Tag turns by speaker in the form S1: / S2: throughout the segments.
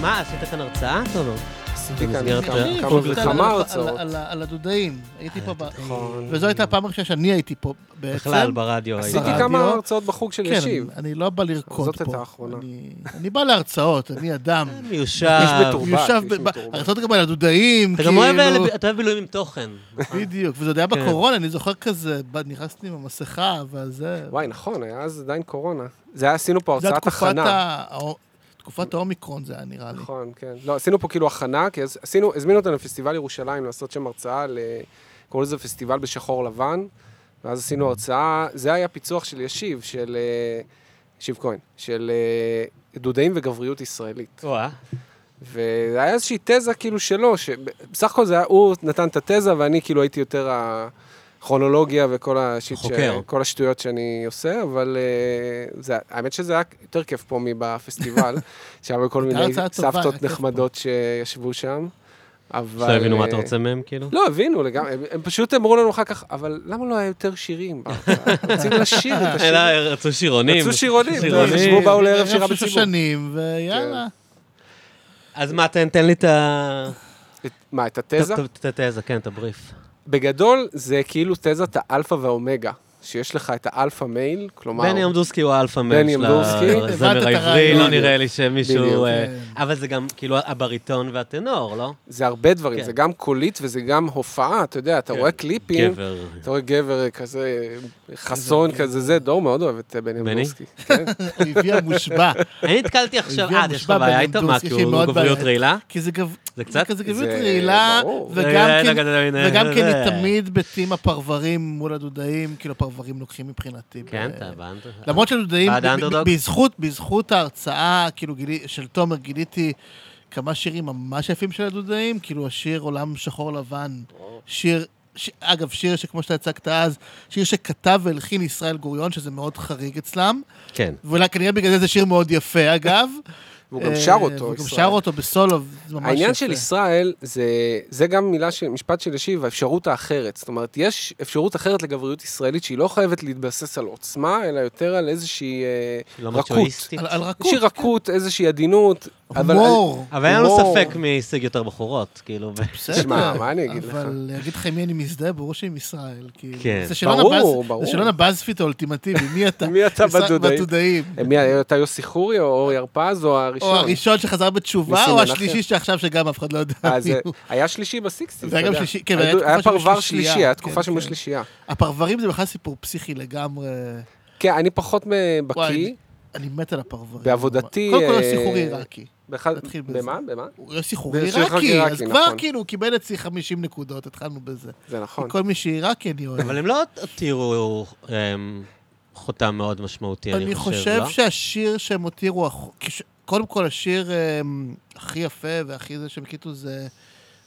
S1: מה, עשית כאן הרצאה, תומר?
S2: עשיתי כאן
S1: במסגרת
S2: כמה-
S1: ה-
S2: כמה-
S3: קרוב
S2: על-
S3: לכמה
S2: על-
S3: הרצאות.
S2: על- על- על הדודאים, הייתי פה, ב-
S3: נכון.
S2: וזו הייתה הפעם הראשונה שאני הייתי פה בעצם.
S1: בכלל, ברדיו.
S3: עשיתי
S1: היית.
S2: ברדיו.
S3: כמה הרצאות בחוג של
S2: כן,
S3: ישיב.
S2: אני- אני לא בא לרקוד פה.
S3: זאת הייתה האחרונה.
S2: אני- אני בא להרצאות, אני אדם.
S3: איש
S1: מיושב.
S3: בתור. מתורבת,
S2: יושב
S3: איש
S2: ב- ב-
S3: מתורבת.
S2: הרצאות גם על הדודאים,
S1: אה, אתה גם אוהב
S2: כאילו.
S1: אתה אוהב בילויים עם תוכן.
S2: בדיוק, וזה עוד היה
S1: כן.
S2: בקורונה, אני זוכר כזה, ב- נכנסתי עם המסכה, וזה...
S3: וואי, נכון, היה אז עדיין קורונה. זה היה, עשינו פה
S2: זה היה
S3: הרצאת
S2: תקופת
S3: הכנה.
S2: ה- האו- תקופת האומיקרון זה היה נראה לי.
S3: נכון, כן. לא, עשינו פה כאילו הכנה, כי אז עשינו, הזמינו אותנו לפסטיבל ירושלים לעשות שם הרצאה, ל- קוראים לזה פסטיבל בשחור לבן, ואז עשינו הרצאה, זה היה פיצוח של ישיב, של... אה, ישיב כהן, של אה, דודאים וגבריות ישראלית.
S1: וואה.
S3: והיה איזושהי תזה כאילו שלו, שבסך הכל זה היה, הוא נתן את התזה ואני כאילו הייתי יותר הכרונולוגיה וכל השיט ש...
S1: חוקר.
S3: כל השטויות שאני עושה, אבל אה, זה... האמת שזה היה יותר כיף פה מבפסטיבל, שהיו כל
S2: הייתה
S3: מיני
S2: הרצאה טובה, היה
S3: סבתות
S2: כיף
S3: נחמדות שישבו שם, אבל...
S1: שלא הבינו מה אתה
S3: אה,
S1: רוצה מהם, כאילו?
S3: לא, הבינו לגמרי, הם, הם פשוט אמרו לנו אחר כך, אבל למה לא היה יותר שירים? "אה, רוצים לשיר את השיר.
S1: אה, אלא רצו שירונים.
S3: רצו שירונים,
S1: שירונים.
S3: חשבו באו לערב שירה
S2: של
S3: בציבור.
S2: שושנים, ויאללה.
S1: אז מה, תן תן לי את ה...
S3: את- מה, את התזה?
S1: ת- ת- את התזה, כן, את הבריף.
S3: בגדול, זה כאילו תזת האלפא והאומגה, שיש לך את האלפא מייל, כלומר...
S1: בני אמדורסקי הוא האלפא מייל
S3: בני
S1: של
S3: אמדורסקי.
S2: הבנת את
S1: הזמר העברי,
S2: הרעיון.
S1: לא נראה לי שמישהו...
S3: בדיוק.
S1: אה,
S2: כן.
S1: אבל זה גם, כאילו, הבריטון והטנור, לא?
S3: זה הרבה דברים,
S1: כן.
S3: זה גם קולית וזה גם הופעה, אתה יודע, אתה
S1: כן.
S3: רואה קליפים,
S1: גבר.
S3: אתה רואה גבר כזה, חסון
S2: כן.
S3: כזה, זה, דור מאוד אוהב את
S1: בני?
S3: בני
S1: אה,
S3: אמדורסקי. כן.
S2: הביא המושבע.
S1: אני נתקלתי עכשיו...
S2: הביאה
S1: אה, יש לך
S2: מושבע
S1: בעיה
S2: בן
S1: איתו? מה,
S2: אמדורסקי
S1: כי
S2: שהיא
S1: הוא
S2: מאוד
S1: גבריות
S2: בעיה.
S1: רעילה?
S2: כי זה גב...
S1: זה קצת?
S2: כזה גביות
S3: זה-
S2: רעילה,
S3: ברור.
S2: וגם
S1: אה,
S2: כן...
S1: לא, לא, לא,
S2: וגם
S1: לא,
S2: כן
S1: לא.
S2: היא תמיד בטים הפרברים מול הדודאים, כאילו הפרברים לוקחים מבחינתי.
S1: כן,
S2: ב-
S1: אתה הבנת.
S2: למרות שהדודאים,
S1: בעד
S2: ב- ב-
S1: האנדרדוג?
S2: בזכות, בזכות ההרצאה, כאילו, גילי, של תומר, גיליתי כמה שירים ממש יפים של הדודאים, כאילו השיר עולם שחור לבן, שיר, ש... אגב, שיר שכמו שאתה הצגת אז, שיר שכתב והלחין ישראל גוריון, שזה מאוד חריג אצלם,
S1: כן.
S2: ואולי כנראה בגלל זה זה שיר מאוד יפה, אגב.
S3: והוא גם
S2: אה,
S3: שר אותו,
S2: והוא גם
S3: ישראל.
S2: שר אותו בסולו, זה ממש יפה.
S3: העניין של ישראל, זה, זה גם מילה של, משפט של ישיב, האפשרות האחרת. זאת אומרת, יש אפשרות אחרת לגבריות ישראלית שהיא לא חייבת להתבסס על עוצמה, אלא יותר על איזושהי אה,
S1: לא
S3: רכות.
S1: מצ'ואיסטית.
S2: על, על רכות, כן.
S3: איזושהי רכות, איזושהי עדינות. אבל-
S2: הומור.
S1: אבל היה לנו
S3: הומור.
S1: ספק מי השיג יותר בחורות, כאילו. ו-
S2: בסדר.
S3: תשמע, מה אני אגיד
S2: אבל אני אגיד לך עם מי אני מזדהה, ברור שעם ישראל. כאילו.
S1: כן.
S2: זה שאלון
S3: ברור,
S2: הבאז-
S3: ברור.
S2: זה שאלון הבאזפיט האולטימטיבי, מי אתה?
S3: מי אתה
S2: ישראל-
S3: בדודאים?
S2: בדודאים.
S3: מי היה אתה יוסי חורי או אורי הרפז או הראשון?
S2: או הראשון שחזר בתשובה,
S3: ניסים
S2: או
S3: מנחם.
S2: השלישי שעכשיו שגם אף אחד לא יודע
S3: אה, זה-
S2: מי הוא.
S3: היה שלישי בסיקסטיז,
S2: זה היה
S3: אתה
S2: גם
S3: יודע.
S2: שלישי, כן,
S3: היה
S2: והיה
S3: היה
S2: תקופה שהם
S3: פרבר
S2: שלישייה,
S3: שלישי, היה
S2: כן,
S3: תקופה שהם
S2: כן.
S3: שלישייה.
S2: הפרברים זה בכלל סיפור פסיכי לגמרי.
S3: כן, אני פחות
S2: וואי,
S3: בקיא.
S2: אני מת על הפרברים.
S3: בעבודתי,
S2: קודם כל
S3: אה,
S2: יוסי חורי עיראקי.
S3: באחד-
S2: נתחיל בזה.
S3: במה? במה?
S2: הוא יוסי חורי
S3: יוסי חורי
S2: עיראקי,
S3: עיראקי,
S2: אז כבר
S3: נכון.
S2: כאילו הוא קיבל אצלי 50 נקודות, התחלנו בזה.
S3: זה נכון.
S2: כל מי שעיראקי אני אוהב.
S1: אבל הם לא הותירו אמ, חותם מאוד משמעותי, לא?
S2: אני חושב שהשיר שהם הותירו, אח- כש- קודם כל השיר אמ, הכי יפה והכי זה שהם הקליטו זה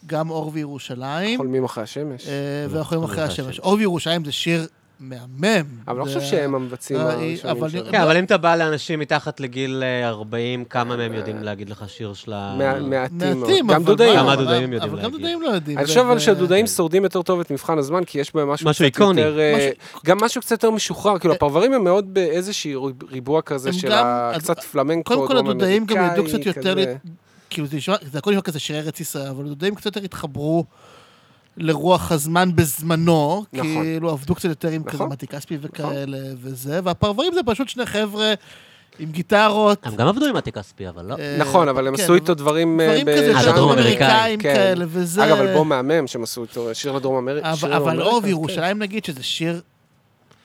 S2: גם אור וירושלים,
S3: חולמים אחרי השמש.
S2: אה, והחולים אחרי השמש. אור וירושלים זה שיר מהמם.
S3: אבל לא
S2: זה-
S3: חושב שהם המבצעים
S2: אה,
S3: הראשונים
S2: אבל-
S3: שלו.
S1: כן, אבל אם אתה בא לאנשים מתחת לגיל אה, 40, כמה מהם יודעים להגיד לך שיר של ה...
S3: אה, מה- מעטים.
S2: מעטים,
S3: גם
S2: אבל
S3: דודאים.
S2: מה,
S1: גם
S2: אבל-
S1: הדודאים יודעים
S2: אבל גם
S1: להגיד.
S2: דודאים לא יודעים.
S3: אני
S2: זה-
S3: חושב אבל
S2: זה-
S3: שהדודאים שורדים יותר טוב את מבחן הזמן, כי יש בהם משהו
S1: משהו
S3: קצת
S1: איקוני.
S3: יותר... אה,
S2: משהו- אה-
S3: גם משהו קצת יותר משוחרר, כאילו הפרברים הם מאוד באיזשהי ריבוע כזה
S2: הם
S3: של
S2: גם-
S3: ה-
S2: אז-
S3: קצת פלמנקו,
S2: קודם כל הדודאים גם ידעו
S3: דרום-אמריקאי
S2: קצת יותר,
S3: כזה.
S2: לת- כאילו זה נשמע, זה הכל נשמע כזה שירי ארץ ישראל, אבל הדודאים קצת יותר התחברו לרוח הזמן בזמנו,
S3: נכון.
S2: כאילו עבדו קצת יותר עם כזה
S3: נכון.
S2: מתי כספי וכאלה וזה, והפרברים זה פשוט שני חבר'ה עם גיטרות.
S1: הם גם עבדו עם מתי כספי, אבל לא.
S2: אה,
S3: נכון, אבל הם
S2: כן,
S3: עשו איתו דברים... אה,
S2: דברים
S3: ב-
S2: כזה
S3: ז'אנר.
S2: יותר
S1: הדרום
S2: אמריקאים
S3: כן.
S2: כאלה וזה.
S3: אגב, אלבום מהמם שהם עשו איתו, שיר לדרום אמריקה.
S2: אבל- אבל אור וירושלים נגיד שזה שיר,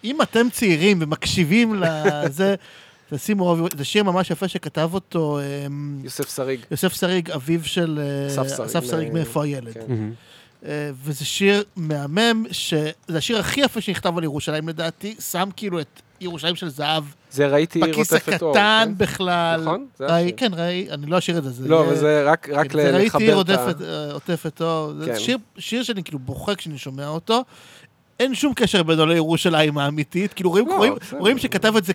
S2: אם אתם צעירים ומקשיבים לזה, תשימו אור וירושלים, זה שיר ממש יפה שכתב אותו אמ,
S3: יוסף שריג.
S2: יוסף שריג, אביו של אה,
S3: אסף שריג.
S2: אסף שריג,
S3: אה,
S2: מאיפה הילד.
S3: כן.
S1: מהמם.
S2: אה, וזה שיר מהמם, שזה השיר הכי יפה שנכתב על ירושלים לדעתי, שם כאילו את ירושלים של זהב
S3: זה ראיתי
S2: בכיס
S3: רודפת אור.
S2: הקטן
S3: כן?
S2: בכלל.
S3: נכון? זה
S2: ראי-
S3: השיר.
S2: כן, ראי, אני לא אשיר את זה. זה
S3: לא,
S2: יהיה- כן,
S3: אבל זה רק רק
S2: זה
S3: ל-
S2: ראיתי
S3: לחבר את ה...
S2: רודפת, אה, עוטפת אור. זה
S3: כן.
S2: שיר- שיר שאני כאילו בוכה כשאני שומע אותו. אין שום קשר בינו לירושלים האמיתית, כאילו רואים-
S3: לא,
S2: רואים-
S3: בסדר.
S2: רואים שכתב את זה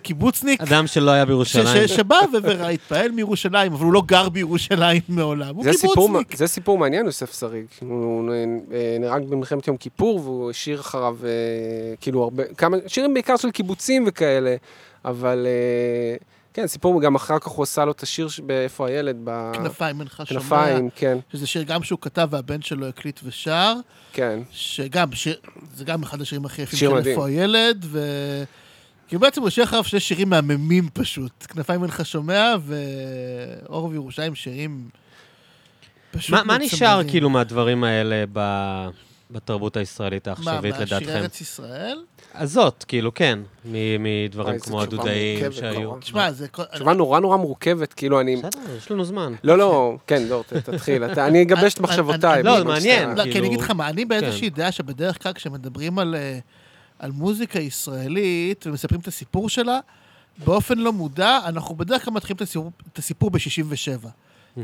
S2: קיבוצניק,
S1: אדם שלא היה
S2: ש-
S1: בירושלים.
S2: ש- שבא ו- והתפעל מירושלים, אבל הוא לא גר בירושלים מעולם, הוא
S3: זה סיפור,
S2: קיבוצניק.
S3: מע- זה סיפור מעניין, יוסף שריג. הוא נ- אה, נהרג במלחמת יום כיפור, והוא השאיר אחריו אה, כאילו הרבה, כמה, שירים בעיקר של קיבוצים וכאלה, אבל אה, כן, סיפור, גם אחר כך הוא עשה לו את השיר ש- באיפה הילד, בכנפיים,
S2: כנפיים אינך שומע,
S3: כנפיים, כן,
S2: שזה שיר גם שהוא כתב והבן שלו הקליט ושר,
S3: כן.
S2: שגם, שיר, זה גם אחד השירים הכי יפים
S3: שיר
S2: של
S3: מדהים.
S2: איפה הילד, ו... כאילו בעצם הוא השאיר אחריו שני שירים מהממים פשוט. כנפיים אינך שומע ואור וירושלים שירים פשוט
S1: מה מה נשאר
S2: מצמררים.
S1: כאילו מהדברים האלה ב- בתרבות הישראלית
S2: מה,
S1: העכשווית
S2: מהשירי
S1: לדעתכם?
S2: ארץ ישראל?
S1: הזאת, כאילו, כן, מ- מדברים
S3: וואי, זו
S1: כמו
S3: תשובה
S1: הדודאים
S3: מורכבת,
S1: שהיו.
S3: נורא.
S2: תשמע, זה... כל-
S3: תשובה נורא נורא מורכבת, כאילו אני...
S1: בסדר, יש לנו זמן.
S3: לא, לא, כן, דור, ת- תתחיל. אתה- אני אגבש את
S2: אני-
S3: מחשבותיי.
S2: אני-
S1: לא,
S3: בזמן
S1: מעניין.
S3: שאתה-
S2: לא, כי
S1: כאילו- כן.
S2: אני אגיד לך מה, אני באיזושהי דעה שבדרך כלל כשמדברים על, אה, על מוזיקה ישראלית ומספרים את הסיפור שלה, באופן לא מודע, אנחנו בדרך כלל מתחילים את הסיפור, את הסיפור ב-67.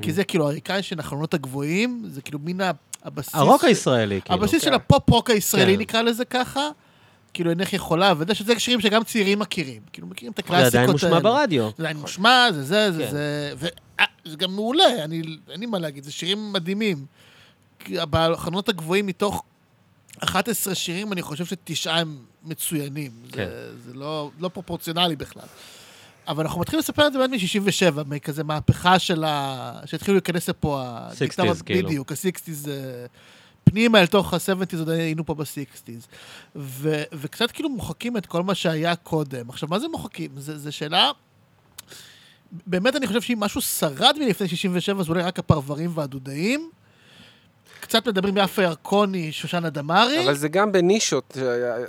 S2: כי זה כאילו הריקן של החלונות הגבוהים, זה כאילו מן ה- הבסיס...
S1: הרוק
S2: של-
S1: הישראלי, כאילו.
S2: הבסיס
S3: כן.
S2: של הפופ-רוק הישראלי,
S1: כן.
S2: נקרא לזה ככה. כאילו, אינך יכולה, ואתה יודע שזה שירים שגם צעירים מכירים. כאילו, מכירים את
S1: זה
S2: הקלאסיקות
S1: עדיין
S2: האלה.
S1: מושמע ברדיו.
S2: זה עדיין מושמע, זה זה, זה
S1: נכון. כן.
S2: זה, ו- אה, זה גם מעולה, אני, אין לי מה להגיד, זה שירים מדהימים. כי בהכנות הגבוהים מתוך 11 שירים, אני חושב שתשעה הם מצוינים.
S1: כן.
S2: זה, זה לא, לא פרופורציונלי בכלל. אבל אנחנו מתחילים לספר את זה באמת מ-67, מכזה מהפכה של ה... שהתחילו להיכנס לפה ה...
S1: 60s,
S2: הגיטרות,
S1: כאילו.
S2: בדיוק, ה-60's אה, פנימה אל תוך ה-70's, עוד היינו פה ב-60's. ו- וקצת כאילו מוחקים את כל מה שהיה קודם. עכשיו, מה זה מוחקים? זה- זו שאלה... באמת אני חושב שאם משהו שרד מלפני 67, זה אולי רק הפרברים והדודאים. קצת מדברים יפה ירקוני, שושנה דמארי.
S3: אבל זה גם בנישות,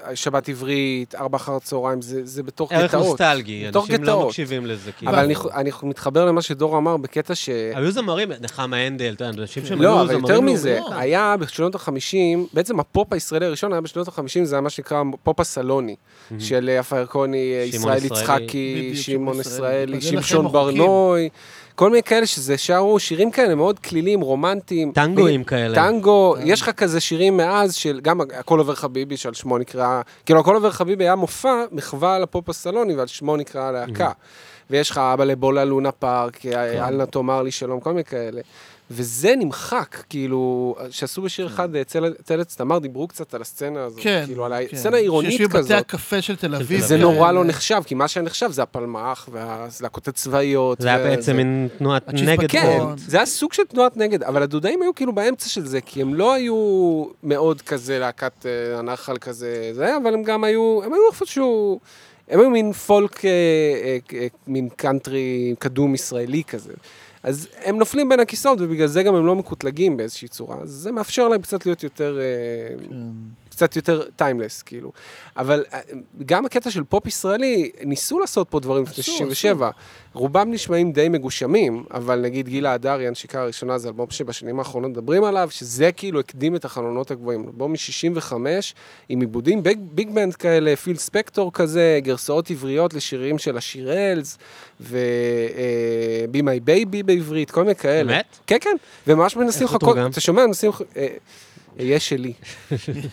S3: אה, שבת עברית, ארבע אחר הצהריים, זה זה בתוך גטאות.
S1: ערך נוסטלגי,
S3: בתוך
S1: אנשים לא
S3: גטאות.
S1: מקשיבים לזה, כאילו.
S3: אבל אני חו- אני מתחבר למה שדור אמר בקטע ש...
S1: היו זמרים, נחמה הנדל, אתה יודע, אנשים שהם אה, היו
S3: לא,
S1: זמרים
S3: אבל יותר מזה,
S1: לאומיים.
S3: היה בשנות ה-50, בעצם הפופ הישראלי הראשון היה בשנות ה-50, זה היה מה שנקרא פופ הסלוני, של יפה ירקוני,
S1: שמעון
S3: ישראל
S1: ישראלי.
S3: יצחקי,
S2: בדיוק,
S3: שמעון
S2: שמעון ישראלי.
S3: ישראלי,
S2: בגלל לכם
S3: שמשון
S2: מוחקים.
S3: ברנוי, כל מיני כאלה שזה שרו שירים כאלה מאוד כלילים, רומנטיים.
S1: טנגואים כאלה.
S3: טנגו,
S2: אה.
S3: יש לך כזה שירים מאז של, גם הכל עובר חביבי, שעל שמו נקרא, כאילו הכל עובר חביבי היה מופע, מחווה על הפופ הסלוני, ועל שמו נקרא הלהקה. ויש לך אבא לבולה לונה פארק,
S2: כן.
S3: אלנה תאמר לי שלום, כל מיני כאלה. וזה נמחק, כאילו, שעשו בשיר אחד, אה, צל- תלץ תמר, דיברו קצת על הסצנה הזאת,
S2: כן.
S3: כאילו, על
S2: כן.
S3: הסצנה העירונית
S2: שיושבים בבתי
S3: כזאת.
S2: הקפה של תל
S1: אביב.
S2: אביב.
S3: זה נורא לא
S2: כן.
S3: נחשב, כי מה שהיה נחשב זה הפלמ"ח, והלהקות הצבאיות.
S1: זה היה
S3: וה-
S1: בעצם מין תנועת
S2: הצ'יזבט
S1: נגד.
S3: כן,
S2: נכון.
S3: זה היה סוג של תנועת נגד, אבל הדודאים היו כאילו באמצע של זה, כי הם לא היו מאוד כזה להקת אה, הנחל כזה, זה, אבל הם גם היו, הם היו איפשהו, הם היו מין פולק, אה, אה, אה, מין קאנטרי קדום ישראלי כזה. אז הם נופלים בין הכיסאות, ובגלל זה גם הם לא מקוטלגים באיזושהי צורה. אז זה מאפשר להם קצת להיות יותר, אה,
S2: כן.
S3: קצת יותר טיימלס, כאילו. אבל אה, גם הקטע של פופ ישראלי, ניסו לעשות פה דברים לפני
S2: עשו,
S3: 67. רובם נשמעים די מגושמים, אבל נגיד גילה הדר, היא הנשיקה הראשונה, זה אלבום שבשנים האחרונות מדברים עליו, שזה כאילו הקדים את החלונות הגבוהים. אלבום מ-65, עם עיבודים ביג, ביג בנד כאלה, פיל ספקטור כזה, גרסאות עבריות לשירים של השירלס, ו-Be My Baby בעברית, כל מיני כאלה.
S1: באמת?
S3: כן, כן, וממש מנסים
S1: איך הוא
S3: לחכות,
S1: תורגם?
S3: אתה שומע, מנסים... לח- אה, יש שלי.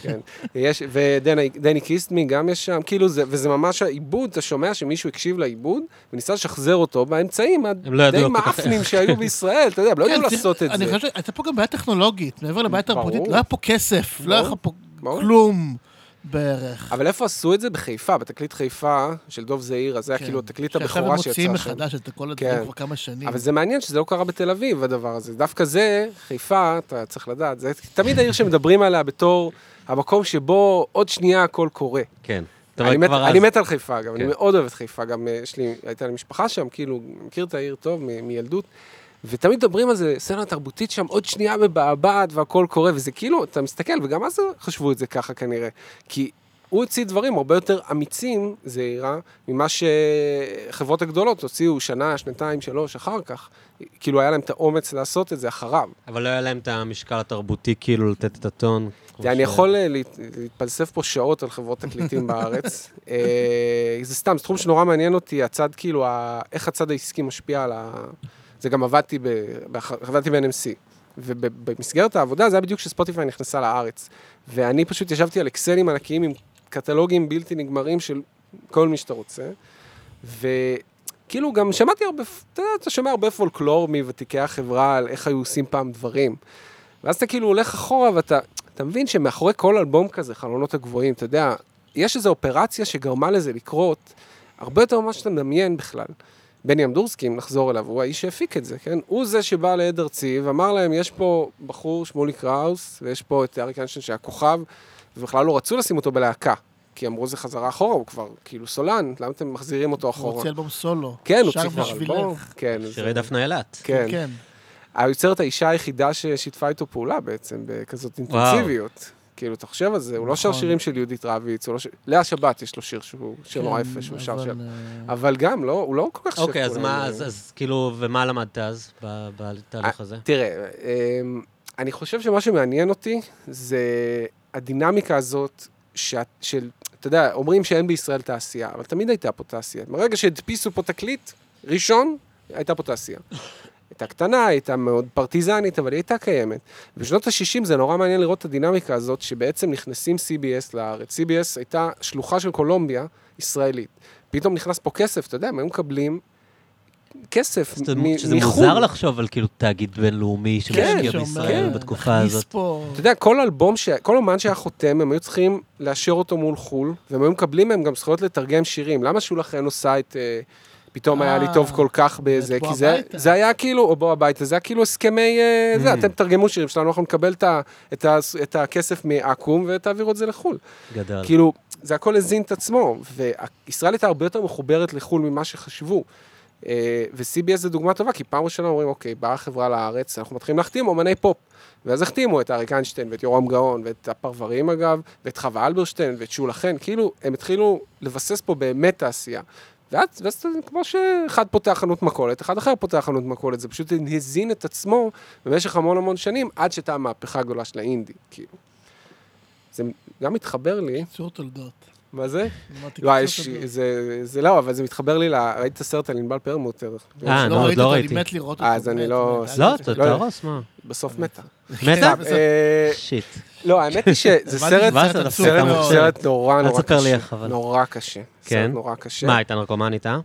S3: כן. יש, ודני קיסטמי גם יש שם, כאילו זה, וזה ממש העיבוד, אתה שומע שמישהו הקשיב לעיבוד, וניסה לשחזר אותו באמצעים
S1: הם לא ידעו
S3: הדי
S1: כל כך איך.
S3: מאפנים שהיו בישראל, אתה יודע, הם לא ידעו
S2: כן, זה-
S3: לעשות את
S2: אני
S3: זה.
S2: חושב שהייתה פה גם בעיה טכנולוגית, מעבר לבעיה
S3: ברור.
S2: תרבותית, לא היה פה כסף, לא היה לך פה
S3: ברור.
S2: כלום בערך.
S3: אבל איפה עשו את זה? בחיפה, בתקליט חיפה של דוב זעיר, אז זה היה כאילו תקליט
S2: שעכשיו
S3: הבכורה
S2: הם
S3: שיצא
S2: כן. מוציאים
S3: שם.
S2: מחדש את כל הדברים
S3: כן.
S2: כבר כמה שנים.
S3: אבל זה מעניין שזה לא קרה בתל אביב, הדבר הזה. דווקא זה, חיפה, אתה צריך לדעת, זה תמיד העיר שמדברים עליה בתור המקום שבו עוד שנייה הכל קורה.
S1: כן. אתה
S3: אני
S1: רואה
S3: מת,
S1: כבר
S3: אני
S1: אז.
S3: מת על חיפה, גם, אני
S1: כן.
S3: מאוד אוהב את חיפה, גם אה, יש לי, הייתה לי משפחה שם, כאילו, מכיר את העיר טוב מ- מילדות, ותמיד מדברים על זה, סצנה תרבותית שם, עוד שנייה מבעבעת והכל קורה, וזה כאילו, אתה מסתכל, וגם אז חשבו את זה ככה כנראה, כי הוא הוציא דברים הרבה יותר אמיצים, זעירה, ממה שחברות הגדולות הוציאו שנה, שנתיים, שלוש, אחר כך, כאילו היה להם את האומץ לעשות את זה אחריו.
S1: אבל לא היה להם את המשקל התרבותי, כאילו, לתת את הטון. כמו
S3: אני
S1: ש-
S3: יכול אה, להת- להתפלסף פה שעות על חברות תקליטים בארץ. אה, זה סתם, זה תחום שנורא מעניין אותי, הצד, כאילו, ה- איך הצד העסקי משפיע על ה... זה גם עבדתי, ב... באח- עבדתי ב-NMC. ובמסגרת העבודה, זה היה בדיוק כשספוטיפיי נכנסה לארץ. ואני פשוט ישבתי על אקסלים ענקיים עם קטלוגים בלתי נגמרים של כל מי שאתה רוצה. וכאילו גם שמעתי הרבה, אתה יודע, אתה שומע הרבה פולקלור מוותיקי החברה על איך היו עושים פעם דברים. ואז אתה כאילו הולך אחורה ואתה אתה מבין שמאחורי כל אלבום כזה, חלונות הגבוהים, אתה יודע, יש איזו אופרציה שגרמה לזה לקרות הרבה יותר ממה שאתה מדמיין בכלל. בני אמדורסקי, אם נחזור אליו, הוא האיש שהפיק את זה, כן? הוא זה שבא לעד ארצי ואמר להם, יש פה בחור, שמולי קראוס, ויש פה את אריק איינשטיין שהיה כוכב, ובכלל לא רצו לשים אותו בלהקה, כי אמרו זה חזרה אחורה, הוא כבר כאילו סולן, למה אתם מחזירים אותו
S2: הוא
S3: אחורה?
S2: הוציא אלבום סולו.
S3: כן, הוא
S2: שר
S3: צריך כבר
S2: בשבילך.
S3: אלבום. כן, אז-
S1: שירי דפנה אילת.
S3: כן.
S2: כן.
S3: היוצרת האישה היחידה ששיתפה איתו פעולה בעצם, בכזאת אינטנסיביות. כאילו, אתה חושב על זה, הוא לא שר
S2: נכון.
S3: שירים של יהודית רביץ, הוא לא ש... לאה שבת יש לו שיר שהוא שיר נורא
S2: כן,
S3: יפה, שהוא שר
S2: אבל,
S3: של...
S2: אה,
S3: אבל גם, לא, הוא לא כל כך
S1: אוקיי, אז
S3: שכולם,
S1: מה,
S3: אה,
S1: אז- אז כאילו, ומה למדת אז ב- בתהליך הזה?
S3: תראה, אמ, אני חושב שמה שמעניין אותי זה הדינמיקה הזאת שה- של, אתה יודע, אומרים שאין בישראל תעשייה, אבל תמיד הייתה פה תעשייה. ברגע שהדפיסו פה תקליט ראשון, הייתה פה תעשייה. הייתה קטנה, הייתה מאוד פרטיזנית, אבל היא הייתה קיימת. בשנות ה-60 זה נורא מעניין לראות את הדינמיקה הזאת, שבעצם נכנסים CBS לארץ. CBS הייתה שלוחה של קולומביה ישראלית. פתאום נכנס פה כסף, אתה יודע, הם היו מקבלים כסף
S1: שזה-
S3: מ-
S1: שזה
S3: מחו"ל. כן,
S1: מוזר לחשוב על כאילו תאגיד בינלאומי שמשקיע
S2: שאומר,
S1: בישראל
S2: אה,
S1: בתקופה
S2: נכניס
S1: הזאת.
S2: פה-
S3: אתה יודע, כל אלבום, ש... כל אומן שהיה חותם, הם היו צריכים לאשר אותו מול חו"ל, והם היו מקבלים מהם גם זכויות לתרגם שירים. למה שולה חן עושה את... אה, פתאום היה לי
S2: אה,
S3: טוב כל כך בזה,
S2: את בוא
S3: כי זה,
S2: הביתה.
S3: זה היה כאילו, או בוא הביתה, זה היה כאילו הסכמי, אה, זה, אתם תרגמו שירים שלנו, אנחנו נקבל את, ה, את, ה, את הכסף מעכו"ם ותעבירו את זה לחו"ל.
S1: גדל.
S3: כאילו, זה הכל הזין את עצמו, וישראל הייתה הרבה יותר מחוברת לחו"ל ממה שחשבו. אה, ו-CBS זה דוגמה טובה, כי פעם ראשונה אומרים, אוקיי, באה חברה לארץ, אנחנו מתחילים להחתים אומני פופ. ואז החתימו את אריק איינשטיין ואת יורם גאון ואת הפרברים אגב, ואת חווה אלברשטיין ואת שולה חן, כאילו, הם התחילו לבסס פה באמת תעשייה. ואז, ואז זה כמו שאחד פותח חנות מכולת, אחד אחר פותח חנות מכולת, זה פשוט הזין את עצמו במשך המון המון שנים, עד שהייתה המהפכה הגדולה של האינדי, כאילו. זה גם מתחבר לי,
S2: קיצור תולדות.
S3: מה זה?
S2: אמרתי,
S3: לא,
S2: קיצור
S3: יש,
S2: תולדות.
S3: זה, זה לא, אבל זה מתחבר לי ל... ראית את הסרט על ענבל פרלמוטר?
S1: אה,
S2: לא
S1: לא,
S2: ראיתי
S1: לא
S2: אותו, אני
S1: ראיתי.
S2: מת לראות אותו.
S3: אה, אז אני
S2: מת,
S3: לא-
S2: מת.
S1: לא, אתה
S3: לא יודע. כן,
S1: תהרוס, מה?
S3: בסוף מתה.
S1: מתה?
S2: בסדר.
S3: אה,
S1: שיט.
S3: לא, האמת היא שזה
S2: הבנתי
S3: סרט,
S2: שזה
S1: ואז אתה דפוק,
S2: עצוב
S3: סרט,
S1: אתה
S2: מאוד.
S1: מרשה.
S3: סרט נורא
S1: אל
S3: נורא
S1: תספר לי
S3: קשה.
S1: איך, אבל.
S3: נורא קשה.
S1: כן?
S3: סרט נורא קשה.
S1: מה, הייתה נרקומנית, אה?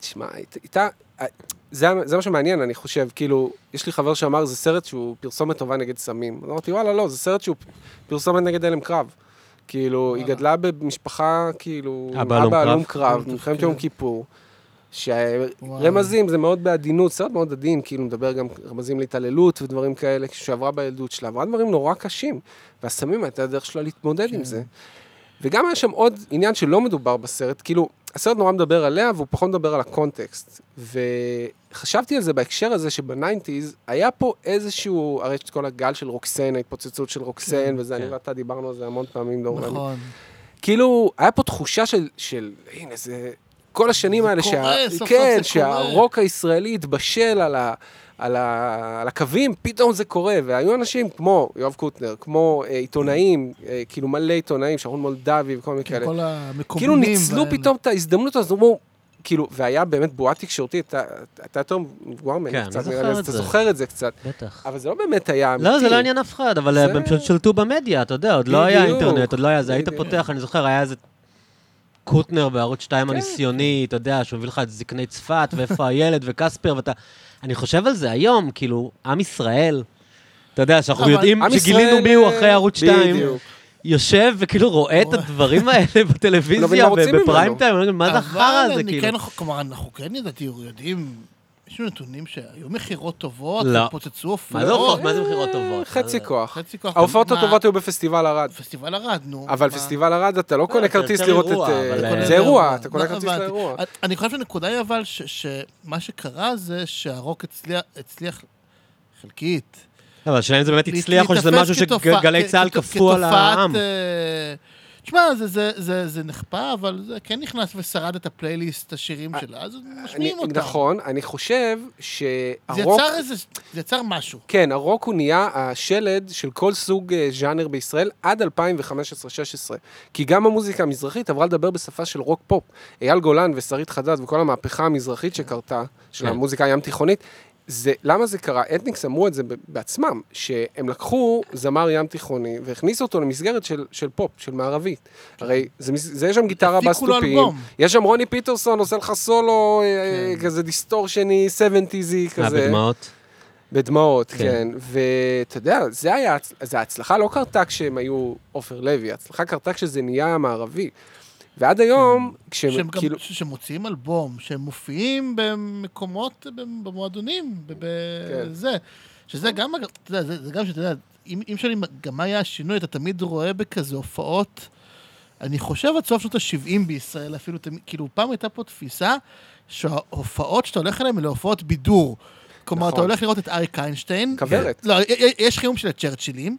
S3: תשמע, הת- הייתה... זה, ה- זה מה שמעניין, אני חושב, כאילו, יש לי חבר שאמר, זה סרט שהוא פרסומת טובה נגד סמים. אז אמרתי, וואלה, לא, זה סרט שהוא פרסומת נגד הלם קרב. כאילו, היא
S2: וואלה.
S3: גדלה במשפחה, כאילו, עם
S1: אבא הלום
S3: אבא
S1: קרב.
S3: הלום קרב,
S2: כן.
S3: מלחמת יום כיפור.
S2: וואלה.
S3: שרמזים, זה מאוד בעדינות, סרט מאוד עדין, כאילו, מדבר גם רמזים להתעללות ודברים כאלה, שעברה בילדות שלה, עברה דברים נורא קשים, והסמים הייתה הדרך שלה להתמודד
S2: כן.
S3: עם זה. וגם היה שם עוד עניין שלא מדובר בסרט, כאילו, הסרט נורא מדבר עליה, והוא פחות מדבר על הקונטקסט. וחשבתי על זה בהקשר הזה שבניינטיז, היה פה איזשהו, הרי יש את כל הגל של רוקסן, ההתפוצצות של רוקסן,
S2: כן,
S3: וזה, אני
S1: כן.
S3: ואתה דיברנו על זה המון פעמים, לא דורון.
S2: נכון.
S3: כאילו, היה פה תחושה של, של הנה, זה... כל השנים
S2: זה
S3: האלה,
S2: קורה, סוף סוף
S3: כן,
S2: זה
S3: שהרוק הישראלי התבשל על, ה, על, ה, על הקווים, פתאום זה קורה. והיו אנשים כמו יואב קוטנר, כמו אה, עיתונאים, אה, כאילו מלא עיתונאים, שרון מולדבי וכל מיני כאלה.
S2: כן, כל המקומונים.
S3: כן. כאילו ניצלו
S2: והאלה.
S3: פתאום את ההזדמנות הזו, אמרו, כאילו, והיה באמת בועה תקשורתית, אתה- אתה יותר מבוגר
S1: כן,
S3: ממני
S1: אני
S3: קצת,
S1: זוכר
S3: נראה לי,
S1: את
S3: אז אתה
S1: זה.
S3: זוכר את זה קצת,
S1: בטח.
S3: אבל זה לא באמת היה אמיתי.
S1: לא, זה לא עניין אף אחד, אבל
S3: זה-
S1: הם פשוט שלטו במדיה, אתה יודע, עוד לא היה
S3: בדיוק,
S1: אינטרנט, עוד לא היה זה. היית
S3: בדיוק.
S1: פותח, אני זוכר, היה איזה קוטנר בערוץ 2
S3: כן.
S1: הניסיוני, אתה יודע, שהוא מביא לך את זקני צפת, ואיפה הילד, וקספר, ואתה... אני חושב על זה היום, כאילו, עם ישראל, אתה יודע, שאנחנו
S2: אבל
S1: יודעים
S3: עם
S1: שגילינו
S3: ישראל, אה,
S1: מי הוא אחרי ערוץ 2,
S3: בדיוק.
S1: יושב וכאילו רואה את הדברים האלה
S3: מבין מה
S1: בטלוויזיה,
S3: רוצים
S1: בפריים
S3: ממנו.
S1: טיים, אני לא יודע, מה זה החרא הזה,
S2: אבל אני
S1: כאילו?
S2: כן, כלומר, אנחנו כן לדעתי יודעים, יש לנו נתונים שהיו מכירות טובות,
S1: לא.
S2: פוצצו
S1: מה זה
S2: הופעות.
S1: הופעות? מה זה מכירות טובות?
S3: אה,
S1: אה,
S3: חצי כוח.
S2: חצי כוח.
S3: ההופעות
S2: מה?
S3: הטובות היו בפסטיבל ערד.
S2: פסטיבל ערד, נו.
S3: אבל
S2: מה? אה,
S3: פסטיבל ערד, אתה לא
S1: לא,
S3: קונה
S1: זה
S3: כרטיס
S1: יותר
S3: לראות את...
S1: אירוע,
S3: אה,
S1: אבל,
S3: אתה
S1: אה,
S3: קונה-
S1: זה
S3: זה אירוע, אתה
S2: לא
S3: קונה כרטיס
S2: הבנתי.
S3: לאירוע.
S2: אני- אני חושב שהנקודה היא אבל ש- שמה שקרה זה שהרוק הצליח- הצליח חלקית.
S1: אבל השאלה אם זה באמת הצליח, או שזה
S2: להיתפס
S1: משהו
S2: כתופעה-
S1: שגלי
S2: כ-
S1: צה"ל
S2: כת-
S1: כפו על
S2: כתופעת,
S1: העם.
S2: אה, תשמע, זה- זה- זה- זה נחפה, אבל זה כן נכנס ושרד את הפלייליסט, השירים שלה, אז
S3: אה, אני-
S2: משמיעים אותם.
S3: נכון, אני חושב
S2: זה
S3: שהרוק...
S2: יצר איזה, זה יצר משהו.
S3: כן, הרוק הוא נהיה השלד של כל סוג אה, ז'אנר בישראל עד 2015-2016. כי גם המוזיקה המזרחית עברה לדבר בשפה של רוק פופ. אייל גולן ושרית חדד וכל המהפכה המזרחית שקרתה, של
S1: כן.
S3: המוזיקה הים תיכונית, זה, למה זה קרה? אתניקס אמרו את זה ב- בעצמם, שהם לקחו זמר ים תיכוני והכניסו אותו למסגרת של, של פופ, של מערבית. הרי זה, מס- זה יש שם גיטרה
S2: הפיקו כן. לו
S3: בסטופים,
S2: אלבום.
S3: יש שם רוני פיטרסון עושה לך סולו, אה,
S2: כן. אה,
S3: כזה דיסטורשני, 70'סי כזה.
S1: בדמעות.
S3: בדמעות,
S1: כן.
S3: כן. כן. ואתה יודע, זה היה, הצ- זה ההצלחה לא קרתה כשהם היו עופר לוי, ההצלחה קרתה כשזה נהיה מערבי. ועד היום, כשהם
S2: כן. שהם גם,
S3: כאילו...
S2: ש- שמוציאים אלבום, שהם מופיעים במקומות, במ- במועדונים,
S3: כן.
S2: בזה. שזה גם, אגב, אתה יודע, זה, זה גם שאתה יודע, אם, אם שואלים גם מה היה השינוי, אתה תמיד רואה בכזה הופעות, אני חושב עד סוף שנות ה-70 בישראל אפילו, תמיד, כאילו פעם הייתה פה תפיסה שההופעות שאתה הולך אליהן הן להופעות בידור. כלומר,
S3: נכון.
S2: אתה הולך לראות את אריק איינשטיין.
S3: כוורת.
S2: לא, י- י- יש חיום של הצ'רצ'ילים,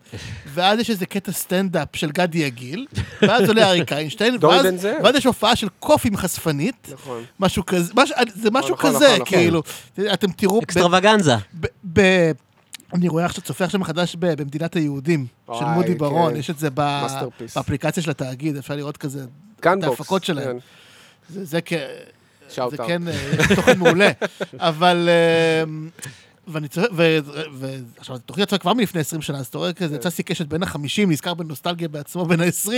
S2: ואז יש איזה קטע סטנדאפ של גדי יגיל, ואז עולה אריק איינשטיין,
S3: דורי
S2: ואז-
S3: בן זאב.
S2: ואז יש הופעה של קוף עם חשפנית,
S3: נכון.
S2: משהו כזה, משהו- זה משהו
S3: נכון,
S2: כזה,
S3: נכון,
S2: כאילו, אתם תראו, ב-
S1: אקסטרווגנזה.
S2: ב- ב- אני רואה עכשיו, צופה עכשיו מחדש ב- במדינת היהודים, של
S3: וואי,
S2: מודי
S3: כן.
S2: ברון, יש את זה ב-
S3: מאסטרפיס.
S2: באפליקציה של התאגיד, אפשר לראות כזה,
S3: גנבוקס. כן.
S2: ההפקות שלהם. זה זה כ...
S3: שאוט
S2: זה
S3: אאוט.
S2: כן אה, תוכן מעולה, אבל... אה, ואני צוחק, ועכשיו, התוכנית יצאה כבר מלפני 20 שנה, אז אתה רואה
S3: כן.
S2: כזה, צסי קשת בין ה-50, נזכר בנוסטלגיה בעצמו בין ה-20,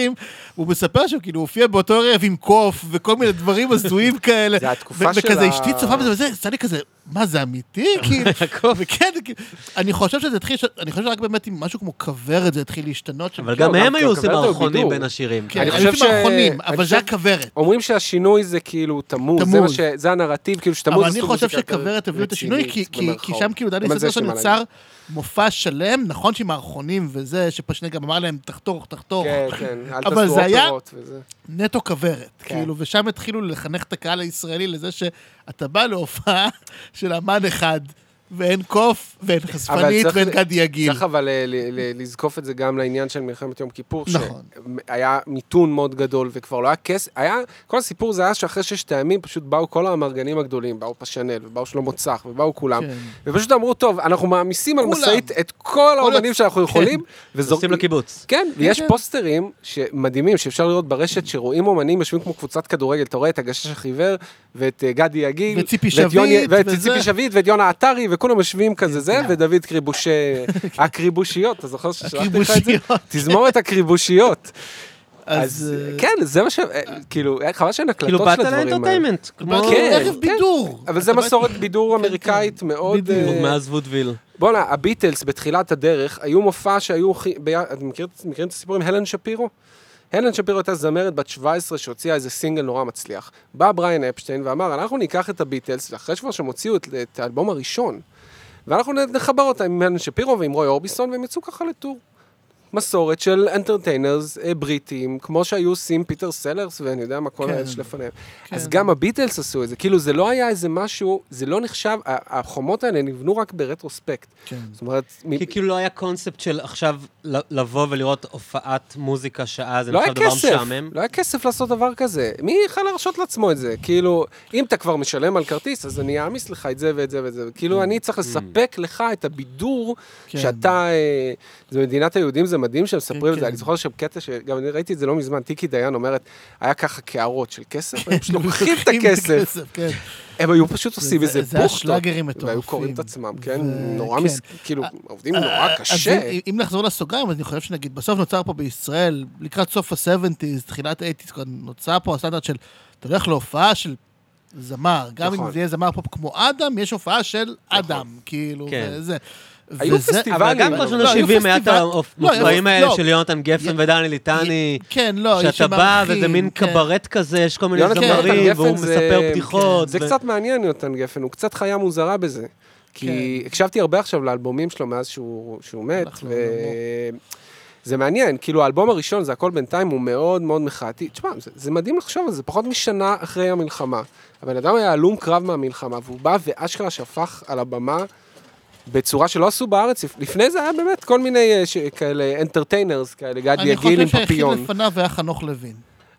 S2: הוא מספר שהוא כאילו הופיע באותו ערב עם קוף וכל מיני דברים הזויים כאלה.
S3: זה התקופה
S2: ו-
S3: של
S2: וכזה,
S3: ה-
S2: אשתי צופה בזה, וזה, יצא לי כזה, מה, זה אמיתי? כאילו, וכן, כאילו, אני חושב שזה התחיל, אני חושב שרק באמת עם משהו כמו כוורת זה התחיל להשתנות. שם.
S1: אבל
S3: לא,
S1: גם
S3: גם-
S1: הם היו
S3: גם
S1: עושים
S3: כוורת הוא
S1: מערכונים
S3: בידור.
S1: בין השירים.
S2: כן,
S3: אני
S2: אני
S3: חושב
S2: חושב
S3: ש-
S2: מערכונים,
S3: אני
S2: אבל זה
S3: חושב-
S2: הכוורת.
S3: אומרים שהשינוי זה כאילו תמוז, זה,
S2: תמוז.
S3: מה ש... זה הנרטיב, כאילו שתמוז
S2: אבל
S3: זה
S2: אני
S3: סוג
S2: חושב
S3: מוזיקה יותר
S2: שכוורת הביאו את השינוי, כי-
S3: רצינית,
S2: כי- כי
S3: במרכאות.
S2: שם כאילו דני
S3: גם על זה יש
S2: סטרסון
S3: לי מה
S2: יצר מופע שלם, נכון שעם מערכונים וזה, שפשנה גם אמר להם, תחתוך, תחתוך,
S3: כן, כן, אל
S2: אבל
S3: תעשו
S2: זה היה-
S3: אופרות וזה.
S2: נטו כוורת.
S3: כן.
S2: כאילו, ושם התחילו לחנך את הקהל הישראלי לזה שאתה בא להופעה של אמן אחד, ואין קוף, ואין חשפנית,
S3: צריך-
S2: ואין גדי יגיל.
S3: צריך אבל אה, ל- ל- לזקוף את זה גם לעניין של מלחמת יום כיפור.
S2: נכון.
S3: שהיה מיתון מאוד גדול, וכבר לא היה כסף, היה, כל הסיפור זה היה שאחרי ששת הימים פשוט באו כל האמרגנים הגדולים, באו פשנל, ובאו שלמה צח, ובאו כולם,
S2: כן.
S3: ופשוט אמרו, טוב, אנחנו מעמיסים על
S2: כולם. כן.
S3: משאית את כל האומנים
S2: הצ-
S3: שאנחנו יכולים,
S1: עושים לקיבוץ.
S3: כן, ויש
S2: כן.
S3: פוסטרים מדהימים שאפשר לראות ברשת, שרואים אומנים יושבים כמו קבוצת כדורגל, אתה רואה את הגשש החיוור, ואת אה, גדי יגיל,
S2: וציפי
S3: ואת
S2: שביט,
S3: יוני- ואת
S2: וזה.
S3: ציפי שביט, ואת יונה עטרי, וכולם יושבים כזה זה, ודוד קריבושי, הקריבושיות, אתה זוכר ששלחתי לך את זה?
S2: הקריבושיות.
S3: תזמורת הקריבושיות.
S2: אז...
S3: אז
S2: אה,
S3: כן, זה מה ש... אה, כאילו, אה, חבל שאין
S1: כאילו,
S3: הקלטות
S1: באת
S3: של הדברים האלה.
S1: לאנטרטיימנט. אה, כמו...
S2: אבל
S3: כן,
S2: זה ערב
S3: כן.
S2: בידור.
S3: אבל זה
S2: אתה בא-
S3: מסורת בידור אמריקאית מאוד...
S2: בדיוק.
S3: אה,
S1: עוד מאז וודוויל.
S3: בואנה, הביטלס בתחילת הדרך, היו מופע שהיו... הכי- ביה- אתם מכיר- מכירים את הסיפור עם הלן שפירו? הלן שפירו הייתה זמרת בת 17 שהוציאה איזה סינגל נורא מצליח. בא בריין אפשטיין ואמר, אנחנו ניקח את הביטלס, אחרי שכבר שהם הוציאו את, את האלבום הראשון, ואנחנו נחבר אותם עם הלן שפירו ועם רוי אורביסון, והם יצאו ככה לטור. מסורת של אנטרטיינרס אה, בריטים, כמו שהיו עושים פיטר סלרס, ואני יודע מה כל
S2: כן.
S3: האלה שלפניהם.
S2: כן.
S3: אז גם הביטלס עשו את זה, כאילו זה לא היה איזה משהו, זה לא נחשב, ה- החומות האלה נבנו רק ברטרוספקט.
S2: כן.
S3: זאת אומרת, מ-
S1: כי כאילו לא היה קונספט של עכשיו ל- לבוא ולראות הופעת מוזיקה שעה, זה
S3: לא היה
S1: נחשב דבר
S3: כסף,
S1: משעמם.
S3: לא היה כסף לעשות דבר כזה. מי יכל להרשות לעצמו את זה? כאילו, אם אתה כבר משלם על כרטיס, אז אני אעמיס לך את זה ואת זה ואת זה. כאילו, אני צריך לספק לך את הבידור
S2: כן.
S3: שאתה... אה, זה מדינת היהודים, זה מדהים שהם מספרים את
S2: כן.
S3: זה. אני זוכר שם קטע, שגם אני ראיתי את זה לא מזמן, טיקי דיין אומרת, היה ככה קערות של כסף, הם פשוט לוקחים את הכסף.
S2: כן.
S3: הם היו פשוט עושים
S2: זה-
S3: איזה
S2: זה היה
S3: בוכטות.
S2: שלאגרים
S3: והיו
S2: מטורפים.
S3: קוראים את עצמם, כן?
S2: ו-
S3: נורא
S2: כן. אה,
S3: מס... כאילו, עובדים נורא
S2: אז
S3: קשה.
S2: אם- אם נחזור לסוגריים, אז אני חושב שנגיד, בסוף נוצר פה בישראל, לקראת סוף ה-70's, תחילת ה-80's, כבר נוצר פה הסטנדרט של, אתה הולך להופעה של זמר, גם
S3: נכון.
S2: אם זה יהיה זמר פופ כמו אדם, יש הופעה של אדם, כאילו,
S1: כן.
S2: וזה.
S3: היו
S2: וזה-
S3: פסטיבלים,
S1: אבל גם
S3: לא,
S1: כבר שנות
S2: לא, היו
S1: ה-70 היה את
S2: פסטיבל- לא, היו-
S1: המופעים האלה
S2: לא.
S1: של יונתן גפן ודני ליטני.
S2: כן, לא, יש
S1: שאתה בא
S2: שמארחים,
S1: וזה מין
S2: כן.
S1: קברט כזה, יש כל מיני
S3: יונתן
S1: זמרים,
S3: גפן
S1: והוא
S3: זה- כן,
S1: מספר בדיחות.
S3: זה
S1: ו-
S3: קצת מעניין, יונתן גפן, הוא קצת חיה מוזרה בזה. כי הקשבתי הרבה עכשיו לאלבומים שלו מאז שהוא שהוא מת,
S2: כן. אנחנו לא
S3: ו... זה מעניין, כאילו האלבום הראשון, זה הכל בינתיים, הוא מאוד מאוד מחאתי. תשמע, זה, זה מדהים לחשוב על זה, פחות משנה אחרי המלחמה. הבן אדם היה הלום קרב מהמלחמה, והוא בא ואשכרה שפך על הבמה בצורה שלא עשו בארץ. לפ- לפני זה היה באמת כל מיני אה, ש... כאלה אנטרטיינרס, כאלה גדי
S2: אני
S3: יגיל
S2: חושב
S3: עם
S2: שהיחיד
S3: פפיון.
S2: לפניו היה חנוך לוין.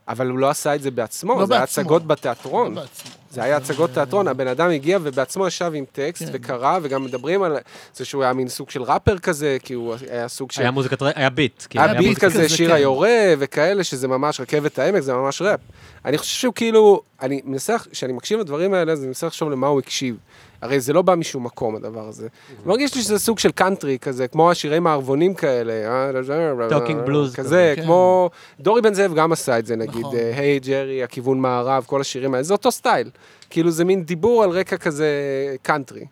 S3: אבל הוא לא עשה את זה בעצמו,
S2: לא
S3: זה היה
S2: בעצמו.
S3: הצגות בתיאטרון.
S2: לא בעצמו.
S3: זה היה הצגות תיאטרון, הבן אדם הגיע ובעצמו ישב עם טקסט
S2: כן.
S3: וקרא, וגם מדברים על זה שהוא היה מין סוג של ראפר כזה, כי הוא היה סוג של...
S1: היה מוזיקת, ר- היה ביט. כאילו,
S3: היה ביט
S1: מוזיקת-
S3: כזה,
S2: כזה,
S3: שיר
S2: כן.
S3: היורה וכאלה, שזה ממש רכבת העמק, זה ממש ראפ. אני חושב שהוא כאילו, אני מנסה, כשאני מקשיב לדברים האלה, אז אני מנסה לחשוב למה הוא הקשיב. הרי זה לא בא משום מקום, הדבר הזה. מרגיש לי שזה סוג של קאנטרי כזה, כמו השירי מערבונים כאלה. אה,
S1: Talking blues
S3: כזה,
S2: כזה, כן.
S3: כמו... דורי בן זאב גם עשה את זה, נגיד,
S2: נכון.
S3: אה, היי ג'רי, הכיוון מערב, כל השירים האלה, זה אותו סטייל. כאילו, זה מין דיבור על רקע כזה אה, קאנטרי.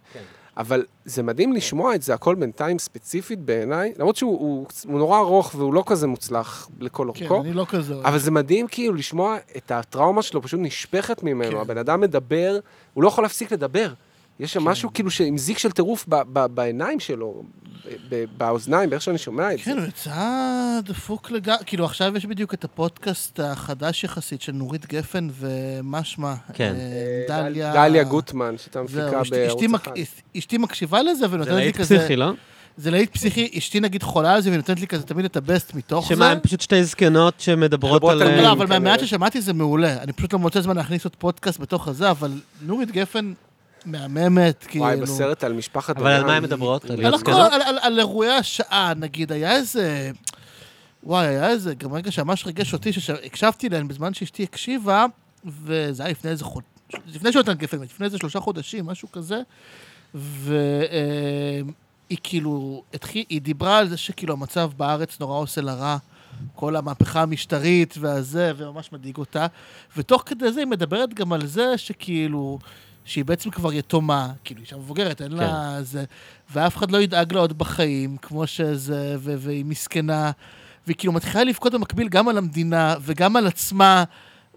S3: אבל זה מדהים לשמוע את זה הכל בינתיים ספציפית בעיניי, למרות שהוא הוא, הוא נורא ארוך והוא לא כזה מוצלח לכל
S2: כן,
S3: אורכו.
S2: אני לא כזה אוהב.
S3: אבל זה מדהים כאילו לשמוע את הטראומה שלו פשוט נשפכת ממנו.
S2: כן.
S3: הבן אדם מדבר, הוא לא יכול להפסיק לדבר. יש
S2: כן.
S3: שם משהו כאילו ש- עם זיק של טירוף ב- ב- בעיניים שלו, ב- ב- באוזניים, באיך שאני שומע את זה.
S2: כן, הוא יצא דפוק לגמרי. כאילו, עכשיו יש בדיוק את הפודקאסט החדש יחסית של נורית גפן ומה שמה?
S1: כן.
S2: אה, דליה...
S3: דליה גוטמן, שהייתה
S2: זהו,
S3: מפיקה בערוץ
S2: אשתי- אשתי מק-
S3: אחד.
S2: אשתי מקשיבה לזה
S1: זה
S2: ונותנת לי
S1: להיט
S2: כזה...
S1: פסיכי, לא?
S2: זה להיט פסיכי. אשתי נגיד חולה על זה והיא נותנת לי כזה תמיד את הבסט מתוך זה.
S1: שמה, הן פשוט שתי זקנות שמדברות
S3: מדברות
S1: אוקיי. על... אה,
S3: על-
S2: לא, אבל
S3: כנראה.
S2: מהמעט ששמעתי זה מעולה. אני פשוט לא מוצא זמן להכניס עוד פודקאסט בתוך הזה, אבל נורית גפן מהממת, כאילו.
S3: וואי, בסרט על משפחת
S1: אבל על מה הן
S3: דגן.
S1: מדברות? על
S2: על
S1: להיות
S2: הכל,
S1: זקנות?
S2: על- על- על אירועי השעה, נגיד, היה איזה... וואי, היה איזה, גם רגע שממש ריגש אותי, שהקשבתי להן בזמן שאשתי הקשיבה, וזה היה לפני איזה חוד... לפני שנתן גפן, לפני איזה שלושה חודשים, משהו כזה, והיא אה, כאילו, התחיל, היא דיברה על זה שכאילו המצב בארץ נורא עושה לה רע, כל המהפכה המשטרית והזה, וממש מדאיג אותה, ותוך כדי זה היא מדברת גם על זה שכאילו, שהיא בעצם כבר יתומה, כאילו, אישה מבוגרת, אין כן. לה זה, ואף אחד לא ידאג לה עוד בחיים, כמו שזה, ו- והיא מסכנה, והיא כאילו מתחילה לבכות במקביל גם על המדינה וגם על עצמה.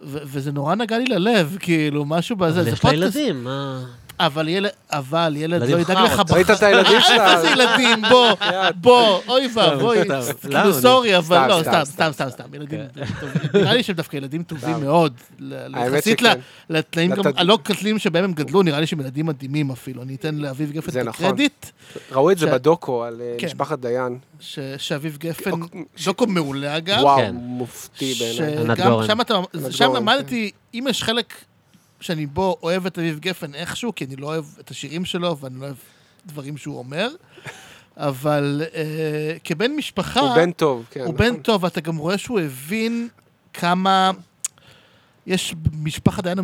S2: ו- וזה נורא נגע לי ללב, כאילו, משהו בזה,
S1: אבל
S2: זה
S1: יש
S2: פודקאסט.
S1: לה ילדים, מה?
S2: אבל ילד, אבל ילד
S1: ילדים
S2: לא ידאג
S1: חארות.
S2: לך בחיים.
S3: ראית את הילדים שלה?
S2: איפה זה ילדים? בוא, בוא, אוי ואבוי.
S1: סתם,
S2: ס-
S1: סתם.
S2: כאילו,
S1: למה?
S2: סורי, אבל לא,
S3: לא, סתם, סתם,
S2: סתם,
S3: כן.
S2: סתם, סתם, סתם, ילדים טובים. נראה לי שהם דווקא ילדים טובים
S3: סתם.
S2: מאוד. ל-
S3: האמת
S2: יחסית
S3: שכן.
S2: ל- לתנאים גם,
S3: לתת-
S2: הלא קטלים שבהם הם גדלו, נראה לי שהם ילדים מדהימים אפילו. אני אתן לאביב
S3: זה
S2: גפן את
S3: נכון.
S2: הקרדיט,
S3: ראו את זה
S2: ש-
S3: בדוקו על אה,
S2: כן.
S3: משפחת דיין.
S2: ש- שאביב גפן,
S3: ש-
S2: דוקו מעולה אגב.
S3: וואו,
S1: כן.
S3: מופתי בעיניי.
S1: ענת
S2: שגם
S1: גורן.
S2: שם אתה,
S3: ענת
S2: שם
S3: גורן, כן.
S2: למדתי, אם יש חלק שאני בו אוהב את אביב גפן איכשהו, כי אני לא אוהב את השירים שלו ואני לא אוהב דברים שהוא אומר, אבל אה, כבן משפחה,
S3: הוא בן טוב, כן.
S2: הוא בן
S3: נכון.
S2: טוב, ואתה גם רואה שהוא הבין כמה... יש במשפחת דיין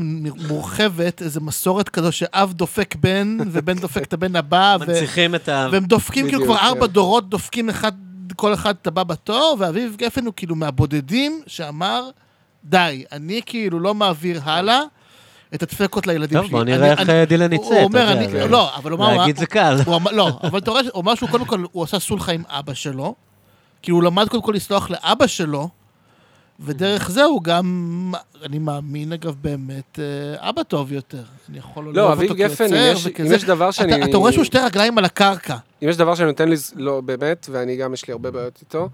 S2: מורחבת, איזו מסורת כזו שאב דופק בן, ובן דופק את הבן הבא, אה, ו-
S1: מנציחים את ה...
S2: והם דופקים כאילו
S3: בדיוק,
S2: כבר ארבע
S3: כן.
S2: דורות, דופקים אחד, כל אחד את הבא בתור, ואביב גפן הוא כאילו מהבודדים שאמר, די, אני כאילו לא מעביר הלאה את הדפקות לילדים
S1: טוב,
S2: שלי.
S1: בוא
S2: אני-
S1: נראה איך
S2: אני-
S1: אה, דילן יצא.
S2: הוא הוא אומר,
S1: אתה
S2: אני,
S1: יודע,
S2: כאילו- לא, אבל הוא אמר,
S1: להגיד זה קל.
S2: הוא אמר, לא, אבל אתה רואה, ש- הוא אמר שהוא קודם כל, הוא עשה סולחה עם אבא שלו, כאילו הוא למד קודם כל לסלוח לאבא שלו, ודרך זה הוא גם, אני מאמין אגב באמת, אה, אבא טוב יותר. אני יכול לא
S3: לא,
S2: לאהוב
S3: אביב
S2: אותו
S3: גפן, אם
S2: כיוצר
S3: יש- אם
S2: וכזה.
S3: יש דבר שאני-
S2: אתה- אתה רואה שהוא שתי רגליים על הקרקע.
S3: אם יש דבר שאני נותן לי, ז- לא, באמת, ואני גם, יש לי הרבה בעיות איתו,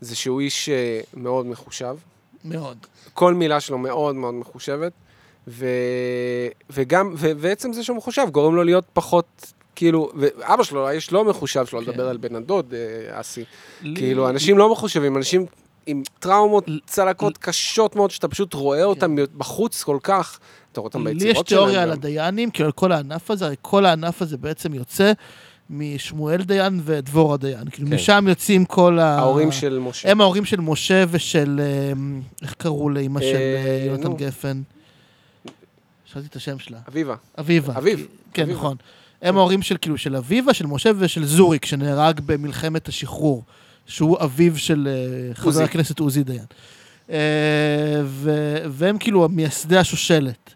S3: זה שהוא איש אה, מאוד מחושב.
S2: מאוד.
S3: כל מילה שלו מאוד מאוד מחושבת, ו... וגם, ו... ועצם זה שהוא מחושב גורם לו להיות פחות, כאילו, ואבא שלו, האיש לא מחושב שלו,
S2: כן.
S3: לדבר על בן הדוד, אה, אסי.
S2: לי-
S3: כאילו, אנשים לא מחושבים, אנשים עם טראומות, צלקות קשות מאוד, שאתה פשוט רואה אותם בחוץ כל כך. אתה רואה אותם
S2: כן. לי יש
S3: ביצירות שלהם.
S2: תיאוריה על
S3: גם.
S2: הדיינים, כאילו על כל הענף הזה, הרי כל הענף הזה בעצם יוצא משמואל דיין ודבורה דיין. כאילו,
S1: כן.
S2: משם יוצאים כל ה...
S3: ההורים של משה.
S2: הם ההורים של משה ושל... אמ, איך קראו לאימא של
S3: אה,
S2: אה, יונתן
S3: נו.
S2: גפן? שאלתי את השם שלה.
S3: אביבה.
S2: אביבה.
S3: אביב,
S2: כי- כן,
S3: אביבה.
S2: נכון. הם ההורים של כאילו של אביבה, של משה ושל זוריק, שנהרג במלחמת השחרור, שהוא אביו של אה, חבר
S3: עוזי.
S2: הכנסת עוזי דיין. אה, ו- והם כאילו מייסדי השושלת.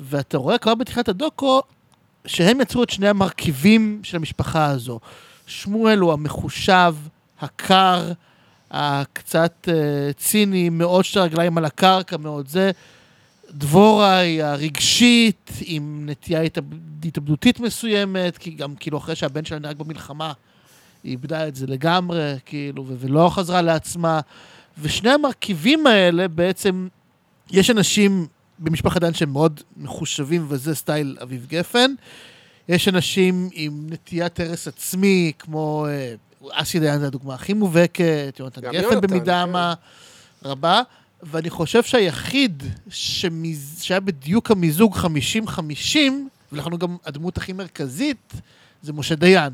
S2: ואתה רואה כבר בתחילת הדוקו, שהם יצרו את שני המרכיבים של המשפחה הזו. שמואל הוא המחושב, הקר, הקצת אה, ציני, מאוד שתי רגליים על הקרקע, מאוד זה. דבורה היא הרגשית, עם נטייה התאב- התאבדותית מסוימת, כי גם כאילו אחרי שהבן שלה נהרג במלחמה, היא איבדה את זה לגמרי, כאילו, ו- ולא חזרה לעצמה. ושני המרכיבים האלה בעצם, יש אנשים במשפחת דן שהם מאוד מחושבים, וזה סטייל אביב גפן. יש אנשים עם נטיית הרס עצמי, כמו אה, אסי דיין זו הדוגמה הכי מובהקת, יונתן
S3: גם
S2: גפן
S3: יונתן,
S2: במידה
S3: כן.
S2: מה רבה, ואני חושב שהיחיד שמיז... שהיה בדיוק המיזוג 50-50, ולכן הוא גם הדמות הכי מרכזית, זה משה דיין.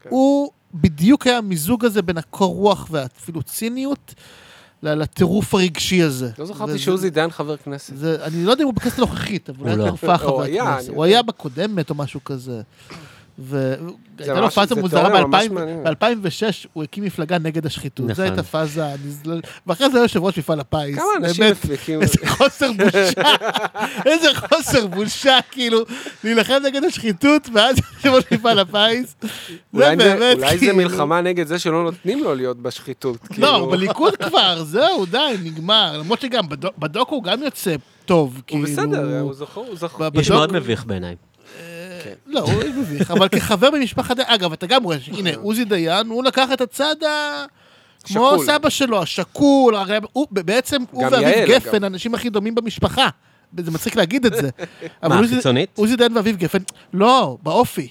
S3: כן.
S2: הוא בדיוק היה המיזוג הזה בין הקור רוח ואפילו ציניות ל- לטירוף הרגשי הזה.
S3: לא זכרתי
S2: וזה-
S3: שעוזי דיין חבר כנסת.
S2: זה, אני לא יודע אם הוא בכנסת הנוכחית, אבל
S1: הוא
S2: הוא היה
S1: לא.
S2: יותר פח
S3: הוא
S2: חבר
S3: היה,
S2: כנסת.
S3: אני
S2: הוא
S3: יודע.
S2: היה בקודמת או משהו כזה. והייתה לו
S3: ממש-
S2: פאזה
S3: זה
S2: מוזרה
S3: תיאוריה ממש מעניינת.
S2: ב-2006, הוא הקים מפלגה נגד השחיתות. זו
S1: נכון.
S2: הייתה פאזה, הנזל- ואחרי זה היה יושב ראש מפעל הפיס.
S3: כמה אנשים
S2: באמת,
S3: מפליקים.
S2: איזה חוסר בושה, איזה חוסר בושה, כאילו, להילחם נגד השחיתות, ואז יושב ראש מפעל הפיס. זה
S3: אולי זה-
S2: באמת,
S3: אולי זה
S2: כאילו-
S3: מלחמה נגד זה שלא נותנים לו להיות בשחיתות.
S2: לא,
S3: כאילו.
S2: הוא בליכוד כבר, זהו, די, נגמר. למרות שגם בדו- בדוק הוא גם יוצא טוב,
S3: הוא
S2: כאילו...
S3: בסדר, הוא זוכר, הוא זוכר.
S2: ב-
S1: איש
S2: בדוק-
S1: מאוד מביך בעיניי.
S3: כן.
S2: לא, הוא מביך, אבל כחבר במשפחת... דיין- אגב, אתה גם רואה, הנה, עוזי דיין, הוא לקח את הצד ה... כמו
S3: שקול.
S2: סבא שלו, השקול, הרי הוא בעצם, הוא
S3: גם
S2: ואביב
S3: יעל,
S2: גפן,
S3: אגב.
S2: האנשים הכי דומים במשפחה. זה מצחיק להגיד את זה. אבל
S1: מה,
S2: עוזי-
S1: חיצונית?
S2: עוזי דיין ואביב גפן, לא, באופי.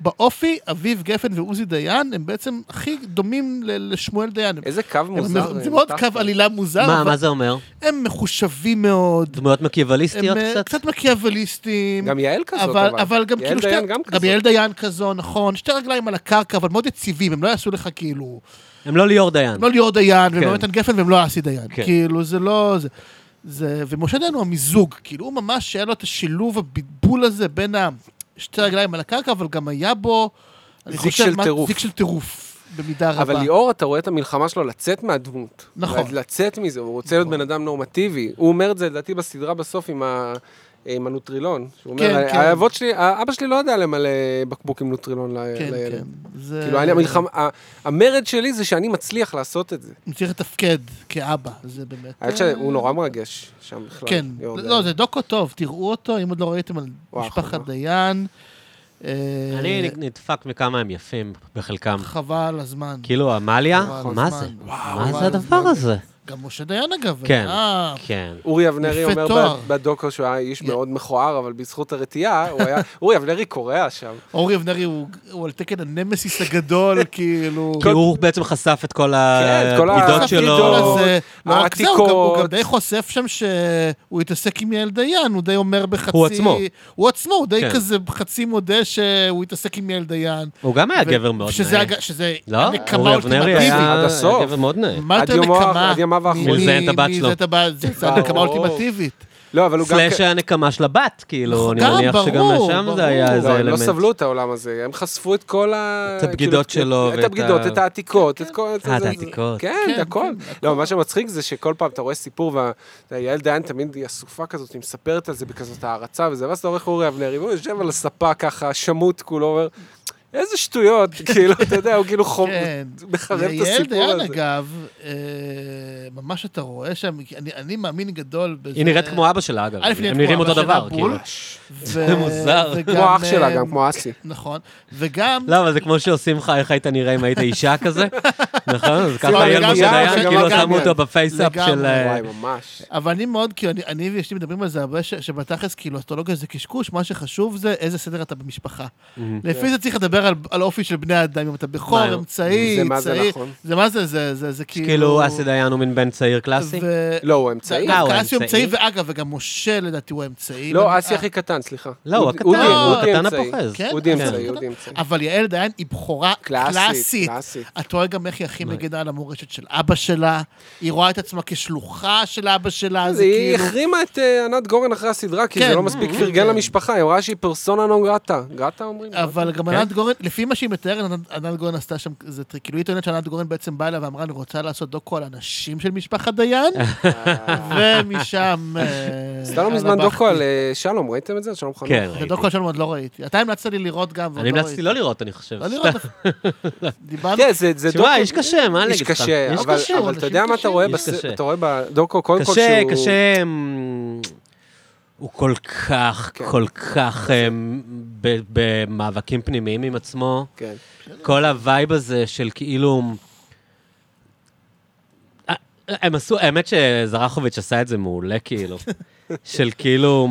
S2: באופי, אביב גפן ועוזי דיין הם בעצם הכי דומים ל- לשמואל דיין. הם-
S3: איזה קו מוזר. אה,
S2: הם- זה מאוד
S3: מתחת.
S2: קו עלילה מוזר,
S1: מה,
S2: לא, אבל
S1: מה זה אומר?
S2: הם מחושבים מאוד.
S1: דמויות
S2: הם
S1: מקיאווליסטיות
S2: אה,
S1: קצת?
S2: קצת מקיאווליסטים.
S3: גם יעל כזאת,
S2: אבל, אבל גם
S3: יעל
S2: כאילו
S3: דיין גם
S2: גם
S3: כזאת.
S2: יעל דיין כזו, נכון, שתי רגליים על הקרקע, אבל מאוד יציבים, הם לא יעשו לך כאילו,
S1: הם לא ליאור דיין.
S2: הם לא ליאור דיין, והם
S1: כן.
S2: לא נתן גפן והם לא אסי דיין,
S1: כן.
S2: כאילו זה לא, זה, זה, ומשה דיין הוא המיזוג, כאילו הוא ממש היה לו את השילוב, הבלבול הזה בין השתי רגליים על הקרקע, אבל גם היה בו, אני
S3: זיק
S2: חושב,
S3: של
S2: מה-
S3: טירוף.
S2: זיק של טירוף, במידה רבה.
S3: אבל ליאור, אתה רואה את המלחמה שלו לצאת מהדמות.
S2: נכון.
S3: לצאת מזה, הוא רוצה להיות בן אדם נורמטיבי. הוא אומר את זה, לדעתי, בסדרה בסוף עם ה... עם הנוטרילון, שהוא
S2: כן,
S3: אומר,
S2: כן.
S3: האבות שלי, אבא שלי לא יודע למלא בקבוק עם נוטרילון ל-
S2: כן,
S3: לילד.
S2: כן. זה...
S3: כאילו, אני- המלחמה, ה- המרד שלי זה שאני מצליח לעשות את זה.
S2: הוא צריך לתפקד כאבא, זה באמת...
S3: האמת שהוא נורא מרגש שם בכלל.
S2: אה. כן,
S3: ליאור
S2: לא,
S3: דיין.
S2: זה דוקו טוב, תראו אותו, אם עוד לא ראיתם על
S3: וואו,
S2: משפחת
S3: חבל.
S2: דיין. אה,
S1: אני נדפק מכמה הם יפים בחלקם.
S2: חבל הזמן.
S1: כאילו, עמליה,
S2: חבל
S1: מה
S2: הזמן.
S1: זה?
S3: וואו,
S1: מה
S3: וואו,
S1: זה הדבר
S3: וואו.
S1: הזה?
S2: גם משה דיין, אגב.
S1: כן.
S2: היה-
S1: כן.
S3: אורי אבנרי
S2: יפה
S3: אומר
S2: תואר.
S3: ב- בדוקו שהוא היה איש
S2: יא.
S3: מאוד מכוער, אבל בזכות הרתיעה, הוא היה... אורי אבנרי קורע שם.
S2: אורי אבנרי הוא הוא על תקן הנמסיס הגדול, כאילו.
S1: כי הוא בעצם חשף את כל
S2: כן,
S3: כל
S1: הבגידות שלו.
S3: הבגידות.
S2: הזה. לא רק זה, הוא גם- הוא
S3: העתיקות.
S2: גם די חושף שם שהוא התעסק עם יעל דיין, הוא די אומר בחצי...
S1: הוא עצמו.
S2: הוא עצמו, הוא די
S1: כן.
S2: כזה חצי מודה שהוא התעסק עם יעל דיין.
S1: הוא גם היה
S2: ו-
S1: גבר מאוד
S2: שזה
S1: נאה.
S2: הג- שזה
S1: לא?
S2: נקמה
S1: אורי אבנרי
S2: אולטימטיבית.
S1: היה
S3: עד הסוף.
S1: היה גבר מאוד נאה.
S2: מה
S3: עד
S2: יותר
S3: יומו האח-
S2: נקמה?
S3: עד ימיו האחרונים. אה,
S2: מ-
S1: מי לזיין את הבת
S2: מי
S1: שלו.
S2: לזיין את הבת, זה זה
S3: ברור.
S2: הנקמה האולטימטיבית.
S3: לא, אבל הוא גם... נכון.
S1: סלאש הנקמה של הבת, כאילו, אני
S2: גם,
S1: מניח שגם
S2: ברור,
S1: שם
S2: ברור.
S1: זה היה
S3: לא,
S1: איזה
S3: הם לא
S1: אלמנט.
S3: סבלו את העולם הזה, הם חשפו את כל ה...
S1: את הבגידות
S3: כאילו,
S1: שלו
S3: את
S1: ואת
S3: הבגידות,
S1: ה-
S3: את העתיקות, את כל...
S1: אה, את
S3: זה- זה-
S1: העתיקות.
S3: כן,
S2: כן,
S3: את הכל.
S2: כן,
S3: לא, מה שמצחיק זה שכל פעם אתה רואה סיפור, וה- ויעל דיין תמיד היא אסופה כזאת, היא מספרת על זה בכזאת הערצה וזה, ואז אתה הולך אורי אבנרי, והוא יושב על הספה ככה, שמוט כולו, אומר, איזה שטויות, כאילו, אתה יודע, הוא כאילו חום...
S2: כן.
S3: מחרב את
S2: יעל
S3: הסיפור
S2: דיין,
S3: הזה.
S2: אגב, אה, ממש אתה רואה שם, כי אני- אני מאמין גדול בזה.
S1: היא נראית כמו אבא שלה, אגב.
S2: א', נראית
S1: הם
S2: כמו
S1: נראים
S2: אבא
S1: אותו
S2: שלה,
S1: דבר,
S2: בול.
S1: כאילו.
S2: ו-
S1: זה מוזר.
S2: וגם,
S3: כמו אח
S2: אה,
S3: שלה, גם כמו אסי.
S2: נכון, וגם...
S1: לא, אבל זה כמו שעושים לך, איך היית נראה אם היית אישה כזה, נכון? אז ככה
S3: אבל
S1: היה
S3: גם
S1: משה
S3: גם,
S1: דיין,
S3: גם
S1: כאילו
S3: גם
S1: שמו
S3: גם.
S1: אותו בפייסאפ
S2: לגמרי.
S1: של... אה,
S3: וואי, ממש.
S2: אבל אני מאוד, כאילו, אני- אני ואשתי מדברים על זה הרבה, ש- שבתכלס, כאילו, אסטרולוגיה זה קשקוש, מה שחשוב זה איזה סדר אתה במשפחה.
S3: כן.
S2: לפי זה צריך לדבר על- על אופי של בני אדם, אם אתה בכור,
S1: מה,
S2: אמצעי,
S3: זה מה זה
S2: צעיר.
S3: נכון.
S2: זה מה זה, זה- זה זה כאילו...
S1: כאילו, אסי דיין הוא מין בן צעיר קלאסי?
S2: ו-
S3: לא, הוא אמצעי.
S1: אה, הוא
S2: קלאסי הוא
S1: האמצעי?
S2: אמצעי, ואגב, וגם משה לדעתי הוא האמצעי.
S3: לא,
S2: ואני-
S3: אסי
S2: אה,
S3: הכי קטן, סליחה.
S1: לא, הוא
S3: אודי-
S1: הקטן,
S3: אודי-
S2: הוא
S3: אודי
S1: הקטן
S3: אמצעי.
S1: הפוחז.
S2: כן,
S3: אודי
S2: כן.
S3: אמצעי, אודי אמצעי.
S2: אבל יעל דיין היא בחורה קלאסית.
S3: קלאסית. נכון.
S2: אתה רואה גם איך היא הכי מגינה על המורשת של אבא שלה, היא רואה את עצמה כשלוחה של אבא שלה,
S3: אז
S2: זה
S3: היא
S2: כאילו...
S3: החרימה את אה, ענת גורן אחרי הסדרה, כי
S2: כן.
S3: זה לא מספיק פרגן למשפחה, היא אמרה שהיא פרסונה נון גרטה. גרטה אומרים? לא?
S2: אבל גם
S1: כן.
S2: ענת גורן, לפי מה שהיא מתארת, ענת- ענת גורן עשתה שם איזה טריק. כאילו, היא טוענת שענת גורן בעצם באה אליה ואמרה, אני רוצה לעשות דוקו על הנשים של משפחת דיין,
S1: אה.
S2: ומשם... אה,
S3: עשתה לא
S2: הלאה
S3: מזמן
S2: בכתי.
S3: דוקו על אה, שלום, ראיתם את זה? שלום חנוך.
S1: כן,
S2: את
S1: ראיתי.
S2: הדוקו שלנו עוד לא ראיתי. אתה המלצת לי לראות גם, ועוד
S1: אני
S2: לא
S1: המלצתי
S2: ראיתי.
S1: לא לראות, אני חושב.
S2: לא
S1: סתם. כן,
S2: לראות. דיברנו...
S3: תראה, כן, זה זה דוקו...
S1: תשמע, איש קשה, מה אני
S3: איש
S1: אגיד לך?
S3: קשה,
S1: איש
S3: אבל-
S1: קשה,
S3: אבל
S2: אנשים
S3: אתה יודע מה אתה
S2: קשים.
S3: רואה
S1: איש
S3: בס-
S1: קשה.
S3: אתה רואה בדוקו, קודם כל
S1: קשה,
S3: שהוא...
S1: קשה... אמ, הוא כל כך,
S3: כן.
S1: כל כך אמ, ב- במאבקים פנימיים עם עצמו.
S3: כן.
S1: כל הווייב הזה של כאילו... אה, הם עשו, האמת שזרחוביץ' עשה את זה מעולה, כאילו. של כאילו...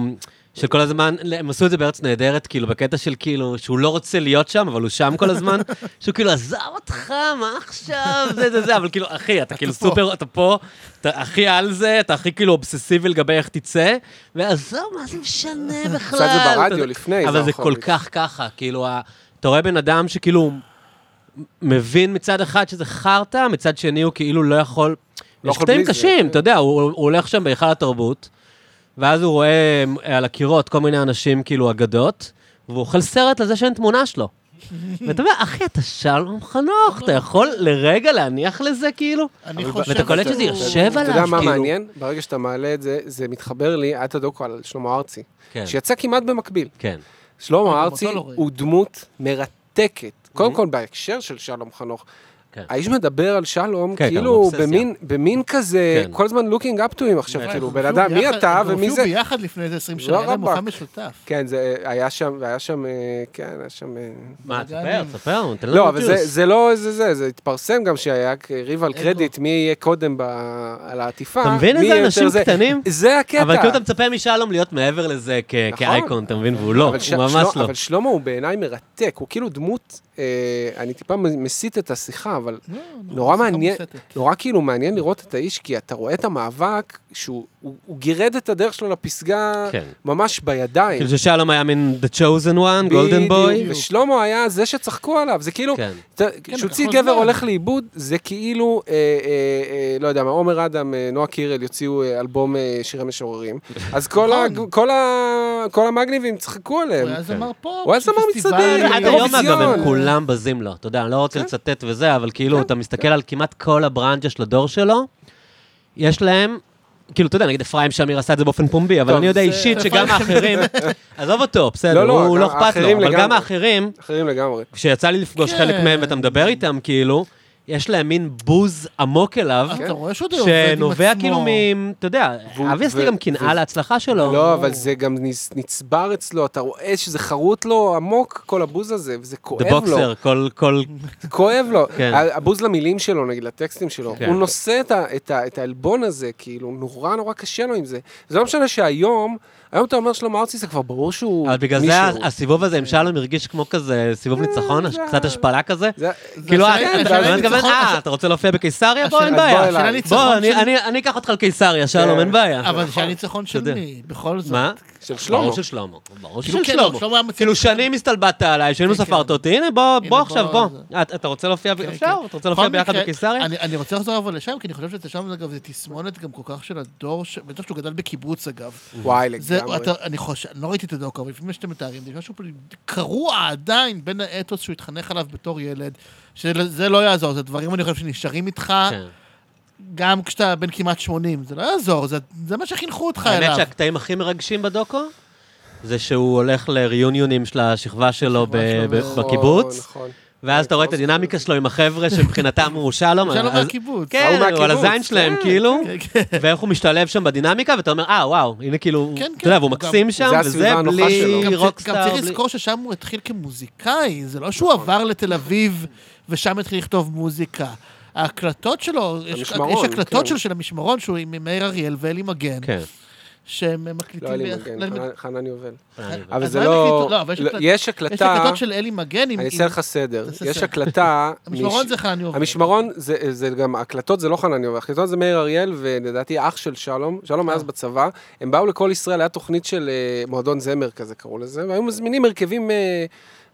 S1: של כל הזמן, הם עשו את זה בארץ נהדרת, כאילו, בקטע של כאילו, שהוא לא רוצה להיות שם, אבל הוא שם כל הזמן, שהוא כאילו, עזב אותך, מה עכשיו? זה, זה, זה, אבל כאילו, אחי, אתה כאילו
S2: פה.
S1: סופר, אתה פה, אתה הכי על זה, אתה הכי כאילו אובססיבי לגבי איך תצא, ועזוב, מה זה משנה בכלל?
S3: עשה את זה
S1: אתה-
S3: ברדיו לפני,
S1: אבל זה כל
S3: זרחוביץ'.
S1: כך ככה, כאילו, ה- אתה רואה בן אדם שכאילו מבין מצד אחד שזה חרטא, מצד שני הוא כאילו לא יכול...
S3: לא
S1: יש
S3: יכול
S1: קטעים
S3: בלי זה,
S1: קשים,
S3: כן.
S1: אתה יודע, הוא הוא הולך שם בהיכל התרבות, ואז הוא רואה אה, על הקירות כל מיני אנשים כאילו אגדות, והוא אוכל סרט על זה שאין תמונה שלו. ואתה אומר, אחי, אתה שלום חנוך, אתה יכול לרגע להניח לזה, כאילו?
S2: אני
S3: אבל
S2: חושב...
S1: ואתה קולט
S2: שהוא-
S1: שזה יושב
S3: אתה
S1: עליו,
S3: יודע מה
S1: כאילו.
S3: מעניין? ברגע שאתה מעלה את זה, זה מתחבר לי, היה את הדוקו על שלמה ארצי,
S1: כן,
S3: שיצא כמעט במקביל.
S1: כן.
S3: שלמה
S2: גם
S3: ארצי
S2: אותו לא ראיתי.
S3: הוא דמות מרתקת. קודם כל, בהקשר של שלום חנוך.
S1: כן.
S3: האיש מדבר על שלום,
S1: כן, כן,
S3: כאילו,
S1: אובססיה.
S3: במין, במין כזה,
S1: כן.
S3: כל הזמן looking up to him עכשיו,
S1: כן.
S3: כאילו,
S2: הם
S3: בן
S2: הופיעו
S3: אדם, מי
S2: ביחד-
S3: אתה
S2: הם
S3: ומי זה?
S2: הופיעו ביחד לפני איזה 20
S3: לא
S2: שנה, היה להם
S3: רבאק.
S2: מופע משותף.
S3: כן, זה היה שם, והיה שם, אה, כן, היה שם... אה,
S1: מה, תספר,
S2: בלאגנים.
S1: תספר, תן
S3: לא,
S1: לנו
S3: אבל זה,
S1: טיוס.
S3: זה לא איזה זה, זה התפרסם גם שהיה ריב על
S2: אגו.
S3: קרדיט, מי יהיה קודם ב, על העטיפה.
S1: אתה מבין
S3: מי
S1: איזה
S3: יהיה
S1: אנשים
S3: יותר זה.
S1: קטנים?
S3: זה הקטע.
S1: אבל כאילו אתה מצפה משלום להיות מעבר לזה כ-
S3: נכון.
S1: כאייקון, אתה מבין? והוא לא,
S3: אבל ש-
S1: הוא ממש
S3: שלמה-
S1: לא.
S3: אבל שלמה הוא בעיניי מרתק, הוא כאילו דמות, אה, אני טיפה מ- מסיט את השיחה, אבל
S2: לא,
S3: נורא
S2: שיחה
S3: מעניין,
S2: מוסתת.
S3: נורא כאילו מעניין לראות את האיש, כי אתה רואה את המאבק, שהוא הוא, הוא גירד את הדרך שלו לפסגה
S1: כן.
S3: ממש בידיים.
S1: כאילו ששלום היה מין The Chosen One, Golden Boy.
S3: בדיוק. ושלמה היה זה שצחקו עליו, זה כאילו,
S1: כן.
S3: אתה- כשהוציא
S2: בכל
S3: גבר
S2: זמן.
S3: הולך לאיבוד, זה כאילו, אה, אה, אה, לא יודע מה, עומר אדם, אה, נועה קירל יוציאו אה, אלבום אה, שירי משוררים, אז כל ה-
S2: נכון.
S3: כל ה- כל המגניבים צחקו עליהם.
S2: הוא היה זמר פופ.
S3: כן. הוא היה זמר
S2: פסטיבל,
S3: מצטער,
S1: עד
S3: אירוויזיון.
S1: היום אגב, לא הם כולם בזים לו, אתה יודע, אני לא רוצה
S3: כן.
S1: לצטט וזה, אבל כאילו,
S3: כן,
S1: אתה מסתכל על כמעט כל הברנג'ה של הדור שלו, יש להם, כאילו, אתה יודע, נגיד אפרים שמיר עשה את זה באופן פומבי, אבל
S3: טוב,
S1: אני יודע
S3: זה-
S1: אישית שגם האחרים, עזוב אותו, בסדר,
S3: לא, לא,
S1: הוא לא
S3: גם
S1: אכפת לו,
S3: האחרים
S1: אבל גם
S3: לגמרי.
S1: האחרים,
S3: אחרים לגמרי.
S1: כשיצא לי לפגוש
S2: כן.
S1: חלק מהם ואתה מדבר איתם, כאילו, יש להם מין בוז עמוק אליו,
S3: אה,
S2: אתה רואה שהוא די עובד עם עצמו.
S1: שנובע כאילו מ... אתה יודע,
S3: והוא-
S1: אבי עשתה
S3: ו-
S1: גם קנאה
S3: ו-
S1: להצלחה שלו.
S3: לא, אבל זה גם נצ- נצבר אצלו, אתה רואה שזה חרוט לו עמוק, כל הבוז הזה, וזה
S1: The
S3: כואב לו.
S1: Boxer, כל, כל,
S3: זה כואב לו.
S1: כן.
S3: ה- הבוז למילים שלו, נגיד, לטקסטים שלו.
S1: כן.
S3: הוא נושא את ה- את ה- את העלבון הזה, כאילו, נורא נורא קשה לו עם זה. זה לא משנה שהיום, היום אתה אומר שלמה ארצי, זה כבר ברור שהוא
S1: אבל בגלל זה
S3: מישהו. אה,
S1: הסיבוב הזה עם שלום הרגיש כמו כזה סיבוב ניצחון,
S3: זה-
S1: קצת השפלה כזה.
S3: זה-
S1: כאילו,
S2: השאלה-
S1: אה, אתה
S3: השאלה
S1: באמת
S3: היא
S1: מתכוון,
S2: ניצחון-
S1: אה, אתה רוצה להופיע בקיסריה? בוא, אין
S2: השאלה-
S1: בעיה.
S3: בוא אליי.
S2: ניצחון
S1: בוא, אני-
S2: של-
S1: אני- אני אקח אותך לקיסריה, שלום,
S3: כן.
S1: אין בעיה.
S2: אבל זה הניצחון של מי? בכל זאת.
S1: נכון. מה?
S3: של שלמה.
S1: ברור של שלמה. ברור
S2: כאילו,
S1: של
S2: כן,
S1: שלמה.
S2: לא, שלמה היה מציע...
S1: כאילו שנים הסתלבטת עליי, שנים לא
S2: כן,
S1: ספרת
S2: כן.
S1: אותי, הנה בוא, בוא
S2: בוא,
S1: עכשיו, בוא.
S2: זה-
S1: את- אתה רוצה להופיע, ב-
S2: כן,
S1: אפשר?
S2: כן.
S1: אתה רוצה להופיע
S2: בכל
S1: ביחד
S2: מקרה,
S1: בקיסריה?
S2: אני- אני רוצה לחזור אבל לשם, כי אני חושב שזה שם, אגב, זה תסמונת גם כל כך של הדור, ש- בטח שהוא גדל בקיבוץ, אגב.
S3: וואי,
S2: זה,
S3: לגמרי. נכון,
S2: אתה, אני חושב, אני לא ראיתי את הדוקו, אבל לפני שאתם מתארים, זה משהו פשוט קרוע עדיין בין האתוס שהוא התחנך עליו בתור ילד, שזה לא יעזור, זה דברים, אני חושב, שנשארים איתך,
S1: כן.
S2: גם כשאתה בן כמעט 80, זה לא יעזור, זה, זה מה שחינכו אותך אליו.
S1: האמת שהקטעים הכי מרגשים בדוקו, זה שהוא הולך לריוניונים של השכבה שלו ב-
S2: שלו,
S1: ב-
S2: נכון,
S1: בקיבוץ,
S3: נכון.
S1: ואז אתה רואה את הדינמיקה שלו עם החבר'ה שמבחינתם הוא שלום.
S2: שלום
S1: אז-
S2: לא כאילו מהקיבוץ.
S1: כן,
S3: ההוא
S1: הוא על
S3: מהקיבוץ,
S1: הזין שלהם,
S3: כן,
S1: כאילו,
S2: כן, כן.
S1: ואיך הוא משתלב שם בדינמיקה, ואתה אומר, אה, וואו, הנה כאילו,
S2: כן,
S1: אתה יודע, והוא
S2: כן, הוא גם-
S1: מקסים שם,
S3: זה
S1: וזה
S3: הסביבה הנוחה שלו.
S1: בלי
S2: גם צריך- גם
S1: רוקסטאר.
S2: צריך
S1: בלי- נכון.
S2: לזכור ששם הוא התחיל כמוזיקאי, זה לא שהוא עבר לתל אביב ושם התחיל לכתוב מוזיקה. ההקלטות שלו, יש-
S3: המשמרון,
S2: יש הקלטות
S3: כן.
S2: שלו של המשמרון, שהוא עם מאיר אריאל ואלי מגן,
S1: כן.
S2: שהם
S3: לא
S2: מקליטים...
S3: היה לי
S2: ביחד- לא,
S3: מגן,
S2: אלי מגן.
S3: חנן- חנן יובל.
S2: אז
S1: אה,
S3: אבל זה
S2: מה הם
S3: לא...
S2: הקליטו? לא, אבל יש
S3: לא,
S2: הקלטה-
S3: יש
S2: יש
S3: הקלטה,
S2: הקלטות של אלי מגן עם...
S3: אני אעשה
S2: עם-
S3: לך סדר.
S2: תעשה
S3: יש
S2: סדר.
S3: הקלטה...
S2: המשמרון
S3: מש-
S2: זה חנן יובל.
S3: המשמרון זה, זה גם, הקלטות זה לא חנן יובל, הקלטות זה מאיר אריאל ולדעתי אח של שלום,
S2: אה.
S3: שלום היה אז בצבא, הם באו לכל ישראל, היה תוכנית של אה, מועדון זמר כזה קראו לזה, והיו מזמינים הרכבים, אה,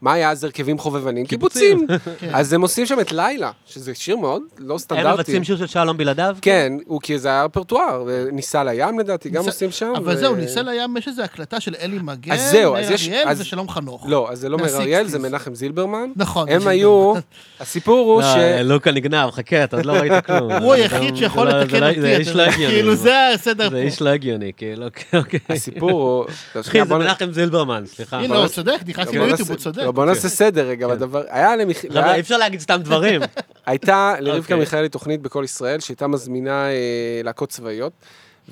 S3: מה היה אז הרכבים חובבנים? קיבוצים.
S2: כן.
S3: אז הם עושים שם את לילה, שזה שיר מאוד לא
S1: הם
S3: סטנדרטי.
S1: מבצעים שיר של שלום בלעדיו?
S3: כן, הוא כי זה היה רפרטואר, ניסה לים לדעתי, גם
S2: ניסה-
S3: עושים שם.
S2: אבל
S3: ו-
S2: זהו, ניסה לים, יש איזו הקלטה של אלי מגן,
S3: אז זהו, אז
S2: מאיר
S3: יש-
S2: אריאל
S3: אז-
S2: ושלום חנוך.
S3: לא, אז זה לא מאיר
S2: מה-
S3: אריאל,
S2: 60s.
S3: זה מנחם זילברמן.
S2: כאילו. נכון. אה,
S3: הם
S2: זה
S3: היו, הסיפור הוא
S1: לא,
S3: ש...
S1: לוקה נגנב, חכה, אתה עוד לא ראית כלום.
S2: הוא
S1: זה
S2: היחיד
S1: לא-
S2: שיכול
S1: זה לא- זה
S2: לתקן
S1: לא-
S2: אותי,
S1: זה
S2: אתה
S1: איש לא
S2: יודע,
S1: הגיוני.
S2: כאילו זה הסדר
S1: זה איש
S2: פה. כן,
S1: לא הגיוני, כאילו, אוקיי, אוקיי.
S3: הסיפור הוא... לא, שנייה,
S1: אחי, זה
S3: בוא נ-
S1: מנחם זילברמן, סליחה.
S2: הנה, הוא צודק,
S3: לא,
S2: נכנסתי
S3: בוא
S2: ליוטיוב,
S3: נעשה-
S2: הוא צודק. כן.
S3: לא, בוא נעשה סדר רגע בדבר. היה למח...
S1: חבר'ה, אי אפשר להגיד סתם דברים.
S3: הייתה לרבקה
S1: אוקיי.
S3: מיכאלי תוכנית בכל ישראל, שהייתה מזמינה אה, להקות צבאיות,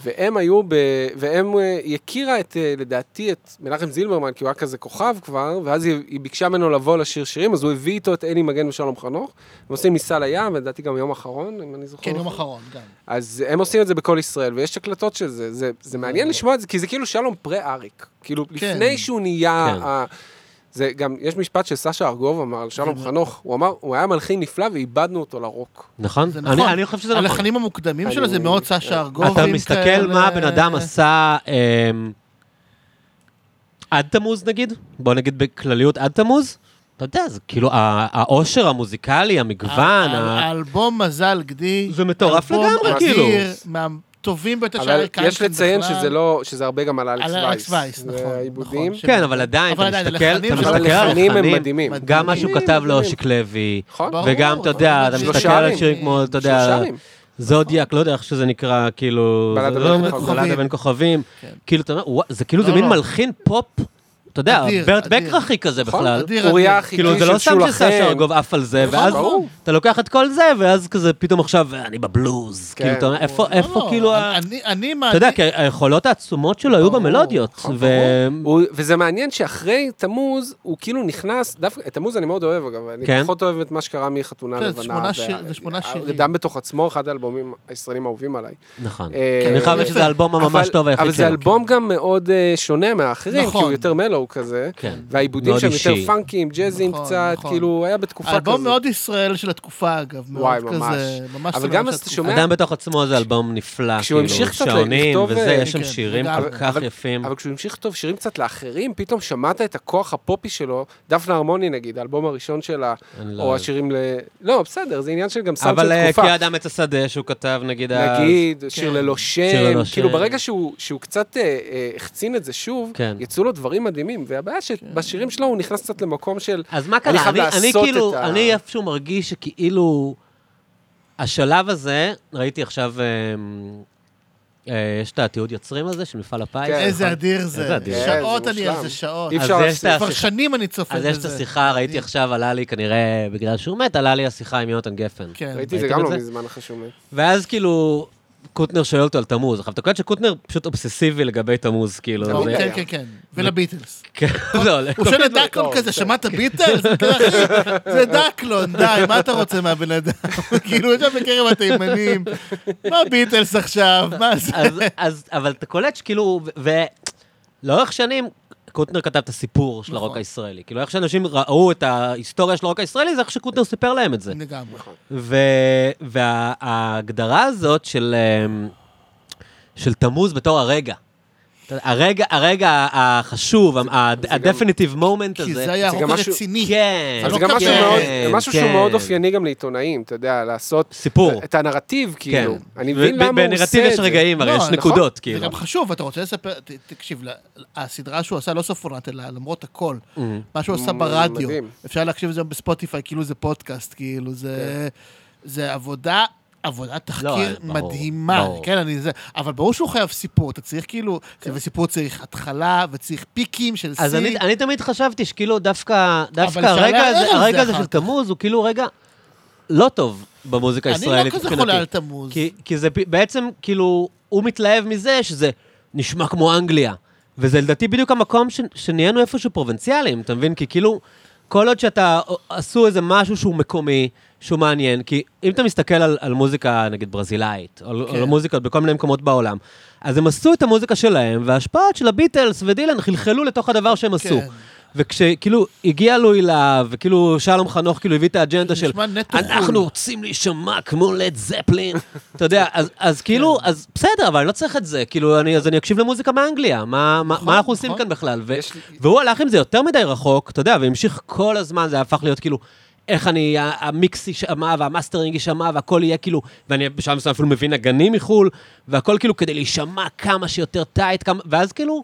S3: והם היו ב... והם... אה, היא הכירה את, אה, לדעתי, את מנחם זילברמן, כי הוא היה כזה כוכב כבר, ואז היא, היא ביקשה ממנו לבוא לשיר שירים, אז הוא הביא איתו את אלי מגן ושלום חנוך, הם עושים ניסה לים, ולדעתי גם יום אחרון, אם אני זוכר.
S2: כן, יום
S3: נכון.
S2: אחרון, גם.
S3: אז הם עושים את זה בכל ישראל, ויש הקלטות של זה. זה, זה מעניין לשמוע את זה, כי זה כאילו שלום פרה-אריק. כאילו, כן.
S2: אה. כן.
S3: לפני שהוא נהיה...
S1: כן.
S3: כן. ה... זה גם, יש משפט שסשה ארגוב אמר על שלום
S2: כן.
S3: חנוך, הוא אמר, הוא היה מלחין נפלא ואיבדנו אותו לרוק.
S1: נכון?
S2: זה נכון.
S1: אני אני חושב שזה נכון.
S2: הלחנים המוקדמים
S3: אני- אה,
S2: שלו זה מאוד סשה ארגובים
S1: אתה מסתכל מה הבן אדם עשה אמ, עד תמוז נגיד, בוא נגיד בכלליות עד תמוז, אתה יודע, זה כאילו ה- העושר המוזיקלי, המגוון,
S2: ה-
S1: ה-
S2: האלבום אה, מזל גדי.
S1: זה מטורף
S2: אלבום
S1: לגמרי,
S2: אדיר,
S1: כאילו.
S2: מה- הטובים ביותר של
S3: אבל
S2: אריק
S3: יש
S2: איינשטיין
S3: לציין
S2: בכלל.
S3: שזה לא, שזה הרבה גם על אלכס
S2: על
S3: וייס.
S2: אלכס וייס, נכון.
S3: זה
S2: נכון,
S3: העיבודים.
S2: ש-
S1: כן, אבל עדיין,
S2: אבל
S1: אתה
S2: עדיין,
S1: מסתכל
S2: הלחנים
S1: אתה
S2: שלו-
S1: מסתכל על
S3: הלחנים הם
S1: הלחנים,
S3: מדהימים.
S1: גם מה שהוא
S3: מדהימים,
S1: כתב לו
S3: מדהימים.
S1: שיק לוי,
S3: נכון?
S2: ברור,
S1: וגם, אתה יודע, אתה
S2: שלושה
S1: מסתכל על
S3: ימים.
S1: שירים כמו, אתה יודע,
S3: שלושה ימים.
S1: זודיאק, לא יודע איך שזה נקרא, כאילו...
S3: בלדה
S1: זה
S3: בין
S1: לא-
S3: כוכבים.
S1: בלדה בין כוכבים.
S2: כן.
S1: כאילו, אתה אומר, "וואו", זה כאילו, זה
S2: לא,
S1: מין
S2: לא.
S1: מלחין פופ, אתה יודע,
S2: אדיר,
S1: ברט
S2: אדיר.
S1: בקרחי כזה
S3: נכון,
S1: בכלל.
S2: אדיר,
S3: אוריה
S2: אדיר.
S3: החיקוי
S1: כאילו, זה לא
S3: של
S1: סתם שסשה
S3: שולחן.
S1: ארגוב עף על זה,
S2: נכון,
S1: ואז
S3: ברור.
S1: אתה לוקח את כל זה, ואז כזה פתאום עכשיו, אני בבלוז.
S3: כן.
S1: כאילו, אתה אומר, איפה,
S2: לא,
S1: איפה,
S2: לא,
S1: כאילו, ה-
S2: אני, אני,
S1: אתה יודע,
S2: מעדיף-
S1: כי היכולות העצומות שלו היו
S3: ברור,
S1: במלודיות,
S3: נכון,
S1: ו...
S3: הוא- וזה מעניין שאחרי תמוז, הוא כאילו נכנס, דווקא, את תמוז אני מאוד אוהב אגב, אני
S1: כן.
S3: פחות אוהב את מה שקרה מחתונה
S2: כן, זה
S3: לבנה.
S2: שמונה שיר-
S3: וה-
S2: זה שמונה שירים.
S3: גם בתוך עצמו, אחד האלבומים הישראלים האהובים עליי.
S1: נכון.
S3: אה,
S1: אני חייב
S2: יפה.
S1: להגיד שזה האלבום
S3: אבל-
S1: הממש טוב היחיד שלו.
S3: אבל זה
S1: כן.
S3: אלבום גם מאוד אה, שונה מהאחרים, כי הוא
S2: נכון.
S3: יותר מלואו כזה,
S1: כן.
S3: והעיבודים
S1: מאוד
S3: שם יותר
S1: אישי.
S3: פאנקים, ג'אזים
S2: נכון,
S3: קצת,
S2: נכון.
S3: כאילו, היה בתקופה כזאת.
S2: אלבום מאוד ישראל של התקופה, אגב. מאוד
S3: וואי, ממש.
S2: כזה, ממש
S3: אבל
S2: סבבה
S3: גם
S2: של
S3: אז אתה
S2: התקופה.
S3: שומע-
S1: אדם בתוך עצמו זה אלבום נפלא, כאילו,
S3: כשהוא המשיך קצת
S1: שעונים
S3: לכתוב,
S1: וזה,
S3: אה,
S1: יש שם
S2: כן,
S1: שירים
S2: אבל-
S1: כל כך
S3: אבל-
S1: יפים.
S3: אבל כשהוא המשיך לכתוב שירים קצת לאחרים, פתאום שמעת את הכוח הפופי שלו, דפנה הרמוני נגיד, האלבום הראשון שלה,
S1: אני לא
S3: או
S1: יודע.
S3: השירים ל... לא, בסדר, זה עניין של גם סאונד
S1: אבל
S3: של
S1: אה,
S3: תקופה.
S1: כאדם עץ השדה שהוא כתב, נגיד, אז-
S3: נגיד, שיר
S2: כן.
S3: ללא שם,
S1: ללא
S3: כאילו
S1: שם.
S3: ברגע שהוא שהוא קצת אה, אה, החצין את זה שוב,
S1: כן.
S3: יצאו לו דברים מדהימים, והבעיה
S2: כן.
S3: שבשירים שלו הוא נכנס קצת למקום של...
S1: אז מה
S3: אני
S1: קרה?
S3: חייב
S1: אני, אני
S3: לעשות
S1: כאילו,
S3: את ה-
S1: אני איפשהו מרגיש שכאילו, השלב הזה, ראיתי עכשיו, אמ, אה, יש את התיעוד יוצרים הזה של מפעל הפיס.
S3: כן.
S2: איזה
S1: נכון?
S2: אדיר זה.
S1: איזה אדיר.
S2: שעות
S3: כן, זה
S2: אני על
S3: מושלם.
S2: זה, שעות.
S3: אי
S1: אז
S3: אפשר
S1: יש
S3: להפסיק.
S1: את
S2: כבר
S1: השיח-
S2: שנים אני צופה
S1: אז
S2: בזה.
S1: יש את השיחה, ראיתי
S2: מדהים.
S1: עכשיו, עלה לי כנראה בגלל שהוא מת, עלה לי השיחה עם יונתן גפן.
S2: כן.
S3: ראיתי את זה
S1: ראיתם
S3: גם
S1: את
S3: לא
S1: זה? אה,
S3: מזמן אחרי שהוא מת.
S1: ואז כאילו, קוטנר שואל אותו על תמוז. עכשיו, אתה קולט שקוטנר פשוט אובססיבי לגבי תמוז, כאילו.
S3: תמיד
S1: זה-
S3: היה.
S2: כן, כן, כן. ולביטלס.
S1: כן, לא, לא.
S2: הוא שואל את דקלון
S3: טוב,
S2: כזה,
S3: בסדר.
S2: שמעת ביטלס? זה כזה, "אחי, זה דקלון, די, מה אתה רוצה מהבן אדם? כאילו, יושב בקרב התימנים, מה ביטלס עכשיו? מה זה?
S1: אז, אז, אבל אתה קולט שכאילו, ולאורך שנים, קוטנר כתב את הסיפור של
S2: נכון.
S1: הרוק הישראלי. כאילו, איך שאנשים ראו את ההיסטוריה של הרוק הישראלי, זה איך שקוטנר סיפר להם את זה.
S2: לגמרי.
S1: נכון. ו- וההגדרה הזאת של, אמ, של תמוז בתור הרגע. אתה יודע, הרגע, הרגע החשוב, ה-definitive moment
S2: כי
S1: הזה.
S2: זה היה
S3: זה גם
S2: הרוב
S3: משהו-
S2: הרציני.
S1: כן.
S3: אז
S2: לא
S3: זה גם משהו
S2: קפה.
S3: מאוד-
S1: כן,
S3: זה משהו שהוא
S1: כן.
S3: מאוד אופייני גם לעיתונאים, אתה יודע, לעשות...
S1: סיפור. כן.
S3: את הנרטיב, כאילו. אני מבין
S1: ב-
S3: למה הוא עושה את זה.
S1: בנרטיב יש רגעים, הרי
S2: לא,
S1: יש
S2: נכון.
S1: נקודות,
S2: זה
S1: כאילו.
S2: גם חשוב, אתה רוצה לספר, ת- תקשיב, ל- הסדרה שהוא עשה, לא סופרנט, אלא למרות הכל,
S1: Mm.
S2: מה שהוא עשה
S3: מ-
S2: ברדיו,
S3: Mm, מדהים.
S2: אפשר להקשיב לזה בספוטיפיי, כאילו זה פודקאסט, כאילו זה...
S3: כן.
S2: זה עבודה, עבודת תחקיר
S1: לא, ברור,
S2: מדהימה,
S1: ברור.
S2: כן, אני זה, אבל ברור שהוא חייב סיפור, אתה צריך כאילו,
S3: כן.
S2: וסיפור צריך התחלה, וצריך פיקים של
S1: אז אני,
S2: שיא.
S1: אני תמיד חשבתי שכאילו דווקא, דווקא
S2: אפשר
S1: הרגע
S2: לערער על
S1: הזה,
S2: זה
S1: הרגע הזה
S2: אחר
S1: של
S2: כך.
S1: תמוז הוא כאילו רגע לא טוב במוזיקה
S2: אני
S1: הישראלית.
S2: לא כזה
S1: מבחינתי.
S2: חולה על תמוז.
S1: כי, כי זה פ- בעצם, כאילו, הוא מתלהב מזה שזה נשמע כמו אנגליה. וזה לדעתי בדיוק המקום ש, שנהיינו איפשהו פרובינציאליים, אתה מבין? כי כאילו, כל עוד שאתה אה, עשו איזה משהו שהוא מקומי, שהוא מעניין, כי אם אתה מסתכל על, על מוזיקה, נגיד, ברזילאית, או כן.
S2: כן.
S1: על מוזיקות בכל מיני מקומות בעולם, אז הם עשו את המוזיקה שלהם, וההשפעות של הביטלס ודילן חלחלו לתוך הדבר שהם עשו.
S2: כן.
S1: וכשכאילו הגיע לואי להב, וכאילו שלום חנוך כאילו הביא את האג'נדה של...
S2: נשמע נטו חו"ל.
S1: אנחנו רוצים להישמע כמו לד זפלין. אתה יודע, אז- אז כאילו,
S3: כן.
S1: אז בסדר, אבל אני לא צריך את זה. כאילו, אני- אז אני אקשיב למוזיקה מאנגליה. מה מה- מה אנחנו עושים
S2: נכון.
S1: כאן בכלל? ו-
S3: יש לי-
S1: והוא הלך עם זה יותר מדי רחוק, אתה יודע, והמשיך כל הזמן, זה הפך להיות כאילו... איך אני, ה- המיקס יישמע, והמאסטרינג יישמע, והכל יהיה כאילו, ואני בשלב מסוים אפילו מבין נגנים מחו"ל, והכל כאילו כדי להישמע כמה שיותר טייט, כמה, ואז כאילו,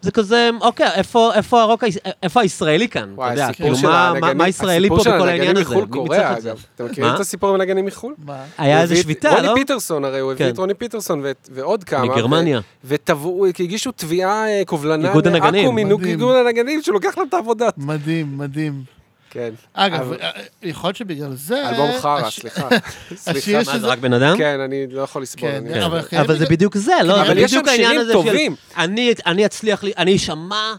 S1: זה כזה, אוקיי, איפה, איפה הרוק, היש- איפה הישראלי כאן?
S3: וואי,
S1: אתה יודע,
S3: הסיפור
S1: כאילו,
S3: של
S1: מה,
S3: הנגנים-
S1: מה, מה ישראלי פה
S3: הסיפור של
S1: בכל
S3: הנגנים
S1: העניין הזה?
S3: מחו"ל
S1: מי
S3: קורע,
S1: צריך את זה?
S3: אגב. אתם מכירים את
S1: מה?
S3: הסיפור עם הנגנים מחו"ל?
S2: מה?
S1: היה
S3: הוא
S1: איזה
S3: הביא את-
S1: שביתה, לא?
S3: רוני פיטרסון הרי, הוא הביא
S1: כן.
S3: את רוני פיטרסון ואת- ועוד כמה.
S1: מגרמניה.
S3: ו- ותבעו, כי הגישו תביעה, אה, קובלנה,
S1: איגוד הנגנים.
S3: לעכו מנוג-
S2: מדהים.
S3: איגוד הנגנים, שלוקח להם את העבודה.
S2: מדהים, מדהים.
S3: כן.
S2: אגב, אה,
S3: אבל-
S2: יכול להיות שבגלל זה...
S3: אלבום חרא,
S2: אה, הש-
S3: סליחה.
S2: השיר
S3: סליחה.
S1: מה,
S2: שזה-
S1: זה רק בן אדם?
S3: כן, אני לא יכול לסבול.
S2: כן,
S3: אני-
S2: אבל-
S1: אבל זה בדיוק זה, לא?
S3: אבל
S1: זה
S3: יש שם
S1: בדיוק העניין
S3: שירים
S1: הזה של-
S3: טובים.
S1: אני- אני אצליח, לי- אני אשמע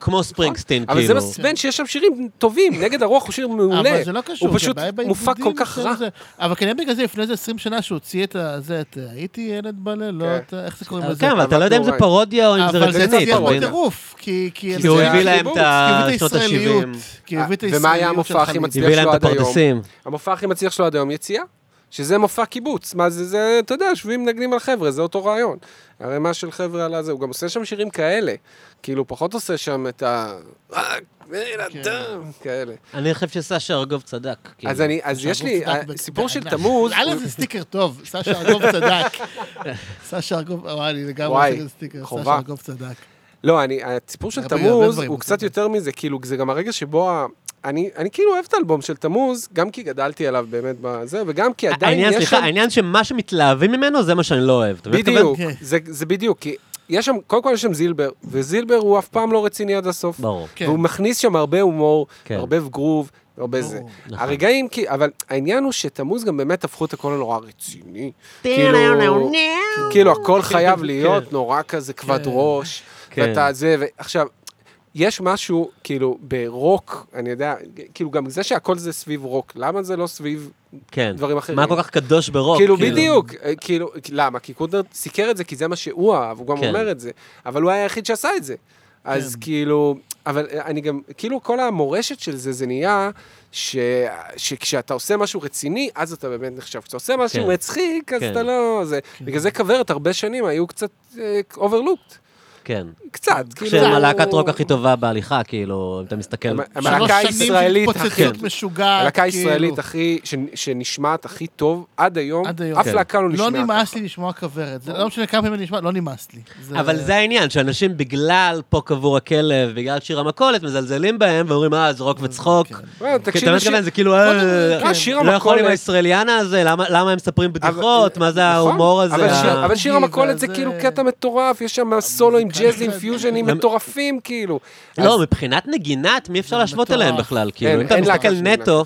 S1: כמו ספרינגסטין, כאילו.
S3: אבל זה מעצבן שיש שם שירים טובים, נגד הרוח הוא שיר מעולה.
S2: אבל זה לא קשור,
S3: הוא
S2: זה
S3: פשוט
S2: בעיה
S3: מופק כל
S2: בעיבודים
S3: כך
S2: של
S3: רע.
S2: זה. אבל כנראה בגלל זה לפני איזה 20 שנה שהוא הוציא את זה, את אה, הייתי ילד בלילות, איך זה קוראים לזה?
S1: כן, אבל אתה לא יודע אם זה
S3: נוראי.
S1: פרודיה או אם זה
S2: אבל זה
S1: רציני,
S2: צריך
S1: אתה
S3: ציפור,
S1: מבין?
S2: להיות
S3: אתה
S2: טירוף, כי... כי
S1: כי הוא
S2: זה-
S1: הביא
S3: החיבור.
S1: להם את
S2: כי
S1: ה-
S2: הוא
S1: שנות
S2: הביא את הישראליות,
S1: ה-70.
S2: כי הוא הביא את
S3: אה, ומה היה
S2: הישראליות של
S3: המופע הכי
S2: חליל.
S3: מצליח
S1: הביא להם
S3: שלו
S1: את
S3: עד היום?
S1: הפרדסים.
S3: המופע הכי מצליח שלו עד היום יציאה. שזה מופע קיבוץ. מה זה, זה, אתה יודע, יושבים מנגנים על חבר'ה, זה אותו רעיון. הרמה של חבר'ה על הזה, הוא גם עושה שם שירים כאלה. כאילו, הוא פחות עושה שם את ה... "אה, אין אדם",
S2: כן.
S3: כאלה.
S2: כאילו,
S1: אני חושב שסשה ארגוב צדק. כאילו.
S3: אז אני, אז יש לי,
S2: שהגוף צדק ב-
S3: סיפור של
S2: בענק.
S3: תמוז,
S2: א', זה סטיקר טוב, סשה ארגוב צדק. סשה ארגוב, וואי, אני
S3: וואי,
S2: לגמרי עושה את הסטיקר,
S3: חובה.
S2: סשה ארגוב צדק.
S3: לא, אני, הסיפור של
S2: היה בי הרבה
S3: תמוז
S2: דברים,
S3: הוא
S2: אתה
S3: קצת
S2: יודע.
S3: יותר מזה, כאילו, זה גם הרגע שבו ה... אני, אני כאילו אוהב את האלבום של תמוז, גם כי גדלתי עליו באמת בזה, וגם כי עדיין
S1: העניין,
S3: יש
S1: סליחה,
S3: שם...
S1: העניין שמה שמתלהבים ממנו זה מה שאני לא אוהב. אתה מבין מה אני
S3: בדיוק,
S2: כן.
S3: זה, זה בדיוק, כי יש שם, קודם כל יש שם זילבר, וזילבר הוא אף פעם לא רציני עד הסוף.
S1: מתכוון? ברור.
S2: כן.
S3: והוא מכניס שם הרבה הומור,
S1: כן.
S3: הרבה גרוב, הרבה זה.
S1: נכון.
S3: הרגעים, כי- אבל העניין הוא שתמוז גם באמת הפכו את הכל לנורא רציני. כאילו, כאילו הכל חייב להיות נורא כזה כבד ראש,
S1: כן.
S3: ואתה זה, ועכשיו, יש משהו, כאילו, ברוק, אני יודע, כאילו, גם זה שהכל זה סביב רוק, למה זה לא סביב
S1: כן.
S3: דברים אחרים?
S1: מה כל כך קדוש ברוק?
S3: כאילו, בדיוק, אה, כאילו, למה? כי קודנר סיקר את זה, כי זה מה שהוא אהב, הוא גם
S1: כן.
S3: אומר את זה, אבל הוא היה היחיד שעשה את זה. אז
S2: כן.
S3: כאילו, אבל אה, אני גם, כאילו, כל המורשת של זה, זה נהיה ש, שכשאתה עושה משהו רציני, אז אתה באמת נחשב. כשאתה עושה משהו
S1: כן.
S3: מצחיק, אז
S1: כן.
S3: אתה לא... זה, בגלל זה כוורת הרבה שנים היו קצת אוברלופט.
S1: כן.
S3: קצת, כאילו...
S1: כשהם
S3: הוא-
S1: הלהקת רוק הכי טובה בהליכה, כאילו, אם אתה מסתכל...
S3: הם- הם
S2: שלוש
S3: הלהקה
S2: שנים של
S3: הישראלית הכי-
S2: התפוצצות משוגעת,
S3: הלהקה
S2: כאילו.
S3: הישראלית הכי, ש- שנשמעת הכי טוב עד היום,
S2: עד היום.
S3: אף
S1: כן.
S3: להקה לא
S2: לא
S3: נשמעת.
S2: נמאס לי לשמוע כוורת, זה לא משנה כמה פעמים אני נשמע, לא נמאס לי.
S1: אבל זה העניין, שאנשים בגלל פה קבור הכלב, בגלל שיר המכולת, מזלזלים בהם ואומרים, אה, זה רוק וצחוק.
S2: כן.
S3: וואי,
S1: כן, אתה
S3: אה, תקשיב, לשיר-
S1: מתכוון, זה כאילו, אה,
S3: אה, שיר
S1: לא יכול עם
S3: המכולת.
S1: הישראליאנה הזה, למה- למה הם מספרים בדיחות, מה זה
S3: נכון,
S1: ההומור הזה?
S3: אבל
S1: ה-
S3: שיר- אבל שיר
S2: והזה-
S3: המכולת זה כאילו קטע מטורף, יש שם סולו עם
S2: זה
S3: ג'אזים,
S2: קטע-
S3: פיוז'נים
S1: גם-
S3: מטורפים, כאילו.
S1: לא,
S3: אז- לא,
S1: מבחינת נגינת, מי אפשר
S2: זה
S1: להשוות
S2: מטורף.
S1: אליהם בכלל? כאילו, אם אתה
S3: אין להקה
S1: מסתכל
S3: שמנגנת
S1: נטו,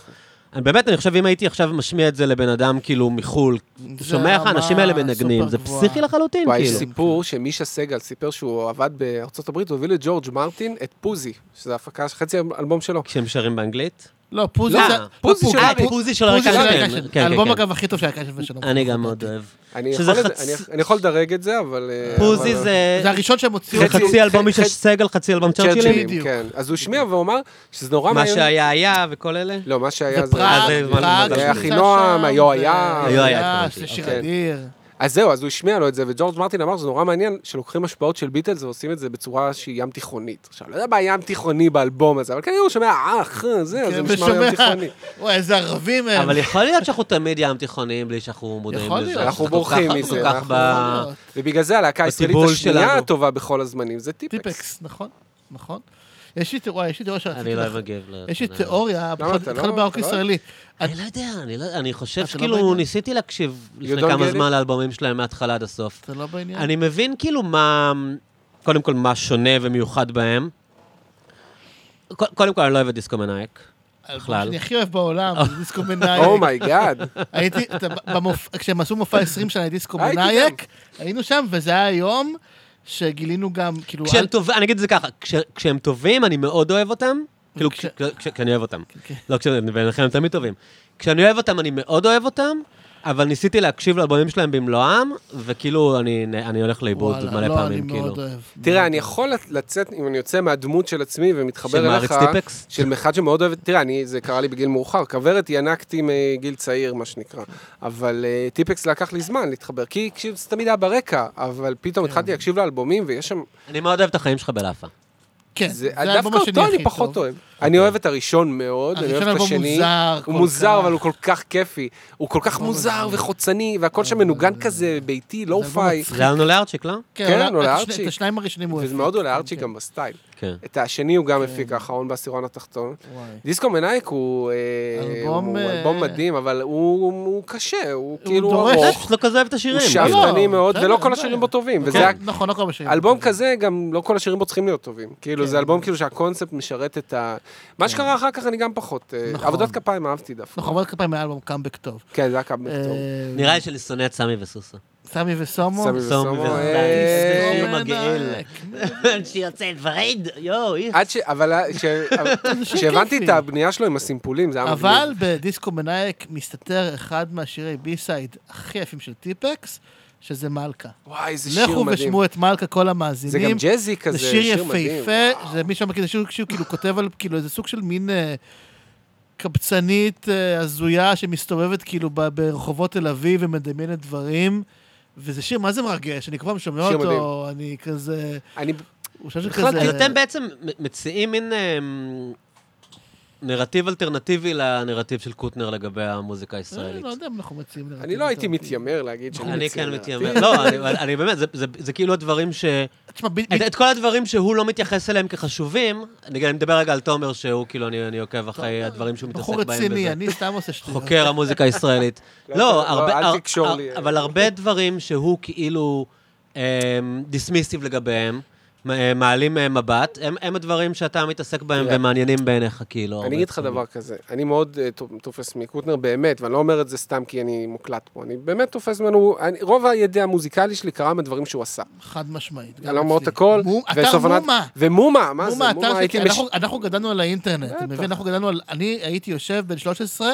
S1: אני באמת, אני חושב, אם הייתי עכשיו משמיע את זה לבן אדם, כאילו, מחו"ל,
S2: זה
S1: שומע איך
S2: רמה
S1: האנשים האלה מנגנים,
S2: סופר
S1: זה
S2: גבוהה.
S1: פסיכי לחלוטין,
S3: וואי, יש
S1: כאילו.
S3: סיפור שמישה סגל סיפר שהוא עבד בארצות הברית, הוא הביא לג'ורג' מרטין את פוזי, שזה הפקה, חצי אלבום שלו.
S1: כשהם שרים באנגלית?
S2: לא, פוזי
S1: לא,
S2: זה...
S3: פוזי של
S2: לא,
S3: אריק.
S2: פו-
S1: פוזי של
S2: פוזי
S1: הרקע
S2: של
S1: שלהם.
S2: אריק אשל.
S1: כן,
S2: האלבום
S1: כן, כן.
S2: אגב הכי טוב של אריק אשל
S3: לא,
S2: ושלום.
S1: אני גם
S2: שמחון.
S1: מאוד אוהב.
S3: אני
S1: שזה
S3: יכול לד-
S1: חצ-
S3: אני- אני יכול לדרג את זה, אבל... אה,
S1: פוזי
S3: אבל-
S1: זה
S2: זה הראשון שהם הוציאו.
S1: זה
S3: חצי-
S1: חצי אה, אלבום
S3: חצי-
S1: מישה סגל, חצי אלבום צ'רצ'ילים.
S3: צ'רצ'ילים,
S2: בדיוק.
S3: כן. אז הוא השמיע והוא אמר שזה נורא
S1: מה
S3: מעניין.
S1: שהיה היה וכל אלה.
S3: לא, מה שהיה זה...
S1: אה,
S2: ופראג,
S1: זה זמן
S2: פראג,
S1: למזל
S2: שנמצא
S1: שלי.
S3: אחינועם,
S2: שם,
S3: היו
S2: ו-
S3: היה.
S1: היו היה, התכוונתי.
S2: שזה שיר
S3: אוקיי.
S2: אדיר.
S3: אז זהו, אז הוא השמיע לו את זה, וג'ורג' מרטין אמר שזה נורא מעניין שלוקחים השפעות של ביטלס ועושים את זה בצורה שהיא ים תיכונית. עכשיו, לא יודע מה ים תיכוני באלבום הזה, אבל כנראה הוא שומע אח, אה, זה, אז זה
S2: כן,
S3: נשמע
S2: ושומע-
S3: ים תיכוני.
S2: וואי, איזה ערבים הם.
S1: אבל יכול להיות שאנחנו תמיד ים תיכוניים בלי שאנחנו מודעים
S2: לא. יכול
S1: לזה.
S2: להיות.
S3: אנחנו
S1: כל
S3: בורחים
S1: כך-
S3: מזה,
S1: כל כך
S3: אנחנו-
S1: ב...
S2: יכול להיות.
S3: ובגלל זה הלהקה הישראלית
S1: בטיבול
S3: השנייה
S1: שלנו.
S3: הטובה בכל הזמנים זה טיפקס.
S2: טיפקס, נכון, נכון. יש לי תיאוריה, וואי, יש לי תיאוריה שרציתי...
S1: אני לא
S2: לך-
S1: מגיב ל...
S2: יש לי תיאוריה,
S3: למה,
S2: פשוט
S3: אתה לא-
S2: התחלנו ברוק
S3: אתה לא-
S2: ישראלי.
S1: אני לא יודע, אני לא- אני חושב
S2: אתה לא
S1: שכאילו
S2: בעניין?
S1: ניסיתי להקשיב לפני
S3: don't
S1: כמה
S3: get it?
S1: זמן לאלבומים שלהם מההתחלה עד הסוף.
S2: זה לא בעניין.
S1: אני מבין כאילו מה... קודם כל, מה שונה ומיוחד בהם. ק- קודם כל, אני לא אוהב את דיסקו מנאייק. בכלל.
S2: אני הכי אוהב בעולם, זה דיסקו מנאייק.
S3: Oh אומייגאד.
S2: הייתי, אתה- במופ- כשהם עשו מופע 20 שנה לדיסקו
S3: הייתי
S2: מנאייק, היינו שם, וזה היה היום שגילינו גם, כאילו...
S1: כשהם
S2: אל-
S1: טובים, אני אגיד את זה ככה, כש- כשהם טובים, אני מאוד אוהב אותם. כאילו,
S2: כש-
S1: כש- כש- כשאני אוהב אותם.
S2: כן.
S1: לא, כשהם, ולכן הם תמיד טובים. כשאני אוהב אותם, אני מאוד אוהב אותם, אבל ניסיתי להקשיב לאלבומים שלהם במלואם, וכאילו, אני אני הולך לאיבוד
S2: וואלה,
S1: מלא
S2: לא,
S1: פעמים,
S2: אני
S1: כאילו.
S2: מאוד אוהב.
S3: תראה, אני יכול לצ- לצאת, אם אני יוצא מהדמות של עצמי ומתחבר
S1: של
S3: אליך,
S1: מעריץ טיפקס?
S3: של אחד שמאוד אוהב, תראה, אני, זה קרה לי בגיל מאוחר, כוורת ינקתי מגיל צעיר, מה שנקרא, אבל אה, טיפקס לקח לי זמן להתחבר, כי כשזה תמיד היה ברקע, אבל פתאום התחלתי להקשיב לאלבומים, ויש שם,
S1: אני מאוד אוהב את החיים שלך בלאפה.
S2: כן,
S3: זה-
S2: זה האלבום
S3: דווקא
S2: השני הכי
S3: אותו
S2: טוב. אוקיי.
S3: אני פחות אוהב. אני אוהב את הראשון מאוד, אני
S2: הראשון
S3: אוהב את
S2: אלבום
S3: השני.
S2: מוזר
S3: הוא
S2: כל
S3: מוזר,
S2: כך.
S3: אבל הוא כל כך כיפי. הוא כל כך מוזר וחוצני, והכל שם מנוגן כזה ביתי, לואו-פיי.
S1: זה היה לנו לארצ'יק, לא?
S3: כן,
S2: אבל
S3: עולה
S2: את
S3: ארצ'י.
S2: השני- את השניים הראשונים הוא אוהב.
S3: וזה מאוד עולה
S2: כן,
S3: ארצ'י
S2: כן.
S3: גם בסטייל.
S1: כן.
S3: את השני הוא גם הפיק האחרון בעשירון התחתון.
S2: וואי.
S3: דיסקו מנאייק הוא אה,
S2: אלבום,
S3: הוא
S2: אה,
S3: אלבום מדהים, אבל הוא הוא קשה, הוא כאילו
S2: דורש.
S1: אני
S3: ארוך,
S1: פשוט לא כזה אוהב את השירים.
S3: הוא
S1: כאילו.
S2: לא,
S3: שאפתני מאוד,
S2: בסדר,
S3: ולא
S2: אין
S3: כל
S2: בעיה.
S3: השירים בו טובים. וזה
S2: כן, נכון, לא כל השנים.
S3: אלבום כזה, גם לא כל השירים בו צריכים להיות טובים. כאילו,
S2: כן.
S3: זה אלבום כאילו שהקונספט משרת את ה... מה שקרה אחר כך אני גם פחות. אה,
S2: נכון.
S3: עבודת כפיים אהבתי דווקא.
S2: נכון, אבל כפיים היה אלבום קאמבק טוב.
S3: כן, זה היה קאמבק טוב.
S2: אה,
S1: נראה לי שאני שונא את סמי וסוסו.
S2: סמי וסומו.
S1: סומי
S3: סמי וסומו.
S1: וסומו.
S3: אה,
S1: וסומו. מגעיל. שיוצא וריד, יואו, איך.
S3: עד ש... אבל ה- ש-
S2: שיר
S3: כשהבנתי
S2: כיפי.
S3: את הבנייה שלו עם הסימפולים, זה היה מגניב.
S2: אבל בדיסקו מנאייק מסתתר אחד מהשירי בי-סייד הכי יפים של טיפקס, שזה מלכה.
S3: וואי, איזה שיר מדהים.
S2: לכו ושמעו את מלכה כל
S3: זה גם
S2: המאזינים.
S3: ג'אזי כזה,
S2: זה שיר
S3: מדהים.
S2: יפהפה, זה מי שם, זה שיר שהוא כאילו כותב על כאילו איזה סוג של מין... אה, קבצנית אה, הזויה שמסתובבת כאילו ב- ברחובות תל אביב ומדמיינת דברים. וזה שיר, מה זה מרגש? אני כל פעם שומע
S3: שיר
S2: אותו, אני כזה...
S3: אני...
S2: הוא חושב שכזה...
S1: בכלל, כאילו, אתם בעצם מ- מציעים מין אמ, נרטיב אלטרנטיבי לנרטיב של קוטנר לגבי המוזיקה
S2: אה,
S1: הישראלית.
S2: לא יודע אם אנחנו מציעים לרטיב.
S3: אני לא הייתי
S2: יותר.
S3: מתיימר להגיד שאני
S1: אני
S3: מציין
S1: כן
S3: לה.
S1: מתיימר. לא, אני- אני באמת, זה- זה- זה כאילו הדברים ש...
S2: תשמע, ב-
S1: את, את כל הדברים שהוא לא מתייחס אליהם כחשובים, אני, גם- אני מדבר רגע על תומר, שהוא כאילו, אני, אני עוקב אחרי הדברים שהוא מתעסק
S2: לא, בחור
S1: בהם.
S2: רציני,
S1: וזה.
S2: אני סתם עושה שטויות.
S1: חוקר המוזיקה הישראלית.
S3: לא,
S1: לא,
S3: לא,
S1: הרבה,
S3: אל
S1: הר-
S3: תקשור
S1: הר-
S3: לי. אה.
S1: אבל הרבה דברים שהוא כאילו דיסמיסיב לגביהם, מ- אה, מעלים אה, מבט, הם, הם הדברים שאתה מתעסק בהם
S3: תראה,
S1: ומעניינים בעיניך, כאילו. הרבה
S3: אני אגיד לך
S1: פעמים.
S3: דבר כזה, אני מאוד אה, תופ- תופס מקוטנר באמת, ואני לא אומר את זה סתם כי אני מוקלט פה, אני באמת תופס ממנו, אני- רוב הידע המוזיקלי שלי קרה מדברים שהוא עשה.
S2: חד משמעית. גם
S3: אני לא אומר את
S2: אצלי.
S3: הכל,
S2: מום- אתר
S3: וסוף עונת-
S2: מומה.
S3: ומומה, מה זה?
S2: מומה,
S3: מומה,
S2: אתר
S3: הייתי
S2: שכן,
S3: מש-
S2: אנחנו- אנחנו גדלנו על האינטרנט, אתה מבין? אנחנו גדלנו על... אני הייתי יושב בן 13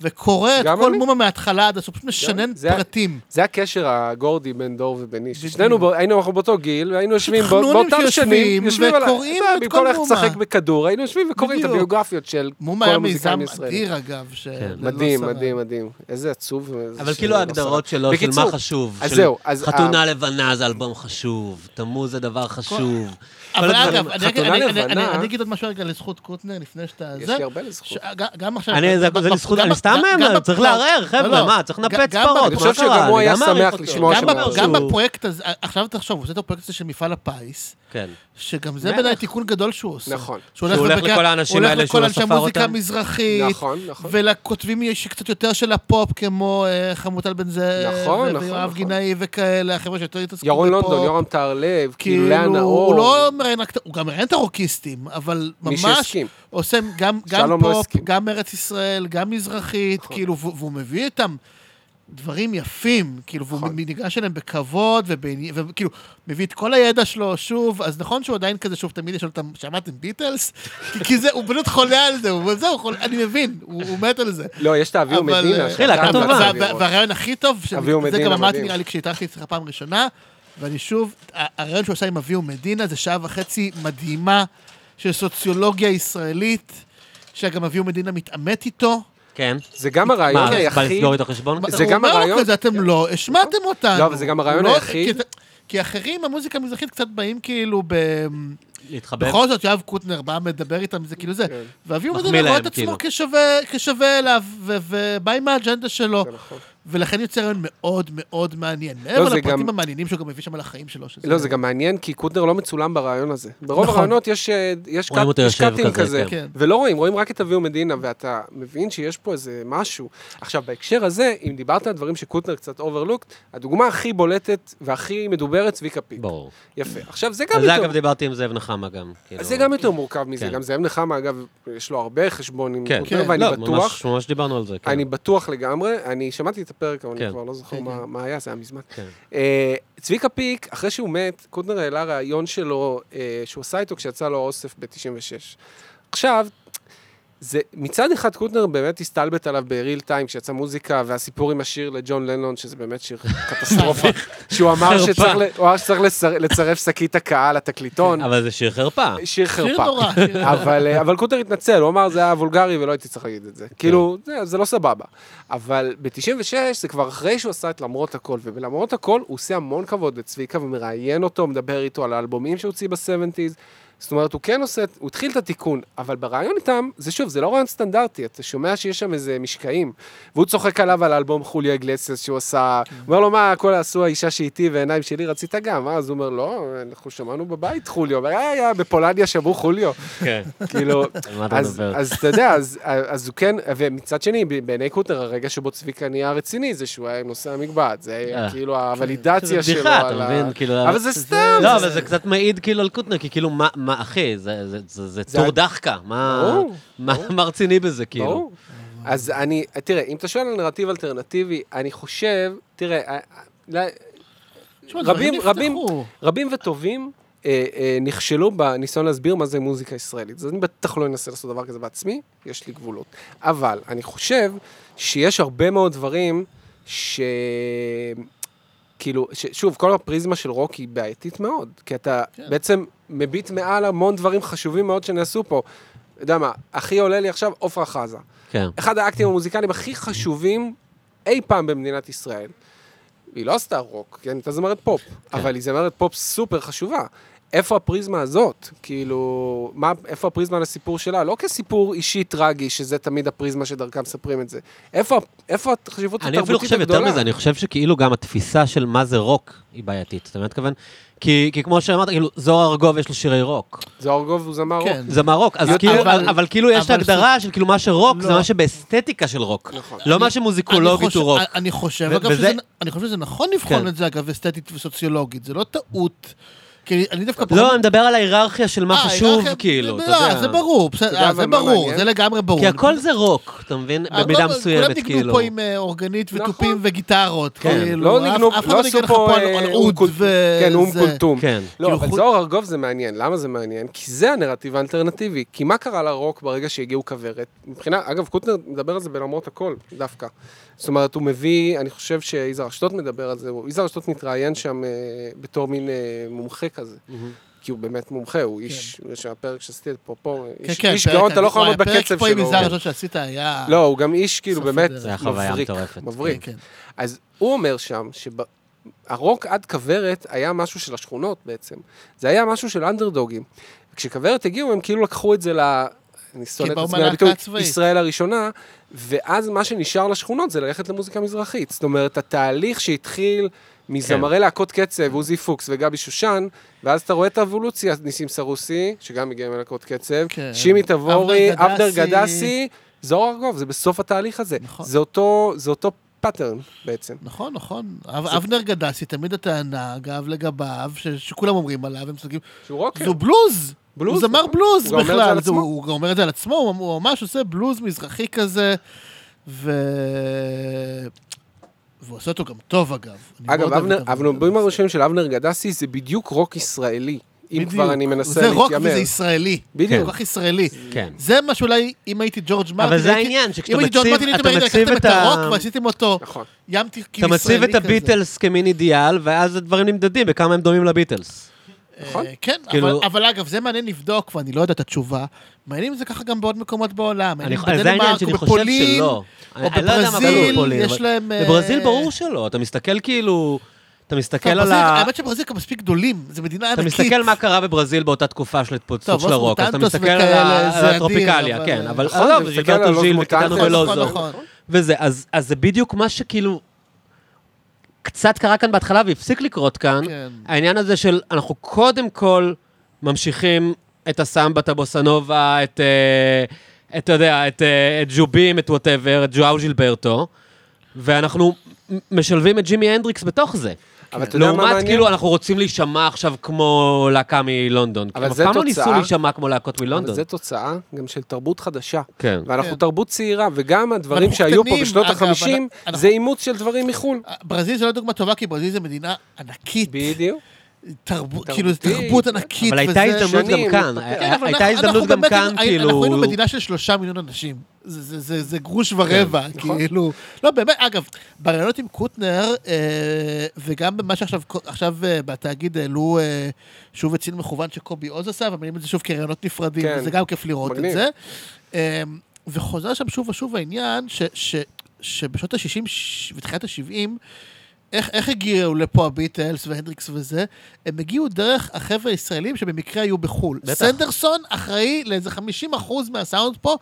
S2: וקורא את
S3: גם
S2: כל
S3: אני.
S2: מומה מההתחלה עד הסוף, פשוט משנן
S3: זה-
S2: פרטים.
S3: זה הקשר הגורדי בין דור ובן איש.
S2: בדיוק.
S3: שנינו, בא- היינו אנחנו באותו גיל, והיינו יושבים בא-
S2: חנונים
S3: באותם
S2: שיושבים
S3: שנים, יושבים על ה-
S2: וקוראים
S3: אתה יודע,
S2: את
S3: במקום
S2: כל
S3: ללכת
S2: מומה.
S3: לשחק בכדור, היינו יושבים וקוראים את
S2: בדיוק.
S3: הביוגרפיות של
S2: מומה
S3: כל
S2: היה
S3: המוזיקאים
S2: מיזם
S3: הישראלים.
S2: אדיר, אגב, ש...
S1: כן.
S3: מדהים, מדהים, מדהים. איזה עצוב. וזה
S1: אבל
S3: ש-
S1: כאילו
S3: לא
S1: ההגדרות
S3: שרד.
S1: שלו, של
S3: בקיצור,
S1: מה חשוב.
S3: אז
S1: של
S3: זהו, אז אה,
S1: חתונה לבנה זה אלבום חשוב, תמוז זה דבר חשוב.
S2: אבל
S1: כל הדברים-
S2: אגב, אני-
S3: חתונה
S2: אני- אני-
S3: לבנה.
S2: אני- אני אגיד עוד משהו רגע לזכות קוטנר, לפני שאתה...
S3: יש
S2: זה.
S3: לי הרבה לזכות.
S2: ש- ג- כן, גם עכשיו...
S1: אני, זה זה לזכות,
S2: גם-
S1: אני סתם,
S2: גם- גם
S1: צריך
S2: בפרק-
S1: לערער, חבר'ה,
S2: לא,
S1: מה, צריך
S2: גם-
S1: לנפץ
S2: גם
S1: פרות,
S2: אני
S1: מה
S3: חושב שגם
S1: קרה?
S3: הוא
S1: אני
S3: היה
S1: גם מעריך
S3: שמח
S1: אותו.
S3: לשמוע
S1: גם
S2: גם
S3: שמה-
S1: בפ-
S2: בפ- גם
S1: שהוא-
S2: בפרויקט הזה, עכשיו תחשוב, הוא עושה את הפרויקט הזה של מפעל הפיס,
S1: כן.
S2: שגם זה
S1: בטח.
S2: בעיניי תיקון גדול שהוא עושה.
S3: נכון.
S2: שהוא
S1: שהוא הולך
S2: ובקע-
S1: לכל האנשים
S2: הוא הולך
S1: האלה
S2: לכל
S1: שהוא לא
S2: אנשי
S1: ספר
S2: מוזיקה
S1: אותם.
S2: מזרחית,
S3: נכון, נכון.
S2: ולכותבים יש קצת יותר של הפופ, כמו אה, חמוטל בן זאב,
S3: נכון, נכון,
S2: ויואב
S3: נכון.
S2: גינאי וכאלה, החבר'ה שיותר התעסקו בפופ.
S3: ירון לונדון, יורם טהרלב,
S2: כאילו,
S3: קהילה נאור.
S2: הוא לא מראיין רק, הוא גם מראיין את הרוקיסטים, אבל
S3: מי
S2: ממש
S3: שהסכים.
S2: עושה גם, גם
S3: שלום לא
S2: פופ,
S3: הסכים.
S2: גם ארץ ישראל, גם מזרחית,
S3: נכון.
S2: כאילו, והוא והוא מביא איתם דברים יפים, כאילו, והוא
S3: נכון.
S2: ניגש אליהם בכבוד, ובעני- וכאילו, מביא את כל הידע שלו שוב, אז נכון שהוא עדיין כזה, שוב, תמיד יש לו את ה... שמעתם ביטלס? כי- כי זה, הוא פשוט חולה על זה, הוא- זהו, חולה- אני מבין, הוא הוא מת על זה.
S3: לא, יש את האוויר
S2: אבל,
S3: מדינה.
S2: אה,
S3: שאתה
S1: אחי, להקה
S3: גם
S1: טובה.
S3: רצה
S2: וה-
S3: לראות.
S2: וה- והרעיון הכי טוב, ש-
S3: אביהו
S2: זה
S3: מדינה
S2: גם אמרתי
S3: מדהים.
S2: נראה לי כשהתארחתי אצלך פעם ראשונה, ואני שוב, ה- הרעיון שהוא עשה עם אביהו מדינה זה שעה וחצי מדהימה של סוציולוגיה ישראלית, שגם אביהו מדינה מתעמת איתו.
S1: כן.
S3: זה גם
S1: מה,
S3: הרעיון
S1: בא לסגור
S3: היחיד.
S1: איתו חשבון?
S3: אה, אוקיי, זה
S2: הוא
S3: גם
S2: אומר
S3: הרעיון-
S2: לו כזה, אתם לא השמעתם אותנו.
S3: לא, אבל זה גם הרעיון
S2: הוא לא-
S3: היחיד.
S2: כי- כי אחרים, המוזיקה המזרחית קצת באים כאילו ב...
S1: להתחבא?
S2: בכל זאת, יואב קוטנר בא, מדבר איתם, זה כאילו זה. ואביהו
S1: כן. מחמיא
S2: מדינה רואה
S1: להם,
S2: את
S1: כאילו.
S2: עצמו כשווה- כשווה אליו, ו- ובא עם האג'נדה שלו.
S3: זה נכון.
S2: ולכן יוצא רעיון מאוד מאוד מעניין.
S1: לא,
S2: מעבר
S3: זה
S2: לפרטים
S3: גם-
S2: המעניינים שהוא גם מביא שם על החיים שלו. שזה-
S3: לא, זה גם מעניין, כי קוטנר לא מצולם ברעיון הזה. ברוב
S2: נכון.
S3: הרעיונות יש אה, יש
S1: רואים
S3: קאט-
S1: אותו
S3: יש
S1: יושב
S3: קאטים
S1: כזה,
S3: כזה,
S2: כן.
S3: ולא רואים, רואים רק את אביהו מדינה, ואתה מבין שיש פה איזה משהו. עכשיו, בהקשר הזה, אם דיברת על דברים שקוטנר קצת אוברלוקט, הדוגמה הכי בולטת והכי מדוברת, צביקה פיק.
S1: ברור.
S3: יפה. עכשיו, זה גם
S1: על זה אגב
S3: יותר...
S1: דיברתי עם זאב נחמה גם. כאילו.
S3: אז זה גם יותר מורכב מזה,
S1: כן.
S3: גם זאב נחמה, אגב, יש לו הרבה חשבון עם
S1: כן,
S3: קוטנר,
S2: כן.
S3: ואני
S1: לא,
S3: בטוח
S1: ממש- ממש דיברנו על זה, כן.
S3: אני בטוח לגמרי, אני שמעתי את הפרק, אבל אני
S1: כן.
S3: כבר לא זוכר
S2: כן,
S3: מה-
S2: כן.
S3: מה היה, זה היה מזמן.
S1: כן.
S3: אה, צביקה פיק, אחרי שהוא מת, קוטנר העלה ראיון שלו, אה, שהוא עשה איתו כשיצא לו אוסף ב-96. עכשיו, זה, מצד אחד קוטנר באמת הסתלבט עליו בריל טיים, כשיצא מוזיקה, והסיפור עם השיר לג'ון לנון, שזה באמת שיר קטסטרופה, שהוא אמר
S1: חרפה.
S3: שצריך, ל- הוא אמר שצריך לצר- לצרף שקית הקהל לתקליטון,
S1: אבל זה שיר חרפה.
S3: שיר חרפה.
S2: שיר נורא. שיר-
S3: אבל, אה, אבל קוטר התנצל, הוא אמר, זה היה וולגרי ולא הייתי צריך להגיד את זה. כאילו, זה, זה לא סבבה. אבל ב-96 זה כבר אחרי שהוא עשה את למרות הכל, ובלמרות הכל הוא עושה המון כבוד לצביקה ומראיין אותו, מדבר איתו על האלבומים שהוא הוציא ב-70's. זאת אומרת, הוא כן עושה, הוא התחיל את התיקון, אבל ברעיון איתם, זה שוב, זה לא רעיון סטנדרטי, אתה שומע שיש שם איזה משקעים. והוא צוחק עליו על האלבום חוליה אגלסיאס שהוא עשה, הוא אומר לו, מה, הכל עשו האישה שאיתי ועיניים שלי, רצית גם, אה? אז הוא אומר, לא, אנחנו שמענו בבית חוליו, הוא אומר, "אה, אה, בפולניה שמעו חוליו.
S1: כן.
S3: כאילו,
S1: על מה אתה
S3: אז,
S1: מדבר?
S3: אז אתה יודע, אז, אז הוא כן, ומצד שני, ב- בעיני קוטנר, הרגע שבו צביקה נהיה רציני, זה שהוא היה עם נושא המגבעת, זה היה
S1: אה.
S3: כאילו
S1: זה
S3: הוולידציה שלו.
S1: בדיחה,
S3: על
S1: אתה
S3: ה-
S1: מבין? כאילו...
S3: אבל זה סתם.
S1: לא, אבל זה קצת מעיד כאילו על קוטנר, כי כאילו, מה- מה, אחי, זה- זה- זה זה
S3: זה
S1: טור
S3: ה-
S1: דחקה, מה
S3: ברור,
S1: מה- מה רציני בזה, כאילו?
S3: ברור. אז אני, תראה, אם אתה שואל על נרטיב אלטרנטיבי, אני חושב, תראה, ה- ה-
S2: תשמע,
S3: רבים-
S2: דברים
S3: רבים-
S2: נפתחו.
S3: רבים וטובים אה, אה, נכשלו בניסיון להסביר מה זה מוזיקה ישראלית. אז אני בטח לא אנסה לעשות דבר כזה בעצמי, יש לי גבולות. אבל אני חושב שיש הרבה מאוד דברים ש... כאילו, ש- שוב, כל הפריזמה של רוק היא בעייתית מאוד, כי אתה
S2: כן.
S3: בעצם מביט מעל המון דברים חשובים מאוד שנעשו פה. יודע מה, הכי עולה לי עכשיו עפרה חזה.
S1: כן.
S3: אחד האקטים המוזיקליים הכי חשובים אי פעם במדינת ישראל. היא לא עשתה רוק, כן? היא הייתה זמרת פופ, אבל היא זמרת פופ סופר חשובה. איפה הפריזמה הזאת? כאילו, מה, איפה הפריזמה לסיפור שלה? לא כסיפור אישי טרגי, שזה תמיד הפריזמה שדרכה מספרים את זה. איפה, איפה החשיבות
S1: אני אפילו
S3: התרבותית
S1: חושב
S3: הגדולה?
S1: יותר מזה, אני חושב שכאילו גם התפיסה של מה זה רוק היא בעייתית, אתה מבין מה אני מתכוון? כי כי כמו שאמרת, כאילו, זוהר ארגוב יש לו שירי רוק.
S3: זוהר גוב הוא זמר
S2: כן.
S3: רוק.
S1: זה מהרוק, אז
S3: אבל-
S1: כאילו, אבל- אבל כאילו יש את
S2: אבל
S1: ההגדרה של כאילו מה שרוק, זה
S2: לא.
S1: מה שבאסתטיקה של רוק.
S3: נכון.
S1: לא מה
S2: אני
S1: שמוזיקולוגית
S2: חושב- אה,
S1: הוא רוק.
S2: אני חושב,
S1: ו-
S2: אגב,
S1: וזה-
S2: שזה- אני חושב שזה נכון לבחון
S1: כן.
S2: את זה, אגב, אסתטית וסוציולוגית. זה לא טעות. כי אני דווקא... פחות-
S1: לא, אני מדבר על ההיררכיה של מה
S2: אה,
S1: חשוב,
S2: היררכיה-
S1: כאילו,
S2: לא,
S1: אתה יודע.
S2: זה ברור, בסדר,
S3: יודע
S2: אה,
S3: אבל
S2: זה
S3: מה
S2: ברור,
S3: מעניין?
S2: זה לגמרי ברור.
S1: כי הכל זה רוק, אתה מבין?
S2: אה,
S1: במידה
S2: כולם-
S1: מסוימת,
S2: כולם ניגנו
S1: כאילו.
S2: פה עם אה, אורגנית
S3: נכון.
S2: ותופים וגיטרות, כאילו.
S3: לא
S2: אף-
S3: ניגנו,
S2: אף אחד
S3: לא
S2: ניגן
S3: עשו
S2: לך
S3: פה
S2: על-
S3: אה,
S2: על
S3: אום
S2: אוד
S3: כולתום.
S2: וזה.
S3: כן, אום כולתום.
S1: כן.
S3: לא,
S2: כאילו,
S3: אבל
S2: חוץ-
S3: זוהר ארגוב זה מעניין. למה זה מעניין? כי זה הנרטיב האלטרנטיבי. כי מה קרה לרוק ברגע שהגיעו כוורת? מבחינה, אגב, קוטנר מדבר על זה בלמרות הכל, דווקא. זאת אומרת, הוא מביא, אני חושב שיזהר אשדוד מדבר על זה, הוא- יזהר אשדוד מתראיין שם אה, בתור מין אה, מומחה כזה. כי הוא באמת מומחה, הוא איש, יש הפרק שעשיתי את פה, פה,
S2: כן,
S3: איש-
S2: כן,
S3: איש
S2: פרק-
S3: גאון, אתה לא יכול
S2: וואי,
S3: לעמוד בקצב
S2: הפרק פה עם
S3: שלו.
S2: יזהר הראשון שעשית היה...
S3: לא, הוא גם איש, כאילו,
S2: סוף
S3: באמת,
S2: הדרך.
S1: זה היה חוויה
S3: מבריק,
S1: מטורפת.
S3: מבריק.
S2: כן, כן.
S3: אז הוא אומר שם שהרוק עד כוורת היה משהו של השכונות בעצם. זה היה משהו של אנדרדוגים. כשכוורת הגיעו, הם כאילו לקחו את זה ל... אני שונא את
S2: באו
S3: עצמי,
S2: מהלהקה
S3: הביטוי
S2: הצבאית.
S3: ישראל הראשונה, ואז מה שנשאר לשכונות זה ללכת למוזיקה מזרחית. זאת אומרת, התהליך שהתחיל מזמרי להקות קצב, עוזי פוקס וגבי שושן, ואז אתה רואה את האבולוציה, ניסים סרוסי, שגם הגיע מלהקות קצב,
S2: כן.
S3: שימי תבורי,
S2: אבנר
S3: אבנר
S2: גדסי.
S3: גדסי, זוהר ארגוב, זה בסוף התהליך הזה.
S2: נכון.
S3: זה אותו, זה אותו פאטרן בעצם.
S2: נכון, נכון. אב- אבנר גדסי, תמיד הטענה, אגב, לגביו, ש- שכולם אומרים עליו, הם צודקים,
S3: שהוא רוקר.
S2: זו בלוז!
S3: כן. בלוז,
S2: הוא זמר
S3: נכון.
S2: בלוז
S3: הוא גם אומר את זה על
S2: בכלל, זה-
S3: עצמו.
S2: הוא גם אומר את זה על עצמו, הוא הוא ממש עושה בלוז מזרחי כזה, ו... והוא עושה אותו גם טוב, אגב. אני מאוד
S3: אגב,
S2: אוהב את
S3: אבנר, הבנובים הראשונים של אבנר גדסי זה בדיוק רוק ישראלי. אם
S2: בדיוק.
S3: כבר אני מנסה
S2: זה רוק
S3: להתיימר.
S2: וזה ישראלי.
S3: בדיוק.
S2: כל כך ישראלי.
S1: כן.
S2: זה מה שאולי, אם הייתי ג'ורג' מרטין...
S1: אבל זה
S2: הייתי-
S1: העניין,
S2: אם
S1: שכשאתה
S2: הייתי ג'ורג'
S1: מציב,
S2: מרטין, הייתם
S1: אתה מציב את
S2: לקחתם את
S1: ה...
S2: הרוק ועשיתם אותו
S3: נכון.
S2: ים תיכון
S1: אתה
S2: כאילו ישראלי כזה.
S1: מציב את הביטלס כמין אידיאל, ואז הדברים נמדדים בכמה הם דומים לביטלס.
S3: נכון.
S2: אה, כן,
S1: כאילו-
S2: אבל- אבל אגב, זה מעניין לבדוק, ואני לא יודע את התשובה. מעניין אם זה ככה גם בעוד מקומות בעולם.
S1: אני-
S2: מעניין
S1: אז זה העניין
S2: בדנמרק
S1: שאני חושב
S2: ובפולין.
S1: שלא.
S2: או
S1: אני- אני לא יודע מה קורה
S2: בברזיל,
S1: בפולין,
S2: יש
S1: אבל-
S2: להם, אה,
S1: בברזיל ברור שלא, אתה מסתכל כאילו... אתה מסתכל על
S2: טוב, כן, ברזיל-
S1: ה...
S2: האמת שברזיל גם מספיק גדולים, זו מדינה
S1: אתה
S2: ענקית.
S1: מסתכל מה קרה בברזיל באותה תקופה של התפוצצות
S2: טוב,
S1: של
S2: אוס
S1: הרוק, אז אתה
S2: מוטנטוס
S1: מסתל על
S2: וכאלה,
S1: ה-
S2: זה
S1: על
S2: אדיר,
S1: הטרופיקליה,
S2: אבל-
S1: כן, אבל
S3: נכון,
S1: עזוב,
S3: אתה
S1: זה
S3: מסתכל על
S1: גרטו
S3: אוס
S1: ז'יל
S3: מוטנטוס.
S1: וקטנו
S2: נכון,
S1: ולוזו,
S2: נכון, נכון.
S1: וזה, אז אז זה בדיוק מה שכאילו קצת קרה כאן בהתחלה והפסיק לקרות כאן,
S2: כן.
S1: העניין הזה של אנחנו קודם כל ממשיכים את הסמבה, את הבוסנובה, את, אה, את, אתה יודע, את, אה, את ג'ובים, את וואטאבר, את ג'ואו ג'ילברטו, ואנחנו מ- משלבים את ג'ימי הנדריקס בתוך זה.
S3: אבל אתה יודע מה
S1: לעומת,
S3: מעניין?
S1: כאילו, אנחנו רוצים להישמע עכשיו כמו להקה מלונדון.
S3: אבל
S1: אבל
S3: זה
S1: אף פעם לא
S3: תוצאה.
S1: ניסו להישמע כמו להקות
S3: אבל
S1: מלונדון.
S3: זה תוצאה גם של תרבות חדשה.
S1: כן.
S3: ואנחנו
S2: כן.
S3: תרבות צעירה, וגם הדברים
S2: ואנחנו
S3: שהיו פה
S2: קטנים,
S3: בשנות
S2: אגב,
S3: החמישים,
S2: אנחנו-
S3: זה אימוץ של דברים מחו"ל.
S2: ברזיל זו לא דוגמה טובה, כי ברזיל זו מדינה ענקית.
S3: בדיוק.
S2: תרבות,
S3: תרבותית.
S2: כאילו, זו תרבות ענקית.
S1: אבל הייתה
S2: וזה-
S1: הזדמנות גם
S3: שנים,
S1: כאן.
S3: כן,
S2: כן, אבל
S1: אה, הייתה
S2: אנחנו-
S1: הזדמנות
S2: אנחנו
S1: גם
S2: באמת
S1: כאן,
S2: היינו- אנחנו
S1: כאילו... כן,
S2: היינו מדינה של שלושה מיליון אנשים. זה- זה זה- זה גרוש ורבע,
S3: נכון.
S2: כאילו... לא, באמת, אגב, בראיונות עם קוטנר, אה, וגם במה שעכשיו עכשיו, אה, בתאגיד העלו אה, שוב את סין מכוון שקובי עוז עשה, ומעלים את זה שוב כראיונות נפרדים,
S3: כן.
S2: וזה גם כיף לראות
S3: מגניב.
S2: את זה. אה, וחוזר שם שוב ושוב העניין ש- ש- שבשנות ה-60 ותחילת ה-70, איך, איך הגיעו לפה הביטלס והנדריקס וזה? הם הגיעו דרך החבר'ה הישראלים שבמקרה היו בחו"ל.
S1: בטח.
S2: סנדרסון אחראי לאיזה 50% מהסאונד פה,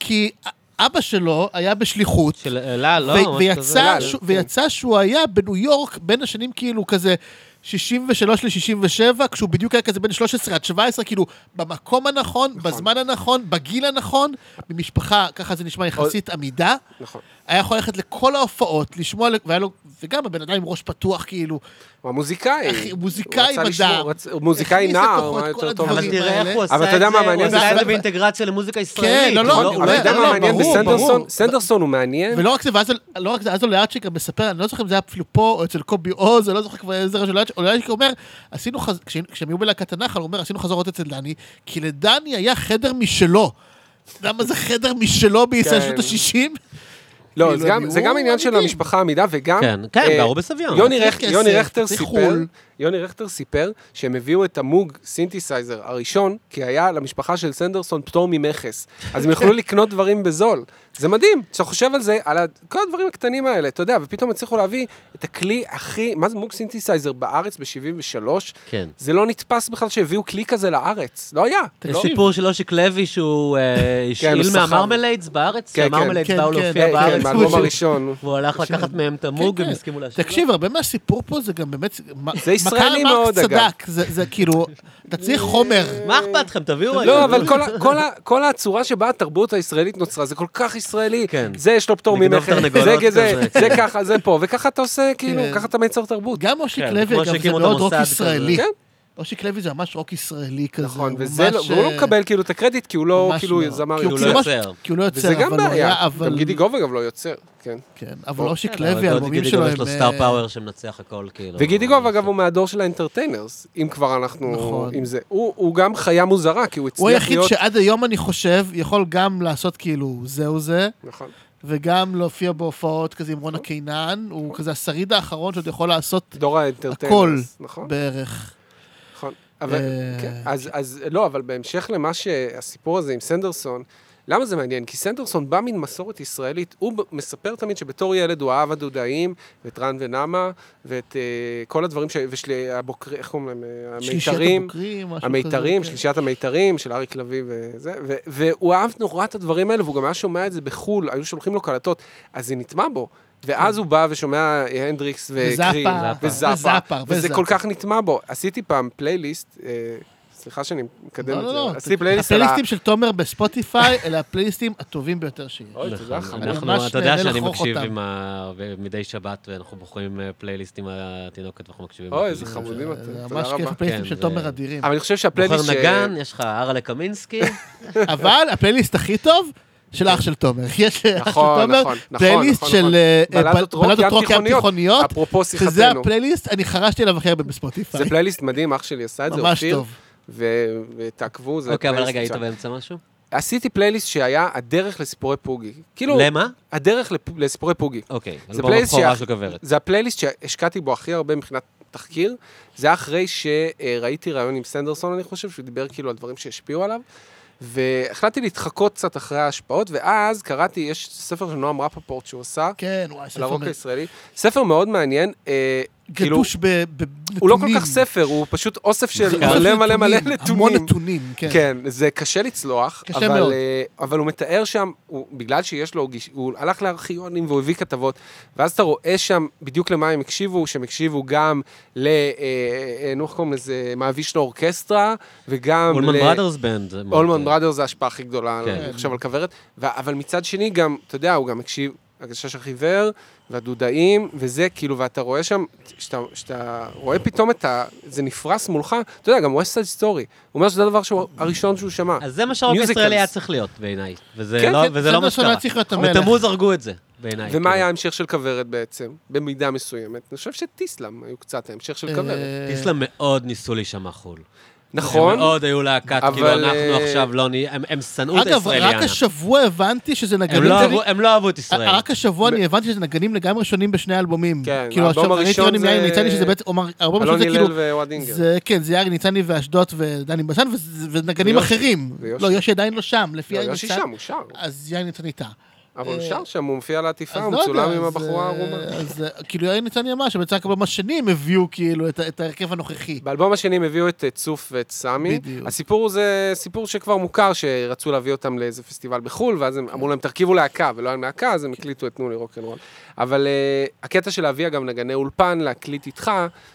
S2: כי א- אבא שלו היה בשליחות.
S1: של אלה, לא?
S2: ו-
S1: משהו כזה.
S2: ויצא,
S3: כזה.
S2: ש- ויצא שהוא היה בניו יורק בין השנים כאילו כזה 63 ל-67, כשהוא בדיוק היה כזה בין 13 עד 17, כאילו במקום הנכון,
S3: נכון.
S2: בזמן הנכון, בגיל הנכון, ממשפחה, ככה זה נשמע יחסית עמידה.
S3: נכון.
S2: היה יכול ללכת לכל ההופעות, לשמוע, ל- והיה לו, וגם הבן אדם עם ראש פתוח, כאילו,
S3: הוא המוזיקאי.
S2: אחי, מוזיקאי
S3: הוא רצה
S2: בדם.
S3: לשמור, רצ- הוא מוזיקאי
S2: הכניס
S3: נער,
S2: לתוכו את
S3: מה
S2: כל
S3: יותר טוב.
S1: אבל
S2: הדברים.
S1: תראה
S2: האלה.
S1: איך הוא עשה
S3: אבל
S1: את
S3: אתה יודע
S1: זה,
S3: מה
S1: הוא
S3: מעניין?
S1: עשה
S2: זה
S1: את זה
S2: סדר-
S1: באינטגרציה למוזיקה ישראלית.
S2: לא,
S1: הוא
S2: לא,
S1: הוא
S2: אבל
S3: אבל אתה יודע
S1: לא-
S3: מה
S2: לא,
S3: מעניין?
S2: ברור,
S3: בסנדרסון,
S2: ברור.
S3: סנדרסון הוא מעניין.
S2: ולא רק זה, ואז לא רק זה, אז אוליאצ'יק גם מספר, אני לא זוכר אם זה היה אפילו פה, או אצל קובי עוז, אני לא זוכר כבר איזה רשת, אוליאצ'יק אוליאצ'יק אומר, עשינו, חז- כש- כשהם היו בלהקת הנחל, הוא אומר, עשינו חזרות אצל דני, כי לדני היה חדר משלו. למה זה חדר משלו בישראל
S3: כן.
S2: שנות ה-60?
S3: לא,
S2: כאילו,
S3: זה גם-
S2: הם
S3: זה גם
S2: היו
S3: עניין של
S2: אמיתיים.
S3: המשפחה עמידה, וגם...
S1: כן, כן,
S3: אה,
S1: גרו בסביון.
S3: יוני
S2: צריך
S3: רכ-
S2: כסף,
S3: יוני רכטר
S2: צריך
S3: סיפר,
S2: חו"ל.
S3: יוני רכטר סיפר שהם הביאו את המוג סינתסייזר הראשון, כי היה למשפחה של סנדרסון פטור ממכס. אז הם יכלו לקנות דברים בזול. זה מדהים, כשאתה חושב על זה, על ה- כל הדברים הקטנים האלה, אתה יודע, ופתאום הצליחו להביא את הכלי הכי, מה זה מוג סינתסייזר בארץ ב-73?
S1: כן.
S3: זה לא נתפס בכלל שהביאו כלי כזה לארץ, לא היה.
S1: יש
S2: תקשיב.
S1: סיפור של אושיק לוי שהוא אה, השאיל
S3: הוא שכר.
S1: מהמרמליידס בארץ,
S3: כן, כן.
S1: שהמרמליידס
S2: כן,
S1: באו
S2: כן.
S1: להופיע
S3: כן, כן,
S1: בארץ,
S3: מהאלבום
S2: שהוא-
S3: הראשון.
S1: והוא הלך לקחת מהם את המוג,
S2: כן,
S1: הם
S2: כן.
S1: הסכימו להשאיר. לו.
S2: תקשיב, הרבה מהסיפור פה זה גם באמת... מה-
S3: זה ישראלי
S2: מה קרל
S3: מאוד,
S2: מרקס
S3: אגב.
S2: צדק, זה זה כאילו, אתה צריך חומר.
S1: מה אכפת לכם, תביאו
S3: לא,
S1: רגע.
S3: אבל כל ה- כל ה- כל הצורה שבה התרבות הישראלית נוצרה, זה כל כך ישראלי.
S1: כן.
S3: זה יש לו פטור
S1: לגנוב
S3: ממכר, זה
S1: תרנגולות
S3: כזה,
S1: כזה.
S3: זה ככה, זה פה, וככה אתה עושה, כאילו,
S2: כן.
S3: ככה אתה מייצר תרבות.
S2: גם אושיק
S1: כן,
S2: לוי,
S1: כמו
S2: אגב, זה
S1: שהקימו את
S2: מאוד רוק
S1: המוסד
S2: ישראלי.
S3: כזה. כן.
S2: אושיק לוי זה ממש רוק ישראלי כזה.
S3: נכון,
S2: הוא
S3: וזה לא-
S2: ממש,
S3: והוא לא
S2: אה,
S3: מקבל כאילו את הקרדיט, כי הוא לא,
S2: ממש
S3: כאילו,
S2: לא.
S3: זמר
S2: כי הוא
S1: יוצר.
S3: יוצר.
S2: כאילו
S1: הוא לא
S2: ממש-
S1: יוצר.
S2: כי הוא לא יוצר,
S3: וזה גם
S2: אבל הוא היה,
S3: בעיה, גם
S2: אבל...
S3: גידי גוב אגב לא יוצר, כן.
S2: כן, אבל אושיק
S1: אבל
S2: לוי, האלבומים
S1: גידי
S2: שלו
S1: גוב
S2: הם...
S1: לא, יש לו
S2: אה,
S1: סטאר פאוור שמנצח הכל, כאילו.
S3: וגידי
S2: לא
S3: גוב אגב הוא מהדור של האנטרטיינרס, אם כבר אנחנו
S2: נכון.
S3: עם זה. הוא הוא גם חיה מוזרה, כי הוא
S2: הוא
S3: הצליח
S2: היחיד
S3: להיות...
S2: שעד היום, אני חושב, יכול גם לעשות כאילו זהו זה,
S3: נכון.
S2: וגם להופיע בהופעות כזה עם רונה קינן, הוא כזה השריד האחרון שעוד יכול לעשות
S3: דור
S2: הכל
S3: האנטרטיינרס, נכון?
S2: בערך.
S3: נכון. אבל,
S2: אה,
S3: כן, אז, אז לא, אבל בהמשך למה שהסיפור הזה עם סנדרסון, למה זה מעניין? כי סנדרסון בא מן מסורת ישראלית, הוא ב- מספר תמיד שבתור ילד הוא אהב הדודאים, ואת רן ונמה, ואת אה, כל הדברים, ש... ושהבוקרים, איך קוראים להם? אה,
S2: שלישיית
S3: המיתרים.
S2: הבוקרים, משהו כזה,
S3: המיתרים,
S2: כן.
S3: שלישיית המיתרים של אריק לביא וזה, ו- והוא אהב נורא את הדברים האלה, והוא גם היה שומע את זה בחו"ל, היו שולחים לו קלטות, אז זה נטמע בו. ואז הוא בא ושומע אה, הנדריקס וקריל,
S2: וזאפה,
S3: וזאפה,
S2: וזאפה,
S3: וזה
S2: וזאפה.
S3: כל כך נטמע בו. עשיתי פעם פלייליסט, אה, סליחה שאני מקדם
S2: לא,
S3: את
S2: לא, לא.
S3: זה, עשיתי פלייליסט על ה...
S2: הפלייליסטים של תומר בספוטיפיי, אלה הפלייליסטים הטובים ביותר שיש.
S3: אוי, תודה לך.
S2: אני
S1: אנחנו,
S2: ממש
S1: אתה יודע
S2: נהנה
S1: שאני
S2: לחרוך
S1: מקשיב
S2: אותם.
S1: עם ה... מדי שבת, ואנחנו בוחרים אה, פלייליסט עם התינוקת, ואנחנו מקשיבים.
S3: אוי,
S1: לפלייליסט
S3: איזה
S1: של-
S3: חמודים אתם,
S2: זה
S3: תודה
S2: ממש כיף,
S3: רבה.
S2: הפלייליסטים
S1: כן,
S2: של
S1: זה-
S2: תומר אדירים.
S3: אבל אני חושב
S1: בוחר
S3: שהפלייליסט ש...
S1: נגן, יש לך ארלה קמינסקי,
S2: אבל הפלייליסט הכי טוב, של אח של תומר. יש לאח של
S3: נכון,
S2: תומר
S3: נכון, נכון,
S2: פלייליסט
S3: נכון, נכון.
S2: של אה,
S3: בלדות רוק
S2: בלדות
S3: ים
S2: רוק ים
S3: תיכוניות.
S2: תיכוניות,
S3: אפרופו
S2: שזה
S3: שיחתנו,
S2: הפלייליסט, אני חרשתי עליו הכי הרבה בספוטיפיי.
S3: זה פלייליסט מדהים, אח שלי עשה את זה,
S2: ממש
S3: אופיר,
S2: טוב.
S3: ו- ותעקבו, זה
S1: אוקיי, אבל
S3: פלייליסט
S1: רגע, היית
S3: מצוין.
S1: באמצע משהו?
S3: עשיתי פלייליסט שהיה הדרך לסיפורי פוגי. כאילו,
S1: למה?
S3: הדרך לפ- לסיפורי פוגי.
S1: אוקיי,
S3: זה
S1: אלבום
S3: פלייליסט
S1: הבכורה
S3: שה-
S1: של כוורת.
S3: זה הפלייליסט שהשקעתי בו הכי הרבה מבחינת תחקיר. זה היה אחרי שראיתי ראיון עם סנדרסון, אני חושב, שהוא דיבר כאילו על דברים שהשפיעו עליו. והחלטתי להתחקות קצת אחרי ההשפעות, ואז קראתי, יש ספר של נועם רפפורט שהוא עשה,
S2: כן, וואי,
S3: על
S2: ספר
S3: הרוק
S2: מ-
S3: הישראלי. ספר מאוד מעניין, אה, כאילו,
S2: גדוש ב- בנתונים.
S3: הוא לא כל כך ספר, הוא פשוט אוסף של
S2: אוסף
S3: מלא מלא מלא
S2: המון
S3: נתונים.
S2: נתונים, כן.
S3: כן, זה קשה לצלוח,
S2: קשה
S3: אבל,
S2: מאוד.
S3: אה, אבל הוא מתאר שם, הוא, בגלל שיש לו, גיש- הוא הלך לארכיונים והוא הביא כתבות, ואז אתה רואה שם בדיוק למה הם הקשיבו, שהם הקשיבו גם ל... אה, אה, נו, איך קוראים לזה? מאביש לאורקסטרה, וגם
S1: אולמן
S3: ל...
S1: בראדרס בנד. זה מאוד-
S3: אולמן בראדר זה ההשפעה הכי גדולה,
S1: כן.
S3: אני חושב, על כוורת. ו- אבל מצד שני גם, אתה יודע, הוא גם הקשיב, הגשש החיוור, והדודאים, וזה כאילו, ואתה רואה שם, שאתה- שאתה רואה פתאום את ה... זה נפרס מולך, אתה יודע, גם West Side Story. הוא אומר שזה הדבר שהוא הראשון שהוא שמע.
S1: אז זה מה שהרוק
S3: מיוזיקלס.
S1: הישראלי היה צריך להיות בעיניי, וזה
S3: כן,
S1: לא-
S2: כן,
S1: וזה לא מה
S2: סנדרסון היה
S1: שקרה.
S2: צריך להיות המלך.
S1: בתמוז הרגו את זה, בעיניי.
S3: ומה היה
S1: כאילו.
S3: ההמשך של כוורת בעצם, במידה מסוימת? אני חושב שטיסלאם היו קצת ההמשך של כוורת.
S2: אה,
S1: טיסלה מאוד ניסו להישמע חו"ל.
S3: נכון?
S1: הם מאוד היו להקת, כאילו,
S3: אבל, אה,
S1: אנחנו עכשיו לא נהיה, הם- הם שנאו את
S2: אגב, רק
S1: הישראליאנה.
S2: השבוע הבנתי שזה
S1: הם
S2: נגנים...
S1: לא
S2: זה-
S1: אהבו- הם לא אהבו את ישראל.
S2: רק השבוע אני הבנתי שזה נגנים לגמרי שונים בשני האלבומים.
S3: כן,
S2: כאילו,
S3: האלבום
S2: עכשיו, ראיתי
S3: הראשון
S2: יוני
S3: זה-
S2: מיין, ניצני שזה בעצם, הוא אמר, האלבום הראשון
S3: אלון
S2: זה כאילו...
S3: הלל ואוהד אינגר.
S2: זה, כן, זה יארי ניצני ואשדוד ודני בשן וזה- ונגנים
S3: ויושי.
S2: אחרים.
S3: ויושי.
S2: לא, יושי עדיין לא שם, לפי
S3: לא,
S2: יאיר
S3: יושי
S2: ניצן.
S3: שם, הוא שר.
S2: אז יאיר ניצן איתה.
S3: אבל הוא
S2: אה,
S3: שר שם, הוא מופיע על העטיפה,
S2: אז
S3: הוא
S2: לא יודע,
S3: מצולם עם
S2: אז,
S3: הבחורה
S2: אה,
S3: הערומה.
S2: אז אה, כאילו יאיר ניצני אמר שבצעק הבמה השני הם הביאו כאילו את ה- את ההרכב הנוכחי.
S3: באלבום השני הם הביאו את אה, צוף ואת סמי.
S2: בדיוק.
S3: הסיפור הוא זה סיפור שכבר מוכר, שרצו להביא אותם לאיזה פסטיבל בחו"ל, ואז
S2: כן.
S3: הם אמרו להם, תרכיבו להקה, ולא היה להם להקה, אז הם הקליטו את תנו לי רוקנרול. אבל אה, הקטע של להביא גם נגני אולפן, להקליט איתך,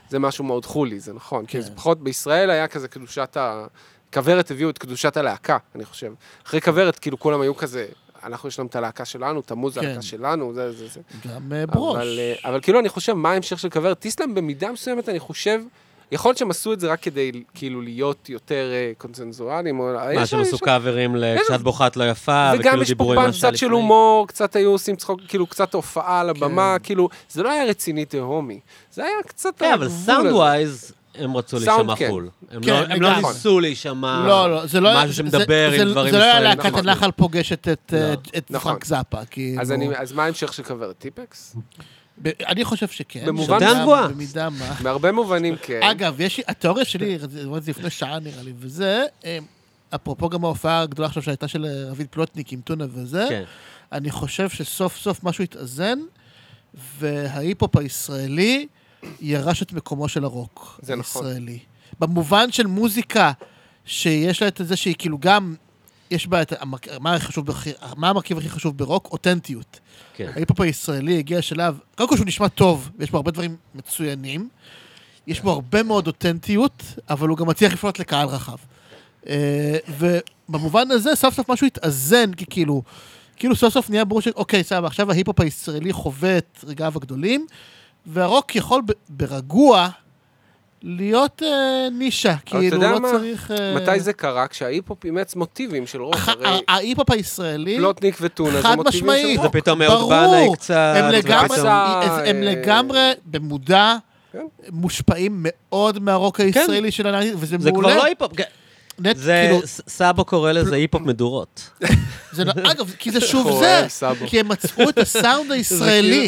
S3: זה משהו מאוד חולי, זה נכון. כי
S2: כן.
S3: זה פחות בישראל היה כזה קדושת ה... כוורת הביאו את קדושת הלהקה, אני חושב. אחרי כוורת, כאילו, כולם היו כזה, אנחנו יש לנו את הלהקה שלנו, תמוז
S2: כן.
S3: הלהקה שלנו, זה, זה, זה.
S2: גם אה, ברוש.
S3: אבל, אה, אבל כאילו, אני חושב, מה ההמשך של קוורט? טיסלאם במידה מסוימת, אני חושב, יכול להיות שהם עשו את זה רק כדי כאילו להיות יותר אה, קונצנזואליים. או-
S1: מה,
S3: יש-
S1: שהם
S3: יש-
S1: עשו קאברים ל"קצת
S3: איזה-
S1: בוכת לא יפה",
S3: וגם
S1: וכאילו
S3: יש פה
S1: דיברו עם
S3: פעם
S1: מה שהיה
S3: קצת של
S1: לפני.
S3: הומור, קצת היו עושים צחוק, כאילו קצת הופעה על הבמה, כאילו, זה לא היה רציני תהומי. זה היה קצת
S1: כן, אבל
S3: הגבול הזה.
S1: סאונד ווייז, הם רצו להישמע
S3: Soundcat.
S1: חו"ל. הם
S2: כן,
S1: לא- הם לא
S2: לגמרי.
S1: ניסו להישמע
S2: לא, לא, זה לא היה...
S1: משהו
S2: זה-
S1: שמדבר
S2: זה-
S1: עם דברים
S2: זה לא היה
S1: ישראלים.
S2: להקת
S3: נכון.
S2: הנחל פוגשת את אה, את
S3: נכון.
S2: פרנק זאפה, כאילו...
S3: אז אני- אז מה ההמשך של קוור? טיפקס?
S2: ב- אני חושב שכן.
S3: במובן-
S2: במידה-
S1: דן גבוהה.
S2: במידה מה.
S3: מהרבה מובנים כן.
S2: אגב, יש לי- התיאוריה שלי, רציתי לראות את זה לפני שעה נראה לי, וזה, אה, אפרופו גם ההופעה הגדולה עכשיו שהייתה של אה, רביד פלוטניק עם טונה וזה,
S1: כן.
S2: אני חושב שסוף סוף משהו התאזן, וההיפ-הופ הישראלי ירש את מקומו של הרוק
S3: זה נכון.
S2: הישראלי. במובן של מוזיקה, שיש לה את זה שהיא כאילו גם, יש בה את, המרכ- מה, הכי חשוב, בכי- מה המרכיב הכי חשוב ברוק? אותנטיות.
S1: כן.
S2: ההיפ-הופ הישראלי הגיע לשלב, קודם כל שהוא נשמע טוב, ויש בו הרבה דברים מצוינים, יש בו הרבה מאוד אותנטיות, אבל הוא גם מצליח לפנות לקהל רחב. אה, ובמובן הזה, סוף סוף משהו התאזן, כי כאילו, כאילו סוף סוף נהיה ברור שאוקיי, סבבה, עכשיו ההיפ-הופ הישראלי חווה את רגעיו הגדולים, והרוק יכול ב- ברגוע להיות אה, נישה, כאילו,
S3: יודע
S2: לא
S3: מה?
S2: צריך... אה,
S3: מתי זה קרה? כשההיפ-הופ אימץ מוטיבים של רוק,
S2: הח-
S3: הרי לא
S2: ההיפ-הופ הישראלי...
S3: פלוטניק וטונה זה
S2: חד
S3: מוטיבים
S2: משמעית.
S3: של
S1: זה
S3: רוק.
S1: פתאום
S2: ברור.
S1: אהוד בנאי קצת,
S2: הם לגמרי,
S1: ופתאום-
S3: ופצע,
S2: הם
S3: אה,
S2: לגמרי במודע
S3: כן.
S2: מושפעים מאוד מהרוק הישראלי של הנאצים, וזה
S1: זה
S2: מעולה.
S1: כבר לא היפ-הופ. כן.
S2: נט,
S1: זה,
S2: כאילו,
S1: ס- סאבו קורא לזה היפ-הופ מדורות.
S2: זה לא- אגב, כי זה שוב
S3: אוהב
S2: זה,
S3: סבו.
S2: כי הם מצאו את הסאונד הישראלי.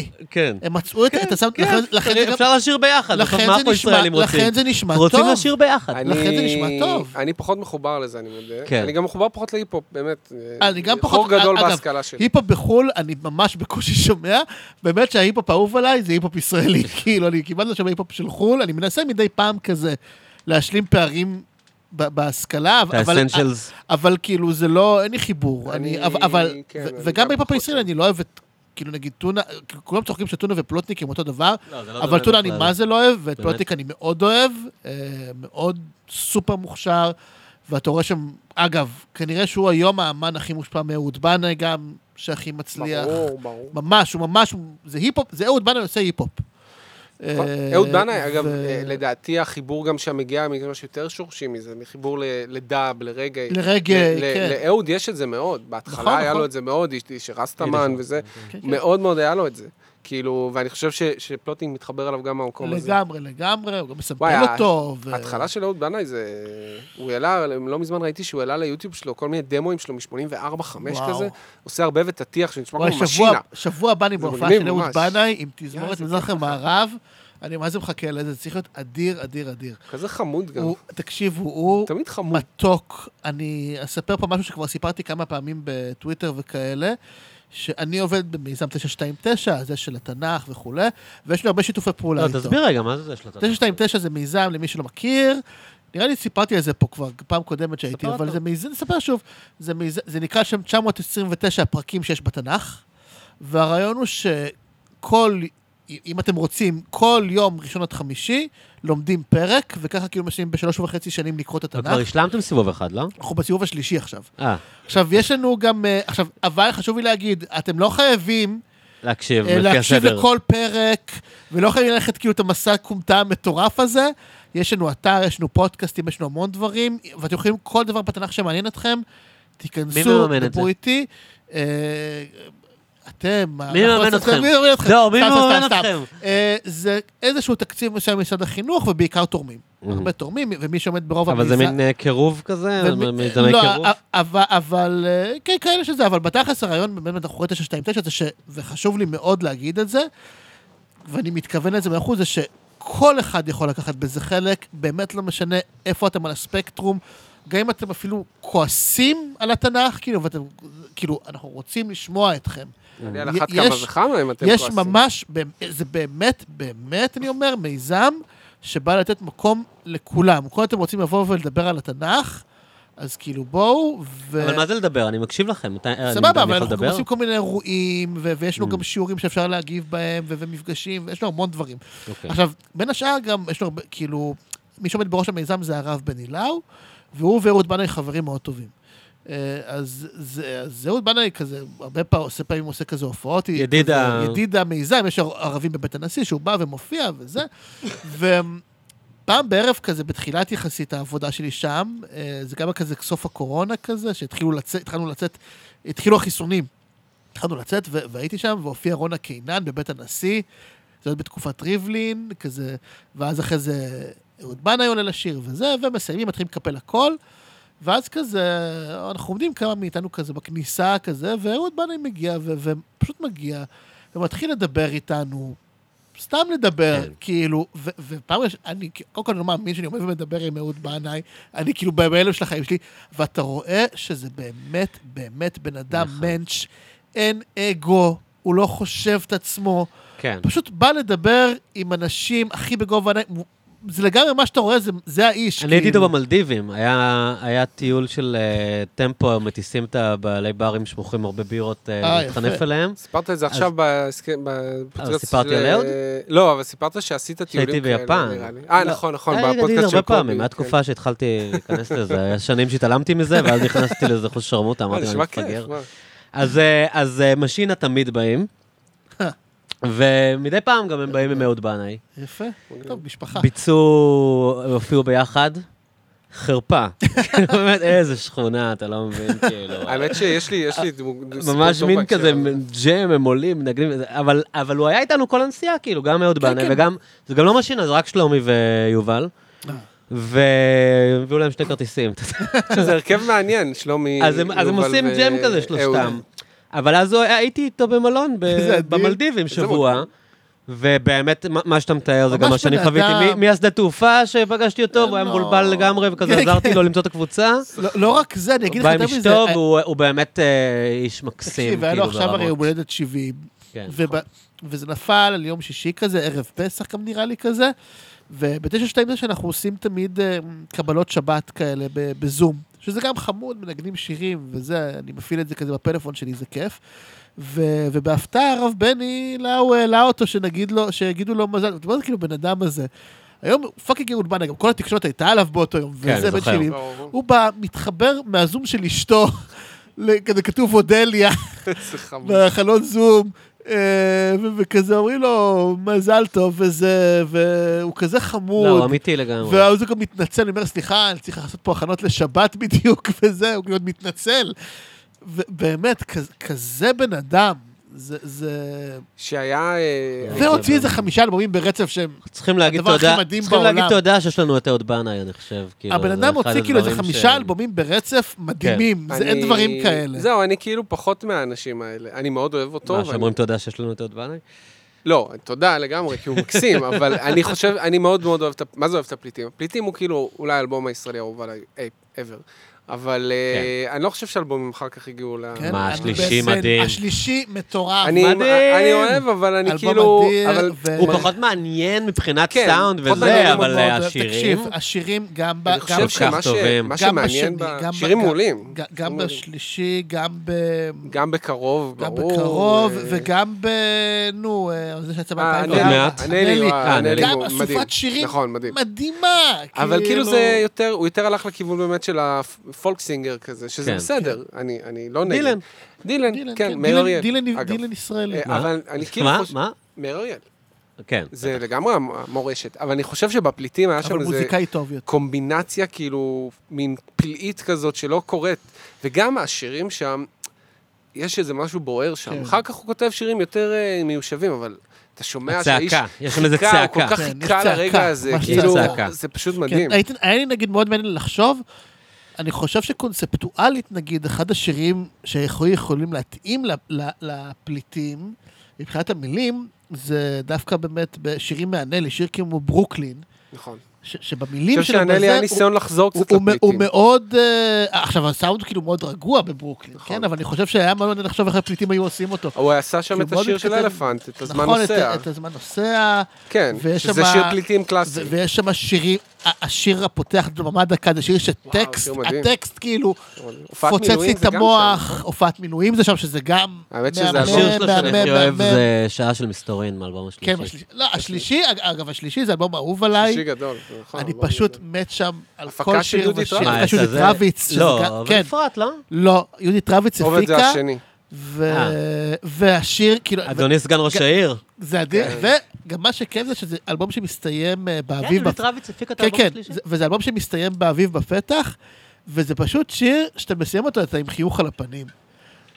S1: זה כאילו- כן.
S2: הם מצאו את את
S3: כן.
S2: הסאונד, לכן- לכן זה גם-
S1: אפשר לשיר ביחד,
S2: לכן
S1: לכן
S2: זה
S1: מה פה
S2: נשמע-
S1: ישראלים רוצים?
S2: לכן זה נשמע
S1: רוצים
S2: טוב.
S1: לשיר ביחד.
S3: אני-
S2: לכן זה נשמע טוב.
S3: אני פחות מחובר לזה, אני מודה.
S1: כן.
S3: אני גם מחובר פחות להיפ-הופ, באמת. אה,
S2: אה, אני גם פחות-
S3: חור גדול
S2: אגב,
S3: בהשכלה שלי.
S2: היפ-הופ בחו"ל, אני ממש בקושי שומע, באמת שההיפ-הופ האהוב עליי זה היפ-הופ ישראלי, כאילו, אני כמעט לא שומע היפ-הופ של חו"ל, אני מנסה מדי פעם כזה להשלים פערים ב- בהשכלה,
S1: את
S2: אבל...
S1: האסנצ'לס.
S2: אבל כאילו זה לא, אין לי חיבור. אני,
S3: אני-
S2: אבל, אבל
S3: כן,
S2: ו-
S3: אני
S2: וגם
S3: גם
S2: בהיפ-הופ
S3: פחות
S2: הישראלי
S3: שם.
S2: אני לא אוהב את, כאילו נגיד טונה, כאילו, כולם צוחקים שטונה ופלוטניק הם אותו דבר,
S1: לא, זה לא
S2: אבל
S1: דומה
S2: טונה אני
S1: בכלל.
S2: מה זה לא אוהב, ואת
S1: באמת?
S2: פלוטניק אני מאוד אוהב, אה, מאוד סופר מוכשר, ואתה רואה שם, אגב, כנראה שהוא היום האמן הכי מושפע מאהוד בנאי גם, שהכי מצליח.
S3: ברור, ברור.
S2: ממש, הוא ממש, זה היפ-הופ, זה אהוד בנאי עושה היפ-הופ. אה,
S3: אהוד בנאי, אגב,
S2: ו-
S3: אה, לדעתי החיבור גם שם מגיע ממשהו יותר שורשי מזה, מחיבור ל- לדאב, לרגעי.
S2: לרגעי,
S3: ל- ל-
S2: כן.
S3: לאהוד יש את זה מאוד.
S2: נכון,
S3: בהתחלה היה
S2: נכון.
S3: לו את זה מאוד, איש- איש רסטמן
S1: הנה,
S3: וזה.
S2: כן, כן.
S3: מאוד מאוד היה לו את זה. כאילו, ואני חושב ש- שפלוטינג מתחבר אליו גם מהמקום הזה.
S2: לגמרי, לגמרי, הוא גם
S3: וואי,
S2: מסמפל אותו. ו-
S3: ההתחלה של אהוד בנאי זה... הוא העלה, לא מזמן ראיתי שהוא העלה ליוטיוב שלו כל מיני דמוים שלו מ-84-5
S2: וואו.
S3: כזה, עושה הרבה ותטיח שנשמע
S2: וואי,
S3: כמו
S2: שבוע,
S3: משינה.
S2: שבוע הבא אני
S3: זה
S2: בהופעה
S3: מגניב
S2: של אהוד
S3: ממש.
S2: בנאי עם
S3: יאללה,
S2: תזמורת
S3: זה
S2: מזרח
S3: כיף לך.
S2: המערב. אני מה זה מחכה לזה, זה צריך להיות אדיר, אדיר, אדיר.
S3: כזה חמוד גם.
S2: הוא, תקשיבו, הוא
S3: תמיד חמוד.
S2: מתוק. אני אספר פה משהו שכבר סיפרתי כמה פעמים בטוויטר וכאלה, שאני עובד במיזם 929, זה של התנ"ך וכולי, ויש לי הרבה שיתופי פעולה
S1: לא,
S2: איתו.
S1: תסביר רגע, מה זה יש לו?
S2: 929 זה מיזם, למי שלא מכיר. נראה לי סיפרתי על זה פה כבר פעם קודמת שהייתי,
S1: ספר
S2: אבל
S1: אותו.
S2: זה מיזם, נספר שוב, זה, מיזם, זה נקרא שם 929 הפרקים שיש בתנ"ך, והרעיון הוא שכל, אם אתם רוצים, כל יום ראשון עד חמישי לומדים פרק, וככה כאילו משנים בשלוש וחצי שנים לקרוא את
S1: אבל
S2: התנ"ך.
S1: כבר השלמתם סיבוב אחד, לא?
S2: אנחנו בסיבוב השלישי עכשיו.
S1: אה,
S2: עכשיו, יש לנו גם, אה, עכשיו, אבל חשוב לי להגיד, אתם לא חייבים
S1: להקשיב,
S2: אה,
S1: לפי
S2: להקשיב
S1: הסדר.
S2: לכל פרק, ולא חייבים ללכת כאילו את המסע הכומתה המטורף הזה. יש לנו אתר, יש לנו פודקאסטים, יש לנו המון דברים, ואתם יכולים כל דבר בתנ"ך שמעניין אתכם, תיכנסו,
S1: מממן את
S2: דברו
S1: זה?
S2: איתי. אה, אתם,
S1: מי
S2: אנחנו
S1: מממן
S2: עושים-
S1: אתכם?
S2: מי מממן אתכם?
S1: לא, מי
S2: סתם, סתם,
S1: מממן
S2: סתם.
S1: אתכם?
S2: אה, זה איזשהו תקציב מסוים ממשרד החינוך, ובעיקר תורמים. הרבה תורמים, ומי שעומד ברוב
S1: אבל זה
S2: המיזם-
S1: מין אה, קירוב כזה?
S2: ומ-
S1: מיזמי
S2: לא,
S1: קירוב?
S2: א- אבל, אבל, אה, כן, כאלה שזה, אבל בתכלס הרעיון באמת מאחורי 929 זה ש... וחשוב לי מאוד להגיד את זה, ואני מתכוון לזה מאחור, זה שכל אחד יכול לקחת בזה חלק, באמת לא משנה איפה אתם על הספקטרום, גם אם אתם אפילו כועסים על התנ"ך, כאילו, ואתם, כאילו, אנחנו רוצים לשמוע אתכם.
S3: אני על אחת
S2: יש-
S3: כמה וכמה אם אתם לא
S2: יש
S3: כועסים.
S2: ממש, באמ- זה באמת, באמת, אני אומר, מיזם שבא לתת מקום לכולם. כל אתם רוצים לבוא ולדבר על התנ"ך, אז כאילו בואו, ו...
S1: אבל מה זה לדבר? אני מקשיב לכם. מתי- אני- אני
S2: סבבה, אבל
S1: יכול
S2: אנחנו גם
S1: לדבר?
S2: עושים כל מיני אירועים, ו- ויש לנו
S1: Mm.
S2: גם שיעורים שאפשר להגיב בהם, ו- ומפגשים, ויש לנו המון דברים.
S1: אוקיי.
S2: עכשיו, בין השאר גם, יש לו הרבה, כאילו, מי שעומד בראש המיזם זה הרב בני לאו, והוא ואהוד בנאי חברים מאוד טובים. אה, אז זה- אז אהוד בנאי כזה, הרבה פעמים עושה פעמים עושה כזה הופעות. היא
S1: ידיד
S2: כזה-
S1: ה-
S2: ידיד המיזם, יש ערבים בבית הנשיא, שהוא בא ומופיע וזה. ופעם בערב כזה, בתחילת יחסית העבודה שלי שם, אה, זה גם היה כזה סוף הקורונה כזה, שהתחילו לצאת, התחלנו לצאת, התחילו החיסונים. התחלנו לצאת, ו- והייתי שם, והופיע רונה קינן בבית הנשיא, זה עוד בתקופת ריבלין, כזה, ואז אחרי זה אהוד בנאי עולה לשיר וזה, ומסיימים, מתחילים לקפל הכל, ואז כזה, אנחנו עומדים כמה מאיתנו כזה בכניסה כזה, ואהוד בנאי מגיע, ו- ופשוט מגיע, ומתחיל לדבר איתנו, סתם לדבר,
S1: כן.
S2: כאילו, ו- ופעם ראשונה, אני כ- קודם כל אני לא מאמין שאני עומד ומדבר עם אהוד בנאי, אני כאילו בהלם של החיים שלי, ואתה רואה שזה באמת, באמת בן אדם
S1: נכון.
S2: מענץ', אין אגו, הוא לא חושב את עצמו.
S1: כן.
S2: פשוט בא לדבר עם אנשים הכי בגובה העיניים. הוא- זה לגמרי מה שאתה רואה, זה, זה האיש.
S1: אני הייתי
S2: כאילו.
S1: איתו במלדיבים, היה היה טיול של אה, טמפו, מטיסים את הבעלי ברים שמוכרים הרבה בירות אה,
S2: אה,
S1: להתחנף
S2: יפה.
S1: אליהם.
S3: סיפרת את זה עכשיו בהסכם... בפודקאסט
S1: סיפרתי
S3: של-
S1: על אהוד?
S3: לא, אבל סיפרת שעשית טיולים
S1: שהייתי
S3: כאלה,
S1: ביפן.
S3: נראה לי. אה,
S1: לא,
S3: נכון, נכון,
S1: היה לי להגיד
S3: בפודקאסט של
S1: הרבה
S3: קובי. כן.
S1: פעמים, היה תקופה שהתחלתי להיכנס לזה, היה שנים שהתעלמתי מזה, ואז נכנסתי לאיזה חוש שרמוטה,
S3: כן. אה,
S1: אמרתי, אני
S3: נשמע כיף,
S1: מפגר.
S3: מה?
S1: אז, אה, אז אה, משינה תמיד באים,
S2: אה.
S1: ומדי פעם גם הם באים עם אהוד בנאי.
S2: יפה, טוב, משפחה.
S1: ביצעו, הופיעו ביחד, חרפה. באמת, איזה שכונה, אתה לא מבין, כאילו.
S3: האמת שיש לי, יש לי דמו- סיפור
S1: ממש
S3: טוב
S1: מין
S3: בהקשר
S1: כזה
S3: הזה.
S1: ג'ם, הם עולים, מנגנים, וזה, אבל, אבל הוא היה איתנו כל הנסיעה, כאילו, גם אהוד
S2: כן,
S1: בנאי,
S2: כן.
S1: וגם, זה גם לא משינה, זה רק שלומי ויובל.
S2: אה.
S1: והביאו להם שני כרטיסים.
S3: שזה הרכב מעניין, שלומי,
S1: אז הם, אז הם
S3: יובל
S1: עושים
S3: ו-
S1: ג'ם כזה,
S3: אהוד.
S1: שלושתם. אבל אז הוא- הייתי איתו במלון ב-
S2: איזה אדיר.
S1: במלדיבים שבוע. ובאמת, מה- מה שאתה מתאר זה
S2: ממש
S1: גם מה שאני
S2: בן
S1: חוויתי.
S2: אדם.
S1: מ- מהשדה תעופה שפגשתי אותו, והוא היה
S2: לא.
S1: מבולבל לגמרי, וכזה
S2: כן,
S1: עזרתי
S2: כן.
S1: לו למצוא את הקבוצה.
S2: לא, לא רק זה, אני
S1: הוא
S2: אגיד לך
S1: בא עם
S2: יותר מזה. אה,
S1: אשתו, והוא הוא באמת אה, איש מקסים,
S2: תקשיב, היה לו
S1: כאילו,
S2: עכשיו הרי
S1: ברמות.
S2: יום הולדת 70,
S1: כן,
S2: וב- וזה נפל על יום שישי כזה, ערב פסח גם נראה לי כזה, וב-929 אנחנו עושים תמיד אה, קבלות שבת כאלה ב- בזום, שזה גם חמוד, מנגנים שירים וזה, אני מפעיל את זה כזה בפלאפון שלי, זה כיף. ו- ובהפתעה הרב בני, לה הוא העלה אותו שנגיד לו, שיגידו לו מזל, אתה יודע, כאילו בן אדם הזה. היום הוא פאקינג אהוד בנה, גם כל התקשורת הייתה עליו באותו יום,
S1: כן,
S2: וזה
S1: אני
S2: בן
S1: זוכר.
S2: שלי.
S3: ברור.
S2: הוא בא, מתחבר מהזום של אשתו, ל- כזה כתוב אודליה,
S3: איזה חמוד.
S2: בחלון זום, אה, ו- וכזה אומרים לו, מזל טוב וזה, והוא כזה
S1: לא, הוא
S2: חמוד.
S1: אמיתי לגמרי.
S2: ואז הוא גם מתנצל, הוא אומר, סליחה, אני צריך לעשות פה הכנות לשבת בדיוק, וזה, הוא עוד מתנצל. ובאמת, כ- כזה בן אדם, זה... זה...
S3: שהיה... אה,
S1: זה
S2: והוציא
S1: זה-
S2: איזה חמישה אלבומים ברצף שהם...
S1: צריכים להגיד
S2: הדבר הכי
S1: תודה,
S2: מדהים
S1: צריכים להגיד
S2: בעולם.
S1: תודה שיש לנו את אהוד בנאי, אני חושב. כאילו,
S2: הבן
S1: זה
S2: אדם
S1: אחד
S2: הוציא כאילו איזה
S1: הדברים
S2: חמישה
S1: ש- כן.
S2: אלבומים ברצף מדהימים, זה אין
S3: אני-
S2: דברים כאלה.
S3: זהו, אני כאילו פחות מהאנשים האלה. אני מאוד אוהב אותו.
S1: מה,
S3: ואני-
S1: שאומרים תודה שיש לנו את אהוד בנאי?
S3: לא, תודה לגמרי, כי הוא מקסים, אבל אני חושב, אני מאוד מאוד אוהב את ה... מה זה אוהב את הפליטים? הפליטים הוא כאילו אולי האלבום הישראלי האהוב עליי אי- ever. אבל אה, אני לא חושב שאלבומים אחר כך הגיעו ל...
S2: כן,
S1: כן. מה,
S2: אני
S1: השלישי
S2: בסן,
S1: מדהים.
S2: השלישי מטורף.
S3: אני אה,
S1: מדהים.
S3: אני אוהב, אבל אני
S2: אלבום
S3: כאילו...
S2: אדיר,
S3: אבל-
S2: ו-
S1: הוא פחות מעניין מבחינת
S3: כן,
S1: סאונד
S3: פחות מעניין
S1: וזה, אבל
S3: מאוד,
S2: מאוד,
S1: השירים...
S2: תקשיב, השירים גם ב...
S3: אני
S2: גם
S3: חושב
S1: כל
S3: שמה
S1: כך
S3: ש-
S1: טובים.
S3: מה
S2: גם
S3: שמעניין,
S2: בשני,
S3: ב-
S2: גם ב-
S3: שירים
S2: גם-
S3: מעולים.
S2: ג- גם
S3: שירים מעולים.
S2: בשלישי, גם ב...
S3: גם בקרוב,
S2: גם
S3: ברור.
S2: בקרוב,
S3: אה,
S2: וגם ב... נו, אה, זה שיצא
S3: אה,
S1: עוד
S2: ב-2004.
S1: מעט.
S3: הנלי, וואו,
S1: אה,
S3: הנלי,
S1: הנלי.
S2: גם
S3: הוא מדהים.
S2: אסופת שירים
S3: נכון, מדהים.
S2: מדהימה.
S3: אבל כאילו זה יותר, הוא יותר הלך לכיוון באמת של הפולק סינגר כזה, שזה
S1: כן.
S3: בסדר, אני אני לא נגד.
S1: דילן.
S3: דילן,
S2: דילן,
S3: כן,
S2: כן,
S3: מאיר
S2: דילן-
S3: אריאל.
S2: דילן-
S3: אגב.
S2: דילן ישראלי.
S3: אה,
S1: מה?
S3: אבל אני כאילו
S1: מה?
S3: חושב...
S1: מה?
S3: מאיר אריאל.
S1: כן.
S3: זה לגמרי המ- המורשת. אבל אני חושב שבפליטים היה
S2: אבל
S3: שם איזה
S2: מוזיקאי טוב יותר.
S3: קומבינציה כאילו, מין פלאית כזאת שלא קורית. וגם השירים שם, יש איזה משהו בוער שם.
S2: כן.
S3: אחר כך הוא כותב שירים יותר אה, מיושבים, אבל אתה שומע
S1: הצעקה,
S3: שהאיש...
S1: יש שם איזה
S3: חיכה, הוא
S1: צעקה.
S3: כל כך
S2: כן, יש
S3: חיכה לרגע
S2: צעקה,
S3: הזה,
S2: ממש
S3: כאילו,
S1: צעקה.
S3: זה פשוט
S2: כן,
S3: מדהים.
S2: הייתי- היה לי נגיד מאוד מעניין לחשוב, אני חושב שקונספטואלית נגיד, אחד השירים שיכולים להתאים ל- ל- לפליטים, מבחינת המילים, זה דווקא באמת בשירים מהנלי, שיר כמו ברוקלין,
S3: נכון.
S2: ש-
S3: אני
S2: שבמילים
S3: חושב
S2: שלו
S3: שהנלי
S2: בזה,
S3: היה
S2: הוא-
S3: ניסיון לחזור
S2: הוא-
S3: קצת
S2: הוא מ- הוא
S3: לפליטים.
S2: מאוד, אה, עכשיו הסאונד כאילו מאוד רגוע בברוקלין,
S3: נכון.
S2: כן? אבל אני חושב שהיה מאוד מעניין לחשוב איך הפליטים היו עושים אותו.
S3: הוא עשה שם
S2: כי
S3: את
S2: הוא מאוד
S3: השיר של
S2: מתכתב-
S3: אלפנט, את הזמן
S2: נכון, את ה-
S3: נוסע.
S2: את הזמן נוסע,
S3: כן,
S2: ויש
S3: שזה
S2: שמה-
S3: שיר פליטים
S2: ו-
S3: קלאסי.
S2: ויש שם שירים, ה- השיר הפותח דממה דקה, זה שיר שטקסט,
S3: שיר מדהים.
S2: הטקסט כאילו
S3: הופעת
S2: פוצץ לי
S3: מילואים
S2: את
S3: זה גם שם. נכון?
S2: המוח, הופעת מילואים זה שם, שזה גם...
S3: האמת שזה
S2: מהמם,
S3: אלבום-
S1: השיר שלו שאני הכי
S2: מהמם,
S1: אוהב
S2: מהמם.
S1: זה שעה של מסתורין מאלבום השלישי.
S2: כן, השלישי, לא, השלישי, אג- אגב, השלישי זה אלבום אהוב עליי,
S3: שיר גדול, נכון.
S2: אני
S3: לא
S2: פשוט
S3: גדול.
S2: מת שם על
S3: הפקה
S2: כל
S3: של
S2: שיר
S3: יהודית
S2: ושיר,
S3: רביץ.
S1: מה,
S2: הפקה של
S1: את
S2: יהודית
S1: הזה?
S2: רביץ, שזה גם-
S1: אה, לא, אבל
S2: כן,
S1: אפרת, לא?
S2: לא, יהודית רביץ
S3: עובד זה
S2: הפיקה,
S3: השני.
S2: ו-
S1: אה.
S2: והשיר, כאילו,
S1: אדוני סגן ראש העיר.
S2: זה אדיר,
S3: כן.
S2: וגם מה שכיף זה שזה אלבום שמסתיים אה,
S1: כן,
S2: באביב,
S1: יהודית רביץ הפיקה את
S2: כן,
S1: האלבום
S2: כן,
S1: השלישי.
S2: זה- וזה אלבום שמסתיים באביב בפתח, וזה פשוט שיר שאתה מסיים אותו, אתה עם חיוך על הפנים.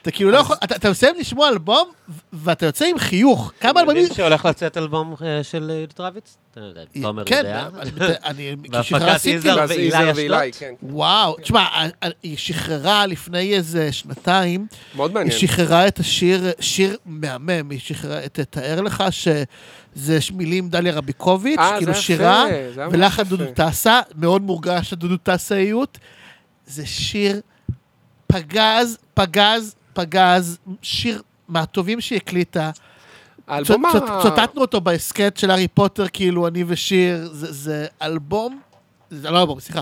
S2: אתה כאילו לא יכול, אתה אתה מסיים לשמוע אלבום, ו- ואתה יוצא עם חיוך. כמה
S1: אתם
S2: אלבומים...
S1: יודעים שהולך לצאת אלבום אה, של אה, טרוויץ? אתה יודע, תומר
S2: כן,
S1: יודע.
S2: אני- אני... כששחררה
S1: בהפקת
S2: סינגל...
S1: יזהר
S3: ואז יזהר
S1: ואילי
S3: ואילי,
S1: אשדוד.
S3: כן.
S2: וואו, תשמע, ה- ה- היא שחררה לפני איזה שנתיים,
S3: מאוד
S2: היא
S3: מעניין.
S2: שחררה את השיר, שיר מהמם, היא שחררה את תאר לך, שזה ש- מילים דליה רביקוביץ',
S3: אה, זה
S2: כאילו
S3: יפה,
S2: שירה,
S3: זה היה ממש
S2: ולחן
S3: יפה.
S2: דודו טסה, מאוד מורגש הדודו טסאיות. זה שיר פגז, פגז, פגז, שיר מהטובים שהיא הקליטה.
S3: האלבום
S2: צוט-
S3: ה-
S2: צוט- צוטטנו אותו בהסכת של הארי פוטר, כאילו, אני ושיר, זה- זה אלבום, זה לא אלבום, סליחה.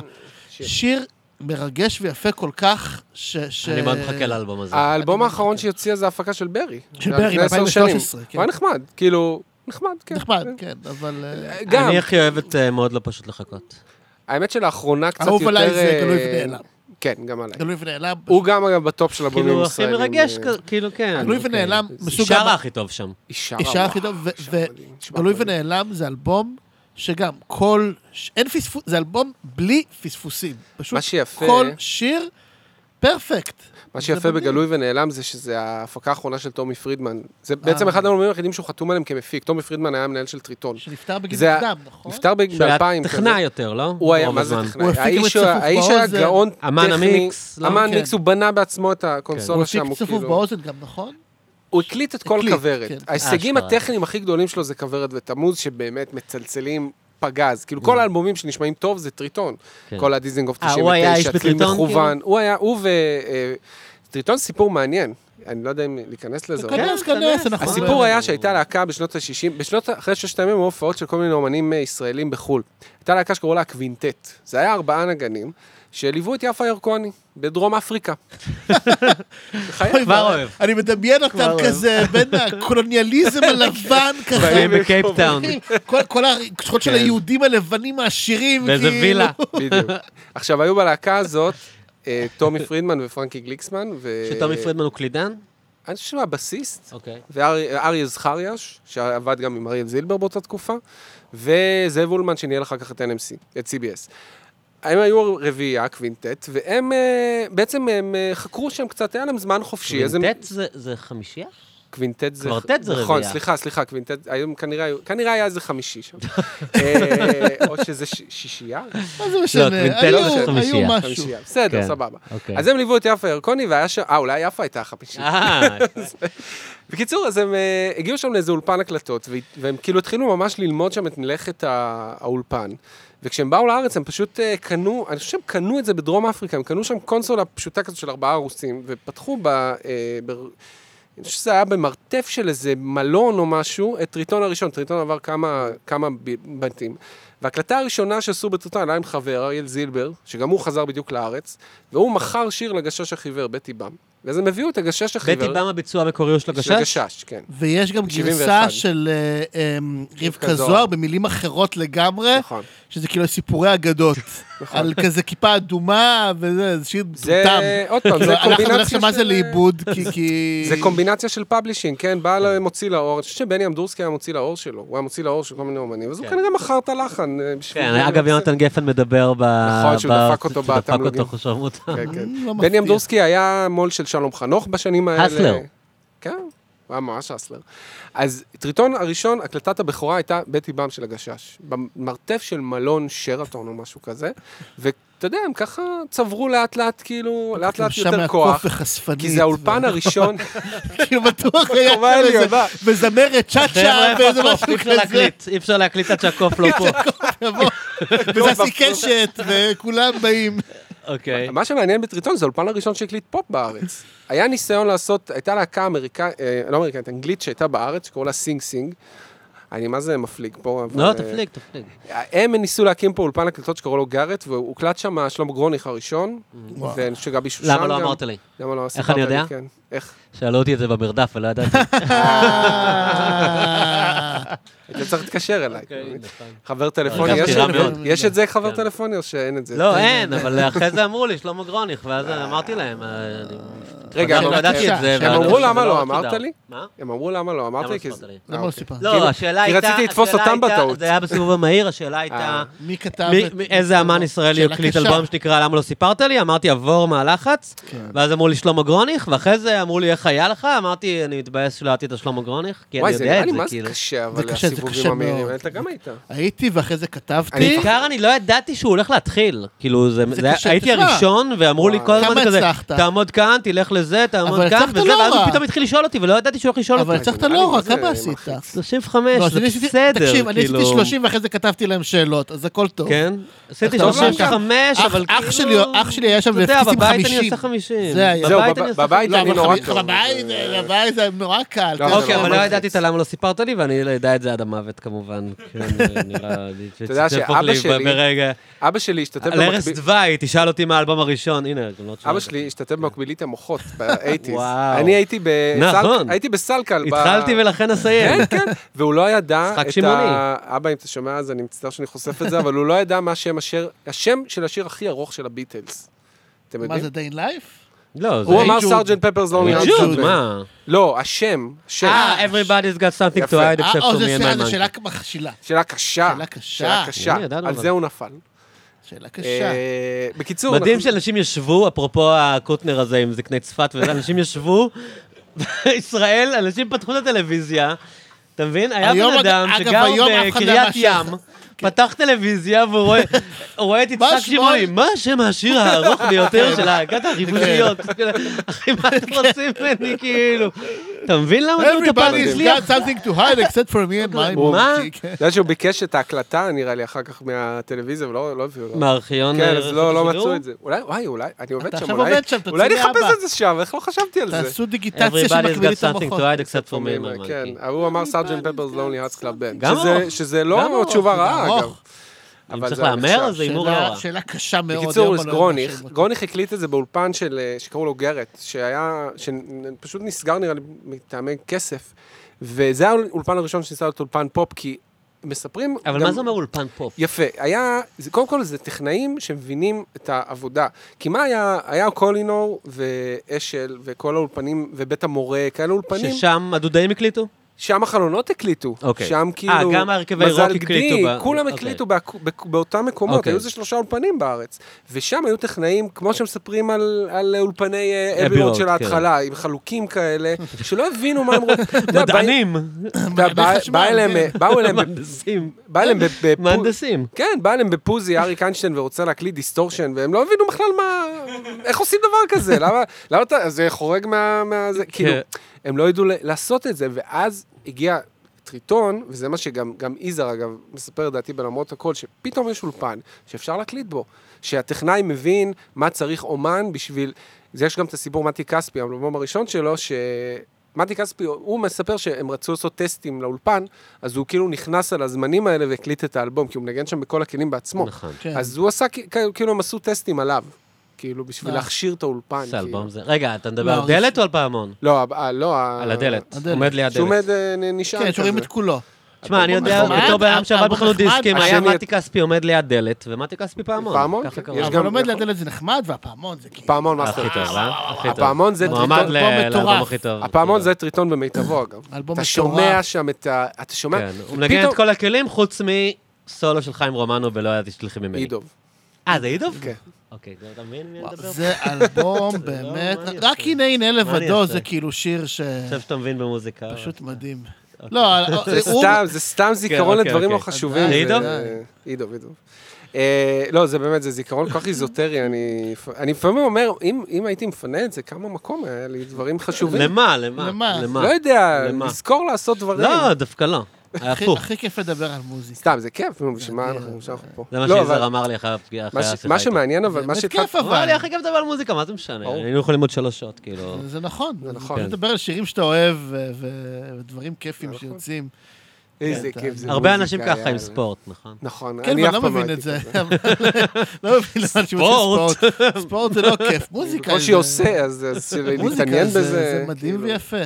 S3: שיר.
S2: שיר מרגש ויפה כל כך, ש... ש-
S1: אני מאוד מחכה לאלבום הזה.
S3: האלבום
S2: אני
S3: האחרון
S2: מחכה.
S3: שהיא הוציאה זה ההפקה של ברי.
S2: של
S3: זה
S2: ברי,
S3: לפני עשר
S2: ב-2013,
S3: שנים.
S2: כן.
S3: הוא היה נחמד, כאילו, נחמד, כן.
S2: נחמד, כן, אבל... אה,
S3: גם,
S1: אני הכי אוהב את אה, מאוד לא פשוט לחכות.
S3: האמת שלאחרונה קצת יותר...
S2: אהוב עליי זה
S3: אה,
S2: גלוי כאילו, ונעלם.
S3: כן, גם עליי.
S2: גלוי ונעלם.
S3: הוא גם אגב בטופ של הבונים
S1: כאילו, הכי
S3: הישראלים.
S1: מרגש,
S3: אה,
S1: כזה, כאילו, כן.
S2: גלוי
S1: אוקיי.
S2: ונעלם,
S1: היא
S2: לא מסוג...
S1: שרה
S2: ה-
S1: הכי טוב שם.
S3: היא שרה,
S2: אישה הכי
S3: וואו,
S2: טוב, ו-
S3: אישה
S2: ו-
S3: מדהים, נשמע
S2: גלוי
S3: מדהים.
S2: ונעלם זה אלבום שגם כל... ש- אין פספוס, זה אלבום בלי פספוסים. פשוט
S3: מה שיפה-
S2: כל שיר פרפקט.
S3: מה
S2: זה
S3: שיפה
S2: מדהים.
S3: בגלוי ונעלם זה שזה ההפקה האחרונה של טומי פרידמן. זה בעצם
S2: אה.
S3: אחד האלבומים היחידים שהוא חתום עליהם כמפיק. טומי פרידמן היה מנהל של טריטון.
S2: שנפטר בגיל
S3: זה ה-
S2: מוקדם, נכון?
S3: נפטר ב-2000.
S1: שהוא היה טכנאי יותר, לא?
S3: הוא היה,
S1: רוב
S3: מה זה
S1: הזמן.
S3: טכנאי?
S2: הוא הפיק
S3: האיש
S2: את צפוף
S3: האיש היה
S2: באוזן.
S3: גאון טכני.
S1: אמן המיקס, לא?
S3: אמן
S2: כן.
S3: המיקס, הוא בנה בעצמו את
S2: הוא
S3: הקונסולה
S2: הפיק
S3: שם, הוא
S2: צפוף
S3: כאילו...
S2: באוזן גם, נכון?
S3: הוא הקליט את כל
S2: הקליט,
S3: כוורת.
S2: כן.
S3: ההישגים
S1: אשכרה.
S3: הטכניים הכי גדולים שלו זה כוורת ותמוז, שבאמת מצלצלים פגז. כאילו, כל האלבומים שנשמעים טוב זה טריטון.
S1: Mm. כן.
S3: כל הדיזינגוף
S1: אה, הוא היה האיש
S3: 99, צליל
S1: בטריטון, כאילו?
S3: מכוון. הוא היה, הוא ו... אה, טריטון סיפור מעניין. אני לא יודע אם להיכנס לזה. אבל-
S2: כנס,
S1: כן,
S2: כנס,
S1: כנס.
S2: אנחנו...
S3: הסיפור היה שהייתה להקה בשנות ה-60, בשנות, אחרי ששת הימים היו הופעות של כל מיני אומנים אה, ישראלים בחו"ל. הייתה להקה שקראו לה הקווינטט. זה היה ארבעה נגנים שליוו את יפה ירקוני בדרום אפריקה. בחייך.
S2: אוי,
S1: כבר
S2: מה-
S1: אוהב.
S2: אני מדמיין אותם
S1: אוהב.
S2: כזה בין הקולוניאליזם הלבן כזה.
S1: והם בקייפטאון.
S2: כל- כל הרצחות של
S1: כן.
S2: היהודים הלבנים העשירים,
S1: באיזה
S2: כאילו.
S1: וילה.
S3: בדיוק. עכשיו, היו בלהקה הזאת אה, טומי פרידמן ופרנקי גליקסמן. ו...
S1: שטומי פרידמן הוא קלידן?
S3: אני חושב שהוא הבסיסט,
S1: אוקיי.
S3: ואריה זכריאש, שעבד גם עם אריאל זילבר באותה תקופה, וזאב אולמן שניהל אחר כך את NMC, את CBS. הם היו רביעייה, קווינטט, והם אה, בעצם הם אה, חקרו שם קצת, היה להם זמן חופשי. אז הם-
S1: קוינטט זה- זה חמישייה?
S3: קווינטט זה...
S1: קוורטט זה
S3: נכון,
S1: רביעייה.
S3: סליחה, סליחה, קווינטט, היום כנראה, היו- כנראה היה איזה חמישי שם. אה, או שזה ש- שישייה?
S2: מה זה
S1: לא,
S2: משנה?
S1: קוינטט
S2: היו-
S3: זה
S1: חמישייה.
S2: היו משהו.
S3: חמישייה, בסדר,
S1: כן.
S3: סבבה.
S1: אוקיי.
S3: אז הם ליוו את יפה ירקוני, והיה שם, אה, אולי יפה הייתה החמישית.
S1: אה,
S3: בקיצור, אז הם אה, הגיעו שם לאיזה אולפן הקלטות, וה- והם כאילו התחילו ממש ללמוד שם את מלאכת ה- האולפן. וכשהם באו לארץ, הם פשוט אה, קנו, אני חושב שהם קנו את זה בדרום אפריקה, הם קנו שם קונסולה פשוטה כזאת של ארבעה רוסים, ופתחו ב... אה, ב... אני חושב שזה היה במרתף של איזה מלון או משהו, את טריטון הראשון, טריטון עבר כמה, כמה ב- בתים. וההקלטה הראשונה שעשו בטריטון עלה עם חבר, אריאל זילבר, שגם הוא חזר בדיוק לארץ, והוא מכר שיר לגשש החיוור, בטי בם. ואז הם הביאו את הגשש החיוור.
S1: בטי בם הביצוע המקורי הוא של
S3: של
S1: הגשש?
S3: הגשש, כן.
S2: ויש גם
S3: 71.
S2: גרסה של אה, אמ,
S3: רבקה
S2: רבקה
S3: זוהר.
S2: זוהר במילים אחרות לגמרי,
S3: נכון.
S2: שזה כאילו סיפורי אגדות. על כזה כיפה אדומה, וזה זה שיר
S3: זה,
S2: מטומטם.
S3: עוד פעם,
S2: כאילו,
S3: זה
S2: אנחנו נלך
S3: קומבינציה
S2: שם מה זה
S3: של- אה,
S2: לאיבוד, כי- כי...
S3: זה קומבינציה של פאבלישינג, כן? בא למוציא לאור, אני חושב שבני אמדורסקי היה מוציא לאור שלו, הוא היה מוציא לאור של כל מיני אומנים, אז הוא
S1: כן.
S3: כנראה מכר את הלחן. אה, בשביל-
S1: כן, אגב, יונתן גפן מדבר ב...
S3: נכון, שהוא
S1: ב-
S3: דפק אותו
S1: שהוא דפק
S3: בתמלוגים.
S1: אותו, חשוב אותו.
S3: כן, כן.
S2: לא מפתיע.
S3: בני אמדורסקי היה מו"ל של שלום חנוך בשנים האלה.
S1: הסלר.
S3: כן, הוא היה ממש אסלר. אז טריטון הראשון, הקלטת הבכורה הייתה בטי בם של הגשש. במרתף של מלון שרתון או משהו כזה, ואתה יודע, הם ככה צברו לאט לאט, כאילו, לאט לאט
S2: שם
S3: יותר
S2: מהקוף
S3: כוח.
S2: וחשפנית,
S3: כי זה האולפן הראשון,
S2: ו- כאילו בטוח היה
S3: בקומה
S2: שם איזה
S3: העליונה.
S2: מזמרת צ'אצ'ה
S1: חבר'ה,
S2: ואיזה
S1: איפה הקוף?
S2: משהו
S1: אי אפשר
S2: כזה.
S1: להקליט, אי אפשר להקליט עד שהקוף לא פה.
S2: יבוא.
S3: לא,
S2: וזסי קשת וכולם באים.
S1: אוקיי.
S3: מה שמעניין בטריטון זה האולפן הראשון שהקליט פופ בארץ. היה ניסיון לעשות, הייתה להקה אמריקאית, לא אמריקאית, אנגלית שהייתה בארץ, שקראו לה סינג סינג. אני מה זה מפליג פה. אבל,
S1: לא,
S3: אה,
S1: תפליג, תפליג.
S3: הם ניסו להקים פה אולפן הקלטות שקראו לו גארט, והוקלט שם שלמה גרוניך הראשון, ואני חושב שגבי שושן גם.
S1: למה לא אמרת לי?
S3: למה לא
S1: איך
S3: סיפרת
S1: אני
S3: לי,
S1: יודע?
S3: כן. איך?
S1: שאלו אותי את זה במרדף ולא ידעתי.
S2: אה,
S3: היית צריך להתקשר אליי.
S1: נכון.
S3: חבר טלפוני,
S1: זה
S3: יש-
S1: בחירה מאוד.
S3: יש את זה חבר
S1: כן.
S3: טלפוני או שאין את זה?
S1: לא, אין, אבל אחרי זה אמרו לי, שלמה גרוניך, ואז אמרתי להם, אה, אני-
S3: רגע,
S1: אבל
S3: אבל-
S1: לא ידעתי את זה.
S2: הם
S1: ואז
S3: אמרו,
S1: שזה
S3: למה לא
S1: רק
S3: אמרת
S1: תודה.
S3: לי?
S1: מה?
S3: הם אמרו למה לא, אמרת
S1: למה
S3: לי
S1: לא
S3: כי זה...
S1: סיפרת לי?
S3: אה,
S2: למה לא
S3: אוקיי.
S2: סיפרת?
S1: לא,
S3: כאילו,
S1: השאלה
S3: כי
S1: הייתה...
S3: רציתי לתפוס
S1: השאלה
S3: אותם
S1: הייתה-
S3: בטעות. אה.
S1: זה היה בסיבוב המהיר, השאלה הייתה...
S2: מי כתב
S1: מי-
S2: את...
S1: מי- איזה אמן ישראלי
S2: שאלה
S1: הקליט
S2: קשה.
S1: אלבום שנקרא "למה לא סיפרת לי?" אמרתי, עבור מהלחץ.
S2: כן.
S1: ואז אמרו לי, שלמה גרוניך, ואחרי זה אמרו לי, איך היה לך? אמרתי, אני מתבאס שלא הייתי את השלמה גרוניך, כי אני
S3: וואי, זה
S1: יודע
S3: נראה
S1: את
S3: לי
S1: זה,
S3: מה זה
S1: כאילו.
S3: קשה, אבל
S2: קשה, זה קשה
S3: הסיבובים המהירים.
S2: מאוד.
S3: אתה גם היית.
S2: הייתי, ואחרי זה כתבתי.
S3: אני-
S1: בעיקר אני לא ידעתי שהוא הולך להתחיל. כאילו, זה,
S2: זה
S1: זה,
S2: קשה,
S1: הייתי
S2: תשמע.
S1: הראשון, ואמרו לי כל
S2: כמה
S1: הזמן כזה,
S2: הצלחת?
S1: תעמוד כאן, תלך לזה, תעמוד
S2: אבל
S1: כאן,
S2: הצלחת
S1: וזה,
S2: לא
S1: ואז הוא
S2: רע.
S1: פתאום התחיל לשאול אותי, ולא ידעתי שהוא הולך לשאול
S2: אבל
S1: אותי.
S2: הצלחת
S3: זה נראה לי
S2: לא רע,
S3: מה זה
S2: כמה עשית?
S1: 35,
S2: לא,
S1: זה
S2: אני עשיתי-
S1: בסדר,
S2: תקשיב, אני עשיתי
S1: כאילו.
S2: 30 ואחרי זה כתבתי להם שאלות, אז הכל טוב.
S1: כן? עשיתי
S2: טוב,
S1: 35,
S2: אח-
S1: אבל
S2: לא אח
S1: כאילו...
S2: שלי- אח שלי היה שם
S1: אתה יודע,
S2: והפציץ עם
S1: בבית אני
S2: 50.
S1: עושה 50.
S2: זה היה.
S3: זהו,
S1: בבית
S3: בב-
S1: אני עושה
S3: בבית
S2: לא,
S3: אני
S2: אבל
S3: נורא
S2: חבי-
S3: טוב.
S2: חבאי זה- חבאי זה נורא קל.
S3: לא,
S2: כן,
S3: זה
S1: אוקיי,
S3: נורא
S1: אבל לא
S3: מלחיץ.
S1: ידעתי את הלמה לא סיפרת לי, ואני לא יודע את זה עד המוות, כמובן. כן, נראה לי. אתה
S3: יודע שאבא שלי-
S1: ברגע.
S3: אבא שלי השתתף
S1: על ערש
S3: במקביל...
S1: דווי, תשאל אותי מה האלבום הראשון, הנה, גם לא תשאל.
S3: אבא שלי השתתף במקבילית המוחות, ב-80's.
S1: וואו.
S3: אני הייתי בסלק-
S1: נכון.
S3: הייתי בסלקל. ב-
S1: התחלתי ולכן אסיים.
S3: כן, כן, והוא לא ידע
S1: משחק
S3: את
S1: שמעוני.
S3: ה... אבא, אם אתה שומע, אז אני מצטער שאני חושף את זה, אבל הוא לא ידע מה שם השיר, השם של השיר הכי ארוך של הביטלס. אתם
S2: מה
S3: יודעים?
S2: זה, דיין לייף?
S1: לא, זה...
S3: הוא אמר
S2: Hey Jude.
S3: סארג'נט פפרס לוני
S2: Hey
S1: ג'וד, מה?
S3: לא, השם, שם.
S1: אה, everybody's got something to
S3: יפה.
S1: hide
S2: אה,
S1: except
S2: או,
S1: for
S2: זו
S1: me and
S2: שאלה-
S1: my
S2: זו
S1: monkey.
S2: שאלה מכשילה.
S3: שאלה קשה.
S2: שאלה קשה.
S3: שאלה קשה.
S1: הנה, ידענו,
S3: על
S1: אבל.
S3: זה הוא נפל.
S2: שאלה קשה.
S3: אה, בקיצור,
S1: מדהים
S3: אנחנו-
S1: שאנשים ישבו, אפרופו הקוטנר הזה עם זקני צפת וזה, אנשים ישבו, ישראל, אנשים פתחו את הטלוויזיה, אתה מבין? היה
S2: היום
S1: בן
S2: לא-
S1: אדם
S2: אגב,
S1: שגר
S2: היום אף אחד לא
S1: בקריית
S2: מאשר
S1: ים,
S2: לך.
S1: פתח טלוויזיה והוא רואה- הוא רואה את יצחק
S2: מה כן. שמו?
S1: שמעוני, מה שם השיר הארוך ביותר של להקת הריבוניות?
S2: כן.
S1: אחי, מה אתם רוצים ממני, כאילו? אתה מבין למה זה מטפל
S2: Everybody's
S1: מצליח?
S2: got something to hide except for me and my
S1: מה?
S2: monkey. כן.
S3: אתה יודע שהוא ביקש את ההקלטה, נראה לי, אחר כך מהטלוויזיה, ולא לא הביאו לו.
S1: מהארכיון... אה,
S3: כן, אז לא לא
S1: השידור?
S3: מצאו את זה. אולי, וואי, אולי, אני עובד
S2: אתה
S3: שם,
S2: עכשיו
S3: אולי
S2: עובד שם, תוציא
S3: אולי
S2: לי
S3: נחפש
S2: אבא.
S3: את זה שם, איך לא חשבתי על זה?
S2: תעשו דיגיטציה
S1: Everybody's
S2: שמקביל
S1: got
S2: את
S1: something
S2: המוחות.
S1: to hide except for me and my
S3: כן,
S1: monkey.
S3: ההוא אמר סארג'נט פפרס לוני ארץ קלאב בן.
S1: אה, גם
S3: שזה-
S1: ארוך.
S3: שזה
S1: גם
S3: לא
S1: ארוך,
S3: תשובה
S2: זה
S3: רעה, אגב.
S2: ארוך.
S1: אם
S3: אבל
S1: צריך
S3: זה היה
S1: להמר,
S3: נחשב.
S1: אז זה הימור
S2: שאלה-
S1: לא רע.
S2: שאלה קשה מאוד.
S3: בקיצור,
S2: היום
S3: אז
S2: אני לא
S3: גרוניך,
S2: מאשר אותה.
S3: גרוניך הקליט את זה באולפן של, אה, שקראו לו גרט, שהיה, שפשוט נסגר נראה לי מטעמי כסף, וזה היה האולפן הראשון שניסה להיות אולפן פופ, כי מספרים...
S1: אבל
S3: גם-
S1: מה זה אומר אולפן פופ?
S3: יפה, היה, זה, קודם כל זה טכנאים שמבינים את העבודה. כי מה היה, היה קולינור ואשל וכל האולפנים ובית המורה, כאלה אולפנים, שש...
S1: ששם הדודאים הקליטו?
S3: שם החלונות הקליטו.
S1: אוקיי.
S3: שם
S1: אה,
S3: כאילו,
S1: גם ההרכבי
S3: מזל
S1: רוק
S3: גדי,
S1: הקליטו ב-
S3: כולם
S1: אוקיי.
S3: הקליטו באק- בק- באותם מקומות,
S1: אוקיי.
S3: היו איזה שלושה אולפנים בארץ. ושם היו טכנאים, כמו שמספרים על, על אולפני
S1: Abbey
S3: אבי
S1: Road,
S3: של ההתחלה, עם חלוקים כאלה, שלא הבינו מה הם רוצים. אתה יודע, באים-
S1: מדענים,
S3: אתה יודע, בא-
S2: חשמל,
S3: בא אליהם,
S2: כן.
S3: באו אליהם, ב-
S1: מהנדסים,
S3: בא אליהם ב- בפו-
S1: מהנדסים.
S3: כן, בא אליהם בפוזי אריק איינשטיין ורוצה להקליט דיסטורשן, והם לא הבינו בכלל מה... איך עושים דבר כזה? למה... למה אתה... זה חורג מה... מה זה, כאילו, הם לא ידעו ל- לעשות את זה, ואז הגיע טריטון, וזה מה שגם גם יזהר, אגב, מספר לדעתי בלמרות הכל, שפתאום יש אולפן שאפשר להקליט בו, שהטכנאי מבין מה צריך אומן בשביל... זה יש גם את הסיפור מתי כספי, המלבום הראשון שלו, ש... מתי כספי, הוא מספר שהם רצו לעשות טסטים לאולפן, אז הוא כאילו נכנס על הזמנים האלה והקליט את האלבום, כי הוא מנגן שם בכל הכלים בעצמו.
S1: נכון.
S2: כן.
S3: אז הוא עשה, כ- כ- כאילו הם עשו טסטים עליו, כאילו, בשביל
S2: אה.
S3: להכשיר את האולפן.
S1: איזה
S3: כאילו.
S1: אלבום זה. רגע, אתה מדבר
S2: לא,
S1: על
S2: הראשון.
S1: דלת או על פעמון?
S3: לא, ה- ה- לא, ה-
S1: על הדלת.
S2: הדלת.
S1: עומד ליד
S3: שהוא
S1: הדלת.
S3: עומד אה, נ- נשאר
S2: כן, שרואים
S3: כזה.
S2: את כולו.
S1: תשמע, אני יודע,
S2: נחמד,
S1: בתור בן אדם שעבד
S2: אלבום
S1: בחנות
S2: נחמד.
S1: דיסקים, היה
S3: השני-
S1: מתי כספי עומד ליד דלת, ומתי כספי פעמון.
S3: פעמון?
S1: ככה
S3: כן,
S1: קראו.
S3: יש
S1: אבל
S3: גם-
S2: אבל עומד ליד דלת זה נחמד, והפעמון זה כאילו...
S3: פעמון מאסטר.
S1: הכי טוב, אה? הכי טוב.
S3: הפעמון זה
S1: מועמד
S3: טריטון.
S1: ל-
S2: אלבום מטורף.
S1: לאלבום הכי טוב.
S3: הפעמון זה טריטון במיטבו, אגב.
S2: אלבום
S3: אתה
S2: מטורף.
S3: שומע שם את ה... אתה שומע...
S1: כן, הוא מנגן את כל הכלים חוץ מסולו של חיים רומנו בלא ידעתי שתלכי ממני.
S3: אידוב.
S1: אה, זה אידוב?
S3: כן.
S1: אוקיי, זה- אתה מבין מי אני
S2: וואו,
S1: מדבר?
S2: זה אלבום
S1: לא,
S2: באמת,
S1: מה אני
S2: רק
S1: אעשה?
S2: הנה הנה
S1: מה אני
S2: לבדו
S1: אעשה?
S2: זה כאילו שיר ש...
S1: עכשיו שאתה מבין במוזיקה.
S2: פשוט מדהים. לא, אבל-
S3: אה, אוקיי. זה
S2: הוא-
S3: סתם, זה סתם זיכרון
S1: אוקיי,
S3: לדברים לא
S1: אוקיי.
S3: חשובים.
S1: זה
S3: זה-
S1: אידוב?
S3: אידוב, אידוב. אה, לא, זה באמת, זה זיכרון כל כך איזוטרי. אני אני לפעמים אומר, אם אם הייתי מפנה את זה, כמה מקום היה לי דברים חשובים.
S1: למה? למה?
S2: למה?
S1: למה?
S3: לא יודע,
S1: למה?
S3: לזכור לעשות דברים.
S1: לא, דווקא לא. היה
S2: הכי-
S1: הפוך.
S2: הכי כיף לדבר על מוזיקה.
S3: סתם, זה כיף, נו, בשביל מה אנחנו בשביל אנחנו פה?
S1: זה מה
S3: לא, אבל
S1: שיזהר אמר לי אחרי הפגיעה,
S3: מה
S1: אחרי
S3: ש-
S1: השיחה.
S3: מה
S1: איתו.
S3: שמעניין, לא, אבל מה
S2: באמת
S3: שהתחלתי...
S2: כיף, אבל.
S1: הוא אמר לי, הכי כיף לדבר על מוזיקה, מה זה משנה?
S3: ברור.
S1: היינו יכולים עוד שלוש שעות, כאילו.
S2: זה נכון.
S3: זה נכון.
S1: כן.
S2: לדבר על שירים שאתה אוהב ו- ו- ודברים כיפים
S3: נכון.
S2: שיוצאים.
S3: איזה
S2: כן,
S3: כיף אה, זה
S1: הרבה
S3: מוזיקה,
S1: אנשים ככה עם
S3: יאללה.
S1: ספורט, נכון?
S3: נכון,
S2: כן,
S3: אני אף
S2: ואני לא
S3: פעם לא
S2: מבין
S3: הייתי
S2: את זה.
S3: כזה.
S2: לא מבין למה אנשים
S1: ספורט.
S2: עושים ספורט. ספורט זה לא כיף, מוזיקה
S3: בקושי
S2: זה-
S3: עושה, אז אז
S2: מוזיקה
S3: להתעניין
S2: זה-
S3: בזה.
S2: זה מדהים
S3: כאילו.
S2: ויפה.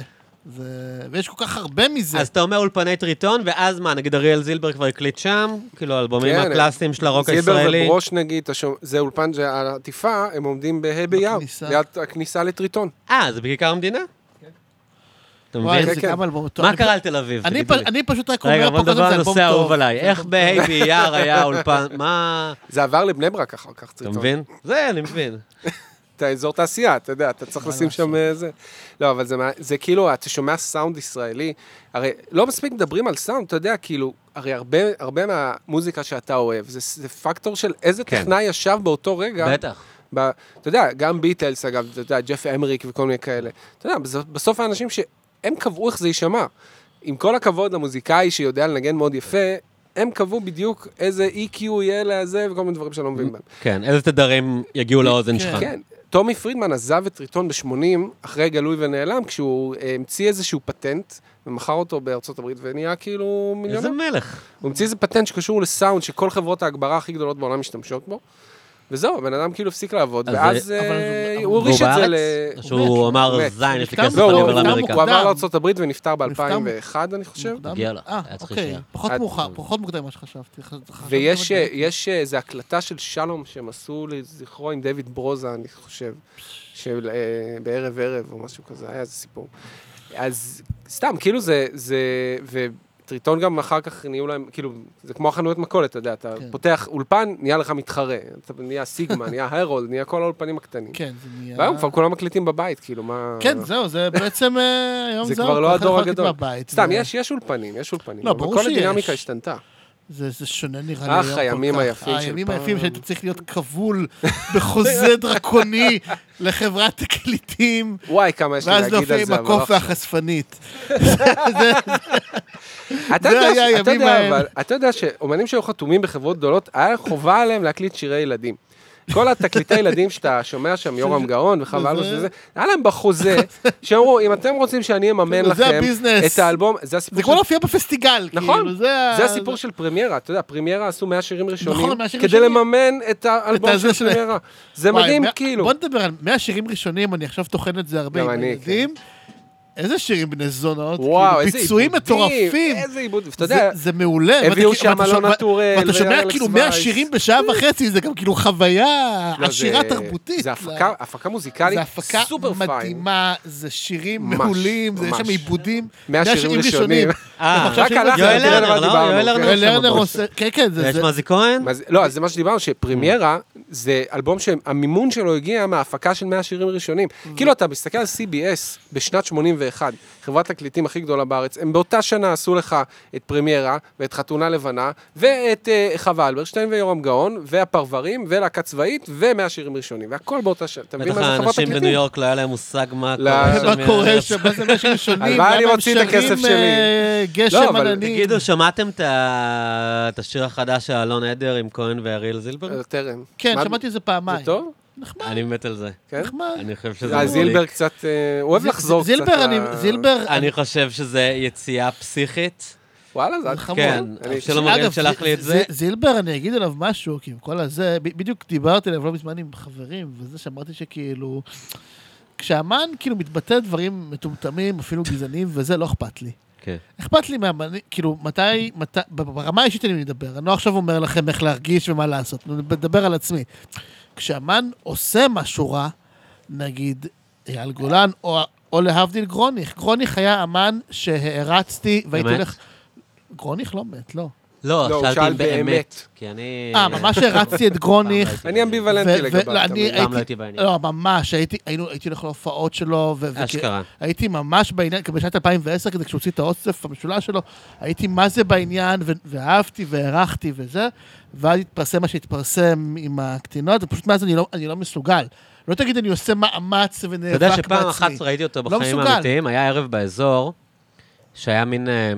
S2: זה... ויש כל כך הרבה מזה.
S1: אז אתה אומר אולפני טריטון, ואז מה, נגיד אריאל זילבר כבר הקליט שם? כאילו, האלבומים
S3: כן,
S1: הקלאסיים של הרוק
S3: זילבר
S1: הישראלי?
S3: וברוש נגיד, אתה שומע- זה אולפן, זה העטיפה, הם עומדים בה' ביער,
S2: בכניסה.
S3: ליד הכניסה לטריטון.
S1: אה, זה בכיכר המדינה? אתה מבין?
S2: וואי, זה
S3: כן.
S2: גם אלבום טוב.
S1: מה
S2: אני-
S1: קרה לתל אביב?
S2: אני
S1: תגיד
S2: פ-
S1: לי?
S2: אני פשוט רק אומר
S1: רגע,
S2: פה
S1: בוא
S2: קודם
S1: נדבר על
S2: זה אלבום
S1: הנושא האהוב
S2: טוב.
S1: עליי.
S2: זה
S1: איך
S2: אלבום
S1: בה' באייר היה אולפן, מה...
S3: זה עבר לבני ברק אחר כך,
S1: אתה
S3: טריטון.
S1: מבין? זה, אני מבין.
S3: אתה אזור תעשייה, אתה יודע, אתה צריך
S2: מה
S3: לשים שם אה, זה. לא, אבל זה, מה- זה כאילו, אתה שומע סאונד ישראלי, הרי לא מספיק מדברים על סאונד, אתה יודע, כאילו, הרי הרבה, הרבה מהמוזיקה שאתה אוהב, זה, זה פקטור של איזה
S1: כן.
S3: טכנאי ישב באותו
S2: כן.
S3: רגע.
S1: בטח.
S3: ב, אתה יודע, גם ביטלס, אגב, אתה יודע, ג'ף אמריק וכל מיני כאלה. אתה יודע, בס- בסוף האנשים שהם קבעו איך זה יישמע. עם כל הכבוד למוזיקאי שיודע לנגן מאוד יפה, הם קבעו בדיוק איזה EQ יהיה לזה וכל מיני דברים שאני לא מבין בהם.
S1: כן, איזה תדרים יגיעו לאוזן
S2: כן.
S1: שלך.
S3: כן, טומי פרידמן עזב את טריטון ב-80, אחרי גלוי ונעלם, כשהוא אה, המציא איזשהו פטנט, ומכר אותו בארצות הברית, ונהיה כאילו
S1: איזה
S3: מיליונר.
S1: מלך.
S3: הוא המציא איזה פטנט שקשור לסאונד, שכל חברות ההגברה הכי גדולות בעולם משתמשות בו. וזהו, הבן אדם כאילו הפסיק לעבוד,
S1: אז
S3: ואז
S2: אבל-
S3: אה,
S2: אבל-
S3: הוא
S1: והוא
S3: הוריש את זה
S1: בארץ?
S3: ל...
S1: או שהוא
S2: הוא
S1: אמר,
S3: מת.
S1: זין, יש לי
S2: הוא
S1: כסף,
S2: נפטר
S1: אני
S3: לא,
S1: עובר
S3: הוא
S2: נפטר
S1: לאמריקה.
S3: הוא עבר
S2: מוקדם.
S3: לארצות הברית ונפטר
S2: נפטר
S3: ב-2001, אני חושב.
S2: מוקדם?
S1: מגיע לו,
S2: אה,
S1: היה צריך
S2: אוקיי.
S1: שיהיה.
S2: פחות
S3: עד-
S2: מאוחר, פחות מוקדם ממה שחשבתי. חשבתי- חשבתי
S3: ויש
S2: אבל-
S3: אה, יש, אה, איזו הקלטה של שלום שהם עשו לזכרו עם דיוויד ברוזה, אני חושב, של אה, בערב ערב או משהו כזה, היה איזה סיפור. אז סתם, כאילו זה, זה, וטריטון גם אחר כך נהיו להם, כאילו, זה כמו החנויות מכולת, אתה יודע, אתה
S2: כן.
S3: פותח אולפן, נהיה לך מתחרה, אתה נהיה סיגמה, נהיה הרולד, נהיה כל האולפנים הקטנים.
S2: כן, זה נהיה...
S3: והיום כבר כולם מקליטים בבית, כאילו, מה...
S2: כן, זהו, זה בעצם... אה, היום
S3: זה
S2: זהו,
S3: כבר לא
S2: כל אחד
S3: הדור
S2: יכול להגיד
S3: הגדול.
S2: מהבית,
S3: סתם,
S2: זה-
S3: יש, יש אולפנים, יש אולפנים.
S2: לא,
S3: אבל
S2: ברור
S3: כל
S2: שיש.
S3: הדינמיקה השתנתה.
S2: זה, זה שונה נראה לי.
S3: אך,
S2: היום כל
S3: הימים
S2: כך.
S3: היפים של
S2: הימים
S3: פעם.
S2: היפים שהיית צריך להיות כבול בחוזה דרקוני לחברת תקליטים,
S3: וואי, כמה יש לי
S2: ואז
S3: להגיד
S2: להופיע
S3: על
S2: עם
S3: זה, אבל לא
S2: הקוף
S3: עכשיו.
S2: והחשפנית.
S3: אתה
S2: זה
S3: יודע
S2: היה
S3: ש- אתה
S2: הימים
S3: יודע,
S2: ההם.
S3: אבל- אתה יודע שאומנים שהיו חתומים בחברות גדולות, היה חובה עליהם להקליט שירי ילדים. כל התקליטי ילדים שאתה שומע שם, יורם גאון וחבל אלוש
S2: זה-
S3: וזה, היה להם בחוזה, שאמרו, אם אתם רוצים שאני אממן
S2: זה
S3: לכם
S2: הביזנס.
S3: את האלבום, זה הסיפור
S2: זה כמו
S3: של-
S2: להופיע בפסטיגל,
S3: נכון,
S2: כאילו, זה... ה-
S3: זה הסיפור של פרמיירה, אתה יודע, פרמיירה עשו 100 שירים ראשונים,
S2: נכון, 100 שירים
S3: כדי
S2: ראשונים.
S3: לממן את האלבום
S2: את
S3: של
S2: הזה של-
S3: פרמיירה. זה
S2: וואי,
S3: מדהים,
S2: מאה-
S3: כאילו.
S2: בוא נדבר על 100 שירים ראשונים, אני עכשיו טוחן את זה הרבה
S3: גם
S2: עם
S3: אני,
S2: הילדים. איזה שירים בני זונות,
S3: וואו,
S2: כאילו,
S3: איזה
S2: ביצועים
S3: עיבודים,
S2: מטורפים.
S3: איזה עיבוד, ואתה
S2: זה,
S3: יודע,
S2: זה מעולה. ואתה
S3: הביאו
S2: כאילו-
S3: שם
S2: ואתה
S3: אלונה
S2: שומע-
S3: טוראל
S2: ואתה שומע
S3: ואלכס
S2: כאילו 100
S3: וייס.
S2: שירים בשעה וחצי, זה גם כאילו חוויה
S3: לא, זה-
S2: עשירה תרבותית. לא.
S3: זה הפקה- הפקה מוזיקלית
S2: זה הפקה
S3: סופר פיין.
S2: מדהימה, זה שירים
S3: ממש,
S2: מעולים, זה יש שם
S3: ממש.
S2: עיבודים.
S3: 100 שירים ראשונים.
S1: אה,
S2: עכשיו
S3: רק
S2: שירים
S3: הלכת,
S1: יואל
S3: תראה
S1: לרנר,
S3: למה
S1: לא?
S3: דיברנו.
S1: יואל
S3: כן.
S1: לרנר.
S2: אלרנר
S1: שם
S2: עושה, כן, כן, זה...
S1: יש
S2: זה-
S1: מזי כהן?
S3: מה זה- לא, אז זה מה שדיברנו, שפרמיירה זה אלבום שהמימון שלו הגיע מההפקה של 100 שירים ראשונים. כאילו, אתה מסתכל על CBS בשנת 81, חברת תקליטים הכי גדולה בארץ, הם באותה שנה עשו לך את פרמיירה, ואת חתונה לבנה, ואת אה, חווה אלברשטיין ויורם גאון, והפרברים, ולהקה צבאית, ו100 שירים ראשונים. והכל באותה שנה. אתה מבין
S1: בטח
S3: מה זה חברת
S1: האנשים בניו
S3: תקליטים?
S1: יורק לא היה להם מושג מה
S3: לא.
S1: קורה שם.
S2: מה קורה שם, מה זה 100 שירים
S3: על
S2: ראשונים,
S3: מה אני
S2: למה הם
S3: מוציא את הכסף
S2: שרים,
S3: שלי?
S2: אה,
S3: לא,
S2: גשם
S3: אבל
S2: עננים.
S1: תגידו, שמעתם את ה- את השיר החדש של אלון עדר עם כהן ואריאל זילבר?
S3: אה, טרם.
S2: כן,
S3: מה-
S2: שמעתי את זה
S3: זה
S2: פעמיים.
S3: טוב?
S2: נחמד,
S1: אני מת על זה.
S3: כן?
S2: נחמד.
S1: אני חושב שזה
S3: אה, זילבר
S1: מדליק.
S3: קצת, אה, הוא אוהב
S2: זיל-
S3: לחזור קצת.
S2: זילבר, אני-
S3: ל-
S2: זילבר,
S1: אני חושב שזה יציאה פסיכית.
S3: וואלה, זה
S2: זה חמור.
S1: כן,
S3: אני-
S1: שלום אריאל
S2: אגב,
S1: שלח לי את זה.
S2: ז- זילבר, אני אגיד עליו משהו, כי עם כל הזה, ב- בדיוק דיברתי עליו לא מזמן עם חברים, וזה שאמרתי שכאילו, כשאמן כאילו מתבטא דברים מטומטמים, אפילו גזעניים, וזה לא אכפת לי.
S1: כן.
S2: אכפת לי מהמנהיג, כאילו, מתי, מתי, ברמה האישית אני מדבר, אני לא עכשיו אומר לכם איך להרגיש ומה לעשות, אני מדבר על עצמי. כשאמן עושה משהו רע, נגיד אייל גולן, או, או להבדיל גרוניך, גרוניך היה אמן שהערצתי, והייתי
S1: באמת?
S2: הולך... גרוניך לא מת, לא.
S1: לא,
S3: לא, הוא
S1: שאלתי
S3: שאל
S1: אם באמת.
S3: באמת.
S1: כי אני...
S2: אה, ממש הרצתי את גרוניך.
S3: אני אמביוולנטי
S2: ו-
S3: לגביו.
S2: ולא,
S3: אתה
S2: אני
S3: מבין?
S1: פעם לא הייתי בעניין.
S2: לא, ממש, הייתי, היינו, הייתי הולך להופעות שלו, ו- וכי-
S1: אשכרה.
S2: הייתי ממש בעניין, כי בשנת 2010, כזה כשהוא הוציא את האוסף המשולש שלו, הייתי מה זה בעניין, ו- ואהבתי והערכתי וזה, ואז התפרסם מה שהתפרסם עם הקטינות, ופשוט מאז אני לא, אני לא מסוגל. לא תגיד אני עושה מאמץ ונאבק
S1: אתה
S2: בעצמי.
S1: יודע שפעם אחת ראיתי אותו
S2: לא
S1: בחיים
S2: מסוגל.
S1: האמיתיים, היה ערב באזור, שהיה מין אה,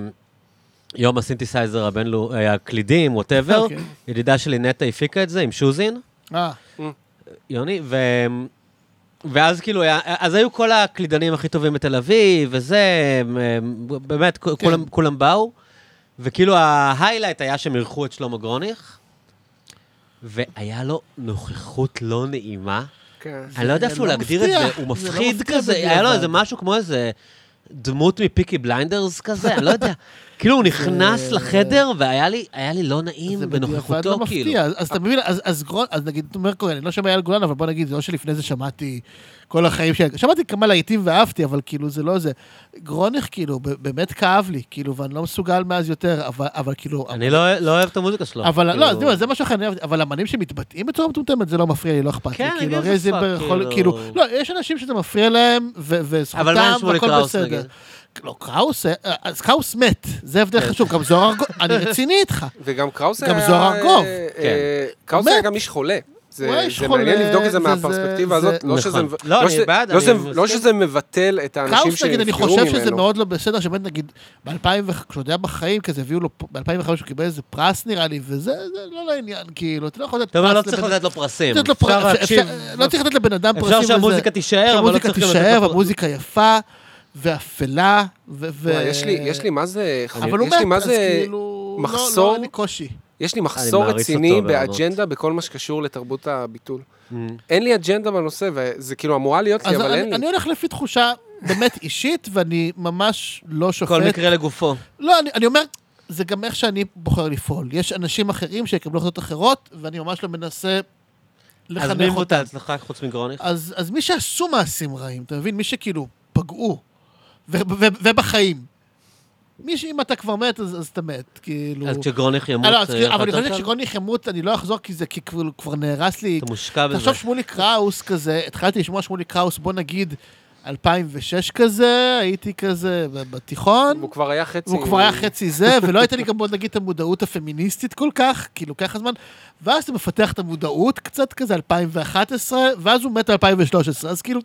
S1: יום הסינתסייזר הבינלאומי, הקלידים, ווטאבר.
S2: אוקיי.
S1: ידידה שלי נטע הפיקה את זה עם שוזין,
S2: אה,
S1: יוני, ו... ואז כאילו, היה, אז היו כל הקלידנים הכי טובים בתל אביב, וזה, הם, הם, באמת, כן. כולם, כולם באו, וכאילו ההיילייט היה שהם אירחו את שלמה גרוניך, והיה לו נוכחות לא נעימה.
S3: כן.
S1: אני לא יודע
S2: זה
S1: אפילו
S2: לא
S1: להגדיר את
S2: מפתיע.
S1: זה, הוא
S2: זה לא
S1: מפחיד
S2: מפתיע
S1: כזה,
S2: בדיעבד.
S1: היה לו איזה משהו כמו איזה דמות מפיקי בליינדרס כזה, אני לא יודע. כאילו, הוא נכנס לחדר והיה לי היה לי לא נעים
S2: זה בדיעבד
S1: בנוכחותו,
S2: לא
S1: כאילו.
S2: מפתיע. אז- אז אתה מבין, אז- אז גרון, אז נגיד, אומר כהן, אני לא שומע אייל גולן, אבל בוא נגיד, זה לא שלפני זה שמעתי כל החיים שלי, שמעתי כמה להיטים ואהבתי, אבל כאילו זה לא זה. גרוניך, כאילו, ב- באמת כאב לי, כאילו, ואני לא מסוגל מאז יותר, אבל- אבל כאילו...
S1: אני לא לא אוהב את המוזיקה שלו.
S2: אבל
S1: כאילו.
S2: לא, זה- זה משהו אחר, אני אוהב- אבל אמנים שמתבטאים בצורה מטומטמת, זה לא מפריע לי, לא אכפת לי.
S1: כן,
S2: כאילו,
S1: אני
S2: הרי
S1: איזה
S2: זה
S1: פאק,
S2: יכול,
S1: כאילו.
S2: כאילו, לא, יש אנשים שזה מפריע להם, ו-
S1: אבל מה עם
S2: וזכותם,
S1: שמולי
S2: והכל
S1: קראוס,
S2: בסדר.
S1: נגיד?
S2: לא, קראוס, אה, אז קראוס מת, זה הבדל
S1: כן.
S2: חשוב, גם זוהר, ארגוב- אני רציני איתך.
S3: וגם קראוס
S2: גם
S3: היה...
S2: זוהר ארגוב.
S3: אה,
S1: כן.
S3: אה, קראוס היה
S2: באמת.
S3: גם איש חולה. זה,
S2: הוא היה איש
S3: זה מעניין
S2: חולה,
S3: לבדוק את זה
S2: זה- זה-
S3: מהפרספקטיבה הזאת,
S2: זה-
S3: לא שזה,
S1: נכון.
S3: מב-
S1: לא,
S3: לא
S1: אני
S3: שזה-
S1: בעד,
S3: לא
S1: אני
S3: שזה-
S1: מסכים.
S3: לא שזה מבטל את האנשים
S2: קראוס, נגיד, אני
S3: שנפגעו
S2: חושב שזה
S3: ממנו.
S2: מאוד לא בסדר, שבאמת, נגיד, ב-2005, כשהוא עוד היה בחיים, כזה הביאו לו, ב-2005 הוא קיבל איזה פרס, נראה לי, וזה זה לא לעניין, כאילו, אתה לא יכול לתת
S1: אתה אומר, לא
S2: פרס
S1: צריך
S2: לבן-
S1: לתת לו פרסים.
S2: לתת לו פרס,
S1: אפשר
S2: אפשר-
S1: להקשיב.
S2: לא צריך לתת לבן אדם פרסים
S1: אפשר
S2: וזה.
S1: שהמוזיקה תישאר, אבל לא
S2: שהמוזיקה
S1: צריך גם לתת
S2: תישאר,
S1: לו פרסים.
S2: והמוזיקה יפה, ואפלה, ו... ו-
S3: וואי, יש לי, יש לי מה זה,
S2: אבל הוא
S3: יש לי
S2: מת,
S3: מה
S2: אז
S3: זה,
S2: כאילו...
S3: מחסור?
S2: לא, לא, אין לי קושי.
S3: יש לי מחסור
S1: מעריץ
S3: רציני
S1: אותו ברמות.
S3: באג'נדה בכל מה שקשור לתרבות הביטול.
S1: Mm.
S3: אין לי אג'נדה בנושא, וזה כאילו אמורה להיות לי,
S2: אז
S3: אבל אין
S2: אני,
S3: לי.
S2: אני הולך לפי תחושה באמת אישית, ואני ממש לא שופט.
S1: כל מקרה לגופו.
S2: לא, אני, אני אומר, זה גם איך שאני בוחר לפעול. יש אנשים אחרים שיקבלו החלטות אחרות, ואני ממש לא מנסה
S1: אז מי
S2: לחנך
S1: מות
S2: אותם.
S1: ההצלחה חוץ מגרוניך?
S2: אז, אז מי שעשו מעשים רעים, אתה מבין? מי שכאילו פגעו, ו- ו- ו- ובחיים. מי שאם אתה כבר מת, אז, אז אתה מת, כאילו...
S1: אז כשגרוניך ימות...
S2: אה, לא, אז
S1: אה,
S2: כאילו, אבל
S1: אתה
S2: אני חושב
S1: עכשיו?
S2: שכשגרוניך ימות, אני לא אחזור, כי זה כי כבר, כבר נהרס לי.
S1: אתה מושקע בזה.
S2: תחשוב שמולי קראוס כזה, התחלתי לשמוע שמולי קראוס, בוא נגיד 2006 כזה, הייתי כזה ב- בתיכון.
S3: הוא כבר היה חצי...
S2: הוא כבר היה חצי זה, ולא הייתה לי גם, בוא נגיד, את המודעות הפמיניסטית כל כך, כי לוקח הזמן, ואז אתה מפתח את המודעות קצת כזה, 2011, ואז הוא מת ב-2013, אז כאילו,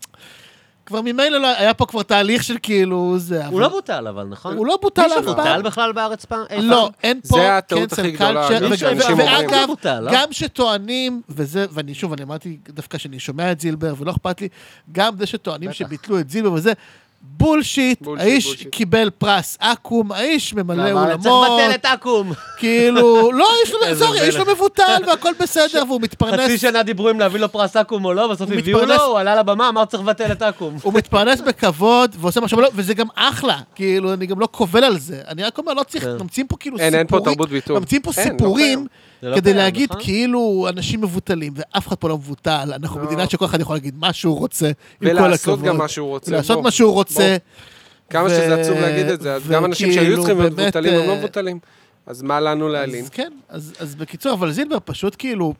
S2: כבר ממילא לא, היה פה כבר תהליך של כאילו, זה...
S1: הוא
S2: אבל-
S1: לא בוטל, אבל, נכון?
S2: הוא לא בוטל
S3: מישהו
S2: אף
S1: בוטל
S2: פעם.
S1: בכלל בארץ פעם? אי
S2: לא,
S1: פעם?
S2: אין
S3: זה
S2: פה
S3: הטעות
S2: cancel
S3: הכי גדולה,
S2: culture,
S3: אגב,
S2: ו-
S3: שאנשים
S2: ו-
S3: אומרים.
S2: ואגב,
S1: בוטל, לא?
S2: גם שטוענים, וזה, ואני שוב, אני אמרתי דווקא שאני שומע את זילבר ולא אכפת לי, גם זה שטוענים
S3: בטח.
S2: שביטלו את זילבר וזה, בולשיט,
S3: בולשיט,
S2: האיש
S3: בולשיט.
S2: קיבל פרס אקו"ם, האיש ממלא
S1: אבל צריך לבטל
S2: אולמות,
S1: את אקו"ם.
S2: כאילו, לא, יש לו,
S1: איזה
S2: סורי, יש לו
S1: מלך.
S2: מבוטל והכל בסדר, והוא מתפרנס,
S1: חצי שנה דיברו אם להביא לו פרס אקו"ם או לא, בסוף
S2: הוא
S1: הביאו
S2: מתפרנס-
S1: לו, הוא עלה לבמה, אמר צריך לבטל את אקו"ם.
S2: הוא מתפרנס בכבוד, ועושה מה שבא לו, וזה גם אחלה, כאילו, אני גם לא קובל על זה, אני רק אומר, לא צריך,
S1: כן.
S2: ממציאים פה כאילו
S3: אין, אין פה
S2: סיפורים,
S3: תרבות ביטול.
S2: ממציאים פה
S3: אין, לא
S2: סיפורים,
S3: קיים.
S1: זה לא
S2: כדי
S1: קיים,
S2: להגיד
S1: נכון?
S2: כאילו אנשים מבוטלים, ואף אחד פה לא מבוטל, אנחנו
S3: לא.
S2: מדינה שכל אחד יכול להגיד מה שהוא רוצה, עם כל
S3: ולעשות
S2: הכבוד.
S3: גם מה שהוא רוצה.
S2: לעשות
S3: בוא.
S2: מה שהוא רוצה.
S3: כמה
S2: ו-
S3: שזה עצוב להגיד את זה, אז גם אנשים שהיו
S2: וכאילו,
S3: צריכים להיות
S2: באמת,
S3: מבוטלים, הם לא
S2: אה,
S3: מבוטלים. אז מה לנו להלין?
S2: אז כן, אז אז בקיצור, אבל זילבר פשוט כאילו,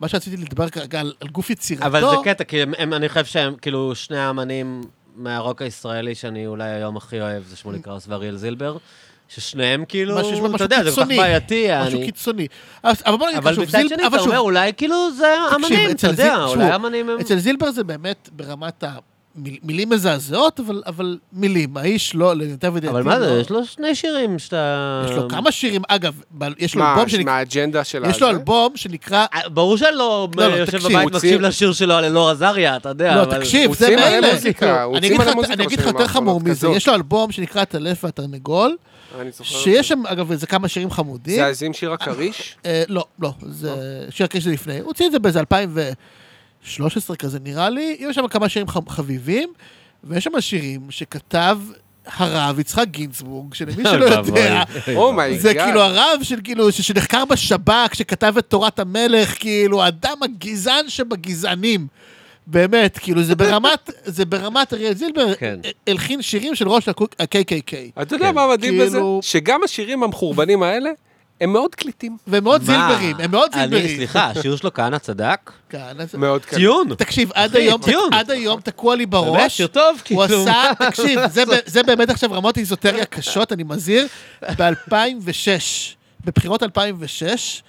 S2: מה שרציתי לדבר כרגע על על גוף יצירתו,
S1: אבל זה קטע, כי הם- הם- אני חושב שהם, כאילו, שני האמנים מהרוק הישראלי שאני אולי היום הכי אוהב, זה שמולי קראוס ואריאל זילבר, ששניהם כאילו,
S2: Mm. משהו- יש בו
S1: אתה
S2: משהו
S1: יודע, זה כל כך
S2: קיצוני,
S1: בעייתי,
S2: משהו
S1: אני...
S2: קיצוני. אז- אבל בוא נגיד,
S1: אבל
S2: שוב,
S1: מצד
S2: זילבר-
S1: שני, אתה
S2: אבל שוב,
S1: אומר, אולי כאילו זה
S2: תקשיב,
S1: אמנים, אתה
S2: אצל
S1: יודע,
S2: זיל-
S1: אולי
S2: תשמעו,
S1: אמנים הם...
S2: אצל זילבר זה באמת ברמת ה... מיל- מילים מזעזעות, אבל, אבל מילים. האיש לא, למיטב ידיעתי...
S1: אבל מה זה,
S2: לא.
S1: יש לו שני שירים שאתה...
S2: יש לו כמה שירים, אגב, ב- יש לו
S3: מה, לא,
S2: אלבום שנקרא...
S3: מהאג'נדה שלה?
S2: יש לו אלבום שנקרא...
S1: אה, ברור שאני לא
S2: לא, לא,
S1: יושב
S2: תקשיב,
S1: בבית
S3: הוא
S1: מקשיב
S3: ציר-
S1: לשיר שלו על אלאור עזריה, אתה יודע,
S2: לא,
S1: אה, אבל...
S2: תקשיב,
S3: הוא
S2: זה
S3: ציר מלא
S2: מילא.
S3: מוזיקה, הוא ציר
S2: אני אגיד
S3: מלא
S2: לך-
S3: מוזיקה
S2: אני אגיד לך
S3: בשנים
S2: יותר חמור
S3: האחרונות,
S2: מזה,
S3: כזאת.
S2: יש לו אלבום שנקרא הטלף והתרנגול,
S3: אני זוכר.
S2: שיש שם, אגב, איזה כמה שירים חמודים.
S3: זה אז עם שיר הכריש?
S2: אה, לא, לא, זה שיר הקשר לפני. הוא הוציא את זה באיזה 2013 כזה, נראה לי. יש שם כמה שירים ח- חביבים, ויש שם שירים שכתב הרב יצחק גינזבורג, שלמי שלא
S1: אוי ואבוי.
S2: יודע,
S3: אומייגאד.
S2: זה כאילו הרב של כאילו, ש- שנחקר בשב"כ, שכתב את תורת המלך, כאילו, האדם הגזען שבגזענים. באמת, כאילו, זה ברמת, זה ברמת אריאל זילבר,
S1: כן.
S2: הלחין שירים של ראש הקוק- ה-KKK.
S3: אתה יודע
S1: כן.
S3: מה מדהים
S2: כאילו-
S3: בזה? שגם השירים המחורבנים האלה, הם מאוד קליטים.
S2: והם מאוד
S1: מה?
S2: זילברים, הם מאוד
S1: אני-
S2: זילברים.
S1: סליחה, השיר שלו כהנא צדק?
S2: כן, אז-
S3: מאוד קליטים.
S1: ציון.
S2: תקשיב, עד
S1: אחי,
S2: היום,
S1: טיעון.
S2: עד היום תקוע לי
S1: באמת,
S2: בראש.
S1: שיר טוב, כאילו.
S2: הוא עשה, תקשיב, זה ב- זה באמת עכשיו רמות איזוטריה קשות, אני מזהיר. ב-2006, בבחירות 2006,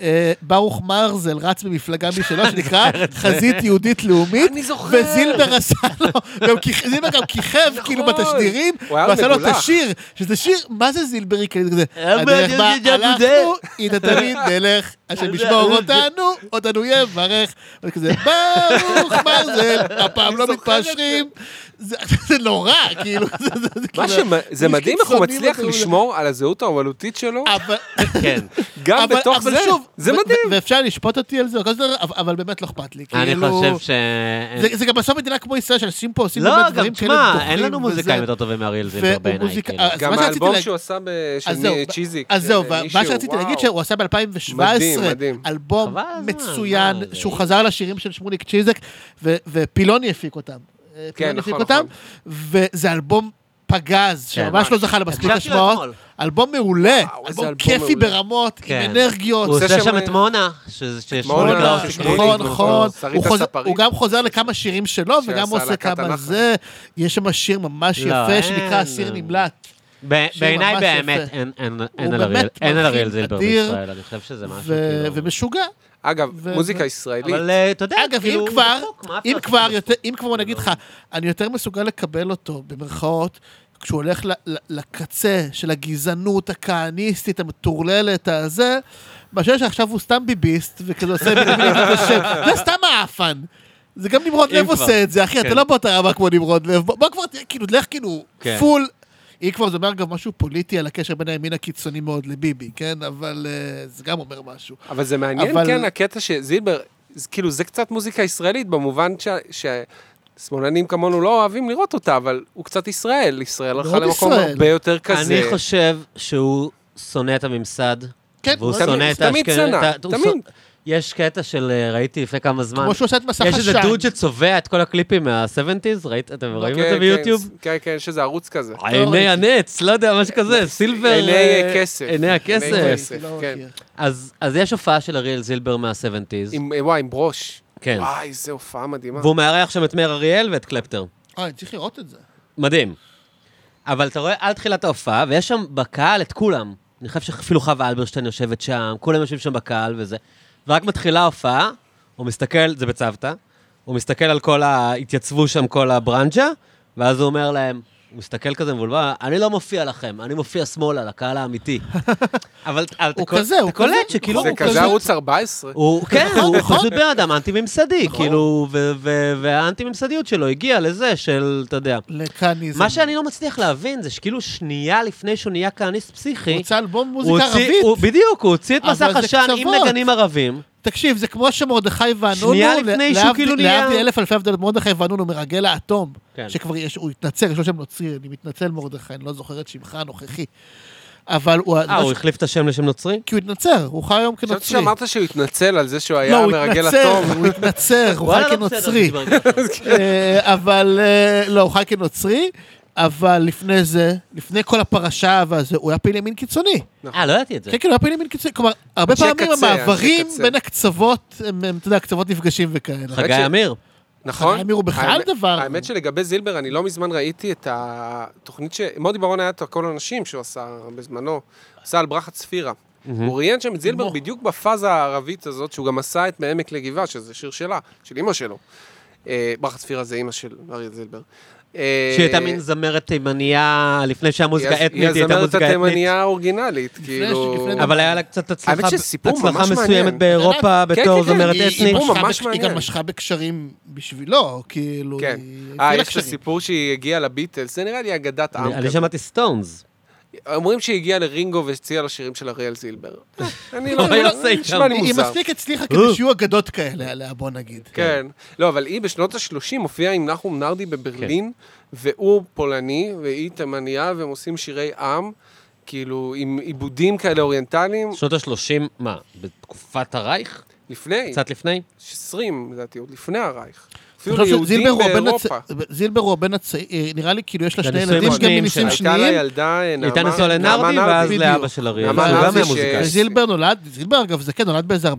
S2: אה, ברוך מרזל רץ במפלגה משלו, שנקרא חזית יהודית לאומית.
S3: אני זוכר.
S2: וזילבר עשה לו, גם כיכ- זילבר גם כיכב כאילו בתשדירים,
S3: נכון. הוא היה
S2: ועשה לו את
S3: מגולח. אה,
S2: השיר, שזה שיר, מה זה זילברי כזה? כזה,
S1: אבל
S2: הדרך בה
S1: אני יודע
S2: הלכנו,
S1: בזה.
S2: היא נתנית, נלך, השם ישמור אותנו, אותנו יברך. וכזה, ברוך מרזל, הפעם לא מתפשרים. זה זה נורא, כאילו, זה- זה- זה
S3: מה
S2: כאילו-
S3: שזה מדהים איך הוא
S2: קיצוני
S3: מצליח
S2: מטורף.
S3: לשמור על הזהות האומנותית שלו,
S2: אבל-
S1: כן.
S3: גם
S2: אבל-
S3: בתוך
S2: אבל
S3: זה.
S2: שוב,
S3: זה
S2: ו-
S3: מדהים.
S2: ו- ואפשר לשפוט אותי על זה, וכל זה, אבל- אבל באמת לא אכפת לי.
S1: אני
S2: כאילו,
S1: חושב ש...
S2: זה- זה גם בסוף מדינה כמו ישראל, שאנשים פה עושים
S1: לא,
S2: באמת
S1: גם
S2: דברים כאלה
S1: תשמע,
S2: דוחים
S1: אין לנו
S2: וזה.
S1: מוזיקאים יותר טובים מאריאל זילבר
S2: והוא
S1: בעיניי,
S2: מוזיקא-
S1: כאילו.
S2: אה, אז
S3: גם
S2: מה שרציתי
S3: האלבום
S2: להג-
S3: שהוא עשה ב- של
S2: אז זהו,
S3: מי- צ'יזיק.
S2: אז זהו,
S3: של
S2: מה
S3: כן, מישהו,
S2: שרציתי
S3: וואו.
S2: להגיד שהוא עשה
S3: מדהים,
S2: ב-2017,
S3: מדהים.
S2: אלבום
S1: חבל הזמן, אה,
S2: מצוין,
S1: מה זה?
S2: שהוא חזר לשירים של שמוליק צ'יזק, ו- ופילוני הפיק אותם. אה, פילוני
S3: נכון,
S2: הפיק אותם,
S3: נכון.
S2: וזה אלבום פגז, שממש
S1: ממש.
S2: לא זכה למספיק
S1: הקשבתי לו
S2: השמעות.
S1: כן. אתמול.
S2: אלבום מעולה,
S3: וואו, איזה
S2: אלבום
S3: אלבום
S2: כיפי
S3: מעולה.
S2: ברמות,
S1: כן.
S2: עם אנרגיות.
S1: הוא עושה
S3: עושה
S1: שם
S3: שם-
S1: את מונה, ששמוליק
S3: מונה,
S1: לא עושה.
S3: שמוליק,
S2: נכון,
S3: הוא-
S2: נכון.
S3: שרית
S2: הוא חוזר-
S3: הספרית.
S2: הוא גם חוזר לכמה שירים שלו,
S3: שעשה
S2: וגם עושה
S3: להקת
S2: כמה
S3: הנחל.
S2: זה. יש שם שיר ממש
S1: לא,
S2: יפה,
S1: אין.
S2: שנקרא "אסיר נמלט".
S1: ב-
S2: שיר
S1: בעיניי
S2: נכון. ממש
S1: באמת
S2: יפה.
S1: אין- אין- אין על
S2: הוא
S1: אריאל-
S2: באמת
S1: אין על אריאל
S2: מלחין
S1: זילבר
S2: אדיר,
S1: בישראל, אני חושב שזה משהו
S2: ו-
S1: כאילו...
S2: ומשוגע.
S3: אגב,
S2: ו-
S3: מוזיקה
S2: ו-
S3: ישראלית,
S1: אבל אה, אתה יודע,
S2: אגב, אם
S1: כאילו,
S2: כבר,
S1: רחוק, מה
S2: אם
S1: אפשר
S2: כבר,
S1: לעשות?
S2: יותר- אם כבר, אני אגיד לך, אני יותר מסוגל לקבל אותו, במרכאות, כשהוא הולך ל- ל- לקצה של הגזענות הכהניסטית, המטורללת, הזה, מאשר שעכשיו הוא סתם ביביסט, וכזה עושה מילים כזה של... זה סתם האפן. זה גם נמרוד
S1: אם
S2: לב
S1: כבר.
S2: עושה את זה, אחי,
S1: כן.
S2: אתה לא באותה רמה כמו נמרוד לב. בוא בוא כבר, תהיה- כאילו, לך כאילו
S1: כן.
S2: פול. אם כבר זה אומר גם משהו פוליטי על הקשר בין הימין הקיצוני מאוד לביבי, כן? אבל אה, זה גם אומר משהו.
S3: אבל זה מעניין,
S2: אבל-
S3: כן, הקטע שזילבר, זה- כאילו, זה קצת מוזיקה ישראלית, במובן ש... ששמאלנים כמונו לא אוהבים לראות אותה, אבל הוא קצת ישראל. ישראל הלכה
S2: מאוד
S3: למקום
S2: ישראל.
S3: הרבה יותר כזה.
S1: אני חושב שהוא שונא את הממסד,
S2: כן,
S1: והוא
S2: מאוד-
S3: תמיד-
S1: שונא את
S3: הוא תמיד
S1: האשכנז-
S3: שנא,
S1: את ה- הוא
S3: תמיד.
S1: שונא- יש קטע של, אה, ראיתי לפני כמה זמן,
S2: כמו שהוא עושה את מסך
S1: יש איזה
S2: עשן.
S1: דוד שצובע את כל הקליפים מה-70's, ראית? אתם רואים את
S3: כן,
S1: זה
S3: כן,
S1: ביוטיוב?
S3: כן, כן, יש איזה ערוץ כזה.
S1: עיני
S2: ראיתי.
S1: הנץ, לא יודע, משהו כזה, סילבר...
S3: עיני
S1: אה,
S3: הכסף.
S1: עיני
S3: עיני
S1: הכסף.
S3: הכסף.
S2: לא
S3: כן.
S2: מכיר.
S1: אז אז יש הופעה של אריאל זילבר מה-70's,
S3: עם, אה, וואי, עם ברוש.
S1: כן.
S3: וואי, איזה הופעה מדהימה.
S1: והוא מארח שם את מאיר אריאל ואת קלפטר.
S2: אה, אני צריך לראות את זה.
S1: מדהים. אבל אתה רואה על תחילת ההופעה, ויש שם בקהל את כולם. אני חושב שאפילו חווה אלברשטיין יושבת שם, כולם יושבים שם בקהל וזה. ורק מתחילה ההופעה, הוא מסתכל, זה בצוותא, הוא מסתכל על כל ה... התייצבו שם כל הברנג'ה, ואז הוא אומר להם, הוא מסתכל כזה מבולבל, אני לא מופיע לכם, אני מופיע שמאלה, לקהל האמיתי. אבל אבל אתה
S2: הוא
S1: קול-
S2: כזה, הוא
S1: אתה קולט
S2: כזה.
S1: שכאילו...
S3: זה
S2: הוא
S3: כזה
S2: כזה-
S3: ערוץ 14.
S1: כאילו הוא, כן, הוא
S2: נכון.
S1: פשוט בן אדם אנטי-ממסדי, כאילו, ו- ו- והאנטי-ממסדיות שלו הגיעה לזה של, אתה יודע.
S2: לכהניזם.
S1: מה שאני לא מצליח להבין זה שכאילו שנייה לפני שהוא נהיה כהניסט פסיכי,
S2: הוא הוצא אלבום
S1: הוא
S2: מוזיקה
S1: הוציא-
S2: ערבית.
S1: הוא- בדיוק, הוא הוציא את
S2: אבל
S1: מסך
S2: זה
S1: עשן עם
S2: קצוות.
S1: נגנים ערבים.
S2: תקשיב, זה כמו שמרדכי ואנונו,
S1: שנייה
S2: ל-
S1: לפני שהוא
S2: להבדיל-
S1: כאילו נהיה-
S2: להבדיל אלף אלפי הבדלות, מרדכי ואנונו מרגל האטום.
S1: כן.
S2: שכבר יש, הוא התנצל, יש לו שם נוצרי, אני מתנצל מרדכי, אני לא זוכר את שמך הנוכחי. אבל הוא...
S1: אה, הוא החליף את השם לשם נוצרי?
S2: כי הוא התנצר, הוא חי היום
S3: חשבתי
S2: כנוצרי.
S3: שאמרת שהוא התנצל על זה שהוא
S2: לא,
S3: היה
S2: הוא
S3: מרגל
S2: התנצר,
S3: אטום.
S2: הוא התנצר, הוא חי
S1: וואלה, לא בסדר,
S2: כנוצרי.
S1: דיברתי ככה.
S2: אה, אבל אה, לא, הוא חי כנוצרי, אבל לפני זה, לפני כל הפרשה והזה, הוא היה פעיל ימין קיצוני.
S1: אה, לא ידעתי את זה.
S2: כן, כן, הוא היה פעיל ימין קיצוני. כלומר, הרבה
S3: אנשי
S2: פעמים
S3: קצה,
S2: המעברים
S3: אנשי קצה.
S2: בין הקצוות, הם, הם, אתה יודע, הקצוות נפגשים וכאלה.
S1: חגי
S3: ש-
S1: אמיר.
S3: נכון.
S2: חגי אמיר הוא בכלל
S3: האמת-
S2: דבר.
S3: האמת שלגבי זילבר, אני לא מזמן ראיתי את התוכנית ש... מודי ברון היה את הכל הנשים שהוא עשה בזמנו, הוא עשה על ברכת ספירה. הוא ראיין שם את זילבר
S2: אמו.
S3: בדיוק בפאזה הערבית הזאת, שהוא גם עשה את מעמק לגבעה, שזה שיר שלה, של אימא שלו. אה, ברכת ספירה זה אימא של אריה זילבר. אה,
S1: שהיא הייתה מין זמרת תימניה, לפני
S3: היא-
S1: שהמוזיקה אתנית, היא הייתה
S3: היא הזמרת
S1: מוזיקה אתנית.
S3: התימניה האורגינלית, כאילו...
S2: לפני-
S1: אבל היה לה קצת הצלחה
S3: האמת שסיפור
S1: הצלחה
S3: ממש
S1: מסוימת
S3: מעניין.
S1: באירופה
S3: כן,
S1: בתור
S3: כן, כן,
S1: זמרת
S2: היא- היא
S1: אתנית.
S3: סיפור
S2: משכה
S3: ממש
S2: בק- היא גם
S3: מעניין.
S2: משכה בקשרים בשבילו, כאילו,
S3: כן.
S2: היא
S3: אה,
S2: הפעילה
S3: יש את
S2: קשרים.
S3: הסיפור שהיא הגיעה לביטלס, זה נראה לי אגדת עם
S1: אני
S3: כזה.
S1: שמעתי סטונס.
S3: אומרים שהיא הגיעה לרינגו והציעה לו שירים של אריאל זילבר.
S1: אה,
S3: אני
S1: אוי, יוסי, גם.
S3: נשמע לי
S2: היא
S3: מוזר.
S2: מספיק הצליחה כדי שיהיו אגדות כאלה עליה, בוא נגיד.
S3: כן. לא, אבל היא בשנות ה-30 הופיעה עם נחום נרדי בברלין,
S1: כן.
S3: והוא פולני, והיא תימניה, והם עושים שירי עם, כאילו, עם עיבודים כאלה אוריינטליים,
S1: שנות ה-30, מה, בתקופת הרייך?
S3: לפני,
S1: קצת לפני?
S3: 20 לדעתי, עוד לפני הרייך.
S2: אני
S3: אפילו
S2: חושב
S3: ליהודים
S2: שזילבר הוא הבן
S3: באירופה. כן,
S2: הצ- זילבר הוא הבן הצעיר, נראה לי כאילו יש לה שני
S1: לנישואים
S2: ילדים, יש גם
S1: השניים
S2: מנישואים
S1: שלה.
S3: הייתה לה
S2: שניים.
S3: ילדה, נעמה,
S1: הייתה נשואה
S3: נעמה
S1: לנרדי, ואז
S3: נרדי.
S1: לאבא של אריאל.
S3: נעמה
S1: הוא גם
S3: נרדי
S1: היה
S3: ש-
S1: מוזיקאי.
S2: וזילבר נולד, זילבר אגב זה כן, נולד באיזה 44-45,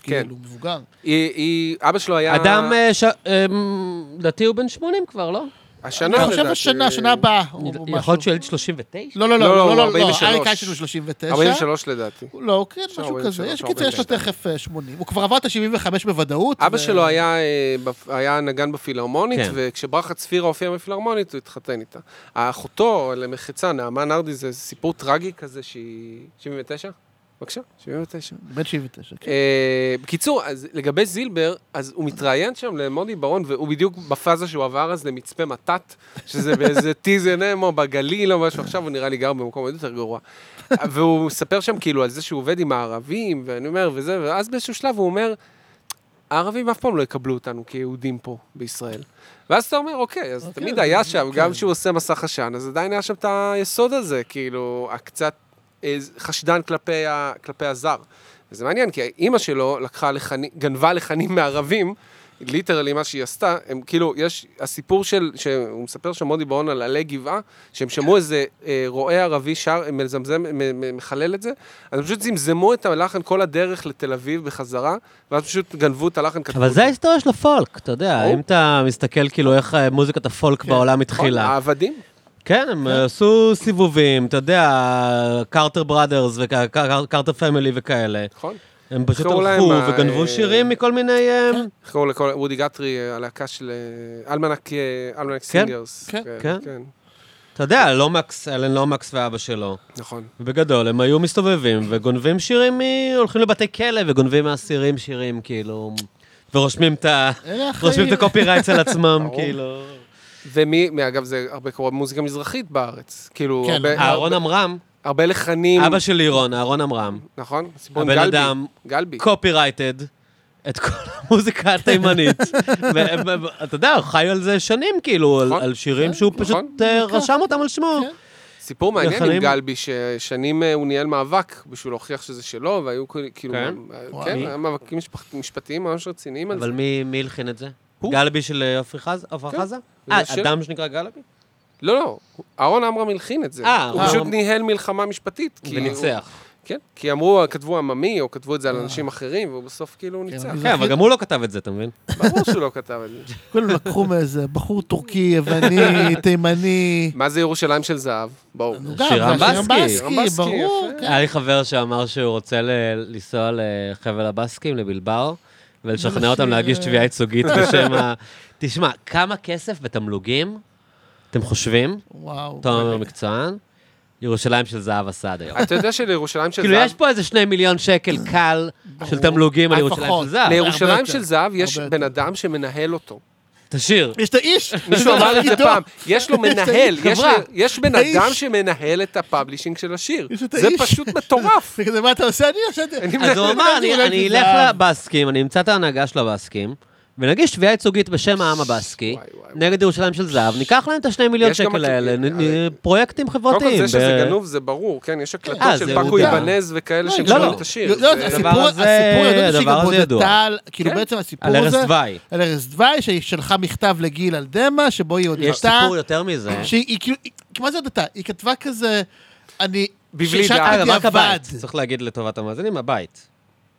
S3: כן,
S2: כאילו, מבוגר.
S3: היא- היא- אבא שלו היה...
S1: אדם, אה, ש- אמ, לדעתי הוא בן 80 כבר, לא?
S3: השנה,
S2: אני חושב
S3: לדעתי.
S2: השנה, השנה הבאה. או
S1: יכול להיות
S2: משהו.
S1: שהוא ילד 39?
S2: לא, לא,
S3: לא, לא,
S2: לא, לא, לא, לא,
S3: 43.
S2: אריק איינשטיין הוא 39.
S3: 43 לדעתי.
S2: לא, כן, משהו
S3: 43,
S2: כזה. יש
S3: 42.
S2: קיצור, יש לו תכף אה, 80. הוא כבר עבר את ה-75 בוודאות.
S3: אבא
S2: ו-
S3: שלו היה, אה, בפ- היה נגן בפילהרמונית,
S1: כן.
S3: כן. וכשברכה צפירה הופיעה בפילהרמונית, הוא התחתן איתה. אחותו למחצה, נעמה נרדי, זה סיפור טרגי כזה שהיא... 79? בבקשה, 79.
S2: בן 79, כן.
S3: אה, בקיצור, אז לגבי זילבר, אז הוא מתראיין שם למודי ברון, והוא בדיוק בפאזה שהוא עבר אז למצפה מתת, שזה באיזה טיזן אמו בגליל או משהו, עכשיו הוא נראה לי גר במקום עוד יותר גרוע. והוא מספר שם כאילו על זה שהוא עובד עם הערבים, ואני אומר, וזה, ואז באיזשהו שלב הוא אומר, הערבים אף פעם לא יקבלו אותנו כיהודים פה, בישראל. ואז אתה אומר, אוקיי, אז
S2: אוקיי,
S3: תמיד
S2: אז-
S3: היה שם,
S2: כן.
S3: גם כשהוא עושה מסך עשן, אז עדיין היה שם את היסוד הזה, כאילו, הקצת אה, חשדן כלפי, ה, כלפי הזר. וזה מעניין, כי אימא שלו לקחה לחני, גנבה לחנים מערבים, ליטרלי מה שהיא עשתה, הם כאילו, יש הסיפור של, שהוא מספר שם מודי ברון על עלי גבעה, שהם שמעו איזה אה, רועה ערבי שר, מזמזם, מ- מ- מחלל את זה, אז הם פשוט זמזמו את הלחן כל הדרך לתל אביב בחזרה, ואז פשוט גנבו את הלחן, כתבו
S1: אבל זה
S3: אותו.
S1: ההיסטוריה של הפולק, אתה יודע,
S3: ברור.
S1: אם אתה מסתכל כאילו איך אה, מוזיקת הפולק
S2: כן.
S1: בעולם
S3: נכון,
S1: התחילה.
S3: העבדים.
S1: כן, הם עשו סיבובים, אתה יודע, קרטר בראדרס וקרטר פמילי וכאלה.
S3: נכון.
S1: הם פשוט
S3: קראו
S1: הלכו
S3: להם, כן.
S1: וגנבו
S3: אה,
S1: שירים מכל מיני... אה,
S3: איך קראו לכל, וודי גטרי, הלהקה של אה, אלמנק, אה, אלמנק סינגרס.
S2: כן,
S1: כן. אתה יודע, לומקס, אלן לומקס ואבא שלו.
S3: נכון.
S1: בגדול, הם היו מסתובבים וגונבים שירים, מ... הולכים לבתי כלא וגונבים מהאסירים שירים, כאילו, ורושמים את ה...
S2: אלה החיים.
S1: רושמים את הקופי רייטס על עצמם,
S3: ברור.
S1: כאילו.
S3: ומי, מי- אגב, זה הרבה קורה במוזיקה מזרחית בארץ. כאילו,
S2: כן,
S3: הרבה-
S1: אהרון
S3: הרבה-
S1: עמרם,
S3: הרבה לחנים,
S1: אבא של לירון, אהרון עמרם,
S3: נכון? הסיפור עם
S1: הבן
S3: גלבי.
S1: אדם,
S3: גלבי.
S1: קופי רייטד. את כל המוזיקה התימנית. והם- הם- אתה יודע, הוא חי על זה שנים, כאילו, על-
S3: נכון.
S1: על שירים שהוא
S3: נכון.
S1: פשוט אה,
S2: נכון.
S1: רשם אותם על שמו.
S2: כן.
S3: סיפור מעניין עם
S1: לחנים-
S3: גלבי, ששנים אה, הוא ניהל מאבק בשביל להוכיח שזה שלו, והיו כל- כאילו...
S1: כן?
S3: אה,
S2: וואו.
S3: כן,
S1: מי?
S3: היה מאבקים משפח- משפטיים ממש רציניים על זה.
S1: אבל מי מי הלחין את זה?
S3: הוא.
S1: גלבי של אה, עפרי חזה? עפרה
S3: כן.
S1: חזה?
S3: זה
S1: אה,
S3: השיר.
S1: אדם שנקרא גלבי?
S3: לא, לא, אהרון עמרם הלחין את זה.
S1: אה,
S3: הוא
S1: אה.
S3: פשוט ניהל מלחמה משפטית. כי הוא-
S1: וניצח.
S3: כן, כי אמרו, כתבו עממי, או כתבו את זה על אנשים אחרים, והוא בסוף כאילו ניצח.
S2: אני
S1: כן, אבל גם הוא לא כתב את זה, אתה מבין?
S3: ברור שהוא לא כתב את זה.
S2: כולם לקחו מאיזה בחור טורקי, יווני, תימני.
S3: מה זה ירושלים של זהב? בואו.
S2: נו,
S1: שירם
S2: גם, זה
S1: בסקי.
S3: שירם בסקי,
S2: ברור.
S3: יפה.
S2: כן.
S1: היה לי חבר שאמר שהוא רוצה ל- לנסוע לחבל הבאסקים, לבלבאו, ולשכנע
S2: ולשיר-
S1: אותם להגיש תביעה ייצוגית בשם ה... תשמע, כמה כסף בתמלוגים אתם חושבים,
S2: וואו.
S1: תומר המקצוען, ירושלים של זהב עשה עד היום?
S3: אתה יודע שלירושלים של
S1: כאילו,
S3: זהב...
S1: יש פה איזה שני מיליון שקל קל של תמלוגים על ירושלים
S2: לפחות.
S1: של זהב.
S2: ל- הרבה
S3: לירושלים
S2: יותר,
S3: של זהב יש
S2: הרבה יותר.
S3: בן אדם שמנהל אותו.
S1: תשאיר.
S2: יש את האיש.
S3: מישהו אמר את זה פעם. יש לו מנהל,
S2: האיש,
S3: יש
S1: חברה.
S3: לו- יש בן
S2: האיש.
S3: אדם שמנהל את הפאבלישינג של השיר.
S2: יש את
S3: זה
S2: האיש.
S3: פשוט מטורף.
S2: זה כזה, מה אתה עושה? אני עושה את זה.
S3: אני
S1: אז הוא אמר,
S2: אולי
S1: אני- אני
S2: זה
S1: אלך
S2: זהב.
S1: לבאסקים, אני אמצא את ההנהגה של הבאסקים, ונגיש תביעה ייצוגית בשם העם הבאסקי,
S3: וואי, וואי,
S1: נגד ירושלים של זהב, ניקח להם את השני מיליון
S3: יש גם
S1: שקל
S3: את-
S1: האלה, נ-
S3: אה,
S1: נ- פרויקטים
S3: קודם כל
S1: חברתיים.
S3: זה שזה
S1: ב-
S3: גנוב זה ברור, כן? יש
S1: אה,
S3: הקלטות
S1: זה
S3: של פאקו
S1: הודע.
S3: איבנז וכאלה
S2: לא,
S3: שקשורים
S1: לא.
S3: את
S2: לא,
S3: השיר.
S2: לא,
S3: זה-
S1: הסיפור
S2: הסיפור
S1: הזה-
S2: ידעתי שהיא
S1: הדבר
S2: גם
S1: הזה
S2: הודתה,
S1: ידוע.
S2: על- כאילו
S3: כן.
S2: בעצם הסיפור
S1: על
S2: הזה,
S1: ארז דווי.
S3: לא.
S2: על ארז דווי, שהיא שלחה מכתב לגיל על דמה, שבו היא הודתה,
S1: יש סיפור יותר מזה.
S3: כן.
S2: שהיא כאילו, היא- מה זה הודתה? היא כתבה כזה, אני,
S3: בבלי
S2: שהשקתי
S3: דעת.
S1: אגב, אה, רק
S2: בדיעבד.
S1: הבית, צריך להגיד לטובת המאזינים, הבית.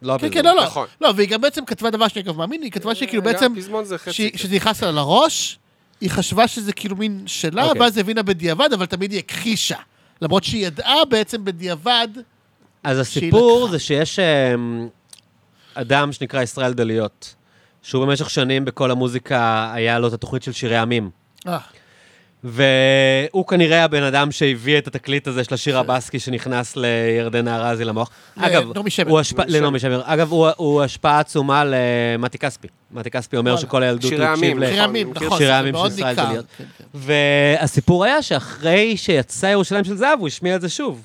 S1: לא
S2: כן,
S1: הביזוי.
S2: כן, לא, לא,
S3: נכון. אה,
S2: לא, והיא גם בעצם כתבה דבר שאני אגב מאמין, היא כתבה שכאילו
S3: גם
S2: כאילו, בעצם,
S3: פזמון זה חצי.
S2: שהיא- שזה נכנס לה לראש, היא חשבה שזה כאילו מין שלה,
S1: אוקיי.
S2: ואז הבינה בדיעבד, אבל תמיד היא הכחישה. למרות שהיא ידעה בעצם בדיעבד,
S1: אז
S2: שהיא
S1: הסיפור
S2: לקחה.
S1: זה שיש אמ, אדם שנקרא ישראל דליות, שהוא במשך שנים בכל המוזיקה, היה לו את התוכנית של שירי עמים.
S2: אה,
S1: והוא כנראה הבן אדם שהביא את התקליט הזה של השיר הבאסקי שנכנס לירדנה ארזי למוח.
S2: ל-
S1: אגב,
S2: נעמי שמר.
S1: הוא השפעה-
S3: נעמי
S1: לנעמי שמר. אגב, הוא- הוא השפעה עצומה למתי כספי. מתי כספי אומר
S2: וואלה.
S1: שכל הילדות הוא
S3: שירי
S1: הקשיב
S3: עמים.
S1: ל...
S2: שירי
S3: נכון,
S2: עמים,
S3: אני מכיר
S2: נכון,
S1: שירי
S2: זה
S1: עמים של
S2: מאוד
S1: ישראל
S2: ניכר.
S1: דליות.
S2: כן, כן.
S1: והסיפור היה שאחרי שיצא ירושלים של זהב, הוא השמיע את זה שוב.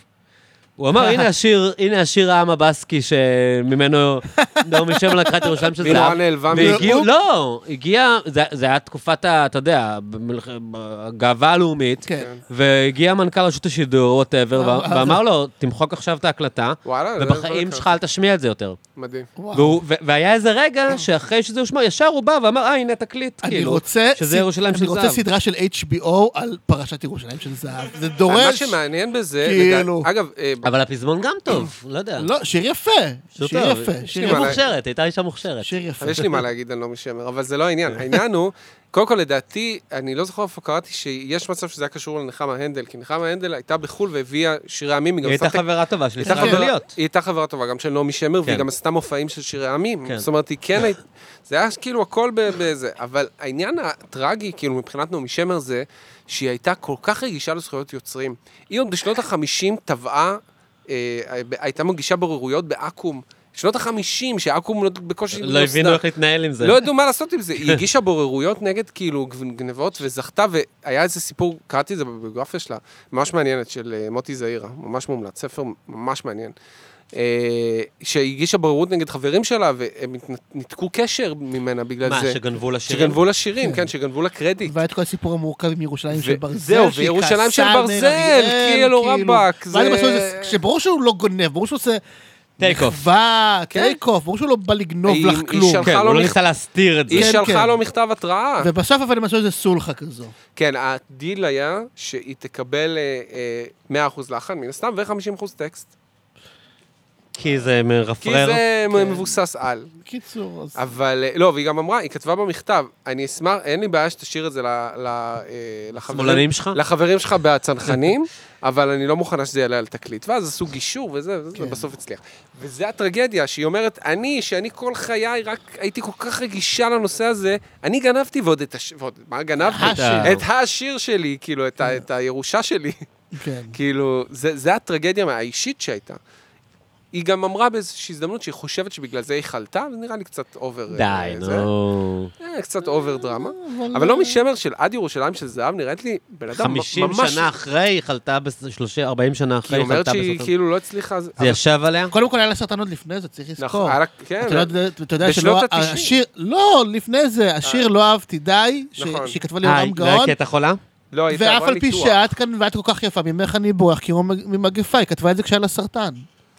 S1: הוא אמר, הנה השיר, הנה השיר העם הבאסקי שממנו נעמי שמר לקחה את ירושלים של
S3: והיא נורא
S1: זהב.
S3: נעלבה מזה.
S1: והגיעו, לא, הגיע, זה זה היה תקופת, ה- אתה יודע, במלח- הגאווה הלאומית,
S2: כן.
S1: והגיע מנכ"ל רשות השידור, ווטאבר,
S2: אה,
S1: ואמר לו, תמחוק עכשיו את ההקלטה,
S3: וואלה, זה-
S1: ובחיים
S3: זה-
S1: שלך אל תשמיע את זה יותר.
S3: מדהים.
S2: וואו.
S1: והוא- ו- והיה איזה רגע שאחרי שזה הושמע, ישר הוא בא ואמר, אה, הנה תקליט,
S2: אני
S1: כאילו,
S2: רוצה,
S1: שזה
S2: ס-
S1: ירושלים של
S2: אני רוצה
S1: זהב.
S2: סדרה של HBO על פרשת ירושלים של זהב. זה
S3: מה
S2: דורש...
S3: שמעניין בזה,
S2: כאילו.
S3: לדע- אגב, אה,
S1: אבל הפזמון גם טוב, לא יודע.
S2: לא, שיר יפה.
S1: שיר
S2: שיר
S1: טוב.
S2: יפה.
S1: יש
S2: שיר
S1: לי
S3: מה
S2: יפה.
S3: לה-
S1: מוכשרת, הייתה אישה מוכשרת.
S2: שיר יפה.
S3: אבל יש לי מה להגיד על נעמי שמר, אבל זה לא העניין. העניין הוא, קודם כל לדעתי, אני לא זוכר איפה קראתי שיש מצב שזה היה קשור לנחמה הנדל, כי נחמה הנדל הייתה בחו"ל והביאה שירי עמים, היא
S1: היא
S3: גם
S1: הייתה
S3: עשתה...
S1: חברה טובה שלי,
S3: הייתה
S1: סך
S3: חברה- היא
S1: להיות.
S3: הייתה חברה טובה גם של נעמי שמר, והיא
S1: כן.
S3: גם עשתה מופעים של שירי עמים.
S1: כן.
S3: זאת אומרת, היא כן הייתה... זה היה כאילו הכל ב- בזה. אבל העניין הטרגי, כאילו, מבחינת נעמי שמר זה, שהיא הייתה כל כך רגישה לזכויות יוצרים. היא עוד בשנות ה-50 טבעה אה, הייתה מגישה בוררויות בעכו"ם. שנות החמישים, שעכו"ם לא- בקושי...
S1: לא הבינו
S3: נוסדה.
S1: איך להתנהל עם זה.
S3: לא ידעו מה לעשות עם זה. היא הגישה בוררויות נגד כאילו גב- גנבות וזכתה, והיה איזה סיפור, קראתי את זה בביוגרפיה שלה, ממש מעניינת, של אה, מוטי זעירה, ממש מומלץ, ספר ממש מעניין. אה, שהיא הגישה בוררות נגד חברים שלה, והם נת- ניתקו קשר ממנה בגלל
S1: מה,
S3: זה.
S1: שגנבו לה שירים?
S3: שגנבו לה שירים, כן, שגנבו לה קרדיט.
S2: והיה את כל הסיפור המורכב עם ירושלים
S3: ו-
S2: של ברזל,
S3: זהו,
S2: שהיא
S3: וירושלים
S2: כעסה
S3: של
S2: על מאיר
S3: ברזל,
S2: אריאל,
S3: כאילו, רבאק,
S2: ואז הם
S3: זה-
S2: עשו את זה, כשברור שהוא לא גונב, ברור שהוא עושה...
S1: Take off.
S2: מחווה,
S3: כן.
S2: טייק אוף, ברור שהוא לא בא לגנוב
S3: היא-
S2: לך
S3: היא
S2: כלום.
S3: שלחה
S1: כן,
S3: לו
S1: הוא לא
S3: מכ-
S1: ניסה להסתיר את זה.
S3: היא
S2: כן,
S3: שלחה
S2: כן.
S3: לו מכתב התראה.
S2: ובסוף אבל הם עשו איזה סולחה כזו.
S3: כן, הדיל היה שהיא תקבל אה, אה, 100% לחן, מן הסתם, ו-50% טקסט.
S1: כי זה
S3: כי
S1: מרפרר.
S3: זה
S2: כן.
S3: מבוסס על.
S2: קיצור, אז...
S3: אבל, אה, לא, והיא גם אמרה, היא כתבה במכתב, אני אשמח, אין לי בעיה שתשאיר את זה ל, ל, אה, לחברים,
S1: שמאלנים שלך?
S3: לחברים שלך בצנחנים, אבל אני לא מוכנה שזה יעלה על תקליט. ואז עשו גישור וזה, וזה
S2: כן.
S3: ובסוף הצליח. וזה הטרגדיה, שהיא אומרת, אני, שאני כל חיי רק הייתי כל כך רגישה לנושא הזה, אני גנבתי ועוד את הש... ועוד, מה גנבתי?
S1: השיר.
S3: את השיר שלי, כאילו, את, ה, את הירושה שלי.
S2: כן.
S3: כאילו, זה, זה הטרגדיה האישית שהייתה. היא גם אמרה באיזושהי הזדמנות שהיא חושבת שבגלל זה היא חלתה, וזה נראה לי קצת אובר...
S1: די, נו.
S3: אה, קצת אובר דרמה.
S2: אה,
S3: אבל
S2: לא.
S3: נעמי שמר של עד ירושלים של זהב נראית לי בן אדם ממש...
S1: 50 שנה אחרי, היא חלתה, בס- 30, 40 שנה
S3: כי
S1: אחרי,
S3: היא
S1: היא
S3: אומרת
S1: חלתה
S3: שהיא
S1: בסרטן.
S3: כאילו לא הצליחה... אז-
S1: זה
S3: אבל-
S1: ישב עליה?
S2: קודם כל היה לה סרטן עוד לפני זה, צריך לזכור.
S3: נכון, היה לה- כן.
S2: אתה לא יודע- אתה יודע
S3: בשנות
S2: שלא...
S3: ה-90.
S2: השיר... לא, לפני זה, השיר לא אהבתי די, ש-
S3: נכון.
S2: שהיא כתבה לי
S1: אה,
S2: עולם
S1: לא היה
S2: גאון,
S1: קטע חולה?
S3: לא, היא
S2: ואף
S3: עברה
S2: על פי
S3: ניתוח.
S2: שאת כאן ואת כל כך יפה, ממך אני בורח, כי הוא מג- ממגפה, היא כתבה את זה כשהיה לה סרטן.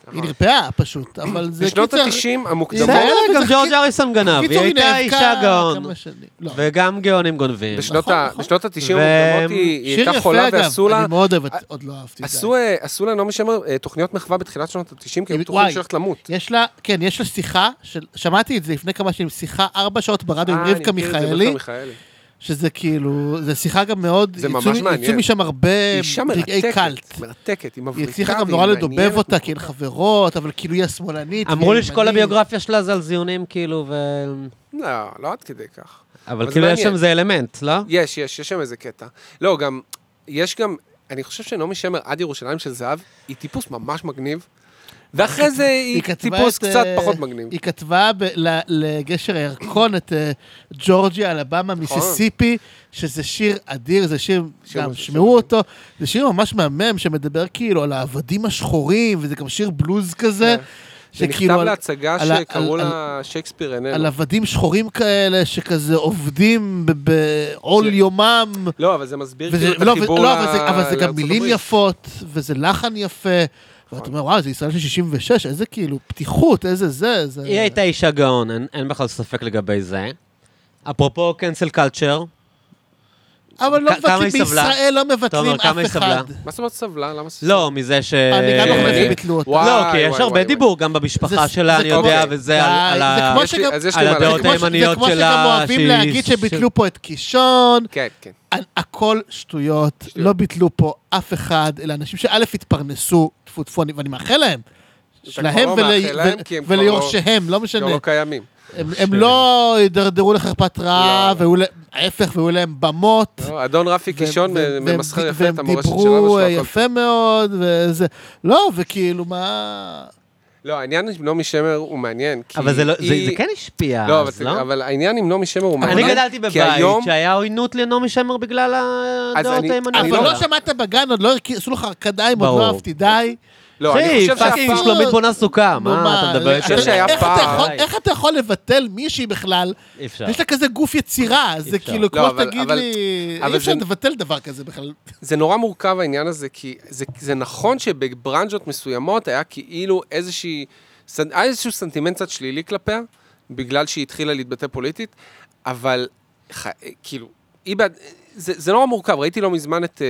S2: היא
S3: נכון.
S2: נרפאה פשוט, אבל זה
S3: בשנות
S2: קיצר-
S3: ה-90 המוקדמות...
S2: זה היה לה
S1: בסדר, גם
S2: וזה-
S1: ג'ורג' אריסון גנב, היא
S2: קיצור,
S1: הייתה
S2: נאבקה
S1: אישה גאון.
S2: כמה שנים. לא.
S1: וגם גאונים גונבים.
S3: בשנות
S2: נכון,
S3: ה-
S2: נכון.
S3: בשנות ה-90
S1: ו-
S3: המוקדמות היא היא
S2: שיר
S3: הייתה
S2: יפה
S3: חולה
S2: אגב,
S3: ועשו לה...
S2: אני מאוד אוהבת, עוד לא אהבתי את זה.
S3: עשו, אה, עשו לה נעמי שמר אה, תוכניות מחווה בתחילת שנות ה-90, כי הם
S2: היא-
S3: בטוחים
S2: וואי.
S3: שהיא הולכת למות.
S2: יש לה, כן, יש לה שיחה, של, שמעתי את זה לפני כמה שנים, שיחה ארבע שעות ברדיו עם
S3: אה, אני
S2: רבקה
S3: מכיר את זה,
S2: מיכאלי,
S3: רבקה מיכאלי.
S2: שזה כאילו, זו שיחה גם מאוד,
S3: זה
S2: יצאו
S3: ממש
S2: מ-
S3: מעניין.
S2: יצאו משם הרבה
S1: אמ,
S3: היא אישה
S2: רגעי קאלט.
S3: מרתקת, מרתקת, היא
S2: היא
S3: מבריקה.
S2: הצליחה גם
S3: והיא
S2: נורא לדובב
S3: מעניינת.
S2: אותה, כי הן חברות, אבל כאילו היא השמאלנית.
S1: אמרו
S2: והיא
S1: לי שכל
S2: הימנית.
S1: הביוגרפיה שלה זה על זיונים, כאילו, ו...
S3: לא, לא עד כדי כך.
S1: אבל
S3: זה
S1: כאילו יש שם
S3: מעניין.
S1: איזה אלמנט, לא?
S2: אה.
S3: יש, יש, יש שם איזה קטע. לא, גם, יש גם, אני חושב שנעמי שמר עד ירושלים של זהב, היא טיפוס ממש מגניב, ואחרי זה היא
S2: כתבה
S3: טיפוס
S2: את,
S3: קצת
S2: אה,
S3: פחות מגניב.
S2: היא כתבה ב- ל- לגשר הירקון את אה, ג'ורג'יה, אלבמה, מיסיסיפי, שזה שיר אדיר, זה שיר,
S3: נכון. שיר
S2: גם
S3: מש-
S2: שמעו
S3: שיר
S2: אותו, זה שיר ממש מהמם שמדבר כאילו על העבדים השחורים, וזה גם שיר בלוז כזה,
S3: כן. זה
S2: שכאילו
S3: נכתב
S2: על-
S3: להצגה
S2: על ה-
S3: שקראו
S2: על-
S3: לה שייקספיר
S2: על
S3: איננו.
S2: עבדים שחורים כאלה, שכזה עובדים ב- בעול
S3: זה-
S2: יומם.
S3: לא, אבל זה מסביר
S2: וזה-
S3: כאילו את
S2: לא,
S3: החיבור
S2: וזה- לא,
S3: ל-
S2: אבל זה- אבל זה גם
S3: לארצות
S2: מילים
S3: הברית. נכון.
S2: יפות, וזה לחן יפה. ואתה אומר, וואו, זה ישראל של 66, איזה כאילו פתיחות, איזה זה, זה...
S1: היא הייתה אישה גאון, אין- אין בכלל ספק לגבי זה. אפרופו קנסל קלצ'ר,
S2: אבל לא
S1: כ- כמה
S2: מבטלים,
S1: היא סבלה?
S2: בישראל לא מבטלים
S1: תומר, כמה היא
S2: אף
S1: סבלה?
S2: אחד.
S3: מה זאת אומרת סבלה? למה סבלה?
S1: לא, מזה ש...
S2: אני גם לא חושבת
S3: אה,
S2: שביטלו אותה.
S3: וואי,
S1: לא, כי יש
S3: וואי,
S1: הרבה
S3: וואי,
S1: דיבור גם במשפחה
S2: זה-
S1: שלה,
S2: זה
S1: אני
S3: כמו-
S1: יודע,
S3: אוקיי.
S1: וזה על-
S2: די,
S1: על
S2: זה
S1: ה...
S2: כמו
S3: יש לי-
S2: שגם-
S3: אז יש לי
S1: על
S3: מה
S1: הדעות
S2: זה כמו ש-
S3: להגיד.
S1: הימניות
S2: זה כמו שגם
S1: שלה,
S2: אוהבים
S1: שהיא-
S2: להגיד שביטלו פה את קישון,
S3: כן, כן.
S2: ה- הכל שטויות, לא ביטלו פה אף אחד, אלא אנשים שא' התפרנסו, טפו טפו, אני- ואני מאחל להם.
S3: כבר
S2: להם
S3: לא
S2: ול-
S3: מאחל להם, כי הם
S2: ו-
S3: כבר לא-
S2: וליורשיהם, לא
S3: כבר
S2: משנה.
S3: לא קיימים.
S2: הם- הם לא יידרדרו לחרפת רעב,
S3: לא.
S2: והיו להם- ההפך, והיו להם במות.
S3: לא, אדון רפי
S2: והם-
S3: קישון
S2: והם- והם-
S3: ממסחר יפה
S2: והם
S3: את המורשת של אבא שלו.
S2: דיברו אה,
S3: הכל
S2: יפה מאוד, וזה... לא, וכאילו, מה...
S3: לא, העניין עם נעמי שמר הוא מעניין. כי
S1: אבל זה לא- זה-
S3: היא-
S1: זה כן השפיע,
S3: לא, אבל
S1: אז
S3: זה-
S1: לא?
S3: אבל העניין עם נעמי שמר הוא
S2: אבל
S3: מעניין.
S1: אני גדלתי
S3: כי היום-
S1: בבית שהיה עוינות לנעמי שמר בגלל
S3: אז
S1: הדעות
S3: אני-
S1: הימניות.
S3: אני
S2: אבל
S3: לא-
S2: לא שמעת בגן, עוד לא הרק- עשו לך הרקדיים, עוד
S1: ברור.
S2: לא אהבתי די.
S3: לא, אני
S1: אחי,
S3: חושב
S1: פאקינג
S3: שהפעם...
S2: שהפער-
S1: שלומית בונה סוכה,
S2: נו,
S1: אה, מה אתה מדבר
S3: אני חושב
S1: איתי?
S3: שהיה
S2: איך אתה
S3: פער.
S2: יכול- איך אתה יכול לבטל מישהי בכלל?
S1: אי אפשר.
S2: יש לה כזה גוף יצירה, זה
S1: כן. אפשר.
S2: כאילו,
S3: לא,
S2: כמו
S3: אבל-
S2: שתגיד
S3: אבל-
S2: לי,
S3: אבל
S2: אי אפשר
S3: זה-
S2: לבטל דבר כזה בכלל.
S3: זה נורא מורכב העניין הזה, כי זה, זה נכון שבברנז'ות מסוימות היה כאילו איזושהי, סנ- היה איזשהו סנטימנט קצת שלילי כלפיה, בגלל שהיא התחילה להתבטא פוליטית, אבל ח, כאילו, היא בעד, זה, זה נורא מורכב, ראיתי לא מזמן את, אה,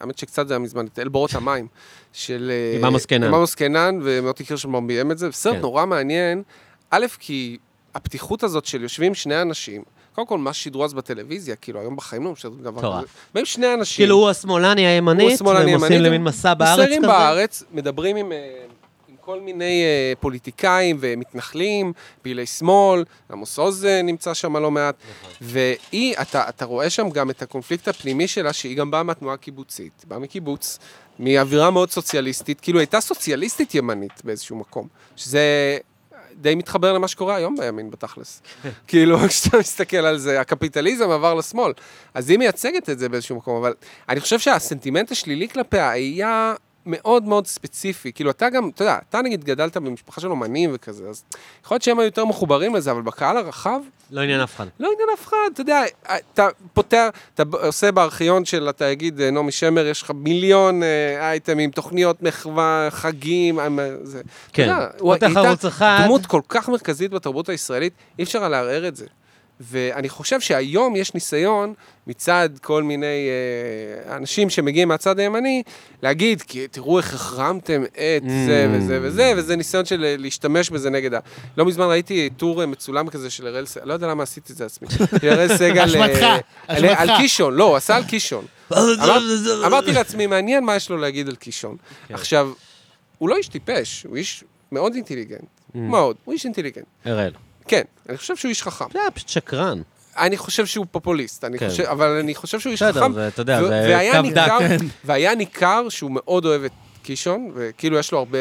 S3: האמת שקצת זה היה מזמן, את אל בורות המים, של... אה,
S1: עם עמוס קינן.
S3: עמוס קינן, ומוטי קירשנבאום ביים את זה, סרט
S1: כן.
S3: כן. נורא מעניין, א', כי הפתיחות הזאת של יושבים שני אנשים, קודם כל, מה ששידרו אז בטלוויזיה, כאילו, היום בחיים לא משדרים דבר
S1: מטורף.
S3: כזה. באים שני אנשים.
S1: כאילו הוא השמאלני כאילו, הימנית,
S3: הוא השמאלני
S1: והם
S3: ימנית,
S1: עושים למין מסע בארץ
S3: מסיירים
S1: כזה.
S3: בארץ, מדברים עם, אה, עם כל כל מיני אה, פוליטיקאים ומתנחלים, פעילי שמאל, עמוס עוז אה, נמצא שם לא מעט, והיא, אתה, אתה רואה שם גם את הקונפליקט הפנימי שלה, שהיא גם באה מהתנועה הקיבוצית, באה מקיבוץ, מאווירה מאוד סוציאליסטית, כאילו הייתה סוציאליסטית ימנית באיזשהו מקום, שזה די מתחבר למה שקורה היום בימין בתכלס. כאילו, כשאתה מסתכל על זה, הקפיטליזם עבר לשמאל. אז היא מייצגת את זה באיזשהו מקום, אבל אני חושב שהסנטימנט השלילי כלפיה היה מאוד מאוד ספציפי. כאילו, אתה גם, אתה יודע, אתה נגיד גדלת במשפחה של אומנים וכזה, אז יכול להיות שהם היו יותר מחוברים לזה, אבל בקהל הרחב,
S1: לא עניין אף אחד.
S3: לא עניין אף אחד, אתה יודע, אתה פותח, אתה ב- עושה בארכיון של התאגיד אה, נעמי שמר, יש לך מיליון אה, אייטמים, תוכניות מחווה, חגים, אה, מה- זה. אתה
S1: כן.
S3: יודע,
S1: הוא
S3: היא
S1: פותח
S3: הייתה
S1: ערוץ אחד.
S3: דמות כל כך מרכזית בתרבות הישראלית, אי אפשר היה לערער את זה. ואני חושב שהיום יש ניסיון מצד כל מיני אה, אנשים שמגיעים מהצד הימני, להגיד, כי תראו איך החרמתם את זה
S1: Mm.
S3: וזה וזה, וזה ניסיון של אה, להשתמש בזה נגד ה... לא מזמן ראיתי טור אה, מצולם כזה של אראל סגל, לא יודע למה עשיתי את זה עצמי. של אראל סגל... אה,
S2: אשמתך,
S3: על- על
S2: אשמתך.
S3: קישון, לא, הוא עשה על קישון. אמר- אמרתי לעצמי, מעניין מה יש לו להגיד על קישון. עכשיו, הוא לא איש טיפש, הוא איש מאוד אינטליגנט.
S1: Mm.
S3: מאוד, הוא איש אינטליגנט.
S1: אראל.
S3: כן, אני חושב שהוא איש חכם.
S1: זה היה פשוט שקרן.
S3: אני חושב שהוא פופוליסט, אני
S1: כן.
S3: חושב, אבל אני חושב שהוא איש
S1: בסדר,
S3: חכם.
S1: זה- אתה יודע,
S3: ו-
S1: זה
S3: והיה
S1: קו
S3: ניכר-
S1: דק. כן.
S3: והיה ניכר שהוא מאוד אוהב את קישון, וכאילו יש לו הרבה...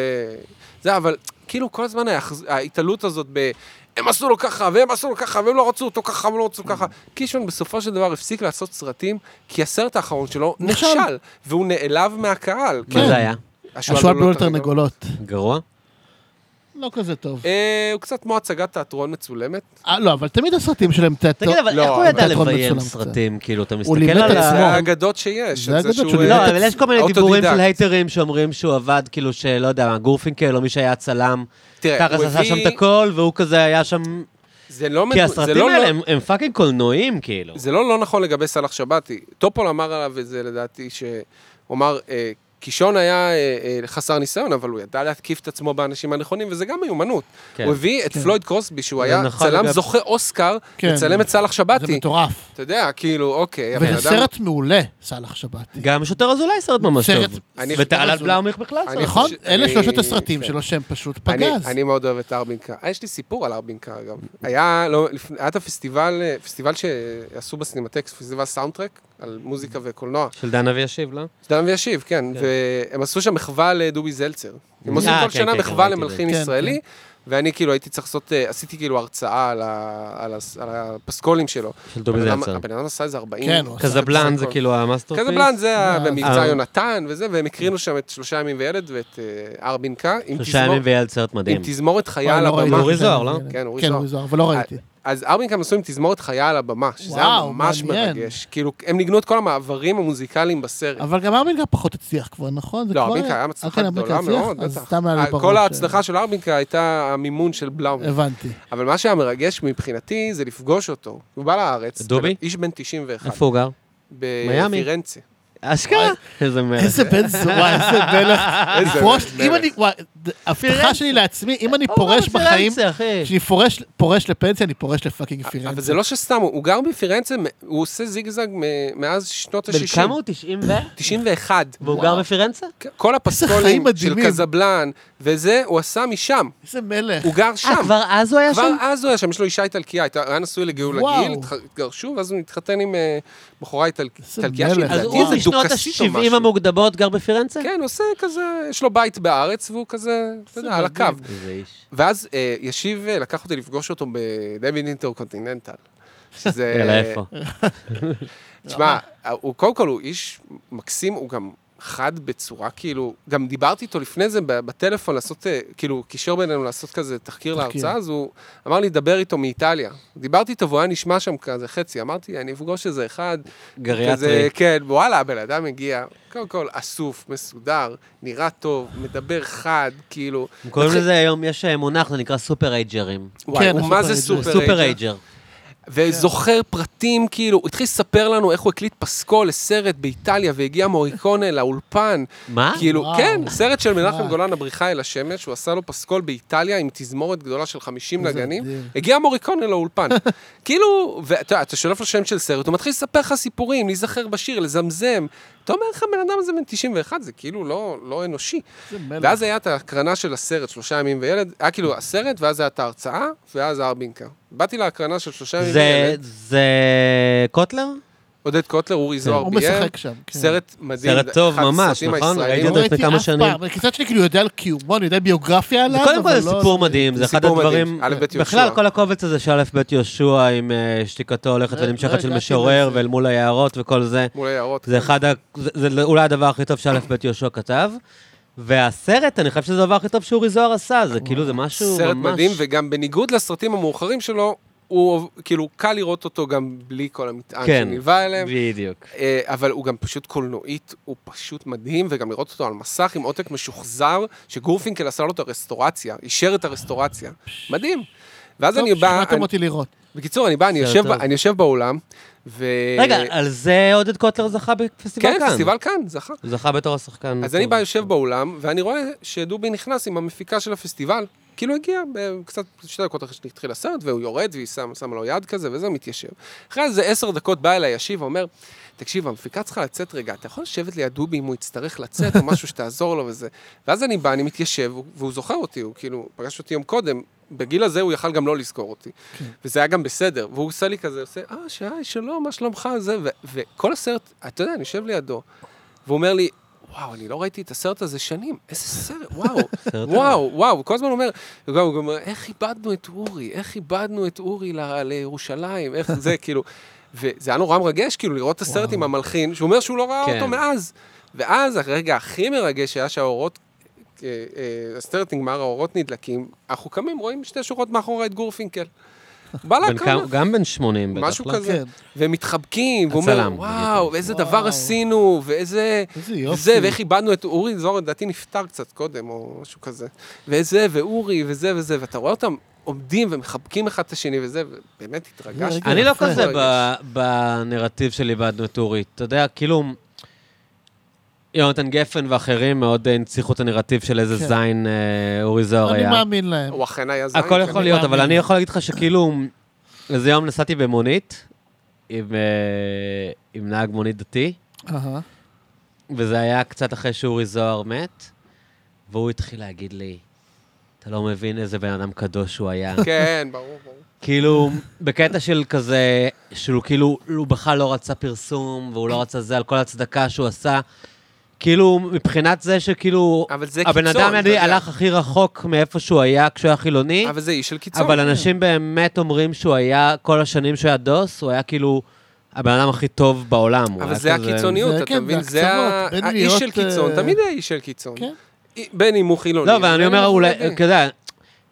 S3: זה, אבל כאילו כל הזמן ההאחז- ההתעלות הזאת ב... הם עשו לו ככה, והם עשו לו ככה, והם לא רצו אותו ככה, והם לא רצו ככה. קישון בסופו של דבר הפסיק לעשות סרטים, כי הסרט האחרון שלו
S2: נכשל.
S3: נכשל, והוא נעלב מהקהל. כן.
S1: מה זה היה?
S3: לא
S2: השועל בלול תרנגולות.
S1: גרוע?
S2: לא כזה טוב.
S3: אה, הוא קצת כמו הצגת תיאטרון מצולמת.
S2: אה, לא, אבל תמיד הסרטים שלהם תיאטרון.
S1: תגיד, אבל
S3: לא,
S1: איך הוא ידע
S2: תיאטרון
S1: לביים
S2: מצולם
S1: סרטים? כאילו, אתה מסתכל
S2: לימד
S1: על
S2: את
S1: ה...
S2: עצמו.
S3: זה האגדות שיש.
S2: זה
S3: את
S2: האגדות
S3: שהוא- אה,
S2: שהוא
S1: לא,
S2: לימד את
S1: אבל יש כל מיני
S3: האוטודידקט.
S1: דיבורים של הייטרים שאומרים שהוא עבד, כאילו, שלא יודע, מה, גורפינקל או מי שהיה צלם,
S3: תראה,
S1: ככה
S3: כן, הוא
S1: עשה שם את
S3: הביא-
S1: הכל, והוא כזה היה שם...
S3: זה לא...
S1: כי
S3: מדו- זה
S1: הסרטים
S3: לא-
S1: האלה הם- הם פאקינג קולנועים, כאילו.
S3: זה לא לא נכון לגבי סאלח שבתי. טופול אמר עליו את זה לדעתי, שהוא אמר, אה, קישון היה אה, אה, חסר ניסיון, אבל הוא ידע להתקיף את עצמו באנשים הנכונים, וזה גם מיומנות.
S1: כן.
S3: הוא הביא את
S2: כן.
S3: פלויד קרוסבי, שהוא
S1: זה
S3: היה
S1: נכון
S3: צלם
S1: לגב-
S3: זוכה אוסקר,
S2: כן.
S3: לצלם את סאלח
S2: זה
S3: שבתי.
S2: מטורף.
S3: אתה יודע, כאילו, אוקיי, הבן
S2: וזה
S3: אדם-
S2: סרט מעולה, סאלח שבתי.
S1: גם שוטר אזולאי סרט ממש
S2: סרט-
S1: טוב.
S3: אני-
S1: וטלת
S2: אזולאי.
S1: בלאומיר בכלל
S3: אני-
S1: סרט.
S2: נכון?
S3: חושב-
S2: אלה
S3: אני-
S2: שלושת הסרטים
S3: כן.
S2: שלו שהם פשוט
S3: אני-
S2: פגז.
S3: אני מאוד אוהב את ארבינקה. אה, יש לי סיפור על ארבינקה, אגב. היה, לא, לפני- היה את הפסטיבל, אה, פסטיבל שעשו בסינמטק, פסטיבל סאונדטרק, על מוזיקה וקולנוע.
S1: של דן אבי ישיב, לא?
S3: דן וישיב, כן. והם עשו שם מחווה לדובי זלצר. הם עושים
S1: אה,
S3: כל
S1: כן,
S3: שנה
S1: כן,
S3: מחווה
S1: כן, ראיתי
S3: למלחין
S2: את זה. כן,
S3: ישראלי, ואני כאילו הייתי צריך לעשות, אה, עשיתי כאילו הרצאה על ה- על ה- על הפסקולים שלו.
S1: של דובי
S3: הבן אדם-
S1: זלצר.
S3: הבן אדם עשה איזה 40.
S2: כן, הוא עשה.
S1: קזבלן זה
S3: הכל.
S1: כאילו המאסטרפיס?
S3: קזבלן זה ה-
S2: אה,
S3: במבצע
S1: אה.
S3: יונתן וזה, והם הקרינו שם את שלושה ימים וילד ואת אה, ארבינקה, עם
S1: שלושה
S3: תזמור-
S1: ימים וילד סרט מדהים.
S3: עם תזמורת חיה
S2: וואי,
S3: על
S2: לא ראיתי
S3: הבמה.
S2: את
S1: אורי
S2: זה.
S1: זוהר, לא?
S3: כן, אורי
S2: כן,
S3: זוהר. אה,
S2: אורי זוהר, אבל לא ראיתי.
S3: אז ארבינקה עשו עם תזמורת חיה על הבמה, שזה היה
S2: וואו,
S3: ממש
S2: מעניין.
S3: מרגש. כאילו, הם ניגנו את כל המעברים המוזיקליים בסרט.
S2: אבל גם ארמינגה פחות הצליח כבר, נכון? זה
S3: אה. לא,
S2: כבר-
S3: ארבינקה היה
S2: אה,
S3: מצליחה
S2: כן, ארמינגה
S3: גדולה
S2: הצליח?
S3: מאוד,
S2: אז
S3: בטח.
S2: סתם היה לי בראש.
S3: כל
S2: אה,
S3: ההצלחה של ארבינקה הייתה המימון של בלאום.
S2: הבנתי.
S3: אבל מה שהיה מרגש מבחינתי זה לפגוש אותו. הוא בא לארץ.
S1: דובי?
S3: איש בן 91.
S1: איפה הוא גר? מיאמי.
S3: בפירנצה.
S1: אשכרה. איזה מלך.
S2: איזה בן זוג, וואי, איזה מלך.
S3: איזה
S2: לפרוש,
S3: מלך.
S2: אם אני, וואי, הבטחה שלי לעצמי,
S1: אוקיי.
S2: אם אני פורש בחיים, כשאני פורש- פורש לפנסיה, אני פורש לפאקינג פירנצה.
S3: אבל זה לא שסתם, הוא הוא גר בפירנצה, הוא עושה זיגזג מ- מאז שנות
S1: בן
S3: ה-60.
S1: כמה הוא? 90 ו?
S3: 91.
S1: והוא גר בפירנצה?
S3: כל הפסקולים
S2: חיים
S3: של
S2: מדהימים.
S3: קזבלן, וזה, הוא עשה משם.
S2: איזה מלך.
S3: הוא גר שם.
S1: אה, כבר אז הוא היה
S3: כבר
S1: שם?
S3: אז הוא היה שם, יש לו אישה איטלקיה, הייתה- היה נשוי לגאולה
S2: וואו.
S3: גיל, התח- התגרשו, ואז הוא התחתן עם אה, בחורה איטלק-
S2: איזה
S3: איטלקיה,
S2: מלך.
S1: אז
S2: לדעתי
S1: הוא
S3: שלדעתי איזה
S1: משנות
S3: דוכסית או
S1: ה-70
S3: משהו.
S1: המוקדמות גר בפירנצה?
S3: כן, הוא עושה כזה, יש לו בית בארץ, והוא כזה, אתה יודע, על הקו.
S2: מדהים.
S1: איזה איש.
S3: ואז אה, ישיב, אה, לקח אותי לפגוש אותו בדייוויד אינטרקונטיננטל. שזה...
S1: יאללה, איפה?
S3: תשמע, הוא קודם כל הוא איש מקסים, הוא גם חד בצורה כאילו, גם דיברתי איתו לפני זה ב- בטלפון לעשות, אה, כאילו, קישר בינינו לעשות כזה תחקיר
S2: תחקיר.
S3: להרצאה, אז הוא אמר לי, דבר איתו מאיטליה. דיברתי איתו והוא היה נשמע שם כזה חצי, אמרתי, אני אפגוש איזה אחד.
S1: גריאטרי.
S3: כזה, כן, וואלה, הבן אדם הגיע, קודם כל אסוף, מסודר, נראה טוב, מדבר חד, כאילו...
S1: הם קוראים לזה היום, יש אה, מונח, זה נקרא סופר אייג'רים.
S3: וואי,
S2: כן,
S3: הוא מה זה
S2: הסופר-אייג'ר.
S3: סופר
S1: סופר
S3: אייג'ר?
S1: אייג'ר.
S3: וזוכר פרטים, כאילו, הוא התחיל לספר לנו איך הוא הקליט פסקול לסרט באיטליה, והגיע מוריקונה לאולפן.
S1: מה?
S3: כאילו,
S2: אה, וואו. אה.
S3: כן, סרט של מנחם
S2: וואו.
S3: גולן, הבריחה אל השמש, הוא עשה לו פסקול באיטליה עם תזמורת גדולה של 50
S2: זה
S3: נגנים,
S2: מדהים.
S3: הגיע מוריקונה לאולפן. כאילו, ואתה יודע, אתה שולף לו שם של סרט, הוא מתחיל לספר לך סיפורים, להיזכר בשיר, לזמזם. אתה אומר לך, בן אדם הזה בן 91, זה כאילו לא- לא אנושי.
S2: זה מלך.
S3: ואז היה את ההקרנה של הסרט, שלושה ימים וילד, היה כאילו הסרט, ואז היה את ההרצאה, ואז הארבינקה. באתי להקרנה של שלושה ימים
S1: זה,
S3: וילד,
S1: זה קוטלר?
S3: עודד קוטלר, אורי זוהר
S2: הוא
S3: ביים,
S2: משחק שם. כן.
S3: סרט מדהים.
S1: כן. סרט טוב
S3: אחד
S1: ממש,
S3: הסרטים
S1: נכון?
S3: הישראלים.
S1: ראיתי אותו
S2: לא
S1: לפני
S2: ראיתי
S1: כמה
S2: אף
S1: שנים.
S2: פעם. בקיצור שלי כאילו יודע על קיומו, אני יודע ביוגרפיה
S1: זה
S2: עליו,
S1: קודם כל
S2: אבל
S1: זה
S2: לא-
S1: סיפור מדהים, זה אחד
S3: סיפור מדהים,
S1: הדברים...
S3: א' ב' יהושע.
S1: בכלל, כל הקובץ הזה של א' ב' יהושע עם אה, שתיקתו הולכת
S2: לא- לא
S1: ונמשכת של
S2: הגעתי
S1: משורר
S2: לזה.
S1: ואל מול היערות וכל זה.
S3: מול היערות.
S1: זה אחד ה... זה זה אולי הדבר הכי טוב שא' ב' יהושע כתב. והסרט, אני חושב שזה הדבר הכי טוב שאורי זוהר עשה, זה כאילו, זה משהו ממש...
S3: סרט מדהים, וגם בניגוד לסרטים המאוחרים שלו, הוא כאילו קל לראות אותו גם בלי כל המטען
S1: כן.
S3: שנלווה אליהם.
S1: בדיוק.
S3: אה, אבל הוא גם פשוט קולנועית, הוא פשוט מדהים, וגם לראות אותו על מסך עם עותק משוחזר, שגורפינקל עשה לו את הרסטורציה, אישר את הרסטורציה. מדהים. ואז
S2: טוב,
S3: אני בא,
S2: שכנעתם
S3: אני-
S2: לא, אותי לראות.
S3: בקיצור, אני בא, אני
S1: בסדר,
S3: יושב
S1: טוב.
S3: ב- אני יושב באולם, ו...
S1: רגע, על זה עודד קוטלר זכה בפסטיבל
S3: אה, כן,
S1: כאן.
S3: פסטיבל כאן, זכה.
S1: הוא זכה בתור השחקן.
S3: אז אני בא, יושב באולם, ואני רואה שדובי נכנס עם המפיקה של הפסטיבל. כאילו הגיע ב- קצת שתי דקות אחרי שהתחיל הסרט, והוא יורד, והיא שם- שמה לו יד כזה, וזה מתיישב. אחרי איזה עשר דקות בא אליי ישיב ואומר, תקשיב, המפיקה צריכה לצאת רגע, אתה יכול לשבת ליד דובי אם הוא יצטרך לצאת או משהו שתעזור לו וזה. ואז אני בא, אני מתיישב, והוא- והוא זוכר אותי, הוא כאילו, פגש אותי יום קודם, בגיל הזה הוא יכל גם לא לזכור אותי. וזה היה גם בסדר, והוא עושה לי כזה, עושה, אה, שי, שלום, מה שלומך, זה, ו- וכל הסרט, אתה יודע, אני יושב לידו, והוא אומר לי, וואו, אני לא ראיתי את הסרט הזה שנים, איזה סרט, וואו,
S1: סרט
S3: וואו, וואו, הוא כל הזמן אומר, הוא גם הוא גם אומר, איך איבדנו את אורי, איך איבדנו את אורי ל- לירושלים, איך זה, כאילו, וזה היה נורא מרגש, כאילו, לראות את הסרט עם המלחין, שהוא אומר שהוא לא ראה
S1: כן.
S3: אותו מאז. ואז הרגע הכי מרגש היה שהאורות, אה, אה, הסרט נגמר, האורות נדלקים, אנחנו קמים, רואים שתי שורות מאחורה את גורפינקל. בא
S1: בן
S3: להקרנה.
S1: כמה- גם בן 80 בטח.
S3: משהו
S1: לא?
S3: כזה.
S2: כן,
S3: והם מתחבקים, והוא אומר,
S1: הצלם,
S3: וואו, איזה
S2: וואו.
S3: דבר עשינו, ואיזה...
S2: איזה יופי.
S3: זה, ואיך איבדנו את אורי זוהר, לדעתי נפטר קצת קודם, או משהו כזה. ואיזה, ואורי, וזה וזה, ואתה רואה אותם עומדים ומחבקים אחד את השני וזה, ובאמת התרגשתי.
S2: רגע
S1: אני לא
S2: יפה.
S1: כזה
S3: רגש.
S1: ב- בנרטיב של איבדנו את אורי. אתה יודע, כאילו, יונתן גפן ואחרים מאוד אה, הנציחו את הנרטיב של איזה
S2: כן.
S1: זין אה, אורי זוהר
S2: אני
S1: היה.
S2: מאמין להם.
S3: הוא אכן היה זין.
S1: הכל
S3: כן.
S1: יכול להיות, אבל
S2: מאמין.
S1: אני יכול להגיד לך שכאילו, איזה יום נסעתי במונית עם אה, עם נהג מונית דתי,
S2: אהה.
S1: וזה היה קצת אחרי שאורי זוהר מת, והוא התחיל להגיד לי, אתה לא מבין איזה בן אדם קדוש הוא היה.
S3: כן, ברור, ברור.
S1: כאילו, בקטע של כזה, שהוא כאילו, הוא בכלל לא רצה פרסום, והוא לא רצה זה על כל הצדקה שהוא עשה. כאילו, מבחינת זה שכאילו,
S3: אבל זה
S1: הבן
S3: קיצון,
S1: אדם
S3: אתה
S1: ידי
S3: יודע.
S1: הלך הכי רחוק מאיפה שהוא היה כשהוא היה חילוני,
S3: אבל זה איש של קיצון.
S1: אבל אנשים באמת אומרים שהוא היה, כל השנים שהוא היה דוס, הוא היה כאילו הבן אדם הכי טוב בעולם. הוא
S3: אבל
S1: היה
S3: זה
S1: כזה-
S3: הקיצוניות,
S2: זה
S3: אתה
S2: כן,
S3: מבין?
S2: זה
S3: זה ה-
S2: הקצוות, בין
S3: האיש
S2: להיות,
S3: של קיצון,
S2: אה,
S3: תמיד היה איש של קיצון.
S2: כן.
S3: בין אם הוא חילוני.
S1: לא, אבל אני
S3: ובין אם
S1: אומר,
S3: הוא
S1: אולי, אוקיי.
S3: דתי.
S1: אתה יודע,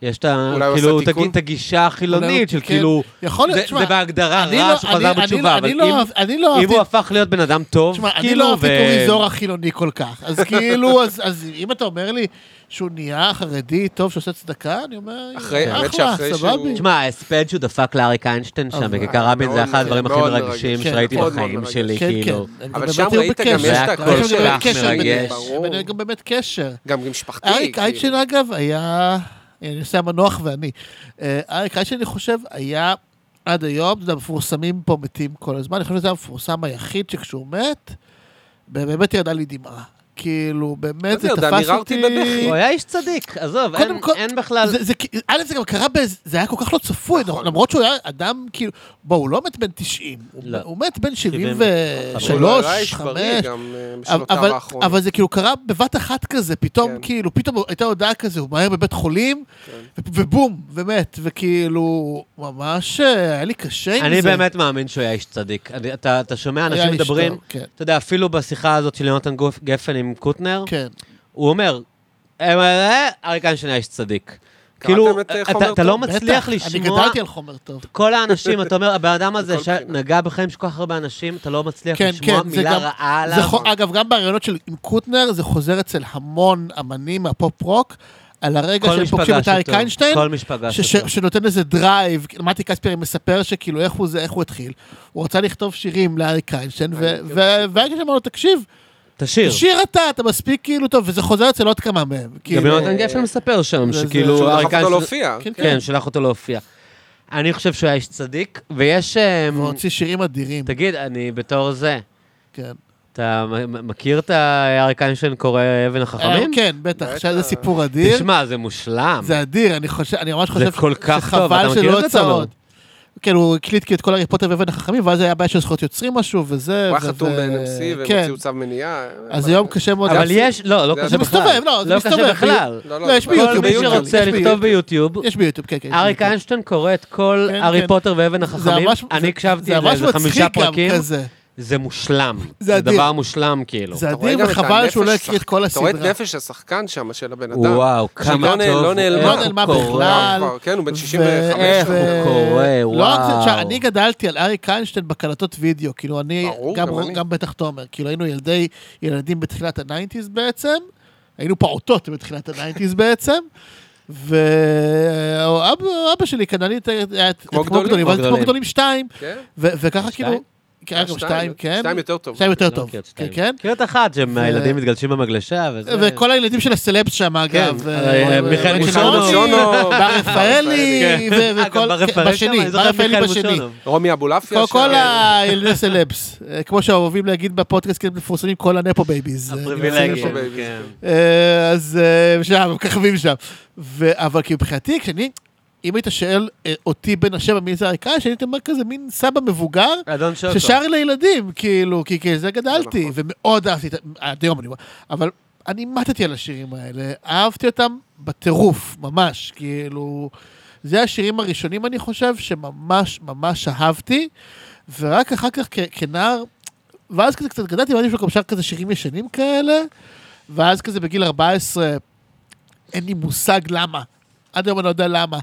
S1: יש את ה...
S3: אולי הוא
S1: כאילו,
S3: עשה תיקון?
S1: תגיד את הגישה החילונית של
S2: כן.
S1: כאילו...
S2: יכול להיות,
S1: זה-
S2: תשמע,
S1: זה בהגדרה
S2: אני
S1: רע
S2: לא-
S1: שחזר
S2: אני- אני-
S1: בתשובה,
S2: אני
S1: אבל
S2: לא
S1: אם-
S2: אהב- אני לא
S1: אם
S2: אהבתי
S1: הוא הפך להיות בן אדם טוב,
S2: תשמע, אני
S1: כאילו,
S2: לא אהבתי את
S1: ו-
S2: אורי זוהר החילוני כל כך. אז כאילו, אז- אז אם אתה אומר לי שהוא נהיה חרדי טוב שעושה צדקה, אני אומר,
S3: אחרי- האמת
S2: אחלה,
S3: שאחרי
S2: סבבי.
S3: שהוא-
S1: תשמע, ההספד שהוא דפק לאריק איינשטיין שם
S2: אבל-
S1: בכיכר רבין, זה
S3: אה, מאוד
S1: אחד הדברים הכי
S3: מאוד
S1: מרגשים
S3: מרגש.
S2: כן,
S1: שראיתי
S3: מאוד מאוד
S1: בחיים
S3: מרגש.
S1: שלי,
S2: כן, כן.
S1: כאילו.
S2: הם
S3: אבל
S2: גם
S3: שם
S2: באמת היו
S3: ראית גם,
S2: בקשר.
S1: יש את הקול
S2: היה שם
S1: שלך
S2: באמת קשר
S1: מרגש.
S2: ביניהם.
S3: ברור.
S2: היה גם באמת קשר.
S3: גם גם משפחתי.
S2: אריק
S3: כאילו.
S2: איינשטיין, אגב, היה... אני עושה המנוח ואני. אה, אריק איינשטיין, אני חושב, היה עד היום, אתה יודע, המפורסמים פה מתים כל הזמן, אני חושב שזה המפורסם היחיד שכשהוא מת, באמת ירדה לי דמעה. כאילו, באמת, זה
S3: לא יודע,
S2: תפס
S3: מיררתי
S2: אותי...
S3: בבכי.
S1: הוא היה איש צדיק, עזוב,
S2: כן. קודם
S1: אין-
S2: כל-
S1: אין בכלל...
S2: זה- זה כי- א', זה גם קרה, באיזה- זה היה כל כך לא צפוי,
S3: נכון.
S2: למרות שהוא היה אדם, כאילו, בוא, הוא לא מת בן 90, הוא-
S1: לא.
S2: הוא מת בן
S1: שלוש,
S3: אבל לא הוא היה
S2: 73,
S3: איש
S2: 5,
S3: בריא גם אה,
S2: אבל,
S3: בשנותיו האחרונות.
S2: אבל זה כאילו קרה בבת אחת כזה, פתאום
S3: כן.
S2: כן. כאילו, פתאום הייתה הודעה כזה, הוא מהר בבית חולים,
S3: כן.
S2: ו- ובום, ומת, וכאילו, ממש אה, היה לי קשה עם
S1: אני
S2: זה.
S1: באמת מאמין שהוא היה איש צדיק. אני- אתה אתה שומע
S2: היה
S1: אנשים
S2: לי
S1: מדברים,
S2: שטוב, כן,
S1: אתה יודע, אפילו בשיחה הזאת של יונתן גוף- גפן עם קוטנר,
S2: כן.
S1: הוא אומר, "אה, אה, אריק איינשטיין היה איש צדיק. כאילו,
S3: את, אה,
S1: אתה-
S3: חומר
S1: אתה לא
S3: טוב?
S1: מצליח
S2: בטח, אני
S1: לשמוע
S2: גדלתי על חומר טוב.
S1: כל האנשים, אתה אומר, הבן אדם הזה
S3: מכל בחינה.
S1: שנגע בחיים של כל כך הרבה אנשים, אתה לא מצליח
S2: כן,
S1: לשמוע
S2: כן, זה
S1: מילה
S2: גם-
S1: רעה
S2: זה
S1: עליו.
S2: חו- אגב, גם בראיונות של עם קוטנר, זה חוזר אצל המון אמנים מהפופ-רוק. על הרגע
S1: כל
S2: שהם
S1: מי
S2: פוגשים את
S1: שפגש
S2: אריק
S1: אותו,
S2: איינשטיין,
S1: כל מי שפגש
S2: ש- ש-
S1: אותו.
S2: שנותן איזה דרייב, כאילו, מתי קספרי מספר שכאילו איך הוא זה, איך הוא התחיל. הוא רצה לכתוב שירים לאריק איינשטיין, ו-
S3: אני כן
S2: ו- ואריק אמר לו, תקשיב,
S1: תשיר.
S2: שיר אתה, אתה מספיק כאילו טוב, וזה חוזר אצל עוד כמה מהם.
S1: גם
S2: כאילו,
S1: יונתן גפן מספר שם,
S2: זה- זה-
S1: שכאילו...
S2: שהוא
S1: אריק
S3: דחף אותו
S1: איינשטיין-
S3: לא להופיע.
S2: כן,
S1: כן, שלח אותו להופיע. אני חושב שהוא היה איש צדיק, ויש... אה,
S2: והוא הוציא שירים אדירים,
S1: תגיד, אני בתור זה,
S2: כן.
S1: אתה מ- מ- מכיר את האריק איינשטיין קורא אבן החכמים?
S2: אה, כן, בטח,
S3: בטח.
S2: עכשיו זה סיפור אדיר.
S1: תשמע, זה מושלם.
S2: זה אדיר, אני חושב, אני ממש חושב
S1: זה כל כך טוב, אתה מכיר את זה,
S2: שלא יצא
S1: תומר?
S2: עוד. כן, הוא הקליט כאילו את כל הארי פוטר ואבן החכמים, ואז היה בעיה של זכויות יוצרים משהו, וזה...
S3: הוא היה
S2: ו-
S3: חתום
S2: ו-
S3: ב-NMC, והם
S2: כן.
S3: הוציאו צו מניעה.
S2: אז זה יום קשה מאוד.
S1: אבל
S3: זה
S1: יש, לא, לא
S3: זה
S1: קשה
S3: זה
S1: בכלל.
S2: מסתובב, לא, זה
S1: לא קשה
S2: מסתובב.
S1: בכלל.
S3: לא,
S2: לא, יש
S3: אבל-
S1: כל מי
S2: ביוטיוב, ביוטיוב, יש
S1: שרוצה לכתוב
S2: ביוטיוב.
S1: ביוטיוב,
S2: יש ביוטיוב, כן, כן. יש
S1: אריק
S2: ביוטיוב.
S1: איינשטיין קורא את כל
S2: כן,
S1: הארי
S2: כן.
S1: פוטר ואבן החכמים.
S2: ממש- זה-
S1: אני הקשבתי
S2: זה ממש
S1: לאיזה חמישה
S2: מצחיק גם
S1: פרקים.
S2: כזה.
S1: זה מושלם. זה
S2: אדיר.
S1: דבר מושלם, כאילו.
S2: זה
S3: אתה רואה
S2: אדיר,
S3: גם את
S2: וחבל שהוא לא
S3: הנפש
S2: הקריא את
S3: השחק-
S2: כל הסדרה.
S3: אתה רואה את נפש השחקן שם, של הבן אדם.
S1: וואו, כמה
S3: שלא נ-
S1: טוב.
S3: לא נעלמה.
S1: איך
S2: לא נעלמה
S1: הוא קורא.
S2: בכלל.
S3: הוא כבר- כן, הוא בן
S2: ו-
S3: 65.
S1: איך הוא
S2: ו-
S1: קורא,
S2: לא רק זה,
S1: וואו.
S2: תשמע, אני גדלתי על אריק איינשטיין בקלטות וידאו, כאילו אני,
S3: ברור,
S2: גם
S3: גם
S2: רו-
S3: אני.
S2: גם בטח תומר, כאילו היינו ילדי, ילדים בתחילת הניינטיז בעצם, היינו פעוטות בתחילת הניינטיז בעצם, ואבא שלי קנה לי את ה- את-
S3: כמו
S2: את
S3: גדולים,
S2: גדולים,
S1: כמו
S2: אבל כמו
S1: גדולים.
S2: גדולים שתיים,
S3: כן?
S2: ו- וככה
S1: שתיים?
S2: כאילו, כן, גם שתיים, כן,
S3: אה, שתיים יותר טוב.
S2: שתיים יותר
S1: לא
S2: טוב,
S1: מכיר את
S2: כן,
S1: שתיים.
S2: כן,
S1: מכיר את אחת, שהילדים מתגלשים במגלשה וזה.
S2: וכל הילדים של הסלבס שם אגב,
S1: כן,
S2: ו-
S1: הרי,
S2: ו-
S1: מיכאל
S2: ו-
S1: מושונוב.
S3: מושונוב.
S2: בר רפאלי,
S1: כן.
S2: ו-
S1: אה,
S2: וכל, כן,
S1: גם ברפרל
S2: בשני,
S1: שם, אני
S2: בר
S1: זוכר את
S2: רפאלי
S1: מיכאל
S2: בשני.
S1: מושונוב.
S3: רומי אבולעפיה.
S2: כל- כל
S3: שם.
S2: הילדי סלבס, אה, כמו שאוהבים להגיד בפודקאסט, כן, מפורסמים כל הנפו בייביז. אה,
S1: הפריבילגים,
S3: נמצא פה,
S1: כן.
S2: אה, אז אה, שם, הם מככבים שם. ו- אבל כי מבחינתי, כשאני, אם היית שואל אה, אותי בן השבע מי זה הריקה, שהייתי אומר כזה מין סבא מבוגר,
S1: אדון שוקו.
S2: ששר לילדים, כאילו, כי כי זה גדלתי,
S3: נכון.
S2: ומאוד אהבתי את ה... עד היום אני אומר, אבל אני מתתי על השירים האלה, אהבתי אותם בטירוף, ממש, כאילו, זה השירים הראשונים, אני חושב, שממש ממש אהבתי, ורק אחר כך כ- כנער, ואז כזה קצת גדלתי, ואני גם שר כזה שירים ישנים כאלה, ואז כזה בגיל 14, אין לי מושג למה, עד היום אני לא יודע למה.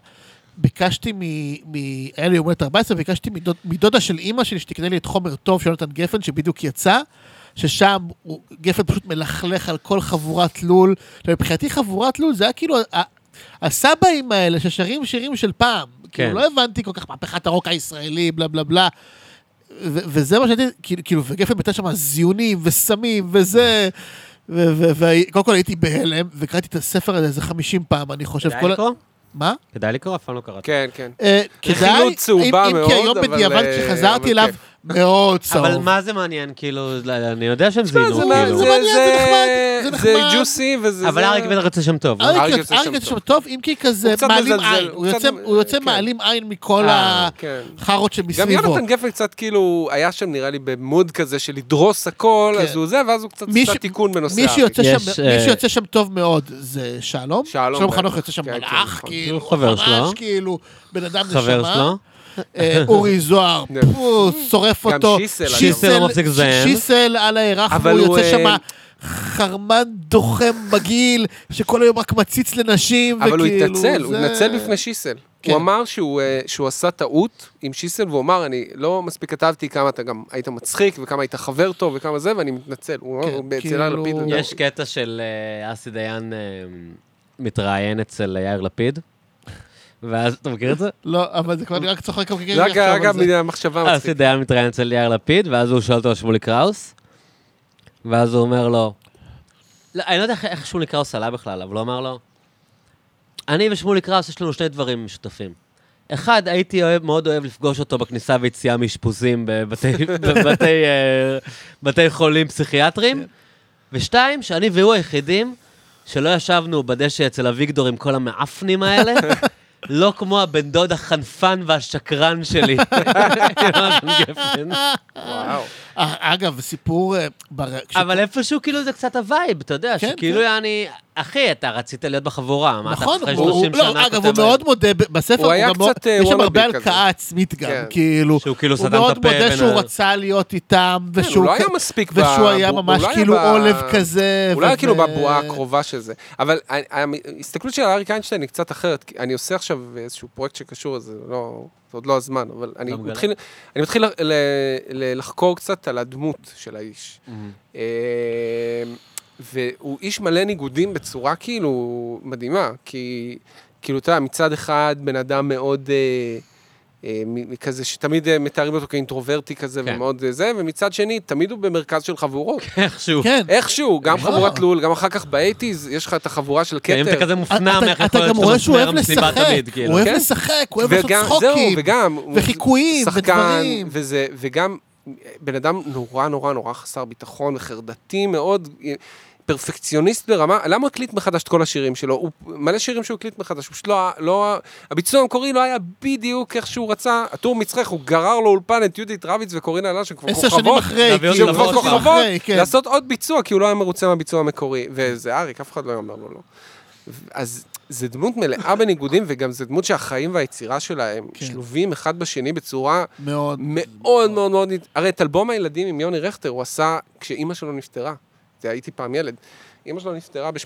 S2: ביקשתי מ... מ... היה לי יום הולדת 14, ביקשתי מדוד, מדודה של אימא שלי שתקנה לי את חומר טוב של יונתן גפן, שבדיוק יצא, ששם הוא, גפן פשוט מלכלך על כל חבורת לול. ומבחינתי חבורת לול זה היה כאילו ה- הסבאים האלה ששרים שירים של פעם.
S1: כן.
S2: כאילו לא הבנתי כל כך מהפכת הרוק הישראלי, בלה בלה בלה. ו- וזה מה שהייתי, כאילו, כאילו, וגפן ביטל שם זיונים וסמים וזה, וקודם כל הייתי בהלם, וקראתי את הספר הזה איזה 50 פעם, אני חושב.
S1: כדאי
S2: כל ה-
S1: לקרוא?
S2: מה?
S1: כדאי לקרוא, אף פעם לא קראתי.
S3: כן, כן.
S2: אה,
S3: רכילות
S2: כדאי,
S3: צהובה
S2: אם אם
S3: מאוד,
S2: כי היום
S3: אבל,
S2: בדיעבד
S3: אה, אבל כן.
S2: כשחזרתי אליו,
S3: כיף.
S2: מאוד צהוב.
S1: אבל מה זה מעניין, כאילו, אני יודע שהם
S3: זה
S1: זינו,
S3: מה-
S1: כאילו.
S3: זה-
S2: מעניין, כן. זה
S3: זה-
S2: נחמד, זה אה,
S3: זה
S2: נחמד.
S3: ג'וסי וזה...
S1: אבל
S3: זה-
S1: אריק בטח יוצא שם טוב. לא?
S3: אריק
S2: אריק
S3: יוצא
S2: יוצא- אריק
S3: שם
S2: יוצא שם
S3: טוב.
S2: טוב, אם כי
S3: הוא
S2: כזה
S3: קצת
S2: מעלים
S3: מזלזל,
S2: עין,
S3: הוא
S2: הוא
S3: קצת-
S2: יוצא- הוא יוצא
S3: כן.
S2: מעלים עין מכל
S1: אה,
S3: כן.
S2: החארות
S3: גם
S2: שמסביבו.
S3: יונתן גפן קצת כאילו, היה שם נראה לי במוד כזה של לדרוס הכל,
S2: כן.
S3: אז הוא זה, ואז הוא קצת
S2: מי
S3: עשה
S2: ש-
S3: תיקון בנושא
S2: מי
S3: אריק.
S2: שיוצא
S1: יש,
S2: שם-
S1: אה,
S2: מי שיוצא שם טוב מאוד זה
S3: שלום,
S2: שלום. שלום
S3: בטח.
S2: חנוך יוצא שם
S3: כן, כן,
S2: מלאך,
S3: נכון.
S2: כאילו,
S1: הוא חבר שלו.
S2: ממש כאילו, בן אדם נשמה.
S1: חבר שלו.
S2: אה, אורי זוהר,
S3: כן.
S2: הוא שורף
S3: גם
S2: אותו.
S3: שיסל, אגב.
S1: שיסל לא מפסיק לזיין.
S2: שיסל על הירח,
S3: אבל
S2: והוא
S3: הוא,
S2: יוצא
S3: אה,
S2: שם חרמן דוחם מגעיל, שכל היום רק מציץ לנשים,
S3: אבל הוא
S2: וכאילו,
S3: התנצל, הוא
S2: זה-
S3: התנצל בפני שיסל.
S2: כן.
S3: הוא אמר שהוא, אה, שהוא עשה טעות עם שיסל, והוא אמר, אני לא מספיק כתבתי כמה אתה גם היית מצחיק, וכמה היית חבר טוב, וכמה זה, ואני מתנצל. הוא
S2: כן,
S3: אמר, אצל
S2: כאילו-
S3: יאיר לפיד. לדעתי.
S1: יש קטע של אה, אסי דיין אה, מתראיין אצל יאיר לפיד, ואז, אתה מכיר את זה?
S2: לא, אבל זה כבר נראה צוחק גם ככה.
S3: רק אגב, מהמחשבה
S1: אסי
S3: מצחיקה.
S1: דיין מתראיין אצל יאיר לפיד, ואז הוא שואל אותו על שמולי קראוס, ואז הוא אומר לו, לא, אני לא יודע איך- איך שמולי קראוס עלה בכלל, אבל הוא אמר לו, אני ושמולי קראוס יש לנו שני דברים משותפים. אחד, הייתי אוהב, מאוד אוהב לפגוש אותו בכניסה ויציאה מאשפוזים בבתי, בבתי אה, בתי חולים פסיכיאטריים, ושתיים, שאני והוא היחידים שלא ישבנו בדשא אצל אביגדור עם כל המעפנים האלה, לא כמו הבן דוד החנפן והשקרן שלי.
S2: לא
S1: יונתן גפן.
S3: וואו.
S2: אגב, סיפור... אה, בר- כש-
S1: אבל איפשהו כאילו זה קצת הווייב, אתה יודע,
S2: כן,
S1: שכאילו
S2: כן.
S1: יעני, אחי, אתה רצית להיות בחבורה, מה אתה
S2: נכון,
S1: אחרי
S2: הוא-
S1: 30 שנה
S2: לא, אגב, הוא
S1: כותב על-
S2: מאוד מודה, ב- בספר
S3: הוא היה
S2: גם מאוד-
S3: קצת, אה,
S2: יש שם
S3: wannabe
S2: הרבה
S3: כזה.
S2: הלקאה עצמית גם,
S3: כן.
S2: כאילו.
S1: שהוא כאילו
S2: הוא
S1: סתם את
S2: מאוד
S1: הפה
S2: מודה
S1: בין
S2: שהוא
S1: ה-
S2: רצה להיות איתם,
S3: כן, הוא
S2: ושהוא
S3: לא היה
S2: כ-
S3: מספיק ב...
S2: ושהוא היה
S3: הוא- הוא
S2: ממש
S3: לא היה
S2: כאילו
S3: ב-
S2: עולב כזה.
S3: הוא לא היה
S2: וזה-
S3: כאילו בבועה הקרובה של זה. אבל ה- ה- ההסתכלות של אריק איינשטיין היא קצת אחרת. כי אני עושה עכשיו איזשהו פרויקט שקשור לזה, לא... זה עוד לא הזמן, אבל אני
S1: לא מגלה.
S3: מתחיל, אני מתחיל ל- ל- ל- לחקור קצת על הדמות של האיש. אה, אמ, והוא איש מלא ניגודים בצורה כאילו מדהימה, כי כאילו, אתה יודע, מצד אחד בן אדם מאוד אה, אה, מ- כזה, שתמיד אה, מתארים אותו כאינטרוברטי כזה,
S1: כן.
S3: ומאוד אה, זה, ומצד שני, תמיד הוא במרכז של חבורות.
S1: איכשהו.
S2: כן.
S3: איכשהו, גם
S2: לא.
S3: חבורת לול, גם אחר כך באייטיז, יש לך את החבורה של
S1: כן, אם אתה
S3: כתר.
S1: כזה מופנם, איך
S2: אתה- אתה
S1: יכול להיות
S2: גם
S1: שאתה
S2: רואה שהוא
S1: מסמר
S2: אוהב
S1: מסיבה
S2: לשחק,
S1: תמיד,
S2: הוא
S1: כאילו.
S2: אוהב
S3: כן.
S2: לשחק, הוא אוהב לעשות צחוקים.
S3: זהו, וגם... הוא
S2: וחיקויים,
S3: שחקן,
S2: ודברים.
S3: וזה, וגם בן אדם נורא נורא נורא חסר ביטחון, חרדתי מאוד, אה, פרפקציוניסט ברמה, למה הוא הקליט מחדש את כל השירים שלו? הוא, מלא שירים שהוא הקליט מחדש, הוא פשוט לא, ה- לא... ה- הביצוע המקורי לא היה בדיוק איך שהוא רצה. הטור מצחך, הוא גרר לו אולפן את יהודית רביץ וקורינה לאן, שהם כבר
S2: עשר
S3: כוכבות.
S2: שנים אחרי,
S1: להביא
S2: כאילו,
S1: אותם לבוא
S3: שהם
S2: עשר שנים
S1: כוכבות,
S3: כוכבות,
S2: אחרי, כן.
S3: לעשות עוד ביצוע, כי הוא לא היה מרוצה מהביצוע המקורי. וזה אריק, אף אחד לא היה אומר לו לא. אז זו דמות מלאה בניגודים, וגם זו דמות שהחיים והיצירה שלה הם
S2: כן.
S3: שלובים אחד בשני בצורה
S2: מאוד.
S3: מאוד מאוד מאוד... נת- הרי את אלבום הילדים עם יוני רכטר הוא עשה כשאימא שלו נפטרה. זה הייתי פעם ילד. אימא שלו נפטרה ב-89,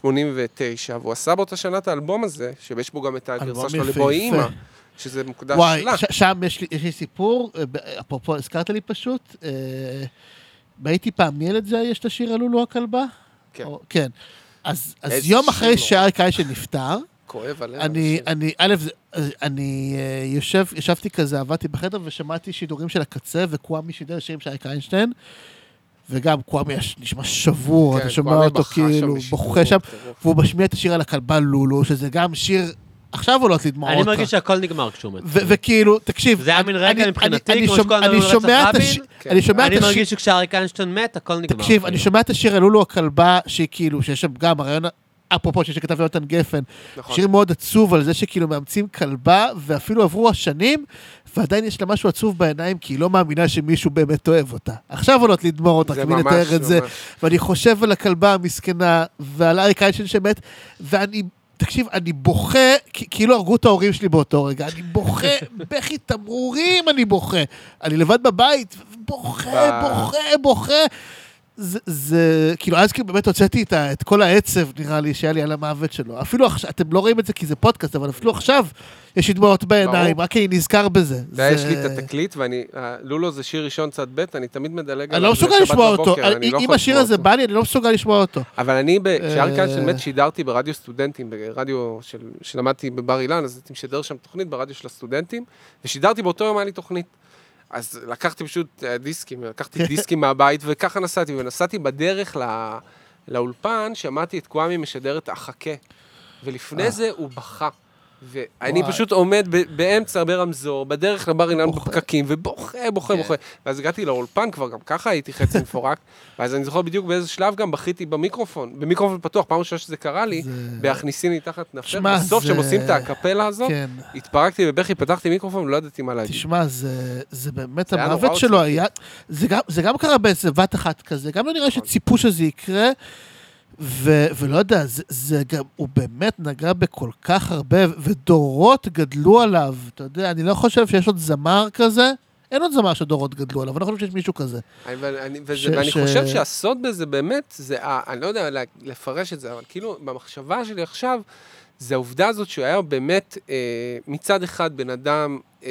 S3: והוא עשה באותה שנה את האלבום הזה, שיש בו גם את
S2: אלבום
S3: הגרסה שלו
S2: יפהפה.
S3: לבואי אימא, שזה מוקדש
S2: וואי,
S3: שלה.
S2: ש- שם יש לי- יש לי סיפור, אה, ב- אפרופו, הזכרת לי פשוט, אה, הייתי פעם ילד זה, יש את השיר "עלולו הכלבה"?
S3: כן.
S2: או- כן. לא. אז אז
S3: איזה
S2: יום
S3: שיר
S2: אחרי
S3: נורא.
S2: שאריק איישן נפטר,
S3: כואב עליה.
S2: אני,
S3: השיר.
S2: אני, א', זה- אני אה, יושב, ישבתי כזה, עבדתי בחדר ושמעתי שידורים של הקצה, וקוואמי שידר שירים של אייק איינשטיין, וגם קוואמי יש- נשמע שבור,
S3: כן,
S2: אתה שומע
S3: כואמי
S2: אותו
S3: בכה שם
S2: כאילו
S3: בשידור
S2: בוכה שם,
S3: טירוף.
S2: והוא משמיע את השיר על הכלבה לולו, שזה גם שיר, עכשיו לא עולות לי דמעות.
S1: אני מרגיש שהכל נגמר כשהוא מת.
S2: ו- וכאילו, תקשיב,
S1: זה היה
S2: אני-
S1: מין רגע
S2: אני-
S1: מבחינתי,
S2: אני- אני
S1: כמו שכל
S2: שומע-
S1: הזמן
S2: אני
S1: אומרים
S2: שומע
S1: רצח
S2: את הש-
S1: רבין.
S3: כן.
S2: אני שומע את
S1: אני
S2: השיר,
S1: מרגיש שכשאריק איינשטיין מת, הכל נגמר.
S2: תקשיב, אני שומע את השיר על לולו הכלבה, שהיא כאילו, שיש שם גם הרעיון, אפרופו שיש שכתב יונתן גפן,
S3: נכון.
S2: שיר מאוד עצוב על זה שכאילו מאמצים כלבה, ואפילו עברו השנים, ועדיין יש לה משהו עצוב בעיניים, כי היא לא מאמינה שמישהו באמת אוהב אותה. עכשיו עולות לי דמעות, רק
S3: זה
S2: מי
S3: ממש,
S2: לתאר את זה.
S3: ממש.
S2: ואני חושב על הכלבה המסכנה, ועל אריק איינשטיין שמת, ואני, תקשיב, אני בוכה, כ- כאילו הרגו את ההורים שלי באותו רגע. אני בוכה, בכי תמרורים אני בוכה. אני לבד בבית, בוכה,
S3: וואו.
S2: בוכה, בוכה. זה, זה, כאילו, אז כאילו באמת הוצאתי את, ה- את כל העצב, נראה לי, שהיה לי על המוות שלו. אפילו עכשיו, אתם לא רואים את זה כי זה פודקאסט, אבל אפילו עכשיו יש לי דמעות בעיניים,
S3: ברור.
S2: רק כי אני נזכר בזה.
S3: אתה יודע,
S2: זה-
S3: יש לי את התקליט, ואני... ה- לולו זה שיר ראשון צד ב', אני תמיד מדלג
S2: אני לא
S3: זה
S2: מסוגל
S3: שבת
S2: לשמוע
S3: בבוקר,
S2: אותו.
S3: אני
S2: אני-
S3: לא
S2: אם
S3: יכול
S2: השיר
S3: לשמוע
S2: הזה
S3: אותו.
S2: בא לי, אני לא מסוגל לשמוע אותו.
S3: אבל אני, ב- כשאריק
S2: אה,
S3: איינשטיין מת, שידרתי ברדיו סטודנטים, ברדיו של- שלמדתי בבר אילן, אז הייתי משדר שם תוכנית ברדיו של הסטודנטים, ושידרתי באותו יום, היה לי תוכנית. אז לקחתי פשוט אה, דיסקים, לקחתי דיסקים מהבית, וככה נסעתי, ונסעתי בדרך ל- לאולפן, שמעתי את קוואמי משדר את החכה, ולפני זה הוא בכה. ואני
S2: אה. וואי.
S3: פשוט עומד ב- באמצע ברמזור, בדרך לבר אילן
S2: בוכה.
S3: בפקקים, ובוכה, בוכה,
S1: כן.
S3: בוכה. ואז הגעתי לאולפן, כבר גם ככה הייתי חצי מפורק, ואז אני זוכר בדיוק באיזה שלב גם בכיתי במיקרופון, במיקרופון פתוח, פעם ראשונה שזה קרה לי,
S2: זה-
S3: בהכניסיני תחת נפשך.
S2: שמע,
S3: בסוף,
S2: זה-
S3: כשהם עושים את הקפלה הזאת,
S2: כן.
S3: התפרקתי בבכי, פתחתי מיקרופון, לא ידעתי מה להגיד.
S2: תשמע, זה, זה באמת,
S3: זה היה
S2: המוות
S3: נורא
S2: שלו
S3: עוצמתי.
S2: היה... זה גם, זה גם קרה באיזה בת אחת כזה, גם לא נראה
S3: נכון.
S2: שציפו שזה יקרה, ו, ולא יודע, זה, זה גם, הוא באמת נגע בכל כך הרבה, ודורות גדלו עליו, אתה יודע, אני לא חושב שיש עוד זמר כזה, אין עוד זמר שדורות גדלו עליו, אני לא חושב שיש מישהו כזה.
S3: אני- ואני- וזה-
S2: ש-
S3: ואני
S2: ש-
S3: חושב שהסוד בזה באמת, זה, ה- אני לא יודע לה- לפרש את זה, אבל כאילו, במחשבה שלי עכשיו, זה העובדה הזאת שהוא היה באמת, אה, מצד אחד, בן אדם, אה,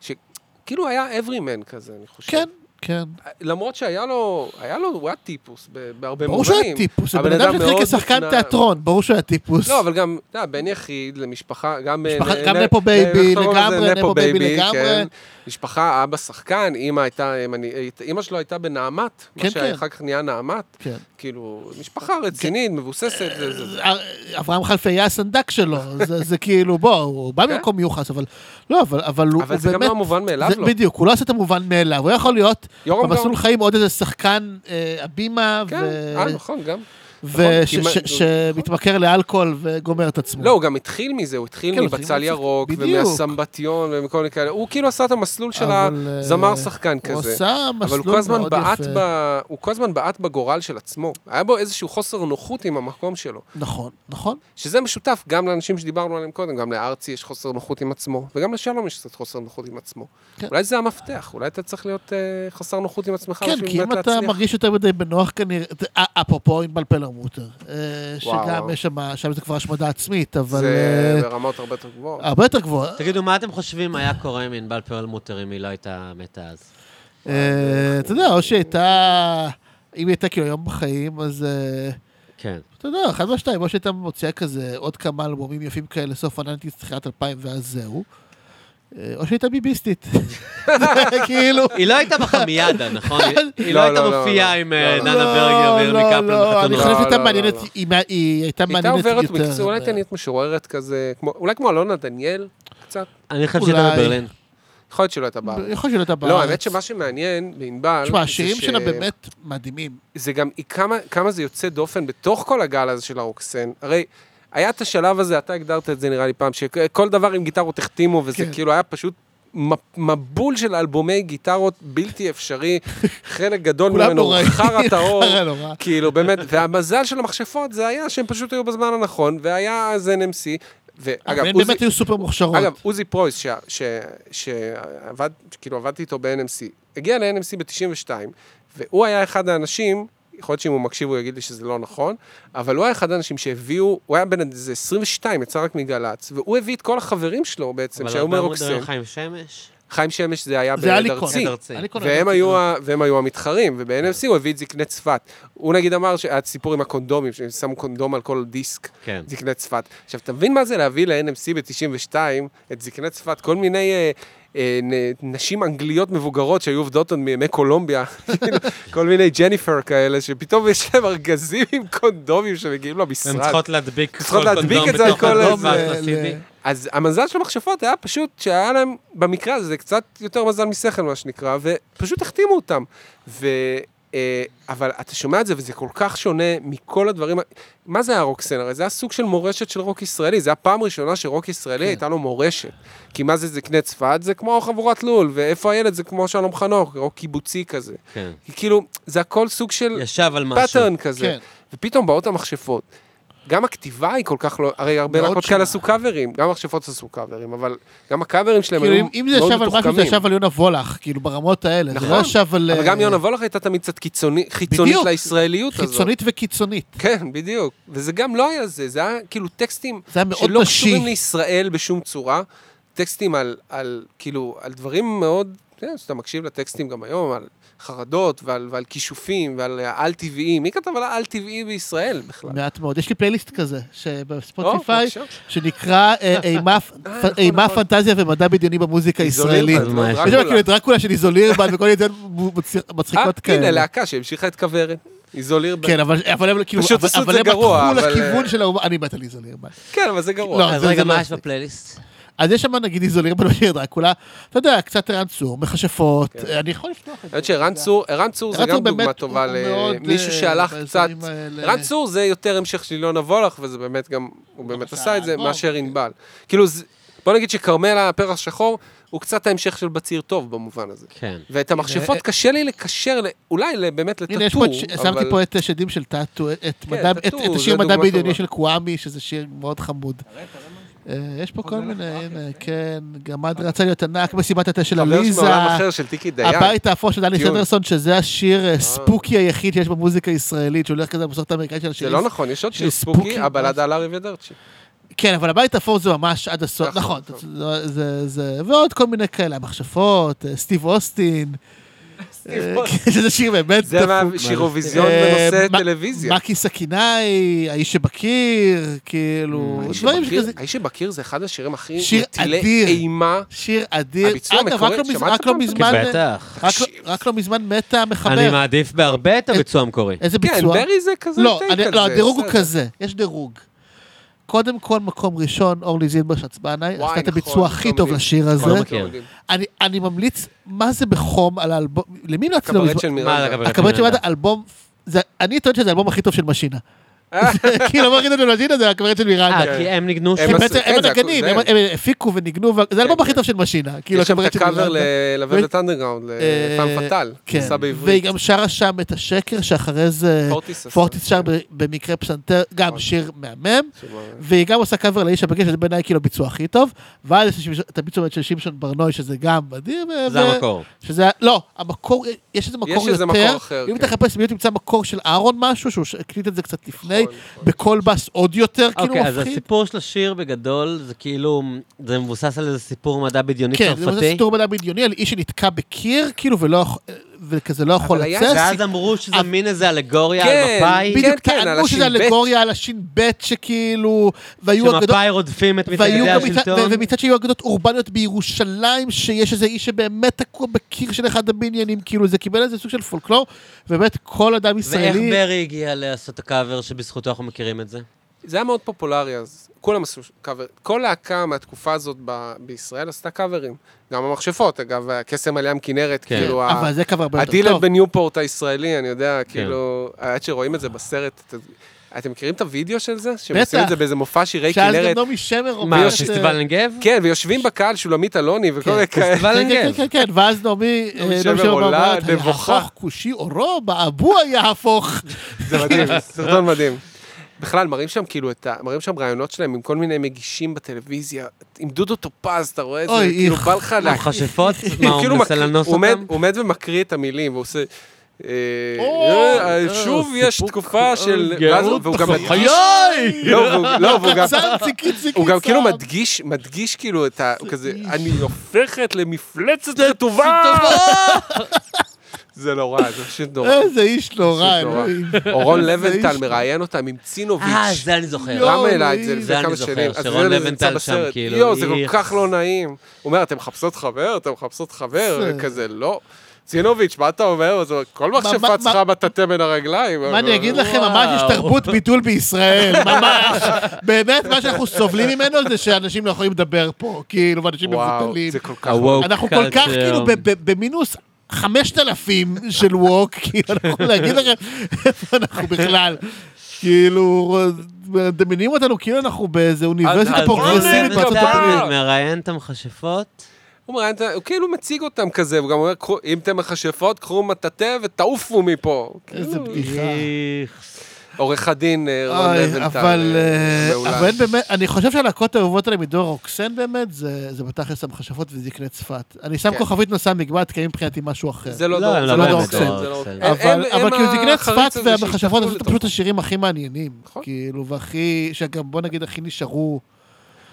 S3: שכאילו היה everyman כזה, אני חושב.
S2: כן, כן.
S3: למרות שהיה לו, היה לו, הוא היה טיפוס ב- בהרבה
S2: ברור
S3: מובנים.
S2: שהוא היה טיפוס, זה
S3: הבן
S2: בן אדם
S3: אדם
S2: שהתחיל
S3: מאוד
S2: כשחקן
S3: מופנם.
S2: תיאטרון, ברור שהוא היה טיפוס.
S3: לא, אבל גם, אתה יודע, בן יחיד למשפחה, גם...
S2: משפחה-
S3: אה,
S2: גם
S3: נ-
S2: נפו
S3: נ-
S2: בייבי,
S3: איך קוראים לזה?
S2: לגמרי, נפו בייבי לגמרי.
S3: כן. משפחה, אבא שחקן, אימא הייתה, אה, אם אני- אימא שלו הייתה בנעמת,
S2: כן,
S3: מה
S2: כן.
S3: שאחר כך נהיה נעמת,
S2: כן.
S3: כאילו, משפחה רצינית, מבוססת, זה- זה- זה.
S2: אברהם חלפיה הסנדק שלו, זה, זה כאילו, בוא, הוא בא
S3: כן.
S2: ממקום מיוחס, אבל לא, אבל, אבל הוא,
S3: אבל
S2: הוא
S3: זה גם
S2: באמת...
S3: לא המובן מאליו
S2: זה-
S3: לו.
S2: בדיוק, הוא לא עושה את המובן מאליו, הוא יכול להיות
S3: יורם גאון.
S2: במסלול חיים עוד איזה שחקן אה, הבימה,
S3: כן, אה, נכון, גם.
S2: כן.
S3: נכון, כי מה-
S2: ושמתמכר לאלכוהול וגומר את עצמו.
S3: לא, הוא גם התחיל מזה, הוא התחיל
S2: כן, הוא התחיל
S3: מבצל
S2: מהשחק-
S3: ירוק,
S2: בדיוק.
S3: ומהסמבטיון, ומכל מיני כאלה. הוא כאילו עשה את המסלול של
S2: אבל, אה,
S3: הזמר שחקן
S2: הוא
S3: כזה.
S2: עשה
S3: אבל הוא
S2: מסלול
S3: כל הזמן
S2: מאוד
S3: בעט
S2: יפה.
S3: ב... הוא כל הזמן בעט בגורל של עצמו. היה בו איזשהו חוסר נוחות עם המקום שלו.
S2: נכון, נכון.
S3: שזה משותף גם לאנשים שדיברנו עליהם קודם, גם לארצי יש חוסר נוחות עם עצמו, וגם לשלום יש קצת חוסר נוחות עם עצמו.
S2: כן.
S3: אולי זה המפתח, אולי אתה צריך להיות אה, חסר נוחות עם עצמך
S2: כן, כי אם אתה מרגיש יותר מדי בנוח כנראה, ת- אה, אפרופו ענבל פלרמוטר, אה,
S3: וואו,
S2: שגם
S3: וואו.
S2: יש שם, שם זה כבר השמדה עצמית, אבל...
S3: זה לא- אה,
S2: אה,
S3: ברמות הרבה יותר גבוהות.
S2: הרבה יותר גבוהה.
S1: תגידו, מה אתם חושבים היה קורה עם ענבל פרלמוטר אם היא לא הייתה מתה אז?
S2: אה, אתה יודע, או שהייתה אם היא הייתה כאילו היום בחיים, אז אה,
S1: כן.
S2: אתה יודע, אחד מהשתיים, או שהייתה מוציאה כזה עוד כמה אלבומים יפים כאלה, סוף הננטיס, תחילת 2000 ואז זהו. אה, או שהייתה ביביסטית. זה כאילו...
S1: היא לא הייתה בחמיאדה, נכון? היא- היא לא
S3: לא,
S1: הייתה
S3: לא, לא,
S1: מופיעה
S3: לא.
S1: עם
S3: לא,
S1: אה,
S3: לא.
S1: דנה ברגר וירמי קפלן
S2: אני
S1: בחתונה.
S2: חושב שהייתה
S3: לא, לא,
S2: מעניינת,
S3: לא.
S2: היא מה- היא הייתה
S3: היא הייתה
S2: מעניינת יותר. אה,
S3: עוברת מקצוע, אולי תענית משוררת כזה, כמו- אולי כמו אלונה דניאל, קצת.
S1: אני חושב שהיא הייתה
S2: אולי.
S1: בברלין.
S3: יכול להיות שלא הייתה בארץ.
S2: יכול להיות שהיא לא
S3: לא,
S2: בארץ.
S3: האמת שמה שמעניין בענבל...
S2: תשמע,
S3: זה
S2: השירים
S3: ש-
S2: שלה באמת מדהימים.
S3: זה גם, היא כמה, כמה זה יוצא דופן בתוך כל הגל הזה של הרוקסן. הרי היה את השלב הזה, אתה הגדרת את זה נראה לי פעם, שכל דבר עם גיטרות החתימו, וזה
S2: כן.
S3: כאילו היה פשוט מ- מבול של אלבומי גיטרות בלתי אפשרי, חלק גדול
S2: כולם
S3: ממנו הוא
S2: נוראים.
S3: חרא טהור.
S2: חרא נורא.
S3: כאילו, באמת, והמזל של המכשפות זה היה שהם פשוט היו בזמן הנכון, והיה אז NMC, ואגב,
S2: אבל הן
S3: עוזי-
S2: באמת היו סופר מוכשרות.
S3: אגב, עוזי פרויס, ש- ש- שעבד, כאילו עבדתי איתו ב-NMC, הגיע ל-NMC ב-92, והוא היה אחד האנשים, יכול להיות שאם הוא מקשיב הוא יגיד לי שזה לא נכון, אבל הוא היה אחד האנשים שהביאו, הוא היה בן איזה 22, יצא רק מגל"צ, והוא הביא את כל החברים שלו בעצם, שהיו מרוקסים.
S1: חיים שמש.
S3: חיים שמש זה היה
S2: זה היה לי
S3: בלד ארצי.
S1: ליד ארצי.
S2: קול.
S3: והם
S2: לא,
S3: היו, ה- והם היו המתחרים, וב-NFC הוא הביא את זקני צפת. הוא נגיד אמר שהיה סיפור עם הקונדומים, שהם שמו קונדום על כל דיסק,
S1: כן.
S3: זקני צפת. עכשיו, אתה מבין מה זה להביא ל-NFC ב-92 את זקני צפת, כל מיני אה, אה, נ- נשים אנגליות מבוגרות שהיו עובדות עוד מימי קולומביה, כאילו, כל מיני ג'ניפר כאלה, שפתאום יש להם ארגזים עם קונדומים שמגיעים
S1: הן
S3: למשרד.
S1: צריכות להדביק כל
S3: צריכות להדביק
S1: קונדום
S3: את זה על
S1: בתוך
S3: כל
S2: לא,
S1: הקונדום
S3: הזה,
S1: והחסידי.
S3: אז המזל של המכשפות היה פשוט שהיה להם, במקרה הזה, זה קצת יותר מזל משכל, מה שנקרא, ופשוט החתימו אותם. ו... אה, אבל אתה שומע את זה, וזה כל כך שונה מכל הדברים. ה- מה זה היה רוקסן? הרי זה היה סוג של מורשת של רוק ישראלי. זו הפעם הראשונה שרוק ישראלי כן. הייתה לו מורשת. כי מה זה זקני צפת? זה כמו חבורת לול, ואיפה הילד? זה כמו שלום חנוך, רוק קיבוצי כזה.
S1: כן.
S3: כי כאילו, זה הכל סוג של
S1: ישב על משהו.
S3: פאטרן כזה.
S2: כן.
S3: ופתאום באות המכשפות. גם הכתיבה היא כל כך לא... הרי הרבה
S2: מאוד
S3: להקות
S2: שונה.
S3: כאלה עשו קאברים, גם המכשפות עשו קאברים, אבל גם הקאברים שלהם
S2: כאילו,
S3: היו
S2: אם-
S3: מאוד
S2: אם זה ישב על משהו, זה
S3: מתוחכמים.
S2: ישב על יונה וולך, כאילו, ברמות האלה. זה לא
S3: נכון.
S2: ישב על...
S3: אבל
S2: אה,
S3: גם יונה וולך הייתה תמיד קצת קיצוני- חיצונית
S2: בדיוק.
S3: לישראליות הזאת.
S2: חיצונית וקיצונית.
S3: כן, בדיוק. וזה גם לא היה זה, זה היה כאילו טקסטים
S2: זה היה מאוד
S3: שלא
S2: נשי.
S3: קשורים לישראל בשום צורה. טקסטים על, על כאילו, על דברים מאוד, כן, אתה יודע, שאתה מקשיב לטקסטים גם היום, על חרדות ועל, ועל כישופים ועל על-טבעי. מי כתב על על-טבעי בישראל בכלל?
S2: מעט מאוד. יש לי פלייליסט כזה,
S3: או,
S2: שבספוטיפיי,
S3: בבקשה.
S2: שנקרא אה, אימה-
S3: נכון,
S2: אימה,
S3: נכון.
S2: פנטזיה ומדע בדיוני במוזיקה הישראלית.
S1: אז מה יש?
S2: יש שם
S3: דרקולה.
S2: כאילו את דרקולה של איזולירבן וכל מיני מצ- מצחיקות
S3: אה, הנה,
S2: כאלה.
S3: להקה שהמשיכה את כוורת. איזולירבן.
S2: כן, אבל אבל הם כאילו,
S3: פשוט
S2: אבל-
S3: עשו את
S2: אבל
S3: זה
S2: הם
S3: גרוע,
S2: לקחו
S3: אבל,
S2: לכיוון
S3: אה,
S2: של האומה, אני מת על איזולירבן.
S3: כן, אבל זה
S2: לא,
S3: גרוע.
S1: אז
S2: זה-
S1: רגע,
S2: זה לא
S1: מה יש
S2: מספיק.
S1: בפלייליסט?
S2: אז יש שם נגיד איזולירבן בשיר דרקולה, אתה יודע, קצת ערן צור, מכשפות,
S3: כן.
S2: אה, אני יכול לפתוח את זה.
S3: האמת שערן צור, ערן צור זה
S2: ערן צור
S3: גם דוגמה
S2: באמת,
S3: טובה
S2: הוא מאוד,
S3: למישהו
S2: אה,
S3: שהלך קצת...
S2: באזורים האלה.
S3: ערן צור זה יותר המשך של אילונה וולך, וזה באמת גם, הוא באמת
S2: עשה
S3: עשה את זה,
S2: אלבום,
S3: מאשר ענבל. כאילו, זה- בוא נגיד שכרמלה, הפרח שחור, הוא קצת ההמשך של בציר טוב במובן הזה.
S1: כן.
S3: ואת המכשפות קשה לי לקשר, ל- אולי ל- באמת לטאטור,
S2: אה, הנה, יש פה, את ש-
S3: אבל- כן,
S2: שמתי פה את שדים של טאטו, את- את מדע- את-
S3: טאטו,
S2: את
S3: זה
S2: השיר מדע
S3: דוגמה
S2: בדיוני
S3: טובה.
S2: של קוואמי, שזה שיר מאוד חמוד. אה, יש פה כל מיני, הנה, כן, גמד רצה להיות ענק מסיבת התה של
S3: חבר
S2: עליזה,
S3: מעולם אחר של טיקי דיין.
S2: הבית האפור של דני
S3: טיול.
S2: סנדרסון, שזה השיר אה, ספוקי היחיד שיש במוזיקה הישראלית, שהולך כזה במסורת האמריקאית של
S3: זה
S2: השירים.
S3: לא נכון, יש עוד
S2: של
S3: שיר
S2: ספוקי,
S3: ספוקי, הבלדה על ארי ודרצ'י.
S2: כן, אבל הבית האפור זה ממש עד הסוף,
S3: נכון,
S2: נכון,
S3: נכון.
S2: זה- זה, זה, ועוד כל מיני כאלה, המכשפות, אה, סטיב אוסטין, אה, כן, שזה שיר באמת
S3: זה מה- שירוויזיון בנושא
S2: אה,
S3: טלוויזיה.
S2: מקי סכינאי, האיש שבקיר, כאילו,
S3: האיש
S2: דברים
S3: שבקיר-
S2: שכזה,
S3: האיש שבקיר זה אחד השירים הכי
S2: שיר
S3: מטילי
S2: אדיר.
S3: אימה.
S2: שיר אדיר.
S3: הביצוע
S2: אגב,
S3: המקורי,
S2: רק לא מז-
S3: שמעת
S2: רק לא
S3: פעם?
S1: כי
S2: מזמן,
S1: כן, בטח.
S2: רק-
S3: תקשיב.
S2: רק לא מזמן מתה
S1: אני
S2: המחבר.
S1: מעדיף בהרבה את הביצוע המקורי.
S2: איזה
S3: כן,
S2: ביצוע?
S3: ברי זה כזה
S2: לא,
S3: טייק
S2: אני-
S3: על
S2: לא,
S3: זה,
S2: הדירוג הוא
S3: בסדר.
S2: כזה, יש דירוג. קודם כל, מקום ראשון, אורלי זילבר
S3: וואי,
S2: שצבנאי, עשתה את
S3: נכון,
S2: הביצוע הכי
S3: פתאום
S2: טוב
S3: לי-
S2: לשיר הזה.
S1: לא מכיר.
S2: אני- אני ממליץ, מה זה בחום על האלבום, למי לא אצלנו?
S3: קברט של
S1: מה,
S3: מירנדה.
S1: הקברט?
S2: הקברט של מד"א, אלבום, זה- אני טוען שזה האלבום הכי טוב של משינה. כאילו, האלבום הכי טוב של משינה זה הקברט של מירנדה.
S1: אה, כי הם ניגנו
S3: הם
S1: שם.
S2: אוקיי. הם
S3: עשו-
S2: בעצם,
S3: כן,
S2: הם
S3: זה
S2: הנגנים,
S3: הכל
S2: הם
S3: זה. כן.
S2: הם הפיקו וניגנו, וה- זה האלבום הכי טוב של משינה. כאילו,
S3: יש שם
S2: הקברט
S3: את
S2: של
S3: הקאבר
S2: מירנדה.
S3: ללוות אנדרגראונד,
S2: אה,
S3: לפעם פטל.
S2: כן,
S3: ניסה בעברית.
S2: והיא גם שרה שם את השקר, שאחרי זה
S3: פורטיס עשה.
S2: פורטיס שר ב- במקרה פסנתר, גם שיר מהמם,
S3: שמה-
S2: והיא גם עושה קאבר לאיש הבקש, שזה בעיניי כאילו הביצוע הכי טוב, ואז יש את הביצוע של שמשון ברנוי, שזה גם מדהים. אה, ו-
S1: זה המקור.
S2: שזה, לא, המקור, יש איזה מקור יותר.
S3: יש איזה מקור אחר,
S2: אם
S3: כן.
S2: תחפש, אם תמצא מקור של אהרון משהו, שהוא ש- הקליט את זה קצת לפני,
S3: נכון, נכון.
S2: בקול בס עוד יותר, כאילו
S1: אוקיי, אז
S2: מפחיד.
S1: הסיפור של השיר בגדול, זה כאילו, זה מבוסס על איזה סיפור מדע בדיוני
S2: כן, זה
S1: צרפתי.
S2: סיפור מדע בדיוני על איש שנתקע בקיר, כאילו, ולא יכול... וכזה לא יכול
S3: אבל היה-
S2: לצאת.
S3: זה
S1: ואז אמרו שזה מין איזה אלגוריה
S3: כן,
S1: על מפאי,
S3: בדיוק.
S2: בדיוק
S3: כן, על
S2: טענו שזה
S3: הש"ב.
S2: אלגוריה על הש"ב שכאילו, והיו אגדות,
S1: שמפאי רודפים את
S2: והיו
S1: מתנגדי
S2: גם מצד-
S1: השלטון.
S2: ו- ומצד שהיו אגדות אורבניות בירושלים, שיש איזה איש שבאמת תקוע בקיר של אחד הבניינים, כאילו זה קיבל איזה סוג של פולקלור, ובאמת כל אדם
S1: ואיך
S2: ישראלי,
S1: ברי הגיע לעשות הקאבר שבזכותו אנחנו מכירים את זה?
S3: זה היה מאוד פופולרי אז. כולם עשו קאבר. כל להקה מהתקופה הזאת ב- בישראל עשתה קאברים. גם המכשפות, אגב, הקסם על ים כנרת,
S1: כן.
S3: כאילו... ה-
S2: אבל זה קו הרבה יותר
S3: הדילר
S2: טוב. כן.
S3: בניופורט הישראלי, אני יודע, כאילו, עד שרואים את זה בסרט, את- אתם מכירים את הוידאו של זה? שהם עושים את
S2: בטח.
S3: זה באיזה מופע שירי
S2: שאז לא- גם
S3: כנרת.
S2: נעמי שמר
S1: מה,
S2: אומרת...
S1: פסטיבל נגב?
S3: כן, ויושבים בקהל שולמית אלוני וכל
S2: אה, כן.
S3: מיני כאלה.
S1: פסטיבל
S2: כן, כן,
S1: נגב.
S2: כן, כן, ואז נעמי, אה,
S3: נעמי
S2: נעמי
S3: שמר
S2: שמר
S3: עולה,
S2: אומרת,
S3: נבוכה.
S2: יהפוך כושי עורו, באבוע יהפוך.
S3: זה מדהים, זה סרטון מדהים. בכלל, מראים שם כאילו את ה... מראים שם רעיונות שלהם עם כל מיני מגישים בטלוויזיה. עם דודו טופז, אתה רואה את זה,
S2: אוי,
S3: כאילו
S2: איך.
S3: בא לך לה...
S1: המכשפות? מה, הוא
S3: כאילו
S1: מנסה
S3: מק-
S1: לאנוס
S3: הוא עומד-
S1: אותם?
S3: הוא עומד ומקריא את המילים, והוא עושה... אה,
S2: אוי,
S3: אה,
S2: אה,
S3: שוב יש תקופה של... ואז הוא- והוא גם מדגיש...
S2: חיי!
S3: לא, והוא- לא, והוא גם...
S2: קצר, ציקי, ציקי,
S3: הוא גם כאילו
S2: צם.
S3: מדגיש, מדגיש כאילו את ה... הוא כזה, אני הופכת למפלצת רטובה! זה נורא, זה פשוט נורא.
S2: איזה איש נורא,
S3: פשוט נורא.
S2: אלוהים.
S3: אורון
S2: איזה
S3: לבנטל
S2: איש.
S3: מראיין אותם עם צינוביץ'.
S1: אה, זה אני זוכר.
S2: לא.
S3: למה העלה את זה
S1: זה
S3: לפני
S1: אני
S3: כמה
S1: זוכר,
S3: שנים? אז
S1: שרון
S3: זה- זה נמצא
S1: לבנטל שם,
S3: בסרט.
S1: כאילו,
S3: יואו, זה כל
S1: איך.
S3: כך לא נעים. הוא אומר, אתם מחפשות חבר? אתם מחפשות חבר?
S2: זה-
S3: כזה, לא. צינוביץ', מה אתה אומר? אז הוא אומר, כל
S2: מה- מה-
S3: מכשפה צריכה בטאטא בין הרגליים.
S2: מה אני אגיד
S3: לא.
S2: לכם,
S1: וואו.
S2: ממש יש תרבות בידול בישראל, ממש. באמת, מה שאנחנו סובלים ממנו זה שאנשים לא יכולים לדבר פה, כאילו, ואנשים
S3: וואו,
S2: מבוטלים.
S3: זה כל כך...
S1: ה-woke
S2: אנחנו כל כך
S1: culture.
S2: כאילו ב- ב- במינוס 5,000 של ווק, כאילו, אנחנו להגיד לכם איפה אנחנו בכלל. כאילו, מדמיינים אותנו כאילו אנחנו באיזה
S3: אז-
S2: אוניברסיטה
S3: אז-
S2: פרוגרסיבית
S3: אז-
S2: בארצות
S3: אז-
S2: הברית.
S3: הברית.
S1: מראיין את המכשפות?
S3: הוא אומר, "אתה-" הוא כאילו מציג אותם כזה, הוא גם אומר, "קחו- אם אתם מכשפות, קחו מטאטא ותעופו מפה.
S2: איזה
S3: כאילו,
S2: בדיחה.
S1: איך.
S3: עורך הדין אה, רון
S2: אוי,
S3: לבנטל.
S2: אבל
S3: אה,
S2: אה,
S3: מעולה.
S2: אבל אין באמת, אני חושב שהלהקות האהובות האלה מדור רוקסן באמת, זה זה בתכלס המכשפות וזקני צפת. אני שם
S3: כן.
S2: כוכבית נושא מגבעת, כי הם מבחינתי משהו אחר.
S3: זה לא
S1: לא,
S3: דור,
S1: הם
S3: זה
S1: לא
S3: לא
S2: באמת
S3: דור.
S2: דור,
S3: אוקסן,
S1: זה
S3: זה לא-
S1: לא אוקסן.
S3: הם- הם-
S2: אבל, אבל
S3: הם
S2: כאילו דגני צפת
S3: החריץ הזה
S2: והמכשפות
S3: שהשתלטו
S2: עשו
S3: לתוכו.
S2: פשוט השירים הכי מעניינים.
S3: נכון.
S2: כאילו, והכי, שגם בוא נגיד הכי נשארו.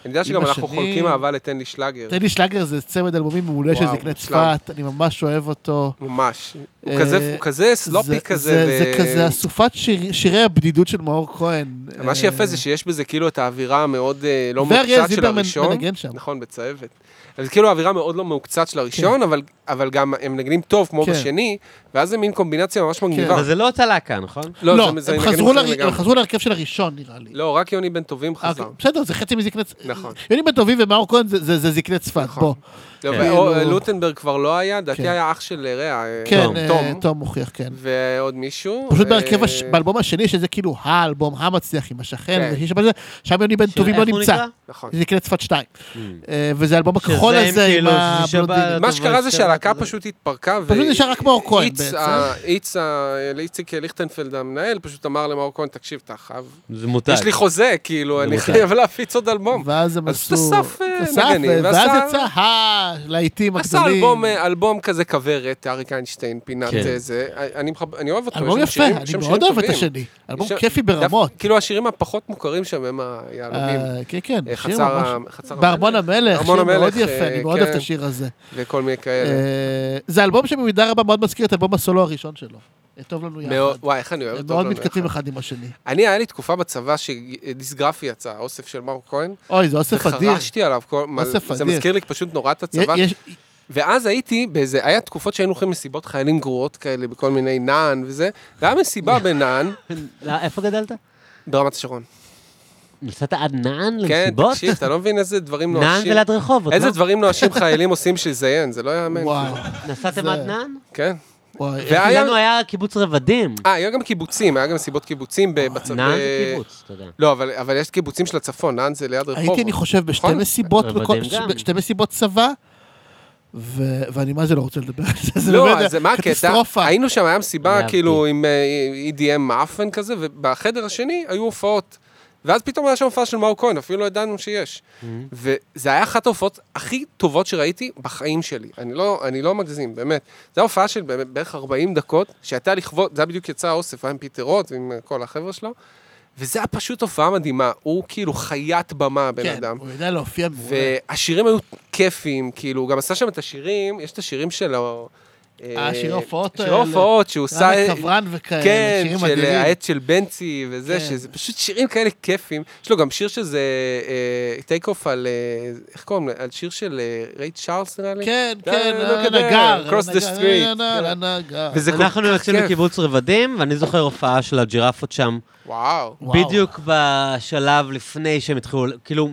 S3: אני יודע שגם
S2: עם
S3: אנחנו
S2: השנים-
S3: חולקים אהבה לתן לי שלאגר.
S2: טדי שלאגר זה צמד אלבומים מעולה של
S3: וואו,
S2: זקני
S3: מושלם.
S2: צפת, אני ממש אוהב אותו.
S3: ממש. הוא
S2: אה,
S3: כזה- הוא כזה
S2: זה-
S3: סלופי כזה.
S2: זה- זה
S3: ו-
S2: כזה אסופת שיר- שירי הבדידות של מאור כהן. אה,
S3: מה שיפה זה שיש בזה כאילו את האווירה המאוד אה, לא
S2: ואריאל
S3: מהוקצת של
S2: זילברמן
S3: הראשון.
S2: מנגן שם.
S3: נכון, בצהבת. אז כאילו האווירה מאוד לא מהוקצת של הראשון, אבל- אבל גם הם מנגנים טוב כמו
S2: כן.
S3: בשני, ואז זה מין קומבינציה ממש מגניבה.
S1: אבל זה לא אותה להקה, נכון?
S2: לא,
S3: זה- זה
S2: הם
S3: מנגנים
S2: חזרו
S3: אחרים
S2: ל- הם
S3: לגמרי.
S2: חזרו להרכב של הראשון, נראה לי.
S3: לא, רק יוני בן טובים
S2: אה,
S3: חזר.
S2: בסדר, זה חצי מזקני צפת.
S3: נכון.
S2: יוני בן טובים ומאור כהן זה- זה זה זקני צפת,
S3: נכון.
S2: בוא.
S3: לא,
S1: כן.
S3: ואו-
S2: כאילו-
S3: לוטנברג כבר לא היה,
S2: כן.
S3: דעתי היה אח של רע, אה,
S2: כן,
S1: תום.
S2: אה,
S3: תום,
S2: תום מוכיח, כן.
S3: ועוד מישהו.
S2: פשוט
S3: אה,
S2: בהרכב, הש- באלבום השני, שזה כאילו האלבום המצליח עם השכן,
S3: כן.
S2: ושיש שם זה, שם יוני בן טובים לא
S1: איך הוא
S2: נמצא.
S1: נקרא?
S3: נכון.
S2: זה נקרא צפת 2.
S3: Hmm.
S1: אמ.
S2: וזה האלבום הכחול
S1: שזה הם
S2: הזה עם
S1: כאילו, שזה שבת.
S2: הבלונדינים.
S3: מה שקרה
S1: אבל
S3: זה
S1: זה-
S3: שהלהקה
S1: זה-
S3: פשוט התפרקה. ו-
S2: פשוט נשאר רק מאור כהן
S3: איץ
S2: בעצם.
S3: ה- איץ, ה- איציק אה, ליכטנפלד המנהל, פשוט אמר למאור כהן, תקשיב, אתה חייב...
S1: זה מותג.
S3: יש לי חוזה, כאילו,
S1: זה
S3: אני
S1: מותג.
S3: חייב להפיץ עוד אלבום.
S2: ואז הם
S3: אז
S2: עשו...
S3: אסף, אה, נגנים,
S2: ו- ואז
S3: ועשה-
S2: יצא הלהיטים
S3: עשה
S2: הגדולים.
S3: אלבום, אה, אלבום כזה כוורת, אריק איינשטיין, פינת
S1: כן.
S3: אה, זה. אה, אני מחב- אני אוהב אותו, יש
S2: אלבום
S3: שם
S2: יפה,
S3: שירים-
S2: אני
S3: שם שירים
S2: מאוד אוהב את
S3: טובים.
S2: השני. אלבום
S3: שם-
S2: כיפי
S3: דווקא-
S2: ברמות.
S3: כאילו, השירים הפחות מוכרים שם הם היהלומים.
S2: אה, כן, כן,
S3: אה,
S2: שיר
S3: חצר
S2: ממש...
S3: ה- חצר
S2: בארמון
S3: המלך
S2: המלך,
S3: ארמון
S2: שיר מאוד
S3: המלך,
S2: יפה,
S3: אה,
S2: אני מאוד אוהב
S3: כן.
S2: את השיר הזה.
S3: וכל מיני כאלה.
S2: אה, זה אלבום שבמידה רבה מאוד מזכיר את אלבום הסולו הראשון שלו. אה, טוב לנו יחד.
S3: מאוד- וואי, איך אני אוהב
S2: הם
S3: אותו.
S2: מאוד
S3: גם, איך-
S2: מתכתבים אחד עם השני.
S3: אני, היה לי תקופה בצבא שדיסגרפי יצא, האוסף של מאור כהן.
S2: אוי, זה אוסף אדיר.
S3: וחרשתי עליו, כל- מה-
S2: אוסף
S3: זה
S2: אדיר.
S3: מזכיר לי פשוט נורא את הצבא.
S2: יש-
S3: ואז הייתי באיזה, היה תקופות שהיינו הולכים מסיבות חיילים גרועות כאלה, בכל מיני נען וזה. והיה מסיבה בנען,
S1: לא, איפה גדלת?
S3: ברמת השרון.
S1: נסעת עד נען
S3: כן,
S1: למסיבות?
S3: תקשיב, אתה לא מבין איזה דברים
S1: נען
S3: נואשים.
S1: וליד רחובות,
S3: איזה
S1: לא?
S3: דברים נואשים חיילים עושים של זיין, זה לא יאמן.
S2: וואו,
S1: נסעתם
S2: זה-
S1: עד נען?
S3: כן.
S2: וואי.
S3: וה- היה-
S1: לנו היה קיבוץ רבדים.
S3: אה, היה גם קיבוצים, היה גם מסיבות קיבוצים בצבא.
S1: נען זה קיבוץ, אתה יודע.
S3: לא, אבל, אבל יש קיבוצים של הצפון, נען זה ליד רחוב.
S2: הייתי, אני חושב, בשתי
S3: נכון?
S2: מסיבות,
S1: אבל
S2: בכל-
S1: הם גם.
S2: בשתי מסיבות צבא, ו- ואני מה זה לא רוצה לדבר על זה, זה
S3: לא,
S2: באמת
S3: אז מה הקטע?
S2: קטסטרופה.
S3: היינו שם, היה מסיבה
S1: אהבתי.
S3: כאילו עם אה, EDM מאפן כזה, ובחדר השני היו הופעות. ואז פתאום היה שם הופעה של מאור כהן, אפילו לא ידענו שיש. וזה היה אחת ההופעות הכי טובות שראיתי בחיים שלי. אני לא, אני לא מגזים, באמת. זו הופעה של באמת בערך 40 דקות, שהייתה לכבוד, זה היה בדיוק יצא האוסף, היה עם פיטר רוט ועם אה, כל החבר'ה שלו. וזה היה פשוט הופעה מדהימה. הוא כאילו חיית במה, הבן
S2: כן,
S3: אדם.
S2: הוא יודע להופיע מעולה.
S3: והשירים היו כיפיים, כאילו, הוא גם עשה שם את השירים, יש את השירים שלו,
S2: השירי אה, הופעות אה,
S3: האלה.
S2: האלה.
S3: שירי הופעות שהוא עושה...
S2: רנה קברן וכאלה,
S3: כן,
S2: שירים
S3: של
S2: אדירים.
S3: העט של בנצי וזה,
S2: כן.
S3: שזה פשוט שירים כאלה כיפים. יש לו גם שיר שזה טייק אוף על, אה, איך קוראים לו? על שיר של אה, ריי צ'ארלס נראה לי?
S2: כן,
S3: די,
S2: כן,
S3: look at
S2: הנגר.
S3: that, cross לא the
S2: הנגר, אה,
S3: street.
S2: הנגר, הנגר.
S3: וזה כל
S1: אנחנו
S3: כך
S1: יוצאים
S3: כיף.
S1: לקיבוץ רבדים, ואני זוכר הופעה של הג'ירפות שם,
S3: וואו.
S2: וואו.
S1: בדיוק בשלב לפני שהם התחילו, כאילו,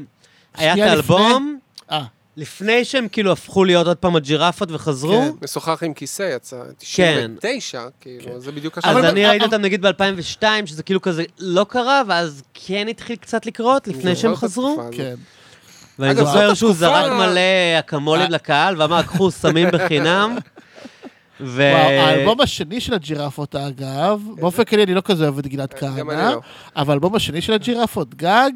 S1: היה את
S2: שנייה
S1: האלבום,
S2: אה,
S1: לפני שהם כאילו הפכו להיות עוד פעם הג'ירפות וחזרו,
S2: כן.
S3: משוחח עם כיסא יצא, 99, כאילו, זה בדיוק השאלה.
S1: אז
S2: אבל-
S1: כן.
S2: אה,
S1: אני
S2: אבל-
S1: ראיתי אותם נגיד ב-2002, שזה כאילו כזה לא קרה, ואז כן התחיל קצת לקרות לפני שהם חזרו.
S2: כן.
S1: ואני
S3: אגב,
S1: זוכר
S3: זאת
S1: שהוא
S3: התקופה-
S1: זרק מלא
S2: אה.
S1: אקמולים לקהל, ואמר, קחו סמים בחינם. ו...
S2: וואו, האלבום השני של הג'ירפות, אגב, באופן כללי אני לא כזה אוהב את גלעד
S3: גם אני
S2: כהנא,
S3: לא.
S2: אבל האלבום השני של הג'ירפות, גג,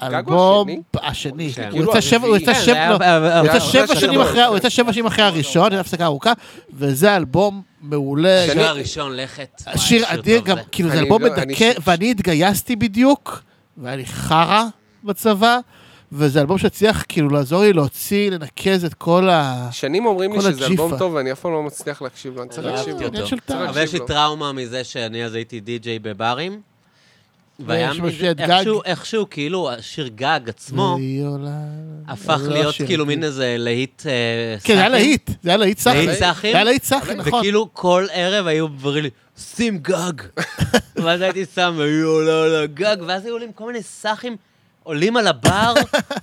S3: הוא
S2: אלבום
S3: השני?
S2: השני.
S1: כן.
S2: הוא
S3: כאילו
S2: יצא שבע- הוא
S3: הרביעי.
S2: יצא
S1: כן,
S2: שבע,
S1: זה
S2: לא,
S1: היה-
S2: הוא
S3: זה
S2: יצא
S1: היה-
S3: היה
S2: שבע
S3: אחרי
S2: שנים
S3: השבוע.
S2: אחרי, הוא יצא שבע שנים אחרי הראשון, הייתה הפסקה ארוכה, וזה אלבום מעולה.
S1: השיר
S3: שאני-
S1: הראשון, לכת. וואי,
S2: שיר אדיר,
S1: טוב
S2: גם,
S1: זה.
S2: כאילו, זה
S3: אני
S2: אלבום
S3: לא- אני
S2: מדכא,
S3: ש-
S2: ואני התגייסתי בדיוק, והיה לי חרא בצבא, וזה אלבום שהצליח כאילו לעזור לי להוציא, לנקז את כל ה...
S3: שנים אומרים לי
S2: כל
S3: שזה
S2: הג'יפה.
S3: אלבום טוב, ואני אף פעם לא מצליח להקשיב לו, אני צריך
S1: לא
S3: להקשיב
S1: אהבתי
S3: לו.
S1: אותו.
S2: עניין של טעם.
S3: צריך
S1: אבל יש לי
S3: להקשיב לו.
S1: טראומה מזה שאני אז הייתי די-ג'יי בברים, והיה
S2: ויש
S1: מזה-
S2: את גג.
S1: איכשהו- איכשהו, כאילו, השיר גג עצמו
S2: והיא עולה-
S1: הפך
S2: עולה
S1: להיות
S2: שיר.
S1: כאילו מין איזה להיט אה,
S2: כן, זה היה
S1: סאחי.
S2: להיט, זה היה להיט סאחי.
S1: להיט סאחי?
S2: זה היה להיט סאחי, נכון.
S3: כאילו-
S1: וכאילו כל ערב היו דברים לי, שים גג. ואז הייתי שם, היו עולה על הגג, ואז היו עולים כל מיני סאחים. עולים על הבר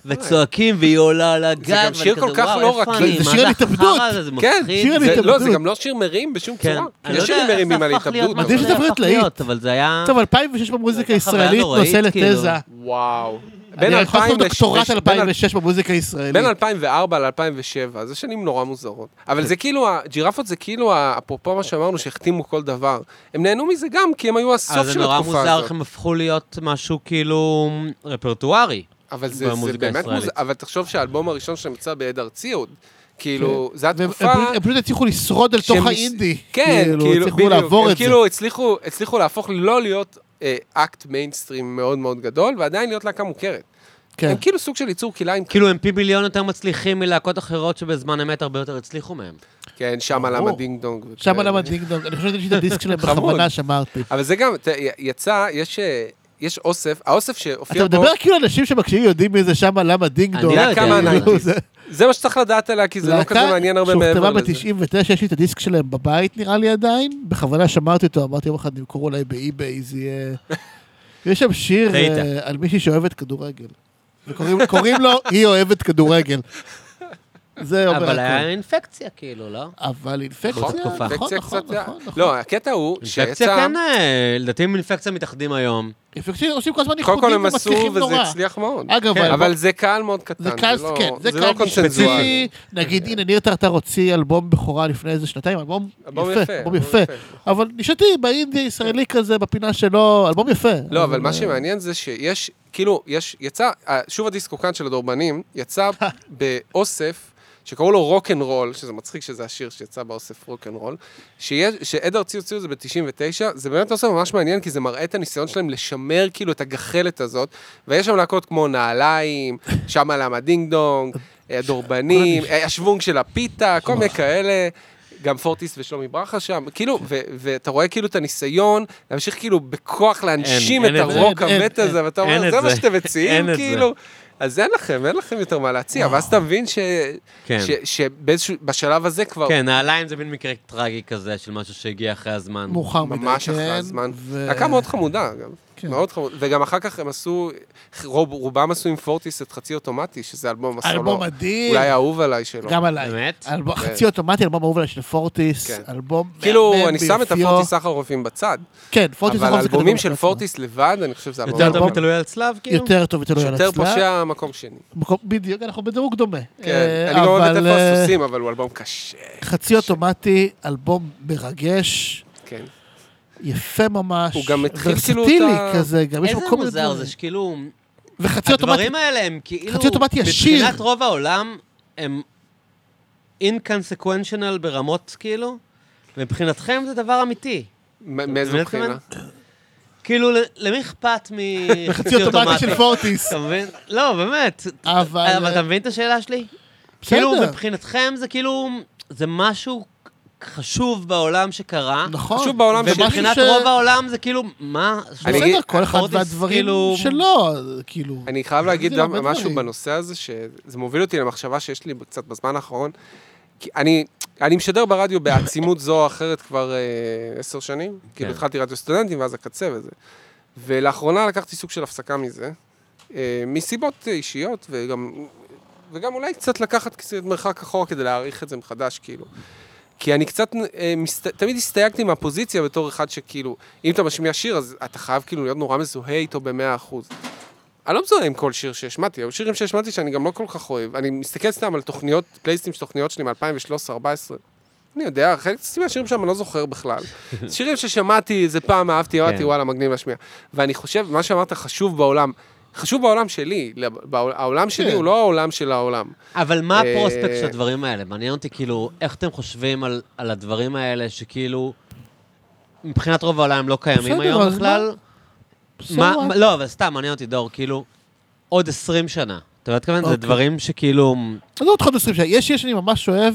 S1: וצועקים והיא עולה על הגג.
S3: גם
S1: ואני
S3: שיר
S1: כזה,
S3: כל כך
S1: "וואו,
S3: לא
S1: איפה
S3: רגיל."
S1: אני?
S2: זה
S1: מה
S2: שיר על התאבדות.
S1: החרא הזה? זה
S3: כן,
S1: מפחיד.
S2: שיר על
S1: זה-
S3: זה- לא, זה
S2: התאבדות.
S3: גם לא שיר מרים בשום
S1: כן,
S3: צורה.
S1: אני
S3: יש
S1: לא
S3: שירים
S1: יודע איך
S3: מרימים
S1: זה
S3: על
S1: הפך להיות,
S3: התאבדות.
S1: מה
S2: מדהים
S1: זה
S2: שזה
S1: הפך
S2: הפך להיות.
S1: להיות, אבל זה היה...
S2: טוב, 2006 במוזיקה
S1: זה חוויה
S2: הישראלית
S1: נוראית,
S2: נושא
S1: כאילו.
S2: לתזה.
S3: וואו. בין
S2: אני יכול לעשות
S3: 2000
S2: דוקטורט
S3: לש-
S2: על
S3: בין
S2: 2006 במוזיקה
S3: בין
S2: הישראלית.
S3: 2004 ל-2007, זה שנים נורא מוזרות. אבל זה כאילו, הג'ירפות זה כאילו, ה- אפרופו מה שאמרנו, שהחתימו כל דבר. הם נהנו מזה גם, כי הם היו הסוף של
S1: אבל אה, זה
S3: התקופה הזאת.
S1: נורא מוזר איך הם הפכו להיות משהו כאילו רפרטוארי.
S3: אבל זה, זה
S1: במוזיקה
S3: באמת
S1: הישראלית.
S3: מוזר, אבל תחשוב שהאלבום הראשון שלהם יצא ביד ארצי עוד. כאילו, זו
S2: והם-
S3: התקופה...
S2: כן. הם פשוט- הם פשוט הצליחו לשרוד אל
S3: שהם-
S2: תוך האינדי.
S3: כן, כאילו,
S2: הצליחו
S3: בדיוק.
S2: לעבור
S3: הם
S2: את זה.
S3: כאילו הצליחו, הצליחו להפוך לא להיות אה, אקט מיינסטרים מאוד מאוד גדול, ועדיין להיות להקה מוכרת.
S2: כן.
S3: הם כאילו סוג של ייצור כלאיים.
S1: כאילו הם פי ביליון יותר מצליחים מלהקות אחרות שבזמן אמת הרבה יותר הצליחו מהם.
S3: כן, שם למה
S2: ברור.
S3: דינג דונג.
S2: שם
S3: וכאלה.
S2: למה דינג דונג, אני חושב שיש את הדיסק שלהם
S3: חמוד.
S2: בכוונה שמרתי.
S3: אבל זה גם, ת, י- יצא, יש, אה, יש אוסף, האוסף שהופיע
S2: אתה
S3: בו...
S2: מדבר כאילו אנשים שמקשיבים יודעים מי זה שמה למה דינג
S1: אני
S2: דונג.
S1: לא יודע.
S3: כמה
S2: כאילו,
S3: הנייטיז.
S2: זה-
S3: זה מה שצריך לדעת עליה, כי זה לא כזה מעניין הרבה מעבר
S2: שהוכתבה
S3: לזה.
S2: ב-99, יש לי את הדיסק שלהם בבית נראה לי עדיין, בכוונה שמרתי אותו, אמרתי יום אחד נמכור אולי באי-ביי, זה יהיה... יש שם שיר
S1: ראית.
S2: אה, על מישהי שאוהבת כדורגל. וקוראים קוראים לו היא אוהבת כדורגל. זה אומר
S1: אבל
S2: הכול.
S1: היה אינפекציה כאילו, לא?
S2: אבל אינפקציה,
S1: באותה
S2: נכון,
S1: תקופה.
S2: נכון,
S3: אינפקציה
S2: נכון,
S3: קצת-
S2: נכון.
S3: לא, הקטע הוא
S1: אינפקציה
S3: שיצא...
S1: כן, אה, לדעתי עם אינפקציה מתאחדים היום.
S3: לא.
S2: אינפקציה עושים כל הזמן
S3: קודם כל
S2: איחודים
S3: הם עשו,
S2: ומצליחים
S3: וזה
S2: נורא.
S3: הצליח מאוד.
S2: אגב,
S1: כן,
S2: אבל
S3: אבל זה קהל מאוד קטן,
S2: זה קהל,
S3: לא-
S2: כן, זה
S3: זה לא
S2: קהל
S3: קונצנזואלי.
S2: משפטי. נגיד, הנה, ניר טרטר הוציא אלבום בכורה לפני איזה שנתיים, אלבום
S3: אלבום יפה,
S2: יפה, אלבום יפה. אבל נשתי, באינדי הישראלי כזה, בפינה שלו, אלבום יפה. אה,
S3: לא, אבל מה שמעניין זה שיש, כאילו, יש, יצא, אה, שוב הדיסקוקן של הדורבנים, יצא באוסף. שקראו לו רוקנרול, שזה מצחיק שזה השיר שיצא באוסף רוקנרול, שיש- שעד ארצי הוציאו את זה ב-99, זה באמת אוסף ממש מעניין, כי זה מראה את הניסיון שלהם לשמר כאילו את הגחלת הזאת, ויש שם להקות כמו נעליים, שמה למה דינג דונג, אה, הדורבנים, אה, השוונג של הפיתה, כל מיני כאלה. גם פורטיס ושלומי ברכה שם, כאילו,
S1: כן.
S3: ו- ואתה רואה כאילו את הניסיון להמשיך כאילו בכוח להנשים
S1: אין
S3: את
S1: את זה.
S3: הרוק
S2: אין, אין,
S3: המת הזה, ואתה
S1: אין
S3: אומר,
S1: את
S3: זה מה
S1: זה.
S3: שאתם מציעים,
S1: אין את זה.
S3: כאילו. אז אין לכם, אין לכם יותר מה להציע, ואז אתה מבין ש-
S1: כן.
S3: ש- שבאיזשהו, בשלב הזה כבר,
S1: כן, נעליים זה מין מקרה טרגי כזה של משהו שהגיע אחרי הזמן.
S2: מאוחר מדי,
S3: ממש אחרי
S2: כן,
S3: הזמן. אה,
S2: ו-
S3: להקה מאוד חמודה, אגב.
S2: כן.
S3: מאוד חמודה. וגם אחר כך הם עשו, רוב- רובם עשו עם פורטיס את חצי אוטומטי, שזה אלבום הסולו.
S2: אלבום מדהים.
S3: אולי האהוב עליי שלו.
S2: גם עליי.
S1: באמת?
S2: אלבום- חצי אוטומטי, אלבום אהוב עליי של פורטיס,
S3: כן.
S2: אלבום
S3: כאילו,
S2: מהמם
S3: אני שם את
S2: ביופיו.
S3: הפורטיס סחרופים בצד,
S2: כן, פורטיס
S3: אבל
S2: נכון, זה
S3: האלבומים
S2: כדורגל
S3: של
S2: בעצמו.
S3: פורטיס לבד, אני חושב שזה אלבום.
S1: יותר טוב
S2: אלבום-
S1: מתלוי על צלב, כאילו?
S2: יותר טוב, יותר לא
S3: שוטר
S2: יעלה הצלב.
S3: פושע, מקום שני.
S2: מקום- בדיוק, אנחנו בדירוג דומה.
S3: כן,
S2: אה,
S3: אני גם אוהב את
S2: אבל,
S3: איפה
S2: אה,
S3: הסוסים, אבל הוא אלבום קשה.
S2: חצי אוטומטי, אלבום מרגש,
S3: כן.
S2: יפה ממש.
S3: הוא גם התחיל כאילו
S2: ורסטילי
S3: את ה-
S2: כזה, גם יש
S1: איזה
S2: לו כל מיני
S1: מוזר
S2: דברים.
S1: זה, שכאילו...
S2: וחצי אוטומטי,
S1: הדברים האלה הם כאילו...
S2: חצי אוטומטי ישיר.
S1: מבחינת רוב העולם הם אינקונסקוונשיונל ברמות, כאילו, ומבחינתכם זה דבר אמיתי.
S3: מ- מאיזו
S1: מבין את
S3: בחינה?
S1: כאילו, ל- למי אכפת מחצי
S2: חצי אוטומטי של פורטיס.
S1: אתה מבין? לא, באמת.
S2: אבל- אה,
S1: אבל אתה מבין את השאלה שלי?
S2: בסדר.
S1: כאילו, מבחינתכם זה כאילו, זה משהו חשוב בעולם שקרה.
S2: נכון.
S3: חשוב בעולם
S2: זה משהו
S1: ומבחינת
S2: ש-
S1: רוב העולם זה כאילו, מה?
S3: אני
S2: בסדר,
S3: אגיד-
S2: כל אחד
S1: אורטיס,
S2: והדברים
S1: כאילו-
S2: שלו, כאילו.
S3: אני חייב להגיד
S2: זה
S3: גם
S2: הרבה
S3: משהו
S2: דברים.
S3: בנושא הזה, שזה מוביל אותי למחשבה שיש לי קצת בזמן האחרון. כי אני, אני משדר ברדיו בעצימות זו או אחרת כבר אה, עשר שנים.
S2: כן.
S3: כאילו התחלתי רדיו סטודנטים ואז הקצה וזה. ולאחרונה לקחתי סוג של הפסקה מזה, אה, מסיבות אה, אישיות וגם, וגם אולי קצת לקחת קצת מרחק אחורה כדי להעריך את זה מחדש, כאילו. כי אני קצת, אה, מסת... תמיד הסתייגתי מהפוזיציה בתור אחד שכאילו, אם אתה משמיע שיר, אז אתה חייב כאילו להיות נורא מזוהה איתו במאה אחוז. אני לא מזוהה עם כל שיר שהשמעתי, היו שירים שהשמעתי שאני גם לא כל כך אוהב. אני מסתכל סתם על תוכניות, פלייסטים של תוכניות שלי מ-2013-2014. אני יודע, חלק מהשירים שם אני לא זוכר בכלל. שירים ששמעתי איזה פעם, אהבתי, אמרתי,
S1: כן.
S3: וואלה, מגניב להשמיע. ואני חושב, מה שאמרת חשוב בעולם, חשוב בעולם שלי, לב- בעול- העולם שלי
S2: כן.
S3: הוא לא העולם של העולם.
S1: אבל מה
S3: אה,
S1: הפרוספקט של הדברים האלה? מעניין אותי, כאילו, איך אתם חושבים על, על הדברים האלה, שכאילו, מבחינת רוב העולם הם לא קיימים
S2: בסדר,
S1: היום
S2: אז מה?
S1: בכלל?
S2: So
S1: מה,
S2: what?
S1: מה- לא, אבל סתם, מעניין אותי, דור, כאילו, עוד 20 שנה. אתה יודע, אוקיי. זה
S2: אוקיי.
S1: דברים שכאילו...
S2: עזוב אותך עוד 20 שנה. יש שיר שאני ממש אוהב,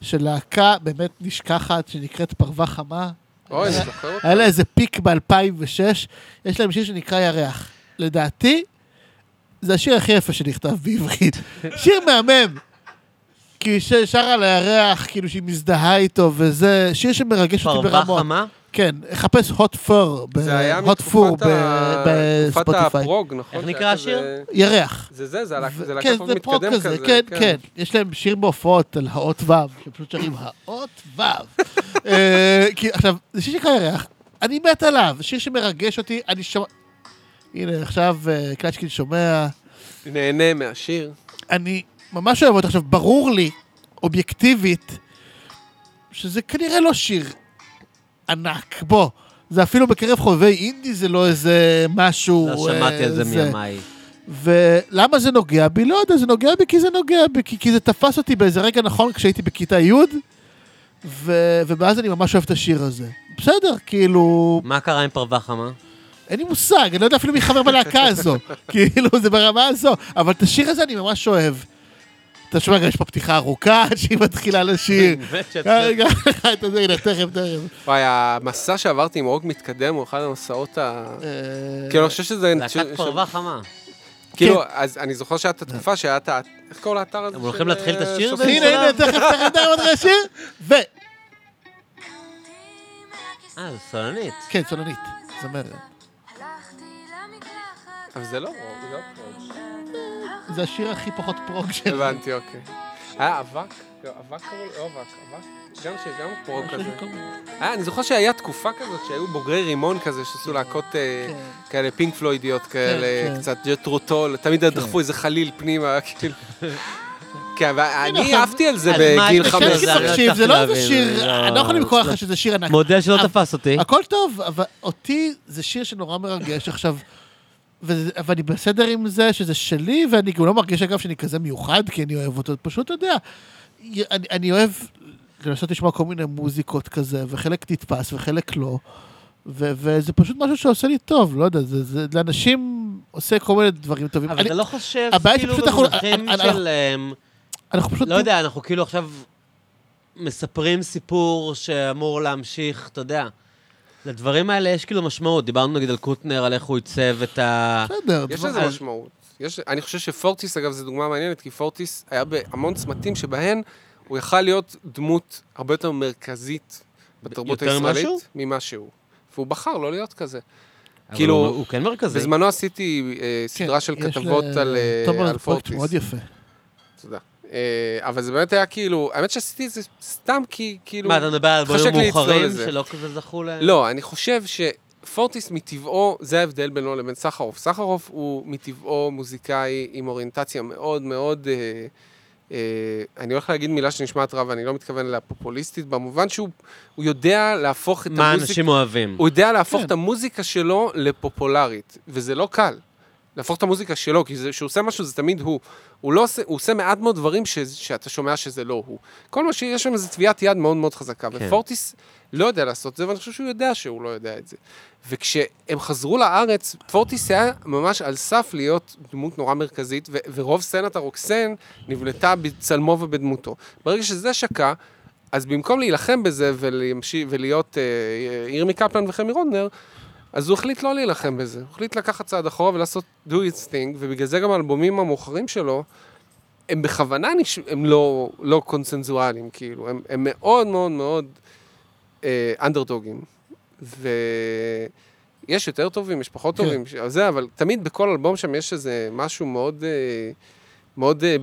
S2: של להקה באמת נשכחת, שנקראת פרווה חמה.
S3: אוי, אני זוכר אותך.
S2: היה לה איזה פיק ב-2006, יש להם שיר שנקרא ירח. לדעתי, זה השיר הכי יפה שנכתב בעברית. שיר מהמם. כי היא ש- שרה על הירח, כאילו שהיא מזדהה איתו, וזה שיר שמרגש אותי
S1: פרווה
S2: ברמות.
S1: חמה?
S2: כן, חפש hot fur, ב-
S3: זה היה
S2: hot fur
S3: מתקופת
S2: ב-
S3: ה- תקופת
S2: בספוטיפיי.
S3: הפרוג, נכון?
S1: איך
S3: שהיה
S1: נקרא
S3: כזה-
S1: השיר?
S2: ירח.
S3: זה זה, זה הלק-
S2: ו-
S3: אה, זה לקח
S2: כן, זה פרוק
S3: מתקדם כזה.
S2: כן, כן. יש להם שיר בהופעות על האות ו', שהם פשוט שרים האות ו'. אה, כי- עכשיו, זה שיר שנקרא ירח, אני מת עליו, שיר שמרגש אותי, אני שומע... הנה, עכשיו אה, קלצ'קין שומע. כן.
S3: נהנה מהשיר.
S2: אני ממש אוהב אותו. עכשיו, ברור לי, אובייקטיבית, שזה כנראה לא שיר ענק. בוא, זה אפילו בקרב חובבי אינדי זה לא איזה משהו...
S1: לא שמעתי על זה
S2: אה,
S1: מימיי.
S2: ולמה זה נוגע בי? לא יודע, זה נוגע בי כי זה נוגע בי, כי, כי זה תפס אותי באיזה רגע נכון כשהייתי בכיתה י', ו, ומאז אני ממש אוהב את השיר הזה. בסדר, כאילו,
S1: מה קרה עם פרווה חמה?
S2: אין לי מושג, אני לא יודע אפילו מי חבר בלהקה הזו. כאילו, זה ברמה הזו. אבל את השיר הזה אני ממש אוהב. אתה שומע, גם יש פה פתיחה ארוכה שהיא מתחילה לשיר.
S1: באמת שאת-
S2: רגע, רגע, אתה יודע, הנה, תכף, תכף.
S3: וואי, המסע שעברתי עם אורג מתקדם הוא אחד המסעות ה...
S2: אה,
S3: כאילו, אני חושב שזה...
S1: להקת
S3: ש-
S1: פרווה חמה.
S3: כאילו,
S2: כן.
S3: אז אני זוכר שהייתה תקופה שהיה את ה... איך קוראים לאתר הזה?
S1: הם הולכים
S3: של,
S1: להתחיל את
S3: אה,
S1: השיר
S3: סוף
S1: באיזה
S2: הנה,
S3: סוף?
S2: הנה, תכף, תכף, תכף, עוד רגע שיר. ו...
S1: אה, זו סולנית.
S2: כן, צולנית, זמרת.
S3: אבל זה לא רוב, זה לא פרוג.
S2: זה השיר הכי פחות פרוג שלו.
S3: הבנתי, אוקיי. היה אבק? לא, אבק קראו לו? לא אבק, אבק? גם שיר, גם פרוג
S2: כן,
S3: כזה. אה, אני זוכר שהיה תקופה כזאת שהיו בוגרי רימון כזה, שעשו להקות אה,
S2: כן.
S3: כאלה פינק פלוידיות כאלה,
S2: כן.
S3: קצת ג'טרוטול, תמיד דחפו איזה חליל פנימה, כאילו. כן, ואני
S2: הנה,
S3: עפתי על זה
S1: אז מה
S3: בגיל
S1: יש
S2: עכשיו
S3: 15.
S1: זה-
S2: תקשיב, זה לא
S1: צריך
S2: איזה
S1: להבין,
S2: שיר,
S1: לא,
S2: אני לא יכול למכור
S1: לא.
S2: לך שזה שיר ענק.
S1: מודה שלא
S2: אבל-
S1: תפס אותי.
S2: הכל טוב, אבל אותי זה שיר שנורא מרגש עכשיו. וזה- ואני בסדר עם זה שזה שלי, ואני גם לא מרגיש אגב שאני כזה מיוחד, כי אני אוהב אותו, פשוט אתה יודע. י- אני, אני אוהב לנסות לשמוע כל מיני מוזיקות כזה, וחלק נתפס וחלק לא, ו, וזה פשוט משהו שעושה לי טוב, לא יודע, זה, זה לאנשים עושה כל מיני דברים טובים.
S1: אבל
S2: אה, אני,
S1: אתה לא חושב,
S2: הבעיה היא
S1: כאילו,
S2: שפשוט אנחנו- אה,
S1: במונחים
S2: אני-
S1: של... אמ,
S2: אנחנו פשוט...
S1: לא יודע, אנחנו כאילו עכשיו מספרים סיפור שאמור להמשיך, אתה יודע. לדברים האלה יש כאילו משמעות. דיברנו נגיד על קוטנר, על איך הוא עיצב את ה...
S2: בסדר.
S3: יש
S2: דבר-
S3: לזה משמעות. יש, אני חושב שפורטיס, אגב, זו דוגמה מעניינת, כי פורטיס היה בהמון צמתים שבהן הוא יכל להיות דמות הרבה יותר מרכזית בתרבות
S1: יותר משהו?
S3: הישראלית ממה שהוא. והוא בחר לא להיות כזה.
S1: אבל
S3: כאילו,
S1: הוא- הוא כן מרכזי.
S3: בזמנו עשיתי אה,
S2: כן,
S3: סדרה של
S2: יש
S3: כתבות
S2: ל-
S3: על, אה,
S2: תומר
S3: על
S2: זה פרויקט
S3: פורטיס.
S2: מאוד יפה.
S3: תודה. אה, אבל זה באמת היה כאילו, האמת שעשיתי את זה סתם כי כאילו...
S1: מה, אתה מדבר על בונים
S3: חשק לי לצלול
S1: מאוחרים
S3: לזה.
S1: שלא כזה זכו להם?
S3: לא, אני חושב שפורטיס מטבעו, זה ההבדל בינו לבין סחרוף. סחרוף הוא מטבעו מוזיקאי עם אוריינטציה מאוד מאוד... אה, אה, אני הולך להגיד מילה שנשמעת רע, ואני לא מתכוון אליה פופוליסטית, במובן שהוא הוא יודע להפוך את
S1: מה
S3: המוזיקה...
S1: אנשים אוהבים?
S3: הוא יודע להפוך
S2: כן.
S3: את המוזיקה שלו לפופולרית, וזה לא קל. להפוך את המוזיקה שלו, כי זה- כשהוא עושה משהו זה תמיד הוא. הוא, לא עושה, הוא עושה מעט מאוד דברים ש, שאתה שומע שזה לא הוא. כל מה שיש שם זה טביעת יד מאוד מאוד חזקה,
S1: כן.
S3: ופורטיס לא יודע לעשות את זה, ואני חושב שהוא יודע שהוא לא יודע את זה. וכשהם חזרו לארץ, פורטיס היה ממש על סף להיות דמות נורא מרכזית, ו- ורוב סצנת הרוקסן נבלטה בצלמו ובדמותו. ברגע שזה שקע, אז במקום להילחם בזה ולהמשיך, ולהיות אה, ירמי קפלן וחמי רודנר, אז הוא החליט לא להילחם בזה. הוא החליט לקחת צעד אחורה ולעשות do its thing, ובגלל זה גם האלבומים המאוחרים שלו, הם בכוונה נש... הם לא, לא קונצנזואליים, כאילו. הם, הם מאוד מאוד מאוד אה, אנדרדוגים. ויש יותר טובים, יש פחות
S2: כן.
S3: טובים, כן. זה, אבל תמיד בכל אלבום שם יש איזה משהו מאוד... אה, מאוד, אה,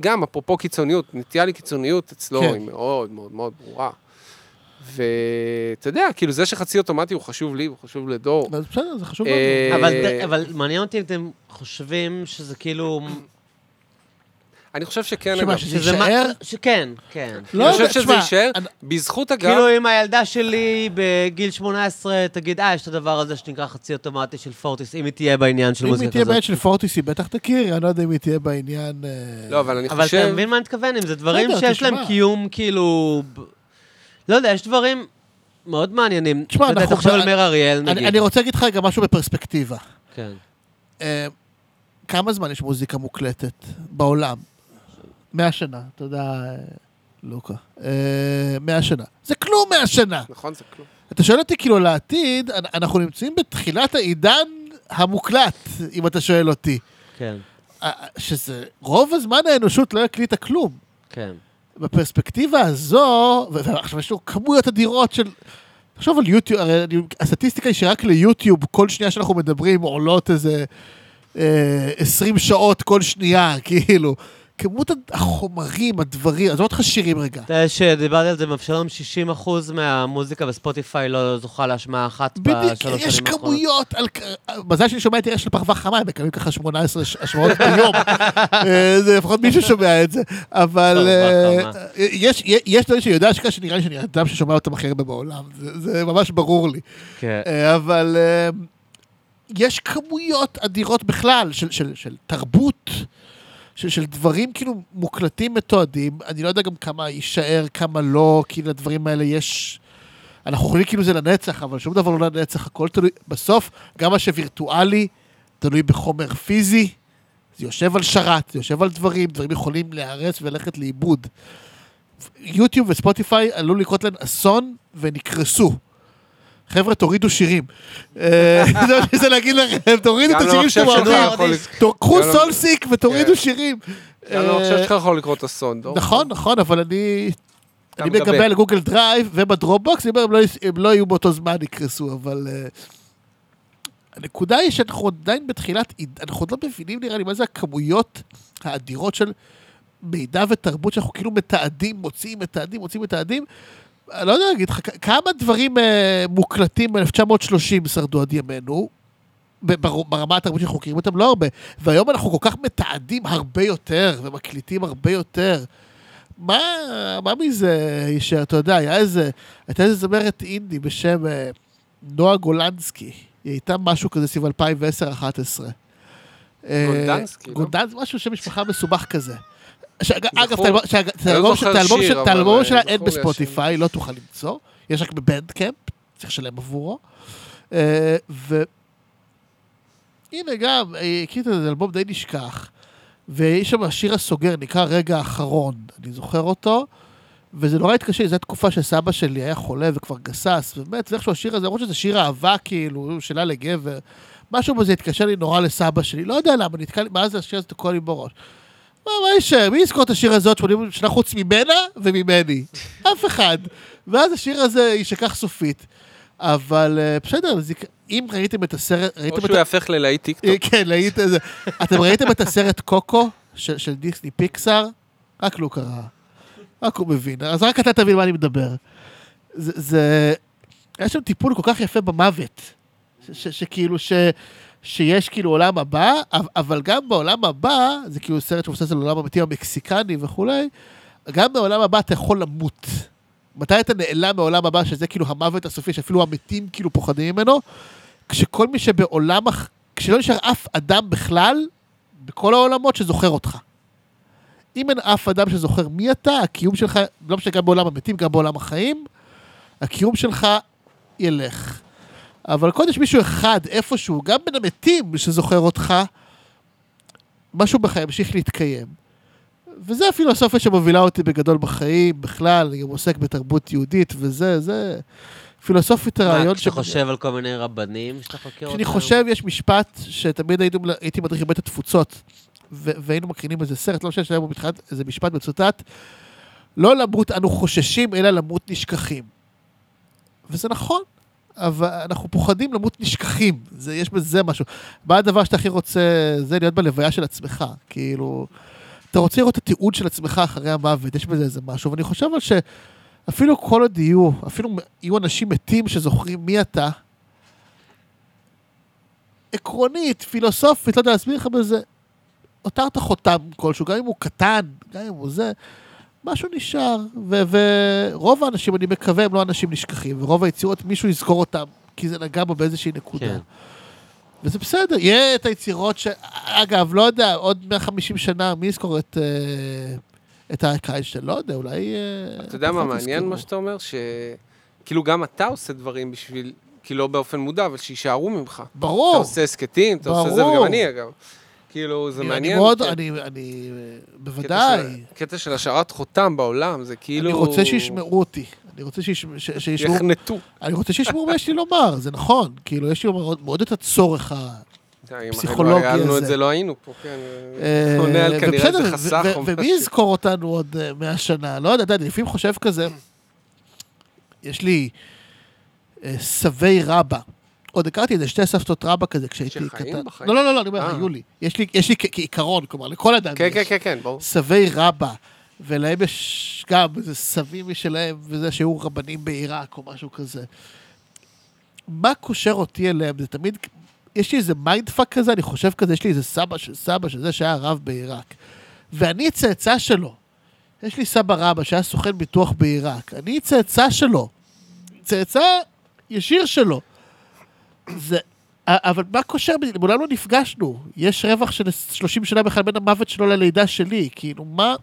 S3: גם אפרופו קיצוניות, נטייה לקיצוניות אצלו
S2: כן.
S3: היא מאוד מאוד מאוד ברורה. ואתה יודע, כאילו זה שחצי אוטומטי הוא חשוב לי, הוא חשוב לדור.
S2: אז בסדר, זה חשוב
S3: אה,
S2: מאוד.
S1: אבל ת- אבל מעניין אותי אם אתם חושבים שזה כאילו...
S3: אני חושב שכן,
S2: שמה,
S3: אגב.
S2: שזה
S1: שזה מה-
S2: יישאר?
S1: שכן, כן.
S2: לא
S3: אני חושב
S2: יודע,
S3: שזה
S2: תשמע,
S3: יישאר,
S2: אני-
S3: בזכות אגב,
S1: כאילו אם הילדה שלי בגיל 18 תגיד, אה, יש את הדבר הזה שנקרא חצי אוטומטי של פורטיס, אם היא תהיה בעניין של
S2: אם היא
S1: מוזיקה
S2: תהיה
S1: כזאת.
S2: בעניין של פורטיס, היא בטח תכיר, אני לא יודע אם היא תהיה בעניין... אה,
S3: לא, אבל אני
S1: אבל אתה
S3: חושב,
S1: מבין מה אני מתכוון? אם זה דברים
S2: בסדר,
S1: שיש להם
S2: תשמע.
S1: קיום, כאילו... ב- לא יודע, יש דברים מאוד מעניינים.
S2: תשמע,
S1: אתה יודע,
S2: אנחנו-
S1: תחשוב על
S2: אני-
S1: מאיר אריאל,
S2: אני- אני
S1: נגיד.
S2: רוצה להגיד לך גם משהו בפרספקטיבה.
S1: כן.
S2: אה, כמה זמן יש מוזיקה מוקלטת בעולם? מאה שנה, תודה, אה, לוקה. אה, מאה שנה. זה כלום מאה שנה.
S3: נכון, זה כלום.
S2: אתה שואל אותי, כאילו, לעתיד, אנ- אנחנו נמצאים בתחילת העידן המוקלט, אם אתה שואל אותי.
S1: כן,
S2: אה, שזה, רוב הזמן האנושות לא הקליטה כלום.
S1: כן.
S2: בפרספקטיבה הזו, ו- ועכשיו יש לנו כמויות אדירות של... תחשוב על יוטיוב, הרי אני- הסטטיסטיקה היא שרק ליוטיוב, כל שנייה שאנחנו מדברים עולות איזה אה, 20 שעות כל שנייה, כאילו. כמות הד- החומרים, הדברים, עזוב אותך שירים רגע.
S1: אתה יודע שדיברתי על זה, מאפשר להם 60% מהמוזיקה בספוטיפיי לא זוכה להשמעה אחת בשלוש
S2: בדיוק,
S1: שנים האחרונות.
S2: יש כמויות, על... כ- מזל שאני שומע את עיר של פרווה חמה, הם מקבלים ככה 18 ש- השמעות ביום. אה, זה לפחות מישהו שומע את זה. אבל
S1: פרווה
S2: אה,
S1: חמה.
S2: יש- יש דברים שאני יודע שככה, שנראה לי שאני האדם ששומע אותם הכי הרבה בעולם, זה זה ממש ברור לי.
S1: כן.
S2: אה, אבל אה, יש כמויות אדירות בכלל של, של, של תרבות, של, של דברים כאילו מוקלטים, מתועדים. אני לא יודע גם כמה יישאר, כמה לא, כאילו לדברים האלה יש... אנחנו יכולים כאילו זה לנצח, אבל שום דבר לא לנצח, הכל תלוי... בסוף, גם מה שווירטואלי, תלוי בחומר פיזי. זה יושב על שרת, זה יושב על דברים, דברים יכולים להיהרס וללכת לאיבוד. יוטיוב וספוטיפיי עלול לקרות להם אסון והם יקרסו. חבר'ה, תורידו שירים. אה, זה מה שאני רוצה להגיד לכם, תורידו את
S3: גם
S2: השירים
S3: למחשב
S2: שאתם
S3: שלך
S2: אוהבים.
S3: יכול
S1: דיסק.
S3: לק-
S2: תור- קחו
S3: גם לא-
S2: סולסיק ותורידו
S3: כן.
S2: שירים.
S3: גם לא למחשב
S2: אה,
S3: שלך יכול לקרות אסון, דור.
S2: נכון, נכון, אבל אני...
S3: אתה
S2: אני
S3: מגבה.
S2: מגבה על גוגל דרייב ובדרופבוקס, אם הם לא יס- הם לא יהיו באותו זמן יקרסו, אבל... אה, הנקודה היא שאנחנו עדיין בתחילת, עיד- אנחנו עוד לא מבינים נראה לי מה זה הכמויות האדירות של מידע ותרבות שאנחנו כאילו מתעדים, מוציאים, מתעדים, מוציאים, מתעדים. אני לא יודע להגיד לך, כ- כמה דברים אה, מוקלטים ב-1930 שרדו עד ימינו, ב- בר- ברמה התרבותית שאנחנו מכירים אותם, לא הרבה. והיום אנחנו כל כך מתעדים הרבה יותר, ומקליטים הרבה יותר. מה, מה מזה יישאר? אתה יודע, היה איזה, הייתה איזה זמרת אינדי בשם אה, נועה גולנסקי. היא הייתה משהו כזה סביב 2010-2011. אה,
S3: גולדנסקי, לא?
S2: גולדנס, משהו שם משפחה מסובך כזה. שאג- אגב,
S3: זכור.
S2: את האלבום- שאג- את
S3: אני לא
S2: האלבום
S3: זוכר
S2: את האלבום
S3: שיר,
S2: של- את
S3: אבל,
S2: האלבום
S3: אה,
S2: שלה
S3: זכור
S2: אין
S3: לי השם.
S2: בספוטיפיי, לא תוכל למצוא, יש רק בבנדקאמפ, צריך לשלם עבורו. אה, ו- הנה גם, אה, הקראת את זה, אלבום די נשכח. ויש שם השיר הסוגר, נקרא רגע אחרון, אני זוכר אותו. וזה נורא התקשר, זו התקופה שסבא שלי היה חולה וכבר גסס, ובאמת, ואיכשהו השיר הזה, למרות שזה שיר אהבה, כאילו, שאלה לגבר, משהו בזה התקשר לי נורא לסבא שלי, לא יודע למה, נתקע לי, מאז השיר הזה תקוע לי בראש. מה, מה יישאר? מי יזכור את השיר הזה עוד 80 שנה חוץ ממנה וממני? אף אחד. ואז השיר הזה יישכח סופית. אבל אה, בסדר, זה- אם ראיתם את הסרט, ראיתם
S3: או
S2: את...
S3: שהוא יהפך ללהיט טיקטוק.
S2: כן, להיט איזה. אתם ראיתם את הסרט קוקו של של דיסני פיקסאר? רק לו קרא. רק הוא מבין. אז רק אתה תבין מה אני מדבר. זה- זה... היה שם טיפול כל כך יפה במוות. ש- ש- שכאילו ש... שיש כאילו עולם הבא, אב- אבל גם בעולם הבא, זה כאילו סרט שמבוסס על עולם המתים המקסיקני וכולי, גם בעולם הבא אתה יכול למות. מתי אתה נעלם מהעולם הבא, שזה כאילו המוות הסופי, שאפילו המתים כאילו פוחדים ממנו? כשכל מי שבעולם, הח- כשלא נשאר אף אדם בכלל, בכל העולמות, שזוכר אותך. אם אין אף אדם שזוכר מי אתה, הקיום שלך, לא משנה, גם בעולם המתים, גם בעולם החיים, הקיום שלך ילך. אבל קודם יש מישהו אחד, איפשהו, גם בין המתים שזוכר אותך, משהו בך ימשיך להתקיים. וזה הפילוסופיה שמובילה אותי בגדול בחיים, בכלל, אני גם עוסק בתרבות יהודית וזה, זה פילוסופית
S1: מה,
S2: הרעיון
S1: כשאתה חושב על כל מיני רבנים שאתה חוקר אותם?
S2: כשאני חושב, יש משפט שתמיד היינו, הייתי מדריך בבית התפוצות, ו- והיינו מקרינים איזה סרט, לא משנה שהיה בו מתחילת, איזה משפט מצוטט, לא למות אנו חוששים, אלא למות נשכחים. וזה נכון, אבל אנחנו פוחדים למות נשכחים, זה, יש בזה משהו. מה הדבר שאתה הכי רוצה, זה להיות בלוויה של עצמך, כאילו... אתה רוצה לראות את התיעוד של עצמך אחרי המוות, יש בזה איזה משהו, ואני חושב על ש... אפילו כל עוד יהיו, אפילו יהיו אנשים מתים שזוכרים מי אתה, עקרונית, פילוסופית, לא יודע להסביר לך בזה, הותרת חותם כלשהו, גם אם הוא קטן, גם אם הוא זה, משהו נשאר. ו- ורוב האנשים, אני מקווה, הם לא אנשים נשכחים, ורוב היצירות, מישהו יזכור אותם, כי זה נגע בו באיזושהי נקודה.
S1: כן.
S2: כן. וזה בסדר, יהיה את היצירות ש... אגב, לא יודע, עוד 150 שנה, מי יזכור את... אה, את האקיישטיין, לא יודע, אולי... אה,
S3: אתה יודע מה
S2: פחות
S3: מעניין
S2: יזכרו.
S3: מה שאתה אומר? שכאילו גם אתה עושה דברים בשביל, כאילו לא באופן מודע, אבל שיישארו ממך. אתה
S2: ברור.
S3: עושה הסכתים, אתה עושה זה,
S2: ברור.
S3: וגם אני אגב. כאילו, זה מעניין.
S2: אני מאוד,
S3: כן.
S2: אני, אני, אה,
S3: קטע
S2: בוודאי.
S3: של- קטע של השארת חותם בעולם, זה כאילו...
S2: אני רוצה שישמעו אותי. אני רוצה שיש- ש- שישמעו
S3: יחנטו.
S2: אני רוצה שישמעו מה יש לי לומר, זה נכון. כאילו, יש לי מאוד, מאוד את הצורך ה... פסיכולוגי
S3: אם היה לנו את
S2: הזה.
S3: זה, לא היינו פה, כן.
S2: אה,
S3: עונה על כנראה
S2: ובסדר,
S3: איזה חסך
S2: ו-
S3: או
S2: ו-
S3: משהו.
S2: ומי יזכור אותנו עוד אה, מאה שנה? לא יודע, אתה יודע, אני לפעמים חושב כזה, יש לי אה, סבי רבא. עוד הכרתי איזה שתי סבתות רבא כזה כשהייתי קטן.
S3: שחיים בחיים?
S2: לא, לא, לא, לא, אני אומר
S3: אה.
S2: לך, היו לי. יש לי- יש לי כ- כעיקרון, כלומר, לכל אדם
S3: כן,
S2: יש.
S3: כן, כן, כן, ברור.
S2: סבי רבא, ולהם יש גם איזה סבים משלהם, וזה שהיו רבנים בעיראק או משהו כזה. מה קושר אותי אליהם? זה תמיד, יש לי איזה מיינדפאק כזה, אני חושב כזה, יש לי איזה סבא של סבא של זה שהיה רב בעיראק. ואני צאצא שלו. יש לי סבא רבא שהיה סוכן ביטוח בעיראק. אני צאצא שלו. צאצא ישיר שלו. זה... א- אבל מה קושר בינינו? מעולם לא נפגשנו. יש רווח של 30 שנה בכלל בין המוות שלו ללידה שלי. כאילו, מה...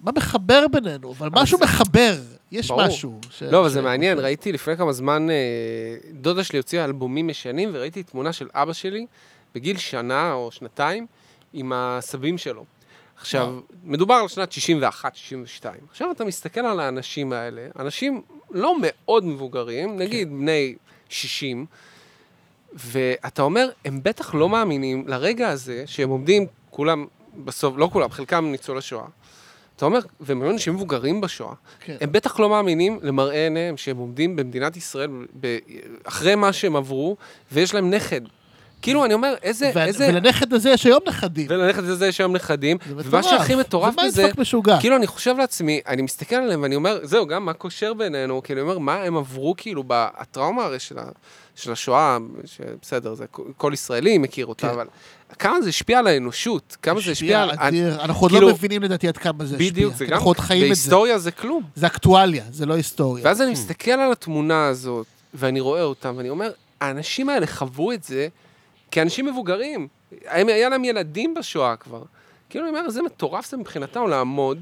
S2: מה מחבר בינינו? אבל משהו
S3: זה-
S2: מחבר. יש
S3: ברור.
S2: משהו. ש-
S3: לא, אבל
S2: ש-
S3: זה מעניין, ראיתי לפני כמה זמן, אה, דודה שלי הוציאה אלבומים ישנים, וראיתי תמונה של אבא שלי בגיל שנה או שנתיים עם הסבים שלו. עכשיו, מדובר על שנת 61, 62. עכשיו אתה מסתכל על האנשים האלה, אנשים לא מאוד
S2: כן.
S3: מבוגרים, נגיד בני 60, ואתה אומר, הם בטח לא מאמינים לרגע הזה שהם עומדים, כולם, בסוף, לא כולם, חלקם ניצולי שואה. אתה אומר, והם היו אנשים מבוגרים בשואה,
S2: כן.
S3: הם בטח לא מאמינים למראה עיניהם שהם עומדים במדינת ישראל ב- אחרי מה שהם עברו, ויש להם נכד. כאילו, אני אומר, איזה...
S2: ו-
S3: איזה...
S2: ולנכד הזה יש היום נכדים.
S3: ולנכד הזה יש היום נכדים,
S2: זה
S3: ומה שהכי מטורף
S2: זה
S3: בזה,
S2: מיינדפאק משוגע.
S3: כאילו, אני חושב לעצמי, אני מסתכל עליהם ואני אומר, זהו, גם מה קושר בינינו, כאילו, אני אומר, מה הם עברו, כאילו, ב- הטראומה הרי של, ה- של השואה, שבסדר, זה כל- כל ישראלי מכיר אותה,
S2: כן.
S3: אבל כמה זה השפיע על האנושות, כמה זה השפיע על...
S2: אדיר. אנחנו עוד לא
S3: כאילו-
S2: מבינים לדעתי עד כמה זה השפיע.
S3: בדיוק, זה
S2: כי
S3: גם,
S2: אנחנו עוד חיים את זה.
S3: בהיסטוריה זה כלום.
S2: זה אקטואליה, זה לא היסטוריה.
S1: Hmm.
S3: ואז אני מסתכל על התמונה הזאת, ואני רואה אותם, ואני אומר, האנשים האלה חוו את זה כאנשים מבוגרים. הם, היה להם ילדים בשואה כבר. כאילו, אני אומר, זה מטורף זה מבחינתם לעמוד,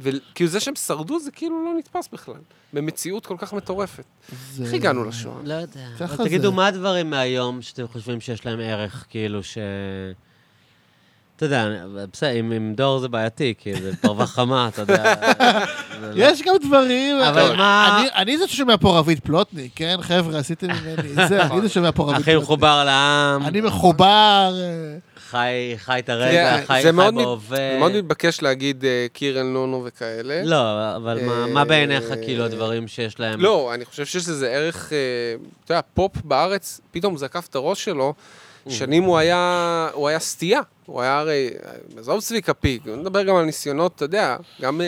S3: וכאילו זה שהם שרדו זה כאילו לא נתפס בכלל, במציאות כל כך מטורפת.
S2: זה-
S3: איך הגענו לשואה?
S1: לא יודע.
S2: ככה
S1: אבל תגידו,
S2: זה.
S1: מה הדברים מהיום שאתם חושבים שיש להם ערך, כאילו ש... אתה יודע, בסדר, עם- עם דור זה בעייתי, כי זה פרווה חמה, אתה יודע. זה לא-
S2: יש גם דברים...
S1: אבל
S2: אני-
S1: מה-
S2: אני- אני זה ששומע פה רביד פלוטניק, כן, חבר'ה, עשיתם ממני זה,
S1: נכון.
S2: אני זה ששומע פה רביד
S1: הכי
S2: פלוטניק.
S1: מחובר לעם,
S2: אני מחובר... אה,
S1: חי חי את
S3: זה-
S1: הרגע, חי
S3: זה
S1: חי
S3: מאוד מת-
S1: בהווה.
S3: אני מאוד מתבקש להגיד אה, קירן נונו וכאלה.
S1: לא, אבל מה-
S3: אה,
S1: מה בעיניך, כאילו, הדברים שיש להם?
S3: לא, אני חושב שיש לזה ערך, אה, אתה יודע, פופ בארץ, פתאום הוא זקף את הראש שלו,
S1: Mm.
S3: שנים הוא היה, הוא היה סטייה, הוא היה הרי, עזוב צביקה פיק, אני מדבר גם על ניסיונות, אתה יודע, גם אה,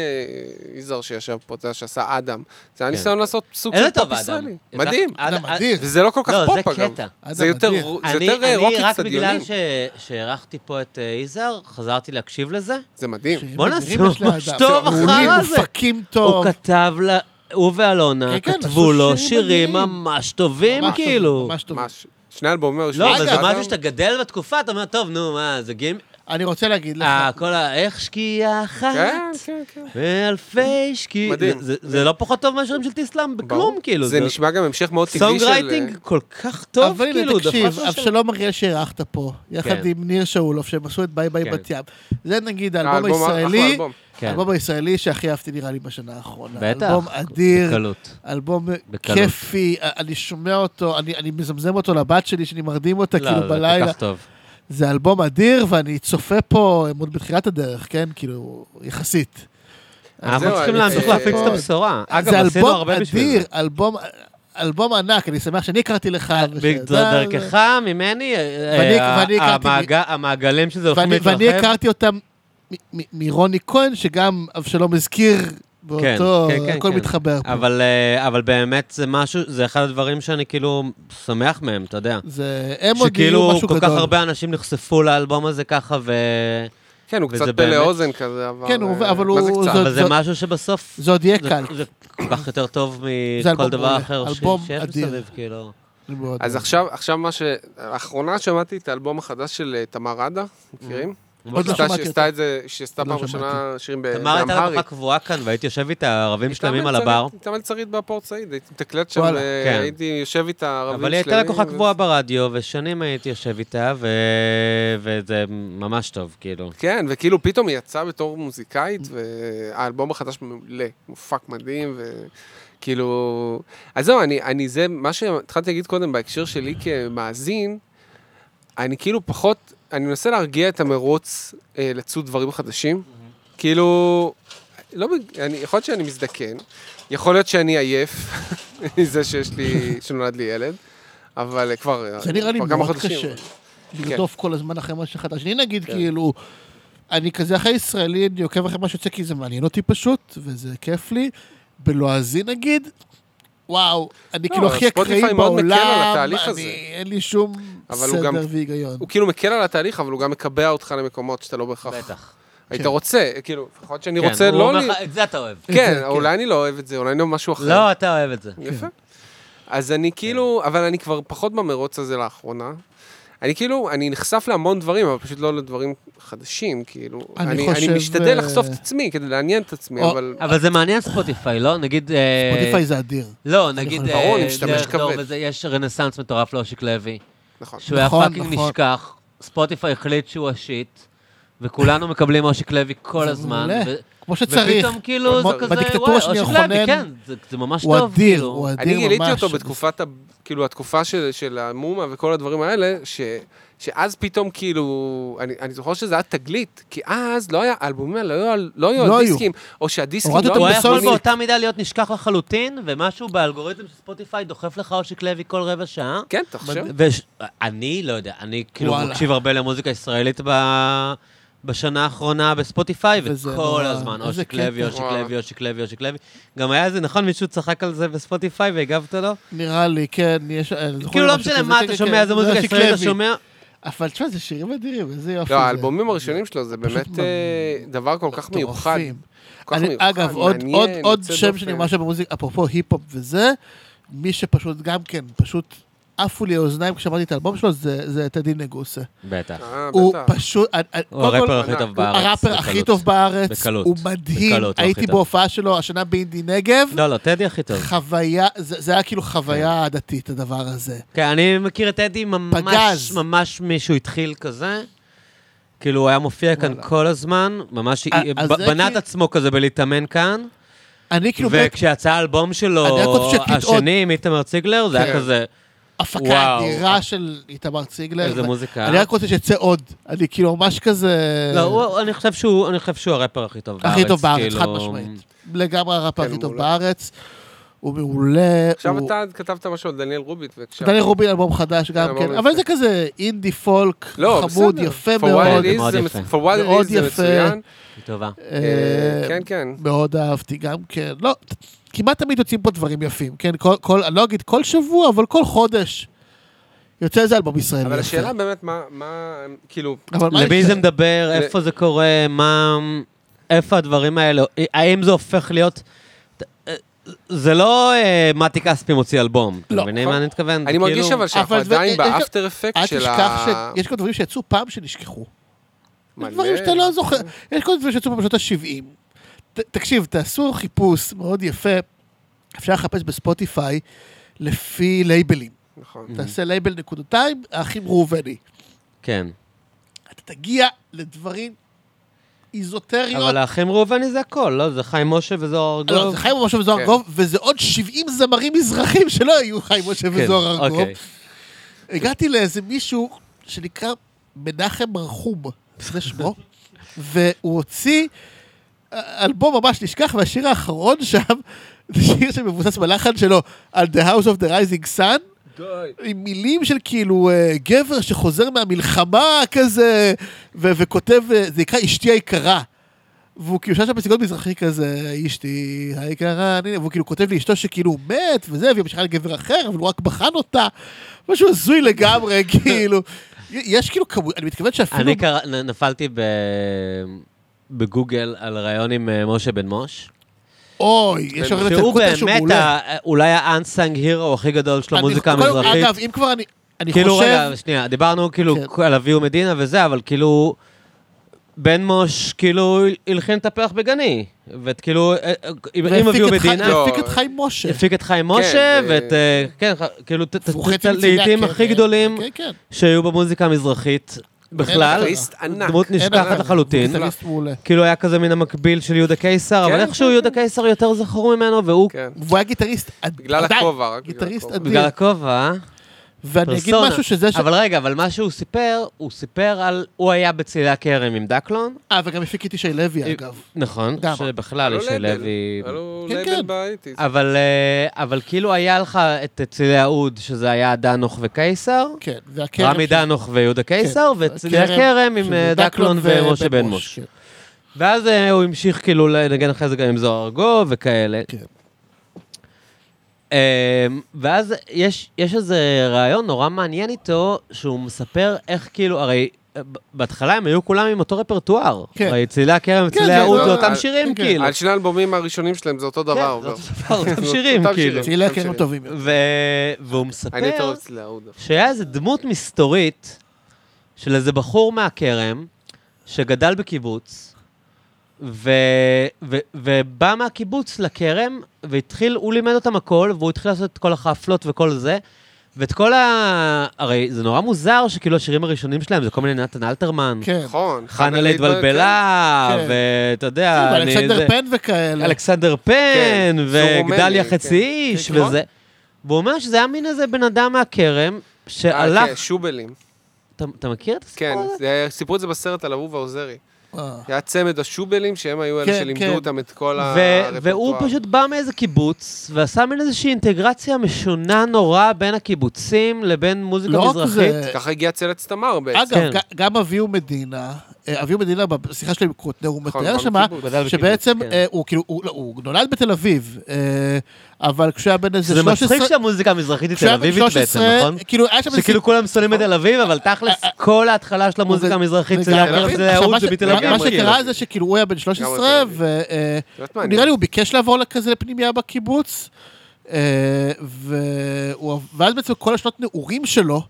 S3: יזהר שישב פה, אתה יודע, שעשה אדם, זה היה
S1: כן.
S3: ניסיון לעשות סוג
S1: איזה
S3: של
S1: טוב,
S3: פופ
S1: אדם.
S3: ישראלי, מדהים,
S1: אדם
S2: אתה מדהיר.
S3: וזה לא כל כך
S1: לא, זה
S3: פופ אגב,
S1: קטע.
S2: אדם
S3: זה יותר
S2: מדהיר.
S3: רו- זה
S1: אני,
S3: יותר אה, רוק
S1: אני רק בגלל
S3: אצטדיונים,
S1: ש- שהערכתי פה את אה, יזהר, חזרתי להקשיב לזה.
S3: זה מדהים,
S2: שירים
S1: בוא
S2: אדירים
S1: נעשה
S2: יש לאדם.
S1: ממש טוב
S2: מעולים,
S1: אחר הזה.
S2: מופקים
S1: הוא
S2: טוב.
S1: כתב, לה, הוא ואלונה
S2: כן, כן,
S1: כתבו
S2: עשו
S1: לו
S2: שירים
S1: שירים
S2: מדהימים.
S1: ממש טובים,
S2: ממש טוב,
S1: כאילו.
S2: ממש טוב.
S3: ממש, שני אלבומים
S1: לא,
S3: הראשונים,
S1: אבל
S3: של
S1: זה
S3: אדם,
S1: משהו שאתה גדל בתקופה, אתה אומר, טוב, נו, מה, זה גים...
S2: אני רוצה להגיד לך,
S1: אה, כל ה... איך שקיעה אחת?
S3: כן, כן, כן.
S1: ואלפי שקיעים.
S3: מדהים.
S1: זה- זה לא פחות טוב מהשירים של טיסלאם בכלום,
S3: ברור.
S1: כאילו.
S3: זה נשמע גם המשך מאוד טבעי
S1: סונג
S3: של... אה,
S1: רייטינג כל כך טוב,
S2: אה, אבל
S1: כאילו,
S2: הנה, תקשיב,
S1: דפק לו שם.
S2: אבשלום אריאל שאירחת פה,
S1: כן.
S2: יחד עם ניר שאולוף, שהם עשו את ביי ביי
S1: כן.
S2: בת ים. זה נגיד
S3: האלבום,
S2: האלבום
S3: אחלה
S2: הישראלי,
S3: אלבום.
S1: כן,
S2: האלבום הישראלי שהכי אהבתי נראה לי בשנה האחרונה.
S1: בטח.
S2: אלבום אדיר,
S1: בקלות.
S2: אלבום
S1: בקלות.
S2: כיפי, אני שומע אותו, אני אני מזמזם אותו לבת שלי, שאני מרדים אותה
S1: לא,
S2: כאילו
S1: זה כל
S2: בלילה.
S1: כך טוב.
S2: זה אלבום אדיר, ואני צופה פה, הם עוד בתחילת הדרך, כן? כאילו, יחסית.
S1: אנחנו
S3: זהו,
S1: צריכים
S3: אני-
S1: להמשיך
S3: אה,
S1: להפיץ את
S3: אה,
S1: הבשורה. אגב,
S2: זה
S1: עשינו
S2: אלבום
S1: הרבה בשביל
S2: אדיר,
S1: זה.
S2: אלבום... אלבום ענק, אני שמח שאני הכרתי לך.
S1: אה,
S2: ושאתה-
S1: דרכך, ממני, אה,
S2: ואני-
S1: אה,
S2: ואני הכרתי-
S1: המעגל- המעגלים שזה הולכים
S2: ואני, ואני
S1: להתרחב.
S2: הכרתי אותם מ- מ- מרוני כהן, שגם אבשלום הזכיר באותו,
S1: כן, כן,
S2: הכל
S1: כן.
S2: מתחבר פה.
S1: אבל, אה, אבל באמת זה משהו, זה אחד הדברים שאני כאילו שמח מהם, אתה יודע.
S2: זה, הם עוד יהיו
S1: שכאילו
S2: משהו
S1: כל
S2: גדול.
S1: כך הרבה אנשים נחשפו לאלבום הזה ככה, ו...
S3: כן, הוא
S1: וזה
S3: קצת פלא
S1: באמת-
S3: אוזן כזה, אבל...
S2: כן, הוא-
S3: אה,
S2: אבל
S3: מה
S2: הוא-
S3: זה קצת?
S2: זאת-
S1: אבל זה משהו שבסוף...
S2: זה עוד יהיה קל.
S1: זה כל כך יותר טוב
S2: זה
S1: מכל
S2: אלבום
S1: דבר
S2: מעולה,
S1: אחר ש-
S2: אלבום
S1: שיש
S2: אדיר.
S1: מסביב, כאילו.
S2: אני מאוד
S3: אז
S2: אוהב.
S3: עכשיו, עכשיו מה ש... לאחרונה שמעתי את האלבום החדש של אה, תמר ראדה, מכירים?
S2: עוד לא
S3: שעשתה-
S2: שמעתי
S3: שעשתה את זה, שעשתה
S2: עוד לא
S3: פעם ראשונה שירים ב-
S1: תמר הייתה
S3: באמהרית.
S1: רווחה קבועה כאן, והייתי יושב איתה ערבים
S3: הייתה
S1: שלמים על
S3: מלצרית-
S1: הבר.
S3: הייתה מלצרית בהפועל סעיד, הייתי מתקלט שם,
S2: וואלה.
S3: אה,
S1: כן.
S3: הייתי יושב איתה ערבים שלמים.
S1: אבל היא הייתה לקוחה
S3: ו-
S1: קבועה ברדיו, ושנים הייתי יושב איתה, ו... וזה ממש טוב, כאילו.
S3: כן, וכאילו פתאום היא יצאה בתור מוזיקאית, והאלבום החדש מעולה, מופק מדהים, וכאילו... אז זהו, אני, אני זה, מה שהתחלתי להגיד קודם בהקשר שלי כמאזין, אני כאילו פחות, אני מנסה להרגיע את המרוץ אה, לצוד דברים חדשים. כאילו, לא, בג- אני, יכול להיות שאני מזדקן, יכול להיות שאני עייף מזה שיש לי, שנולד לי ילד, אבל אה, כבר...
S2: זה נראה לי
S3: כבר כמה
S2: מאוד
S3: חודשים.
S2: קשה.
S3: כן.
S2: לרדוף כל הזמן אחרי משהו חדש. אני נגיד, כאילו, אני כזה אחרי ישראלי, אני עוקב אחרי מה שיוצא, כי זה מעניין אותי פשוט, וזה כיף לי. בלועזי נגיד, וואו, אני
S3: לא,
S2: כאילו הכי
S3: ספוטיפיי
S2: אקראי
S3: מאוד מקל על
S2: בעולם,
S3: התהליך הזה.
S2: אני- אין לי שום
S3: אבל הוא גם-
S2: סדר והיגיון.
S3: הוא כאילו מקל על התהליך, אבל הוא גם מקבע אותך למקומות שאתה לא בהכרח
S1: בטח.
S3: היית
S2: כן.
S3: רוצה, כאילו, יכול להיות שאני
S1: כן,
S3: רוצה
S1: הוא
S3: לא...
S1: אומר
S3: לי-
S1: לך, את זה אתה אוהב.
S3: כן,
S2: כן.
S3: אולי אני לא אוהב את זה, אולי אני לא משהו אחר.
S1: לא, אתה אוהב את זה.
S3: יפה. אז אני כאילו, אבל אני כבר פחות במרוץ הזה לאחרונה. אני כאילו, אני נחשף להמון דברים, אבל פשוט לא לדברים חדשים, כאילו.
S2: אני
S3: אני
S2: חושב,
S3: אני משתדל
S2: אה,
S3: לחשוף את עצמי כדי לעניין את עצמי,
S2: או-
S3: אבל...
S1: אבל זה מעניין ספוטיפיי, לא? נגיד... אה,
S2: ספוטיפיי זה נכון, אדיר.
S1: לא, נגיד...
S2: יכול-
S1: אה,
S3: ברור, אני משתמש
S1: דרך דור
S3: כבד.
S1: וזה, יש רנסאנס מטורף לאושיק לוי,
S3: נכון.
S1: שהוא היה
S2: נכון,
S1: פאקינג
S2: נכון.
S1: נשכח, ספוטיפיי החליט שהוא השיט, וכולנו מקבלים אושיק לוי כל
S2: זה
S1: הזמן.
S2: מעולה.
S1: ו-
S2: כמו שצריך.
S1: ופתאום כאילו זה
S2: כמו-
S1: כזה,
S2: בדיקטטורה
S1: וואי,
S2: שנייה,
S1: אושיק לוי,
S2: חונן.
S1: כן, זה- זה ממש
S2: הוא
S1: טוב,
S2: אדיר,
S1: כאילו.
S2: הוא אדיר ממש.
S3: אני גיליתי אותו בתקופת, ה- כאילו, התקופה של, של המומה וכל הדברים האלה, ש, שאז פתאום, כאילו, אני, אני זוכר שזה היה תגלית, כי אז לא היה, האלבומים האלה לא היו על- לא היו
S2: לא
S3: על
S2: היו.
S3: דיסקים, או שהדיסקים
S2: הורדת
S3: לא
S2: אותם
S1: הוא היה יכול
S2: בסולנית.
S1: באותה מידה להיות נשכח לחלוטין, ומשהו באלגוריתם של ספוטיפיי דוחף לך אושיק לוי כל רבע שעה.
S3: כן, תחשוב.
S1: ואני לא יודע, אני כאילו
S2: וואלה.
S1: מקשיב הרבה למוזיקה ישראלית ב- בשנה האחרונה בספוטיפיי,
S2: וזה
S1: וכל
S2: נורא.
S1: הזמן,
S2: איזה
S1: אושיק
S2: קטע.
S1: לוי, אושיק
S3: וואו.
S1: לוי, אושיק לוי, אושיק לוי. גם היה איזה, נכון, מישהו צחק על זה בספוטיפיי והגבת לו?
S2: נראה לי, כן, יש... אני זוכר
S1: כאילו לא
S2: משהו
S1: משנה
S2: כזה,
S1: מה
S2: כן,
S1: אתה
S2: כן,
S1: שומע,
S2: כן,
S1: איזה
S2: זה
S1: מוזיקה
S2: אושיק
S1: ישראלית אתה
S2: לוי.
S1: שומע.
S2: אבל תשמע, זה שירים אדירים, איזה יופי.
S3: לא,
S2: זה.
S3: האלבומים הראשונים שלו זה באמת
S2: פשוט
S3: אה, דבר כל כך מיוחד.
S2: מטורפים.
S3: כל כך
S2: אני-
S3: מיוחד,
S2: אגב, עוד-
S3: מעניין,
S2: עוד- עוד
S3: יוצא
S2: שם
S3: דופן.
S2: שאני ממש אוהב במוזיקה, אפרופו היפ-הופ וזה, מי שפשוט גם כן, פשוט עפו לי האוזניים כששמעתי את האלבום שלו, זה זה טדי נגוסה.
S1: בטח.
S3: אה,
S2: הוא
S3: בטח.
S2: פשוט... אני- אני-
S1: הוא
S2: קודם כל,
S1: הראפר הכי
S3: ענק.
S1: טוב
S3: הוא
S1: בארץ.
S2: הוא הראפר הכי
S1: בקלות.
S2: טוב בארץ,
S1: בקלות.
S2: הוא מדהים,
S1: בקלות, הוא הכי
S2: הייתי
S1: טוב.
S2: בהופעה שלו השנה באינדי נגב,
S1: לא, לא, טדי הכי טוב.
S2: חוויה, זה זה היה כאילו חוויה עדתית הדבר הזה.
S1: כן, אני מכיר את אדי ממש,
S2: פגז.
S1: ממש מישהו התחיל כזה. כאילו, הוא היה מופיע כאן כל הזמן, ממש
S2: אה,
S1: ב-
S2: אז זה
S1: בנה את
S2: כי-
S1: עצמו כזה בלהתאמן כאן.
S2: אני כאילו, מת-
S1: וכשיצא האלבום
S2: אני רק
S1: שלו,
S2: רוצה שקליט עוד-
S1: השני עם איתמר ציגלר, זה היה
S3: כן.
S1: כזה,
S2: הפקה
S1: וואו.
S2: אדירה של איתמר ציגלר.
S1: איזה
S2: ו-
S1: מוזיקה.
S2: לא אני רק רוצה שיצא עוד. אני כאילו ממש כזה...
S1: לא, הוא- אני חושב שהוא אני חושב שהוא הראפר הכי טוב בארץ.
S2: הכי טוב בארץ,
S1: כאילו.
S2: חד משמעית. לגמרי
S3: כן,
S2: הראפר הכי
S3: הוא
S2: טוב
S3: מעולה.
S2: בארץ. הוא מעולה.
S3: עכשיו
S2: הוא-
S3: אתה כתבת משהו על דניאל רוביט, והקשבתי.
S2: דניאל רובין אלבום חדש גם
S3: אלבום
S2: כן,
S3: יפה.
S2: אבל זה כזה אינדי פולק,
S3: לא,
S2: חמוד,
S3: בסדר.
S2: יפה
S3: For
S2: מאוד.
S3: what it is
S1: מאוד
S3: זה
S1: יפה.
S3: מצ- For what it
S2: מאוד
S3: is זה
S2: יפה.
S3: מצוין.
S1: היא טובה.
S2: אה,
S3: אה, כן, כן.
S2: מאוד אהבתי גם כן. לא, ת- כמעט תמיד יוצאים פה דברים יפים, כן? כל- כל, אני לא אגיד כל שבוע, אבל כל חודש יוצא איזה אלבום ישראלי.
S3: אבל
S2: יפה.
S3: השאלה באמת, מה- מה, כאילו,
S2: אבל מה
S1: למי
S2: יש-
S1: זה מדבר,
S3: ל-
S1: איפה זה קורה, מה... איפה הדברים האלה, האם זה הופך להיות... זה לא אה, מתי כספי מוציא אלבום, אתה
S2: לא.
S1: מבין מה אני מתכוון? זה
S3: אני מרגיש
S1: כאילו-
S3: אבל שאנחנו
S2: אבל זה-
S3: עדיין
S2: אה, אה,
S3: באפטר אפקט
S2: אל
S3: של
S2: תשכח
S3: ה...
S2: שיש כאן דברים שיצאו פעם שנשכחו.
S3: מלא.
S2: דברים שאתה לא זוכר. יש כל מיני דברים שיצאו פה בשנות ה-70. ת- תקשיב, תעשו חיפוש מאוד יפה, אפשר לחפש בספוטיפיי לפי לייבלים.
S3: נכון.
S2: תעשה לייבל נקודתיים, האחים ראובני.
S1: כן.
S2: אתה תגיע לדברים איזוטריות.
S1: אבל האחים ראובני זה הכל, לא? זה חיים משה וזוהר
S2: לא,
S1: ארגוב.
S2: זה חיים משה וזוהר
S3: כן.
S2: ארגוב, וזה עוד 70 זמרים מזרחים שלא היו חיים משה
S1: כן,
S2: וזוהר ארגוב.
S1: אוקיי.
S2: הגעתי לאיזה מישהו שנקרא מנחם מרחום, זה שמו, והוא הוציא אלבום ממש נשכח, והשיר האחרון שם, זה שיר שמבוסס בלחן שלו על The House of the Rising Sun,
S3: די.
S2: עם מילים של כאילו אה, גבר שחוזר מהמלחמה כזה, ו- וכותב, אה, זה נקרא אשתי היקרה. והוא כאילו יושב שם בסגנון מזרחי כזה, אשתי היקרה, אני-" והוא כאילו כותב לאשתו שכאילו הוא מת וזה, והיא ממשיכה לגבר אחר, אבל הוא רק בחן אותה. משהו הזוי לגמרי, כאילו. יש כאילו כמות, אני מתכוון שאפילו...
S1: אני קרא- נ- נפלתי ב- בגוגל על ראיון עם אה, משה בן מוש.
S2: אוי, יש הרבה
S1: שהוא
S2: קוטר שהוא
S1: באמת
S2: מעולה.
S1: ה- אולי האנסאנג הירו הכי גדול של
S2: לא- אני-
S1: המוזיקה
S2: קודם-
S1: המזרחית.
S2: אגב, אם כבר אני... אני
S1: כאילו,
S2: חושב...
S1: רגע, שנייה, דיברנו כאילו
S2: כן.
S1: על אביהו מדינה וזה, אבל כאילו, בן מוש כאילו הלחין את הפרח בגני. וכאילו, אה, אה, עם עם
S2: והפיק
S1: אביהו
S2: את חי-
S1: מדינה,
S3: לא.
S2: והפיק את חיים משה.
S1: הפיק את חיים
S3: כן,
S1: משה,
S3: ו-
S1: ואת, אה, כן, ח- כאילו, את
S2: והוא חצי מצילי
S1: הלעיתים
S2: הקרן.
S1: הכי גדולים
S3: אוקיי.
S2: כן, כן.
S1: שהיו במוזיקה המזרחית בכלל.
S3: גיטריסט
S2: אה,
S3: ענק. לא.
S1: דמות נשכחת
S2: עליו.
S1: לחלוטין.
S2: גיטריסט מעולה.
S1: כאילו היה כזה מן המקביל של יהודה קיסר, אבל
S3: כן,
S1: איכשהו
S3: כן,
S1: יהודה קיסר יותר זכור ממנו, והוא
S3: כן.
S2: והוא היה גיטריסט עד-
S3: בגלל
S2: עדיין,
S3: הכובע, רק בגלל
S2: גיטריסט
S3: הכובע.
S2: אדיר.
S1: בגלל הכובע,
S2: ואני אגיד
S1: פרסונה.
S2: משהו שזה... ש-
S1: אבל רגע, אבל מה שהוא סיפר, הוא סיפר על... הוא היה בצלילי הכרם עם דקלון.
S2: אה, וגם הפיק את ישי לוי, אגב.
S1: נכון,
S2: גם.
S1: שבכלל
S3: לא
S1: יש
S3: לייבל,
S1: לוי...
S3: אבל הוא
S2: כן,
S3: לייבל
S2: כן.
S3: באייטיז.
S1: אבל אה, אבל כאילו היה לך את צלילי האוד, שזה היה דנוך וקיסר,
S2: כן, והכרם...
S1: רמי
S2: ש-
S1: דנוך ויהודה קיסר,
S2: כן,
S1: וצלילי הכרם עם
S2: שזה
S1: אה, דקלון ומשה בן
S2: ובן
S1: מוש.
S2: כן.
S1: ואז אה, הוא המשיך כאילו לנגן אחרי זה גם עם זוהר ארגוב וכאלה.
S2: כן.
S1: אמ, ואז יש, יש איזה רעיון נורא מעניין איתו, שהוא מספר איך כאילו, הרי אה, ב- בהתחלה הם היו כולם עם אותו רפרטואר.
S2: כן.
S1: הרי צלילי הכרם
S2: כן,
S1: וצלילי
S2: זה
S1: האוד
S3: לא-
S1: זה אותם
S3: אה,
S1: שירים,
S2: כן,
S1: כאילו.
S3: על שני האלבומים הראשונים שלהם זה אותו דבר.
S1: כן, זה
S3: אבל-
S1: אותו דבר, אותם שירים,
S3: אותם
S1: כאילו.
S3: שירים.
S2: צלילי
S3: הם
S2: הכרם
S3: שלי.
S2: טובים.
S1: ו- והוא
S3: אני יותר
S1: מספר
S3: רוצה להעוד.
S2: כן.
S1: שהיה איזה דמות מסתורית של איזה בחור מהכרם, שגדל בקיבוץ, ו... ו... ובא מהקיבוץ לכרם, והתחיל, הוא לימד אותם הכל, והוא התחיל לעשות את כל החפלות וכל זה, ואת כל ה... הרי זה נורא מוזר שכאילו השירים הראשונים שלהם זה כל מיני נתן אלתרמן,
S2: כן.
S3: נכון.
S1: חנה
S3: להתבלבל,
S1: להתבלבלה,
S2: כן.
S1: ואתה
S3: אה,
S1: יודע, אני- זה-
S2: אלכסנדר פן וכאלה.
S1: אלכסנדר פן,
S3: כן, זוג רומני,
S1: וגדליה
S3: כן.
S1: חצי איש,
S3: כן, נכון.
S1: וזה. והוא אומר שזה היה מין איזה בן אדם מהכרם,
S3: כן. אה,
S1: שהלך...
S3: כן, שובלים.
S1: אתה- אתה מכיר את הסיפור
S3: כן,
S1: הזה?
S3: זה- סיפרו את זה בסרט על אהובה עוזרי.
S2: אה,
S3: היה צמד השובלים, שהם היו אלה
S2: כן, כן.
S3: שלימדו אותם את כל
S1: ו-
S3: הרפרטואר.
S1: והוא פשוט בא מאיזה קיבוץ, ועשה מין איזושהי אינטגרציה משונה נורא בין הקיבוצים לבין מוזיקה
S2: לא רק
S1: מזרחית.
S2: זה...
S3: ככה הגיע צלת סתמר בעצם.
S2: אגב,
S1: כן.
S2: ג- גם אביהו מדינה, אה, אביהו מדינה, בשיחה שלי עם קוטנר, הוא
S3: נכון,
S2: מתאר
S3: גם
S2: שמה,
S3: בקיבוץ.
S1: גדל בקיבוץ,
S2: שבעצם
S1: כן.
S2: אה, הוא כאילו, הוא לא, הוא נולד בתל אביב, אה, אבל כשהוא היה בן איזה
S1: זה
S2: 13...
S1: מצחיק שהמוזיקה המזרחית היא
S2: כשהוא
S1: תל
S2: היה בן
S1: אביבית בעצם,
S2: 13,
S1: נכון?
S2: כאילו, היה שם איזה
S1: שכאילו כולם שונאים את תל אביב, אבל
S2: אה,
S1: תכלס, כל ההתחלה של המוזיקה המזרחית זה
S2: לגמרי.
S1: להכיר את זה
S2: אה, עכשיו, מה
S1: ההוא, זה
S2: ש-
S1: בתל
S2: מה-
S1: אביב.
S2: מה
S1: כאילו.
S2: שקרה זה שכאילו הוא היה בן 13,
S3: אביב. את יודעת מה, אני-
S2: ונראה אה, לי הוא ביקש לעבור כזה לפנימייה בקיבוץ, אה, והוא- ואז בעצם כל השנות נעורים שלו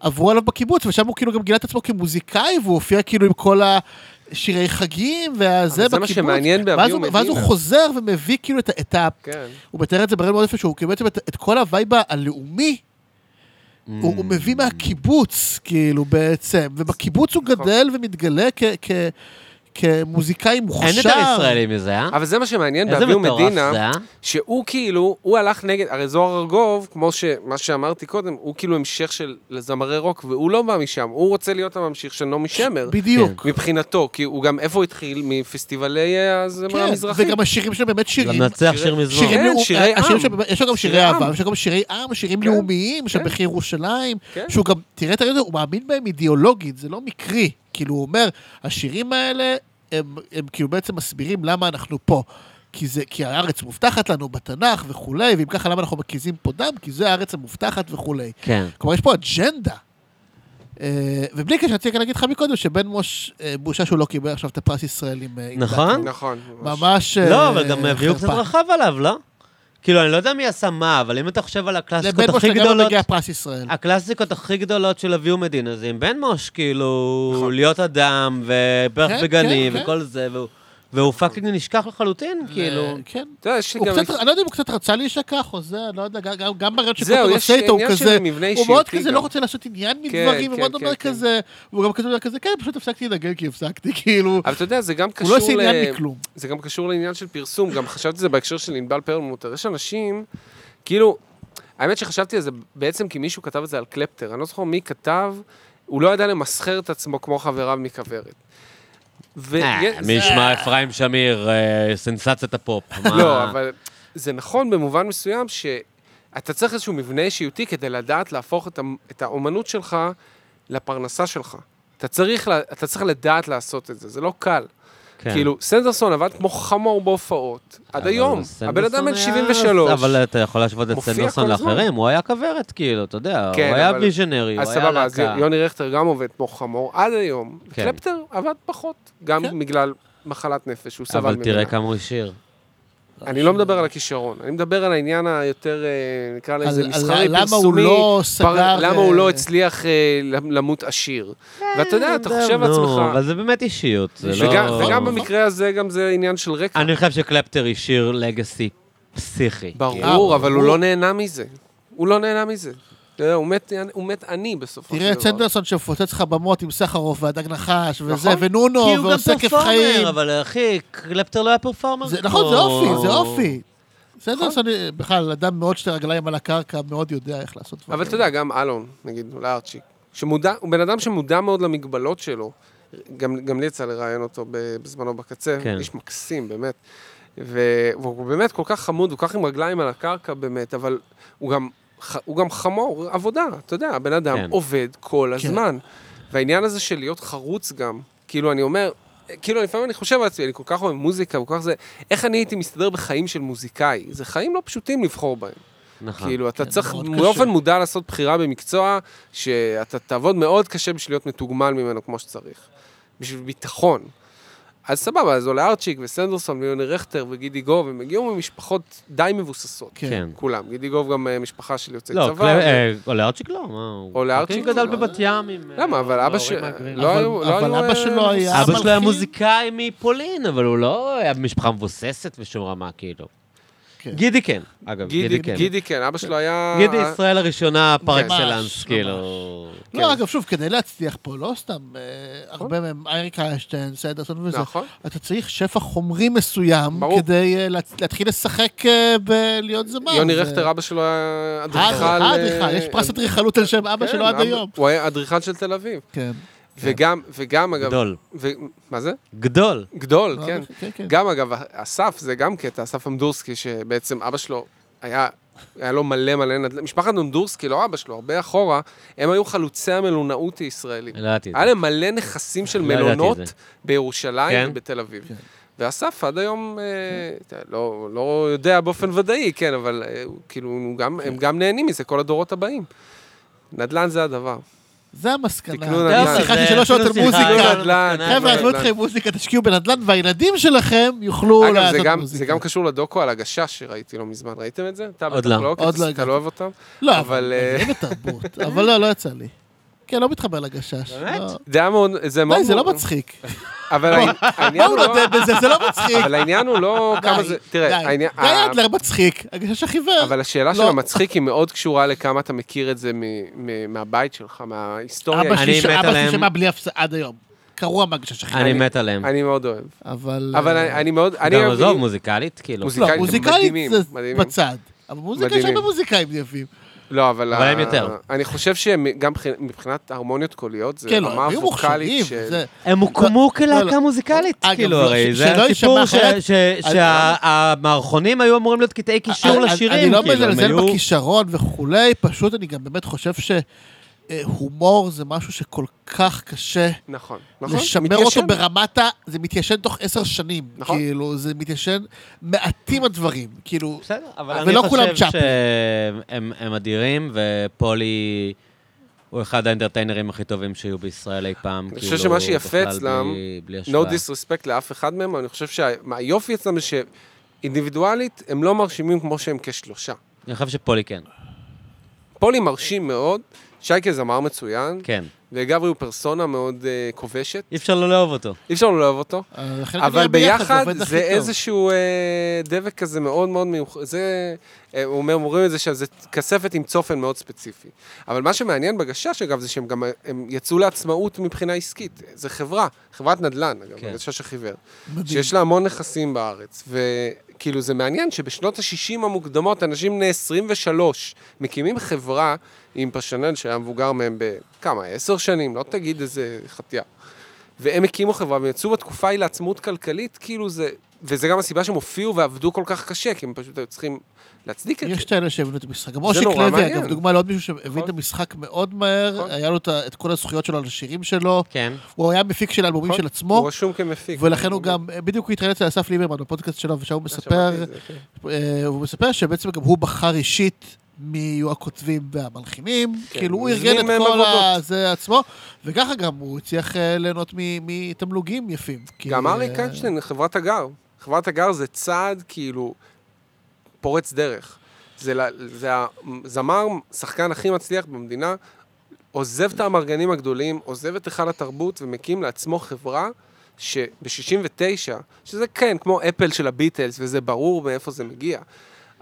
S2: עברו עליו בקיבוץ, ושם הוא כאילו גם גילה את עצמו כמוזיקאי, והוא הופיע כאילו עם כל השירי חגים והזה
S3: אבל
S2: בקיבוץ.
S3: זה מה שמעניין
S2: ואז
S3: באביהו
S2: הוא- ואז הוא
S3: מדינה.
S2: חוזר ומביא כאילו את ה- את ה...
S3: כן.
S2: הוא מתאר את זה ברעיון מאוד יפה, שהוא כאילו בעצם את, את כל הווייב הלאומי, הוא, הוא מביא מהקיבוץ, כאילו, בעצם. ובקיבוץ הוא גדל ומתגלה כ, כ, כמוזיקאי מוכשר.
S1: אין יותר ישראלי מזה, אה?
S3: אבל זה מה שמעניין
S1: איזה
S3: באביהו
S1: מטורף
S3: מדינה,
S1: זה, אה?
S3: שהוא כאילו, הוא הלך נגד, הרי זוהר ארגוב, כמו ש- מה שאמרתי קודם, הוא כאילו המשך של זמרי רוק, והוא לא בא משם, הוא רוצה להיות הממשיך של נעמי שמר. כן.
S2: בדיוק.
S3: מבחינתו, כי הוא גם, איפה הוא התחיל? מפסטיבלי אה, הזמר
S2: כן,
S3: המזרחי.
S2: וגם אה, השירים שלו באמת שירים.
S1: לנצח
S3: שירי-
S1: שיר מזמור.
S2: שירים
S3: כן,
S2: לאומיים,
S3: שירי עם.
S2: יש לו גם שירי
S3: שירי עם.
S2: אהבה, יש לו גם שירי עם, שירים
S3: כן,
S2: לאומיים, של
S3: כן.
S2: בכי ירושלים,
S3: כן.
S2: שהוא גם, תראה את הרדיו, הוא מאמין בהם אידיאולוגית, זה לא מקרי. כאילו, הוא אומר, השירים האלה, הם הם כאילו בעצם מסבירים למה אנחנו פה. כי זה, כי הארץ מובטחת לנו בתנ"ך וכולי, ואם ככה למה אנחנו מקיזים פה דם? כי זה הארץ המובטחת וכולי.
S1: כן.
S2: כלומר, יש פה אג'נדה. אה, ובלי קשר, רציתי רק להגיד לך מקודם, שבן מוש, אה, בושה שהוא לא קיבל עכשיו את הפרס ישראל עם... אה, עם
S1: נכון?
S2: דקה.
S3: נכון. ממש.
S2: ממש...
S1: לא,
S2: אה,
S1: אבל גם הביאו קצת
S2: חרפה.
S1: רחב עליו, לא? כאילו, אני לא יודע מי עשה מה, אבל אם אתה חושב על הקלאסיקות
S2: לבן
S1: הכי
S2: משה גם לא
S1: גדולות...
S2: מגיע פרס ישראל.
S1: הקלאסיקות הכי גדולות של אביהו מדינה זה עם בן מוש, כאילו,
S3: נכון.
S1: להיות אדם, ופרח
S2: כן,
S1: בגני,
S2: כן, כן.
S1: וכל זה, והוא- והוא פאקינג נשכח לחלוטין, כאילו.
S2: ל- כן.
S3: אתה יודע, יש לי
S2: הוא
S3: גם...
S2: קצת, אני לא יודע אם הוא קצת רצה להישכח או זה, אני לא יודע, גם- גם- גם בראיון
S3: זהו,
S2: שקוטר
S3: יש
S2: עושה איתו, הוא
S3: עניין של
S2: כזה,
S3: מבנה
S2: הוא מאוד
S3: אישיותי
S2: כזה
S3: גם.
S2: לא רוצה לעשות עניין
S3: כן,
S2: מדברים, הוא
S3: כן, כן,
S2: מאוד אומר
S3: כן.
S2: כזה, הוא גם כזה אומר כזה, כן, פשוט הפסקתי לנגן כי הפסקתי, כאילו,
S3: אבל אתה יודע, זה גם
S2: הוא
S3: קשור
S2: לא
S3: ל...
S2: עושה עניין מכלום.
S3: זה גם קשור לעניין של פרסום, גם חשבתי על זה בהקשר של ענבל פרלמוטר. יש אנשים, כאילו, האמת שחשבתי על זה בעצם כי מישהו כתב את זה על קלפטר, אני לא זוכר מי כתב, הוא לא ידע למסחר את עצמו כמו חבריו מכוורת. ו-
S1: אה, מי ישמע אפרים שמיר, אה, סנסציית הפופ. מה?
S3: לא, אבל זה נכון במובן מסוים שאתה צריך איזשהו מבנה אישיותי כדי לדעת להפוך את, המ- את האומנות שלך לפרנסה שלך. אתה צריך, ל- אתה צריך לדעת לעשות את זה, זה לא קל.
S1: כן.
S3: כאילו, סנדרסון עבד כמו חמור בהופעות, עד היום.
S1: אבל
S3: הבן אדם בן אה,
S1: סנדרסון היה-
S3: 73.
S1: אבל אתה יכול להשוות את
S3: מופיע
S1: סנדרסון
S3: כל הזמן.
S1: לאחרים, הוא היה כוורת, כאילו, אתה יודע, הוא
S3: כן,
S1: היה
S3: אבל-
S1: ויז'נרי, הוא
S3: אז
S1: היה
S3: סבבה, אז
S1: להקה.
S3: יוני רכטר גם עובד כמו חמור עד היום.
S1: כן.
S3: קלפטר עבד פחות, גם בגלל מחלת נפש, הוא סבל
S1: אבל תראה
S3: ממנה.
S1: כמה הוא השאיר.
S3: אני לא מדבר על הכישרון, אני מדבר על העניין היותר, אה, נקרא לזה,
S2: על- על-
S3: מסחרי,
S2: למה הוא
S3: פרסומי.
S2: לא
S3: פר-
S2: סגר,
S3: למה הוא
S2: אה,
S3: לא הצליח אה, למ- למות עשיר. ואתה יודע, אתה חושב
S1: נו,
S3: לעצמך...
S1: אה, לא, אבל זה באמת אישיות, זה לא...
S3: וגם- וגם
S2: נכון.
S3: במקרה הזה, גם זה עניין של רקע.
S1: אני חושב שקלפטר השאיר לגאסי פסיכי.
S3: ברור,
S2: אה,
S3: אבל הוא
S2: ברור.
S3: לא נהנה מזה. הוא לא נהנה מזה. אתה יודע, הוא מת- הוא מת עני בסופו של
S2: תראה את
S3: דבר.
S2: סנדרסון שמפוצץ לך במות עם סחרוף והדג נחש וזה,
S3: נכון.
S2: ונונו,
S1: כי הוא גם
S2: ועושה כיף
S1: פרפורמר,
S2: לא חיים.
S1: אבל אחי, קלפטר לא היה פרפורמר.
S2: זה- נכון, זה
S1: כמו-
S2: אופי, זה אופי. סנדרסון, אה, בכלל, אדם מאוד שתי רגליים על הקרקע, מאוד יודע איך לעשות דברים.
S3: אבל אתה יודע, גם אלון, נגיד, אולי ארצ'יק, שמודע, הוא בן אדם שמודע מאוד למגבלות שלו. גם, גם לי יצא לראיין אותו ב- בזמנו בקצה,
S1: כן.
S3: כן. איש מקסים, באמת. ו, והוא באמת כל כך חמוד, הוא כל כך עם רגליים על הקרקע באמת, אבל הוא גם, ח- הוא גם חמור, עבודה, אתה יודע, הבן אדם
S1: כן.
S3: כן. עובד כל הזמן. והעניין הזה של להיות חרוץ גם, כאילו, אני אומר, כאילו, לפעמים אני חושב על עצמי, אני כל כך אוהב מוזיקה, וכל כך זה, איך אני הייתי מסתדר בחיים של מוזיקאי? זה חיים לא פשוטים לבחור בהם.
S1: נכון.
S3: כאילו, אתה
S2: כן,
S3: צריך
S2: מאוד
S3: באופן
S2: קשה.
S3: מודע לעשות בחירה במקצוע, שאתה תעבוד מאוד קשה בשביל להיות מתוגמל ממנו כמו שצריך. בשביל ביטחון. אז סבבה, אז עולה ארצ'יק וסנדרסון ויוני רכטר וגידי גוב, הם הגיעו ממשפחות די מבוססות.
S2: כן.
S1: כן.
S3: כולם. גידי גוב גם אה, משפחה של יוצאי
S1: לא,
S3: צבא.
S1: קלפ-
S3: ו-
S1: אה, עולה ארצ'יק לא, מה הוא?
S3: עולה
S1: הוא
S3: ארצ'יק
S1: כן גדל
S3: לא.
S1: בבת ים עם...
S3: למה?
S1: אה,
S3: אבל אבא
S1: מההורים
S3: ש-
S1: מהגרים.
S3: לא היו- לא
S2: אבל
S3: היו,
S2: אבא
S3: אה,
S2: שלו היה...
S1: אבא שלו היה
S2: מלחין.
S1: מוזיקאי מפולין, אבל הוא לא היה משפחה מבוססת בשום רמה, כאילו.
S2: כן.
S1: גידי כן, אגב, גידי
S3: גידי,
S1: כן.
S3: גידי כן, אבא שלו היה...
S1: גידי ישראל הראשונה פר
S3: כן. ממש,
S1: אקסלנס,
S2: ממש.
S1: כאילו.
S3: כן.
S2: לא, אגב, שוב, כדי להצליח פה, לא סתם, אה, הרבה מהם, אייריק איינשטיין, סנדרסון וזה,
S3: נכון.
S2: אתה צריך שפע חומרי מסוים
S3: ברור.
S2: כדי אה, לה- להתחיל לשחק אה, בלהיות זמר.
S3: יוני
S2: זה- אה,
S3: רכטר, אבא שלו היה אדריכל...
S2: האדריכל, האדריכל,
S3: אה,
S2: יש פרס אדריכלות על שם אבא
S3: כן,
S2: שלו עד היום.
S3: הוא היה אדריכל של תל אביב.
S2: כן.
S3: וגם, וגם, אגב...
S1: גדול.
S3: ו- מה זה?
S1: גדול.
S3: גדול,
S2: לא,
S3: כן.
S2: כן, כן.
S3: גם אגב, אסף, זה גם קטע, אסף אמדורסקי, שבעצם אבא שלו היה, היה לו מלא מלא נדל"ן. משפחת אמדורסקי, לא אבא שלו, הרבה אחורה, הם היו חלוצי המלונאות הישראלים.
S1: לא ידעתי את
S3: היה
S1: זה.
S3: להם מלא נכסים של
S1: לא ידעתי את
S3: מלונות
S1: זה.
S3: בירושלים
S1: כן?
S3: ובתל אביב.
S2: כן.
S3: ואסף עד היום, אה, אתה יודע, לא, לא יודע באופן ודאי, כן, אבל אה, הוא- כאילו, הוא גם,
S1: כן.
S3: הם גם נהנים מזה, כל הדורות הבאים. נדל"ן זה הדבר.
S2: זה המסקנה.
S3: תקנו
S2: זה
S3: נדל"ן.
S2: השיחה
S1: זה
S2: של שלוש שעות על
S1: אפילו שיחה,
S2: מוזיקה.
S1: אבל
S3: נדל"ן.
S1: מסקנה.
S2: אה, חבר'ה, עזבו אתכם מוזיקה, תשקיעו בנדל"ן, והילדים שלכם יוכלו
S3: אגב, זה
S2: לעשות
S3: גם,
S2: מוזיקה.
S3: זה גם קשור לדוקו על הגשש שראיתי לא מזמן. ראיתם את זה? אתה
S1: עוד
S3: בטח
S1: לא.
S3: לא, כי
S2: עוד
S3: אתה-
S2: לא
S3: אתה לא אוהב אותם.
S2: לא,
S3: אבל,
S2: אבל...
S3: אה,
S2: אין התרבות. אבל לא, לא יצא לי. כן, לא מתחבר לגשש.
S1: באמת?
S2: לא.
S3: זה היה מאוד, זה מאוד...
S2: די, זה לא
S3: מאוד-
S2: מצחיק.
S3: אבל העני- העניין
S2: בואו
S3: הוא לא...
S2: נודה בזה, זה לא מצחיק.
S3: אבל העניין הוא לא כמה
S2: די,
S3: זה... תראה,
S2: די.
S3: העניין...
S2: גיא
S3: ה-
S2: אדלר מצחיק, הגשש החיוור.
S3: אבל השאלה של
S2: לא.
S3: המצחיק היא מאוד קשורה לכמה אתה מכיר את זה מ- מ- מהבית שלך, מההיסטוריה.
S2: אבא
S1: אני
S2: שלי
S1: מת
S2: אבא
S1: עליהם.
S2: שלי שמע בלי הפסקה עד היום. קרוע מהגשש החיוור.
S1: אני מת עליהם.
S3: אני מאוד אוהב.
S2: אבל...
S3: אבל
S2: אה,
S3: אני אני מאוד... אני
S1: גם
S3: אוהב-
S1: עזוב, מוזיקלית, כאילו.
S3: מוזיקלית.
S2: לא,
S3: מוזיקאים מדהימים,
S2: מוזיקלית זה
S3: מדהימים.
S2: בצד. אבל מוזיקה יש
S3: מדהימים.
S2: הרבה מוזיקאים יפים.
S3: לא, אבל...
S1: אבל
S3: ה-
S1: הם יותר.
S3: אני חושב שגם מבחינת הרמוניות קוליות, זה
S2: כן, לא,
S3: רמה
S2: הם היו מוכשרים.
S3: ווקאלית של...
S2: זה-
S1: הם הוקמו כלהקה
S2: לא.
S1: מוזיקלית,
S2: אגב,
S1: כאילו,
S2: לא,
S1: הרי
S2: ש-
S1: זה
S2: שלא
S1: הסיפור
S2: יישמע אחרת. אני-
S1: שהמערכונים היו אמורים להיות קטעי קישור
S2: אני-
S1: לשירים,
S2: אני
S1: כאילו,
S2: לא
S1: הם
S2: מזלזל
S1: היו...
S2: בכישרון וכולי, פשוט אני גם באמת חושב שהומור זה משהו שכל כך קשה.
S3: נכון, נכון.
S2: לשמר
S3: מתיישן.
S2: אותו ברמת ה... זה מתיישן תוך עשר שנים.
S3: נכון.
S2: כאילו, זה מתיישן... מעטים הדברים. כאילו...
S1: בסדר, אבל
S2: אבל
S1: אני
S2: לא כולם
S1: חושב
S2: צ'אפלין.
S1: שהם הם אדירים, ופולי הוא אחד האנטרטיינרים הכי טובים שהיו בישראל אי פעם,
S3: אני
S1: כאילו,
S3: חושב שמה שיפה
S1: בכלל
S3: אצלם,
S1: בלי- בלי
S3: no
S1: השוואה.
S3: disrespect לאף אחד מהם, אבל אני חושב שהיופי אצלם זה אינדיבידואלית, הם לא מרשימים כמו שהם כשלושה.
S1: אני חושב שפולי כן.
S3: פולי מרשים מאוד, שייקה זמר מצוין,
S1: כן.
S3: וגברי הוא פרסונה מאוד אה, כובשת,
S1: אי אפשר לא לאהוב אותו.
S3: אי אפשר לא לאהוב אותו,
S2: אה, החלק
S3: אבל
S2: הזה ביחד
S3: ביחד
S2: עובד הכי
S3: זה
S2: טוב.
S3: איזשהו אה, דבק כזה מאוד מאוד מיוחד, זה, אה, הוא אומר, אומרים את זה שזה כספת עם צופן מאוד ספציפי. אבל מה שמעניין בגשש, אגב, זה שהם גם אה, הם יצאו לעצמאות מבחינה עסקית. זה חברה, חברת נדל"ן, אגב,
S1: כן.
S3: הגשש החיוור.
S2: מדהים.
S3: שיש לה המון נכסים בארץ. וכאילו, זה מעניין שבשנות ה-60 המוקדמות, אנשים בני 23 מקימים חברה עם פרשנל שהיה מבוגר מהם בכמה, עשר שנים, לא תגיד איזה חטיאה. והם הקימו חברה ויצאו בתקופה ההיא לעצמאות כלכלית, כאילו זה... וזה גם הסיבה שהם הופיעו ועבדו כל כך קשה, כי הם פשוט היו צריכים להצדיק את זה.
S2: יש את האלה שהבינו את המשחק. גם אושיק
S3: נורא
S2: לוי,
S3: מעניין.
S2: אגב, דוגמה לעוד מישהו שהבין
S3: נכון.
S2: את המשחק מאוד מהר,
S3: נכון.
S2: היה לו את ה- את כל הזכויות שלו על השירים שלו,
S1: כן.
S2: הוא היה מפיק של אלבומים
S3: נכון.
S2: של
S3: הוא
S2: עצמו,
S3: רשום כמפיק.
S2: ולכן הוא גם, בדיוק הוא התראיין אצל אסף ליברמן בפודקאסט שלו, ושם הוא מספר,
S3: שמעתי את זה, כן.
S2: אה, הוא מספר שבעצם גם הוא בחר אישית מי יהיו הכותבים והמלחינים, כאילו הוא
S3: הוא
S2: ארגן את
S3: הזמין כן, מהם
S2: כל ה-
S3: עבודות.
S2: זה עצמו, וככה גם הוא הצליח אה, ליהנות מ- מתמלוגים יפים. כי,
S3: גם
S2: אה,
S3: אריק איינשטיין, חברת הגר. חברת הגר זה צעד כאילו פורץ דרך. זה, ל- זה הזמר, שחקן הכי מצליח במדינה, עוזב את האמרגנים הגדולים, עוזב את היכל התרבות ומקים לעצמו חברה שב-69, שזה כן, כמו אפל של הביטלס, וזה ברור מאיפה זה מגיע,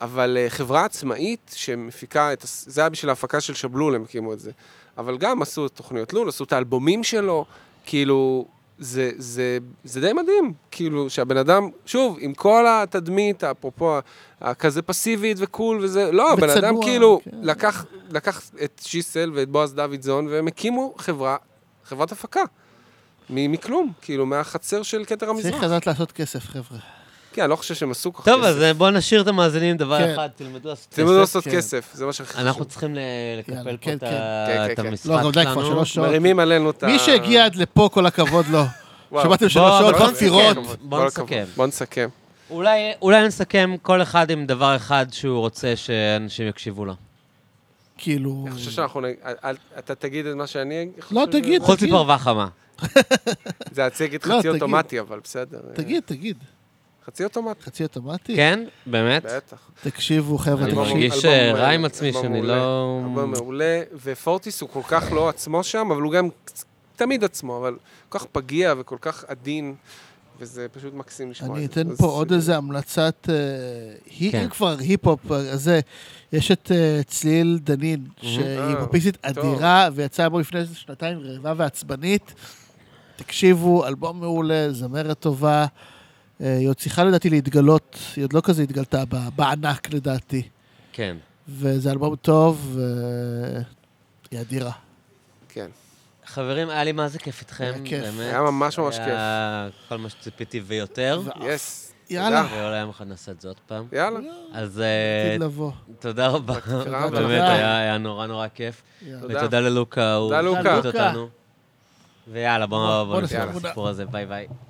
S3: אבל אה, חברה עצמאית שמפיקה את... הס- זה היה בשביל ההפקה של שבלול, הם הקימו את זה. אבל גם עשו את תוכניות לול, עשו את האלבומים שלו, כאילו, זה, זה, זה די מדהים, כאילו, שהבן אדם, שוב, עם כל התדמית, אפרופו, ה- הכזה פסיבית וקול וזה, לא, הבן
S2: וצנוע,
S3: אדם כאילו
S2: כן.
S3: לקח, לקח את שיסל ואת בועז דוידזון, והם הקימו חברה, חברת הפקה. מ- מכלום, כאילו, מהחצר של כתר
S2: צריך
S3: המזרח.
S2: לדעת לעשות כסף, חבר'ה.
S3: כן, אני לא חושב שהם עשו כל כך
S1: טוב,
S3: כסף.
S1: אז אה, בואו נשאיר את המאזינים
S2: כן.
S1: דבר אחד, תלמדו לעשות
S3: זה לא
S1: כסף.
S3: לעשות
S2: כן.
S3: כסף, זה מה שהכי חשוב.
S1: אנחנו צריכים ל- לקפל
S2: יאללה,
S1: פה
S2: כן,
S1: את
S2: כן.
S1: ה-
S3: כן, כן,
S1: את
S3: כן.
S1: המשחק
S2: לא, גם די כבר
S1: שלנו.
S2: שלוש שעות.
S3: מרימים עלינו את ה...
S2: מי שהגיע עד לפה, כל הכבוד לו.
S3: וואו. כן,
S2: שמעתם
S1: בוא,
S2: שלוש שעות
S1: בוא
S3: כל
S2: חפירות.
S3: הכבוד,
S1: בוא
S3: כל
S1: נסכם.
S3: הכבוד. בוא נסכם.
S1: אולי- אולי נסכם כל אחד עם דבר אחד שהוא רוצה שאנשים יקשיבו לו.
S2: כאילו...
S3: אני חושב שאנחנו... נ- אל- אל- אתה תגיד את מה שאני...
S2: לא,
S3: חושב
S2: תגיד.
S1: חוץ מפרווה חמה.
S3: שזה- זה הצג
S2: לא,
S3: חצי
S2: תגיד.
S3: אוטומטי, אבל בסדר.
S2: תגיד, תגיד.
S3: חצי אוטומטי,
S2: חצי אוטומטי?
S1: כן? באמת?
S3: בטח.
S2: תקשיבו, חבר'ה,
S1: אני
S3: אלבום-
S2: תקשיבו.
S1: מרגיש
S3: אלבום,
S1: אה, רע
S3: אה,
S1: עם עצמי
S3: אלבום
S1: שאני
S3: מעולה.
S1: לא...
S3: אלבום מעולה, ופורטיס הוא כל כך לא עצמו שם, אבל הוא גם קצ- תמיד עצמו, אבל כל כך פגיע וכל כך עדין, וזה פשוט מקסים לשמוע.
S2: אני
S3: את זה.
S2: אתן
S3: אז-
S2: פה עוד איזה המלצת... אה, היא-
S1: כן.
S2: אם כבר היפ-הופ, אז זה, יש את אה, צליל דנין, שהיא
S3: אה,
S2: היפופיסטית
S3: טוב.
S2: אדירה, ויצאה בו לפני איזה שנתיים רעבה ועצבנית. תקשיבו, אלבום מעולה, זמרת טובה. אה, היא עוד צריכה לדעתי להתגלות, היא עוד לא כזה התגלתה ב- בענק לדעתי.
S1: כן.
S2: וזה אלבום טוב, והיא אדירה.
S3: כן.
S1: חברים, היה לי מה זה כיף איתכם,
S2: היה כיף.
S1: באמת.
S3: היה ממש ממש כיף.
S1: היה כל מה שציפיתי ויותר.
S3: יס.
S2: יאללה.
S3: תודה.
S1: ואולי יום אחד נעשה את זה עוד פעם.
S3: יאללה.
S1: אז אה,
S2: עתיד לא- לבוא.
S1: תודה רבה.
S3: תודה.
S1: באמת, היה היה נורא נורא כיף.
S2: יאללה.
S3: תודה.
S1: ותודה ללוקה, הוא
S3: תודה, לוקה.
S1: לימד אותנו. ויאללה, בואו
S2: בוא
S1: בואו
S2: נשים
S1: נסיים את
S2: תמונה.
S1: הסיפור הזה, ביי ביי.